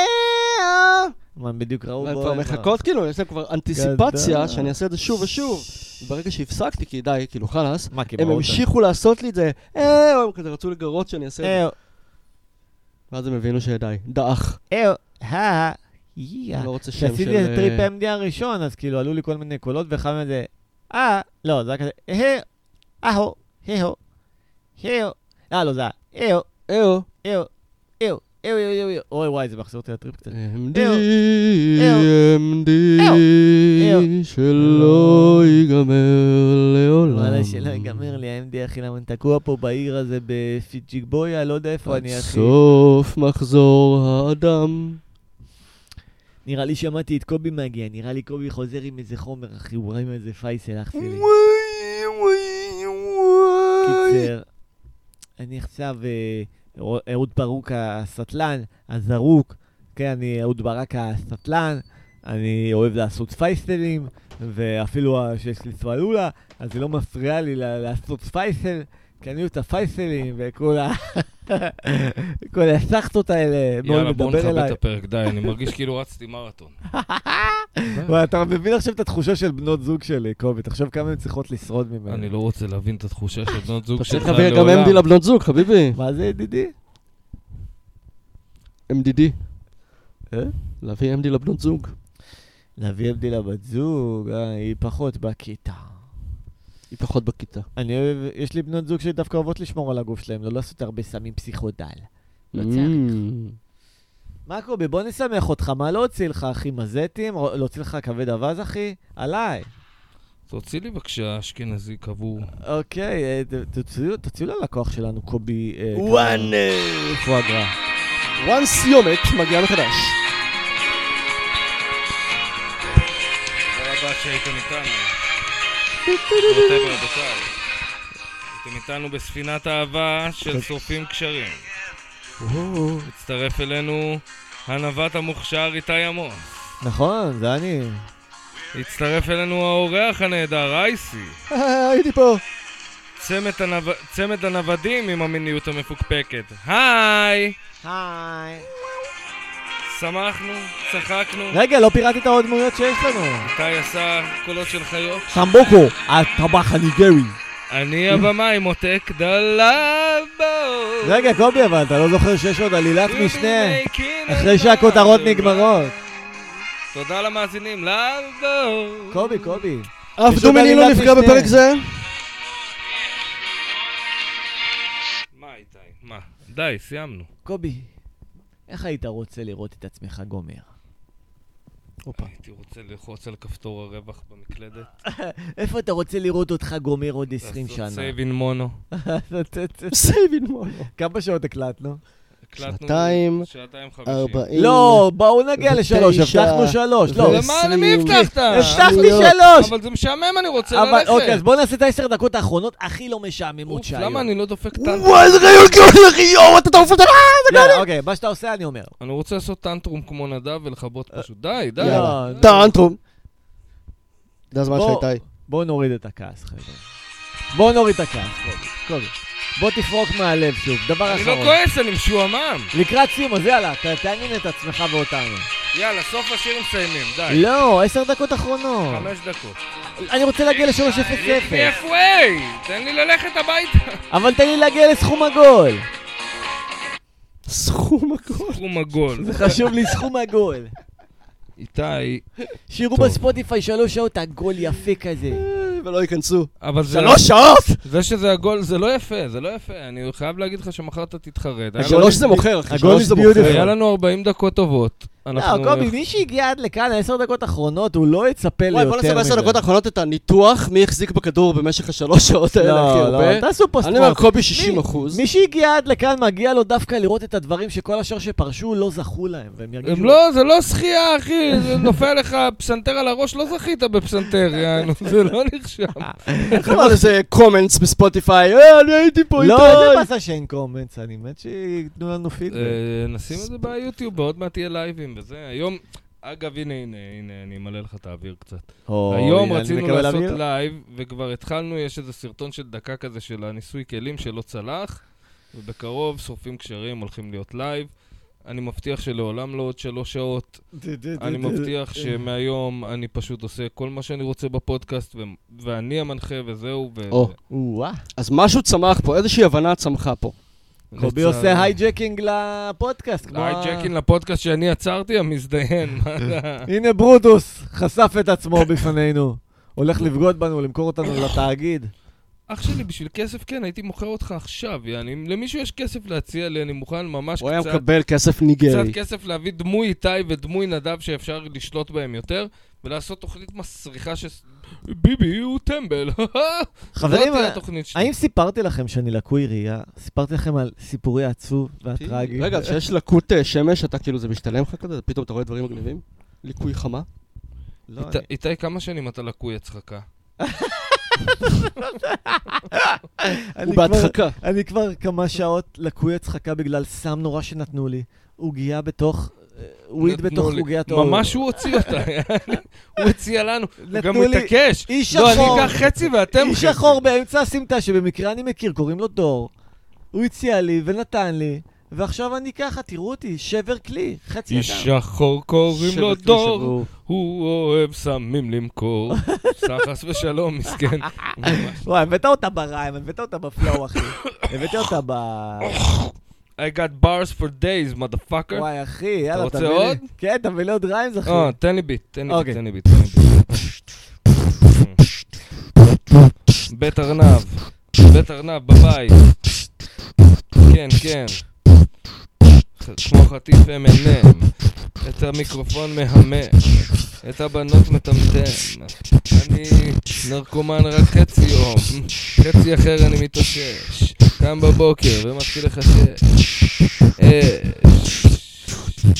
אה-או.
Oh מה, הם בדיוק ראו
והן
בו...
כבר
הם-
מחכות, כאילו, יש להם כבר
גדול.
אנטיסיפציה שאני אעשה את זה שוב ושוב. ברגע שהפסקתי, כי די, כאילו, חלאס,
מה, כי
הם
הם ראו
המשיכו לעשות לי את זה, אה-או, הם כזה רצו לגרות שאני אעשה
אותם?
את
אה,
זה. ואז הם הבינו שדי, דאח.
אה, אה, יא.
אני לא רוצה שם של...
כשעשיתי את טריפ
אה,
MD הראשון, אז כאילו עלו לי כל מיני קולות, ואחד מהם זה, אה, לא, זה היה כזה, אה, אהו, הו, הו, אה, לא, זה היה, אהו,
אה-או.
אהו, אהו, אהו, אהו, אהו, אהו, אוי וואי, זה מחזיר אותי לטריפ קצת.
MD,
אה-או.
MD,
אה-או.
שלא ייגמר לעולם.
וואלה, שלא ייגמר לי ה-MD, אחי, למה אני תקוע פה בעיר הזה בפיצ'יקבויה, לא יודע איפה אני, אחי.
סוף מחזור האדם.
נראה לי שמעתי את קובי מגיע, נראה לי קובי חוזר עם איזה חומר, אחי, הוא ראה עם איזה פייסל, אח שלי. קיצר, אני עכשיו אה, אהוד ברוק הסטלן, הזרוק, כן, אני אהוד ברק הסטלן, אני אוהב לעשות פייסלים, ואפילו ה- שיש לי סלולה, אז זה לא מפריע לי ל- לעשות פייסל, קנו את הפייסלים וכל ה... כל הסחטות האלה. בואו
יאללה, בואו
נדבר
נכבד את
אליי.
הפרק, די, אני מרגיש כאילו רצתי מרתון.
וואי, אתה מבין עכשיו את התחושה של בנות זוג שלי, קובי. תחשוב כמה הן צריכות לשרוד
אני
ממנו.
לא רוצה להבין את התחושה של בנות זוג
אתה צריך
שלך
להביא גם
לעולם.
לא-
MD לבנות זוג, חביבי.
מה זה, ידידי?
MDD.
אה?
להביא MD לבנות זוג.
להביא עבדי לבת זוג, אה, היא פחות בכיתה.
היא פחות בכיתה.
אני אוהב, יש לי בנות זוג שדווקא אוהבות לשמור על הגוף שלהם, לא לעשות הרבה סמים פסיכודל. לא צריך.
Mm.
מה קובי, בוא נשמח אותך, מה לא הוציא לך, אחי? מזטים? רו- לא הוציא לך כבד אווז, אחי? עליי.
תוציא לי בבקשה אשכנזי קבור.
אוקיי, אה, ת- תוציאו- תוציאו ללקוח שלנו, קובי. אה,
וואן,
כמה- פואגרה.
וואן סיומת מגיעה מחדש.
תודה רבה שהייתם איתנו. רבותיי ורבותיי, הייתם איתנו בספינת אהבה של שורפים קשרים. הצטרף אלינו הנווט המוכשר איתי עמוס.
נכון, זה אני.
הצטרף אלינו האורח הנהדר אייסי.
אה, הייתי פה.
צמד הנו- צמד הנוודים עם המיניות המפוקפקת. היי!
היי.
שמחנו, צחקנו.
רגע, לא פירטת עוד דמויות שיש לנו.
איתי עשה קולות של חיות.
סמבוקו, הטבח הניגרי.
אני הבמאי מותק דלבו.
רגע, קובי, אבל אתה לא זוכר שיש עוד עלילת משנה? אחרי שהכותרות נגמרות.
תודה למאזינים, לבו.
קובי, קובי.
אף
יש עוד
דומיני לא
עלילת
נפגע
משנה.
בפרק זה.
מה איתי? מה? די, סיימנו.
קובי, איך היית רוצה לראות את עצמך גומר?
הייתי רוצה ללחוץ על כפתור הרווח במקלדת.
איפה אתה רוצה לראות אותך גומר עוד 20
לעשות
שנה?
סייב אין מונו.
סייבין מונו.
כמה שעות הקלטנו?
הקלטנו
שעתיים,
שעתיים חמישים.
ארבעים.
לא, בואו נגיע לשלוש,
ותשע.
הבטחנו שלוש, לא.
ו-
למה, למי
עשרים.
הבטחת?
הבטחתי
שטויות.
שלוש!
אבל זה משעמם, אני רוצה
אבל
ללכת.
אוקיי, אז בואו נעשה את העשר דקות האחרונות הכי לא משעממות
אוף,
שהיו.
למה אני לא דופק טנטרום?
וואי, זה רעיון גדול, אחי, יואו, אתה אה, תעוף אותה.
לא, אוקיי, מה שאתה עושה אני אומר.
אני רוצה לעשות טנטרום כמו נדב ולכבות
אה,
פשוט. די, די.
יאללה.
לא,
טרנטרום. זה הזמן
בוא.
של איתי.
בואו נוריד את הכעס, חבר'ה. בואו נוריד את הכעס, קובי. קובי. בוא תפרוק מהלב שוב, דבר
אני לא
אחרון.
כועס, אני משועמם.
לקראת סיום, אז יאללה, ת- תעניין את עצמך ואותנו.
יאללה, סוף השיר מסיימים, די.
לא, עשר דקות אחרונות.
חמש אה, דקות.
אני רוצה להגיע ל-3.00,
halfway! תן לי ללכת הביתה.
אבל תן לי להגיע לסכום עגול.
סכום הכל.
סכום עגול.
זה חשוב לי, סכום עגול.
איתי,
שירו
טוב.
בספוטיפיי שלוש שעות עגול יפה כזה.
ולא ייכנסו.
אבל זה...
שלוש שעות!
זה שזה עגול, זה לא יפה, זה לא יפה. אני חייב להגיד לך שמחר אתה תתחרט. היה לא לנו-
שלוש זה מוכר, אחי.
הגול
שלוש
is
זה מוכר.
beautiful.
היה לא לנו 40 דקות טובות.
לא,
אנחנו-
קובי, מי שהגיע עד לכאן, העשר דקות האחרונות, הוא לא יצפה ליותר
וואי,
מזה.
בוא נעשה בעשר דקות האחרונות את הניתוח מי החזיק בכדור במשך השלוש שעות האלה הכי
לא,
הרבה.
לא, תעשו פוסט
כאילו, אוקיי? אני אומר קובי 60 אחוז.
מי שהגיע עד לכאן, מגיע לו דווקא לראות את הדברים שכל השאר שפרשו לא זכו להם, והם
הם
ירגישו...
לא, זה לא שחייה, אחי, זה נופל לך פסנתר על הראש, לא זכית בפסנתר, יענו, זה לא נחשב.
אה,
איך אמר לזה קומנטס בספוטיפיי, אה, אני הייתי פה איתי.
לא, איזה באסה שאין קומץ, אני מת שייתנו לנו פידבק.
אה, נשים את זה ביוטיוב, ועוד מעט יהיה לייבים וזה. היום, אגב, הנה, הנה, הנה, אני אמלא לך את האוויר קצת.
אה,
או,
היום
הנה, אני
רצינו
מקבל
לעשות
אוויר.
לייב, וכבר התחלנו, יש איזה סרטון של דקה כזה של הניסוי כלים שלא צלח, ובקרוב שורפים קשרים, הולכים להיות לייב. אני מבטיח שלעולם לא עוד שלוש שעות. אני מבטיח
כן.
שמהיום אני פשוט עושה כל מה שאני רוצה בפודקאסט, ו- ואני המנחה וזהו. ו-
או,
וואה.
אז משהו צמח פה, איזושהי הבנה צמחה פה.
ו-
קובי
לצערי.
עושה הייג'קינג לפודקאסט, כמו... ה-
הייג'קין לפודקאסט שאני עצרתי, המזדיין, מה זה?
הנה ברודוס, חשף את עצמו בפנינו. הולך לבגוד בנו, למכור אותנו לתאגיד.
אח שלי, בשביל כסף, כן, הייתי מוכר אותך עכשיו, יעני. אם למישהו יש כסף להציע לי, אני מוכן ממש
הוא היה
קצת,
מקבל כסף
קצת
ניגרי.
כסף להביא דמוי איתי ודמוי נדב שאפשר לשלוט בהם יותר, ולעשות תוכנית מסריחה ש... ביבי הוא טמבל.
חברים,
זאת תהיה התוכנית שלי.
האם סיפרתי לכם שאני לקוי ראייה? סיפרתי לכם על סיפורי העצוב והטרגי?
רגע, כשיש לקות אה, שמש, אתה כאילו, זה משתלם לך כזה? פתאום אתה רואה דברים מגניבים? ליקוי חמה?
לא,
אית- איתי, כמה שנים אתה לקוי הצחקה?
אני-
הוא
אני כבר-
בהדחקה.
אני כבר כמה שעות לקוי הצחקה בגלל סם נורא שנתנו לי. עוגיה בתוך... אה, וויד
נתנו
בתוך
לי.
חוגיית האור.
ממש הוא הוציא אותה, הוא הציע לנו, הוא גם
נתנו לי-
מתעקש.
איש
לא, אני
שחור.
אקח חצי ואתם
איש
חצי.
שחור באמצע הסמטה, שבמקרה אני מכיר, קוראים לו דור. הוא הציע לי ונתן לי, ועכשיו אני ככה, תראו אותי, שבר כלי, חצי אדם.
איש שחור קוראים לו
שבט כלי
דור,
שבור.
הוא אוהב סמים למכור. סחס ושלום, מסכן. ממש.
וואי, הבאת אותה בריים, הבאת אותה בפלואו, אחי. הבאת אותה ב...
אוקיי. I got bars for days, motherfucker.
וואי, אחי, יאללה,
רוצה
תביא לי...
עוד?
כן, תביא לי עוד ריימס, אחי.
אה, תן לי ביט, תן לי
אוקיי.
ביט, תן לי ביט. תן לי ביט. בית ארנב, בית ארנב בבית. כן, כן. כמו חטיף M&M. את המיקרופון מהמם. את הבנות מטמטם. אני נרקומן רק חצי יום. חצי אחר אני מתאושש. קם בבוקר ומתחיל לחשש. אש.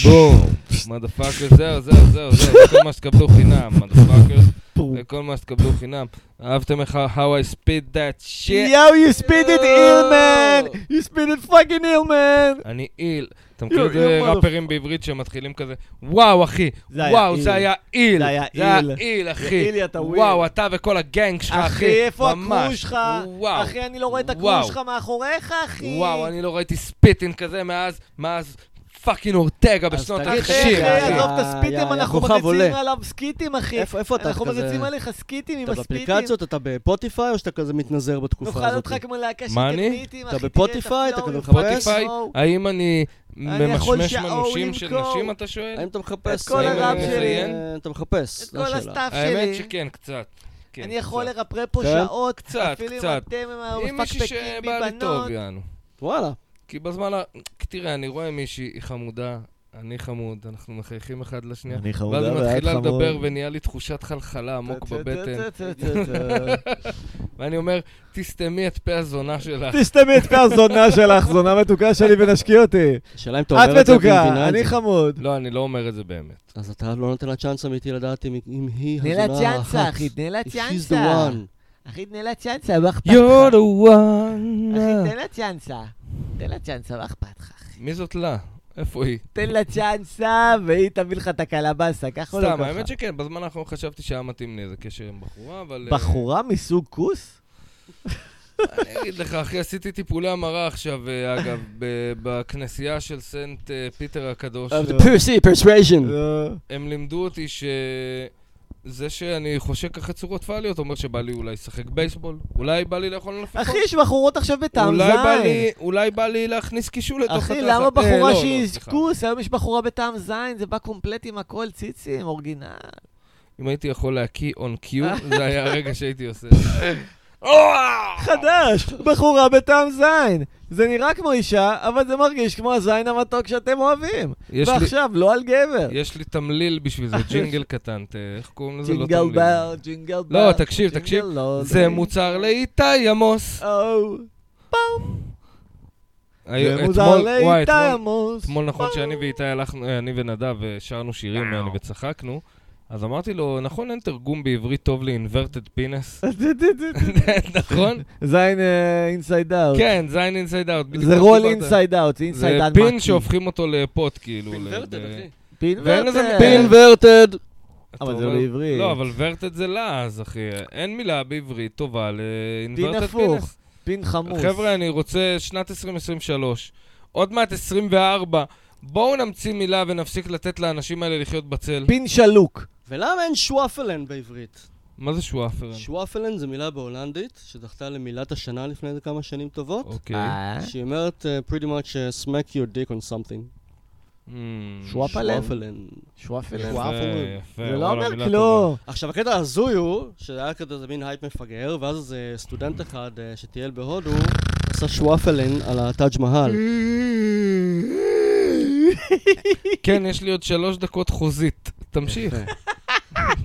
בום. מדפאקר, זהו, זהו, זהו, זהו, זה כל מה שתקבלו חינם, מדפאקר, זה כל מה שתקבלו חינם. אהבתם איך ה- how I speed that shit?
יואו, you speed it ill man!
יואו.
you speed it fucking ill man!
אני איל. אתה מכיר את
You're-
זה
you're
ראפרים בעברית שמתחילים כזה, וואו, אחי,
זה היה
וואו,
איל.
זה היה איל.
זה היה איל.
איל,
זה
אחי.
אילי, אתה וויל.
וואו, אתה וכל הגנג שלך, אחי.
אחי, איפה
ממש.
הקרוש שלך?
וואו.
אחי, אני לא רואה את
וואו.
הקרוש שלך מאחוריך, אחי.
וואו, אני לא ראיתי ספיטין כזה מאז, מאז פאקינג אורטגה בשנות
תגיד,
אחי,
ה-90.
אחי,
היה-
עזוב את הספיטים,
היה- היה
אנחנו
כוכב
מריצים
עולה.
עליו סקיטים, אחי.
איפה איפה אתה?
אנחנו
כזה-
מריצים עליך סקיטים עם
אתה
הספיטים.
באפליקציות, אתה בפוטיפיי, או שאתה כזה מתנזר בתקופה
נאכל
הזאת?
אותך כמו להקה של
מה אני?
תדמיתים,
אתה
אחי, תראה את
בפוטיפיי, אתה
הפלואו,
כזה
את
מחפש?
ספוטיפיי,
הפלואו.
האם אני
אני יכול
ממשמש
שאול
מנושים של
למכור.
נשים, אתה שואל?
האם אתה מחפש?
את כל
האם
הרב
אתה-
שלי.
אה, אתה מחפש,
את
זו
כל
השאלה.
הסטאפ שלי.
האמת שכן, קצת. כן,
אני יכול
קצת.
לרפרר פה
כן?
שעות,
קצת,
אפילו אם
קצת.
אתם עם
עם מישהי
המפקפקים בי
שבא לי טוב,
בנות.
יענו.
וואלה.
כי בזמן ה... תראה, אני רואה מישהי, היא חמודה, אני חמוד, אנחנו מחייכים אחד לשנייה.
אני
ואז היא מתחילה לדבר ונהיה לי תחושת חלחלה עמוק בבטן. ואני אומר, תסתמי את פה הזונה שלך.
תסתמי את פי הזונה שלך, זונה מתוקה שלי ונשקי אותי.
השאלה אם אתה
את
אומר את זה
מתוקה,
ומבינה את
אני
זה.
חמוד.
לא, אני לא אומר את זה באמת.
אז אתה לא נותן לה צ'אנס אמיתי לדעת אם אם היא
תני
הזונה
לה
האחת.
צ'אנסה, אחי, תני לה
If לא she's the
צ'אנסה.
one.
אחי, תני לה צ'אנסה, מה אכפת
You're
לך?
the
אחי,
one.
תן לה צ'אנסה. תן לה צ'אנסה, מה אכפת לך? אחי?
מי זאת לה? איפה היא?
תן לה צ'אנסה, והיא תביא לך את הקלבאסה, ככה או לא
סתם,
ככה?
האמת שכן, בזמן האחרון חשבתי שהיה מתאים לי איזה קשר עם בחורה, אבל... אה,
בחורה מסוג כוס?
אני אגיד לך, אחי, עשיתי טיפולי המרה עכשיו, אה, אגב, ב- בכנסייה של סנט אה, פיטר הקדוש.
Of the pussy persuasion.
לא.
הם לימדו אותי ש... זה שאני חושק אחרי צורות פאליות אומר שבא לי אולי לשחק בייסבול, אולי בא לי לאכול מלפפון,
אחי, יש בחורות עכשיו בטעם
אולי בא
זין.
לי- אולי בא לי להכניס קישול לתוך
אחי,
התחת.
למה
אה, לא,
בחורה
לא,
שהיא
סליחה.
כוס? היום יש בחורה בטעם זין, זה בא קומפלט עם הכל, ציצים, אורגינל.
אם הייתי יכול להקיא און קיו, זה היה הרגע שהייתי עושה. אה!
חדש, בחורה בטעם זין. זה נראה כמו אישה, אבל זה מרגיש כמו הזין המתוק שאתם אוהבים.
יש לי-
ועכשיו, לא על גבר.
יש לי תמליל בשביל זה, ג'ינגל קטן, ת- איך קוראים לזה? לא
ג'ינגל
תמליל.
בר, ג'ינגל בר.
לא, תקשיב, תקשיב.
ג'ינגל לא, Oh,
זה מוצר לאיתי עמוס.
או,
היו-
זה
אתמול-
מוזר
וואי,
לאיתי
אתמול-
עמוס.
אתמול נכון שאני ואיתי הלכנו, אה, אני ונדב אה, שרנו שירים אה, וצחקנו, אז אמרתי לו, נכון אין תרגום בעברית טוב לאינברטד פינס? נכון?
זין אינסייד אאוט.
כן, זין אינסייד אאוט.
אה, אוקיי. זה רול אינסייד אאוט, זה אינסייד
זה
אאוט.
פין שהופכים אותו לפוט, כאילו.
Inverted,
ל-
אחי.
פין
ואין לזה
ורטר.
פין
Inverted.
אתה
אבל זה
אומר-
לא בעברית.
לא, אבל ורטד זה לעז, אחי. אין מילה בעברית טובה לאינברטד
הפוך.
פינס.
פין חמוס.
חבר'ה, אני רוצה שנת 2023. עוד מעט 24. בואו נמציא מילה ונפסיק לתת לאנשים האלה לחיות בצל.
פין שלוק.
ולמה אין שוואפלן בעברית?
מה זה שוואפרן?
שוואפלן זו מילה בהולנדית, שזכתה למילת השנה לפני איזה כמה שנים טובות,
אוקיי.
אה?
שהיא אומרת uh, pretty much uh, smack your dick on something.
אמ,
שוואפלן.
שוואפלן.
שוואפלן.
יפה,
שוואפרן.
זה
יפה,
לא
וואלה,
אומר
מילה
כלום.
עכשיו, הקטע ההזוי הוא, שזה היה כזה איזה מין הייפ מפגר, ואז איזה סטודנט אחד אה, שטייל בהודו, עשה שוואפלן על הטאג' מהל.
טובה. כן, יש לי עוד שלוש דקות חוזית. תמשיך.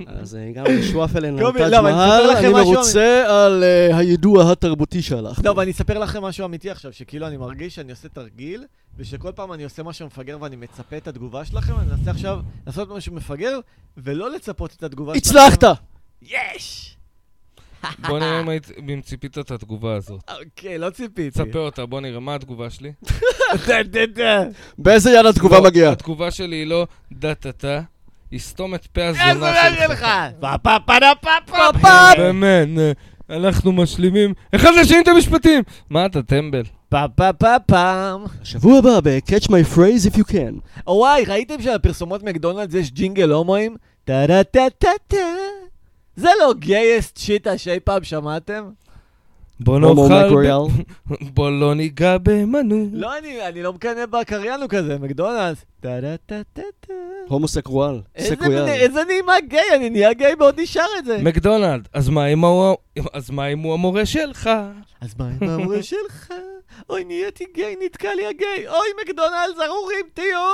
אז אה, גם שוואפלן על
קובי,
טאג'
לא, אבל אני
מהל,
אספר לכם
אני
משהו.
מרוצה על אה, הידוע התרבותי שהלך.
לא, אבל אני אספר לכם משהו אמיתי עכשיו, שכאילו אני מרגיש שאני עושה תרגיל, ושכל פעם אני עושה משהו מפגר ואני מצפה את התגובה שלכם, אני אנסה עכשיו לעשות משהו מפגר, ולא לצפות את התגובה שלכם.
הצלחת!
יש!
בוא נראה אם היית- אם ציפית את התגובה הזאת.
אוקיי, לא ציפיתי.
תספר אותה, בוא נראה. מה התגובה שלי?
באיזה יד התגובה
לא,
מגיעה?
התגובה שלי היא לא דה-טה-טה, היא סתום את פה
איזה
הזונה
נראה
שלך.
לך? פה פה פה פה פה פה
באמת, נה, אנחנו משלימים אחד לשני את המשפטים. מה אתה טמבל?
פה פה פה פעם.
שבוע הבא ב-catch my phrase if you can.
וואי, ראיתם שלפרסומות מקדונלדס יש ג'ינגל הומואים? טה טה טה טה טה. זה לא גייסט שיטה שאי פעם שמעתם?
בוא
לא
הומו
נאכל...
מקרויאל.
ב- בוא לא ניגע במנוי.
לא, אני, אני לא מקנא בקריין הוא כזה, מקדונלדס. טה טה טה טה טה.
הומוסקרואל.
איזה
סקרויאל.
בני- איזה נעימה גיי, אני נהיה גיי בעוד נשאר את זה.
מקדונלד, אז מה אם הוא- אז מה אם הוא המורה שלך?
אז מה עם ההורה שלך? אוי, נהייתי גיי, נתקע לי הגיי. אוי, מקדונלדס, ארורים, תהיו!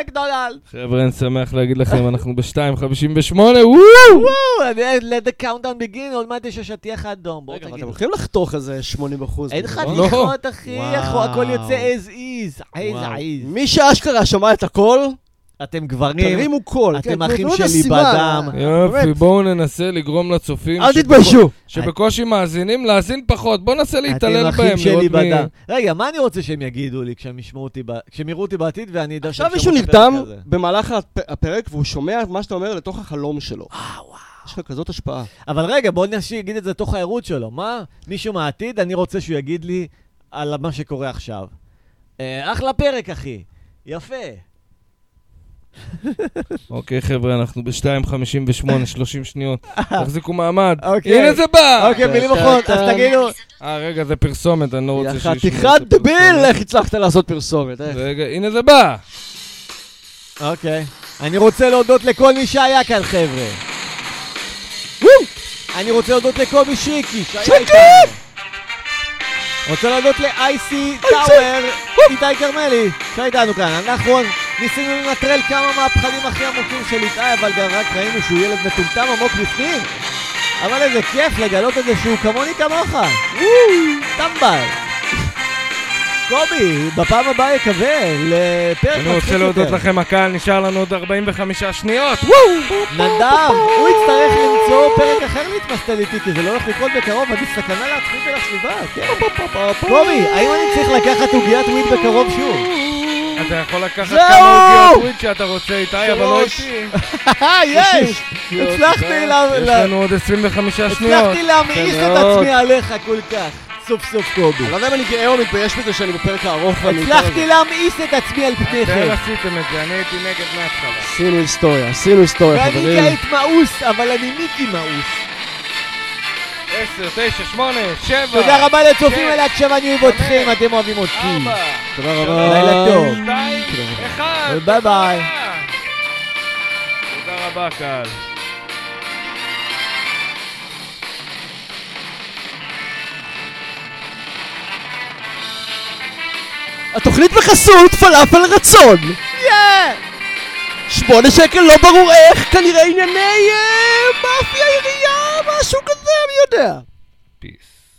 מקדונלדס!
חבר'ה, אני שמח להגיד לכם, אנחנו ב-2.58, וואו!
וואו, אני- let the countdown begin, עוד מעט יש השטיח האדום, בואו
רגע, אבל אתם
תגידו.
הולכים לחתוך איזה 80%.
אין לך
נכון?
לא.
תמיכות, אחי,
וואו.
אחו- הכל יוצא as is, as
וואו.
is.
מי שאשכרה שמע את הכל,
אתם גברים,
תרימו קול.
אתם
כן, תנו-
אחים
תנו את
שלי
הסיבה.
בדם.
יופי,
באמת.
בואו ננסה לגרום לצופים...
אל
שבקו-
תתביישו.
שבקושי מאזינים, להאזין פחות. בואו ננסה להתעלל
אתם
בהם,
אחים שלי
לראות מי...
בדם. רגע, מה אני רוצה שהם יגידו לי כשהם ישמעו אותי, ב- כשהם יראו אותי בעתיד ואני אדע
עכשיו
שהם
מישהו
שמעו את
נרדם
הפרק הזה?
במהלך הפ- הפרק והוא שומע את מה שאתה אומר לתוך החלום שלו.
אה,
יש לך כזאת השפעה.
אבל רגע, בוא נשי- נגיד את זה תוך הערות שלו. מה, מישהו מהעתיד, אני רוצה שהוא יגיד לי על מה שקורה עכשיו. אה, אחלה פרק, אחי. יפה.
אוקיי, חבר'ה, אנחנו ב-2.58, 30 שניות. תחזיקו מעמד.
אה. אוקיי.
הנה זה בא!
אוקיי, מילים אחרות, אז תגידו...
אה, רגע, זה פרסומת, אני לא
יא
רוצה שישמעו
חתיכת
את
דביל,
הפרסומת.
איך הצלחת לעשות פרסומת,
אה,
איך?
רגע, הנה זה בא!
אוקיי. אני רוצה להודות לכל מי שהיה כאן, חבר'ה. אני רוצה להודות לקובי שריקי, שהיה איתנו. רוצה להודות לאייסי טאוור, איתי כרמלי, שהיה איתנו כאן. אנחנו ניסינו לנטרל כמה מהפחדים הכי עמוקים של איתי, אבל גם רק ראינו שהוא ילד מטומטם עמוק בפנים. אבל איזה כיף לגלות את זה שהוא כמוני כמוך. טמבל. קובי, בפעם הבאה יקווה לפרק
אני רוצה
מצחיק
להודות
יותר.
לכם, הקהל, נשאר לנו עוד 45 שניות.
נדב, הוא יצטרך למצוא פרק אחר להתמסטל איתי, כי זה לא הולך לקרות בקרוב, אני סכנה לעצמי ולסביבה, כן? קובי, האם אני צריך לקחת עוגיית וויד בקרוב שוב?
אתה יכול לקחת
זהו!
כמה עוגיות וויד שאתה רוצה איתי, אבל לא
שלוש.
איתי. אה,
יש! הצלחתי לה-
יש
לה-
לנו עוד 25 שניות.
הצלחתי להמעיך את
מאוד.
עצמי עליך כל כך, סוף סוף קובי.
אני לא יודע אם אני גאה או מתבייש בזה שאני בפרק הארוך ואני...
הצלחתי להמאיס את עצמי על
אתם
פניכם,
כן, עשיתם את זה, אני הייתי נגד מההתחלה.
עשינו היסטוריה, עשינו היסטוריה,
ואני
חברים.
כעת מאוס, אבל אני מיקי מאוס.
10, 9, 8, 7.
תודה רבה לצופים
כן.
על ההקשבה, אני אוהב
חמש.
אתכם, אתם אוהבים אותי.
ארבע,
תודה
לילה
רבה.
טוב.
שתיים, אחד.
ביי ביי.
תודה רבה, קהל.
התוכנית בחסות פלאפל רצון! שמונה שקל לא ברור איך, כנראה ענייני אה, מאפיה עירייה, משהו כזה, מי יודע.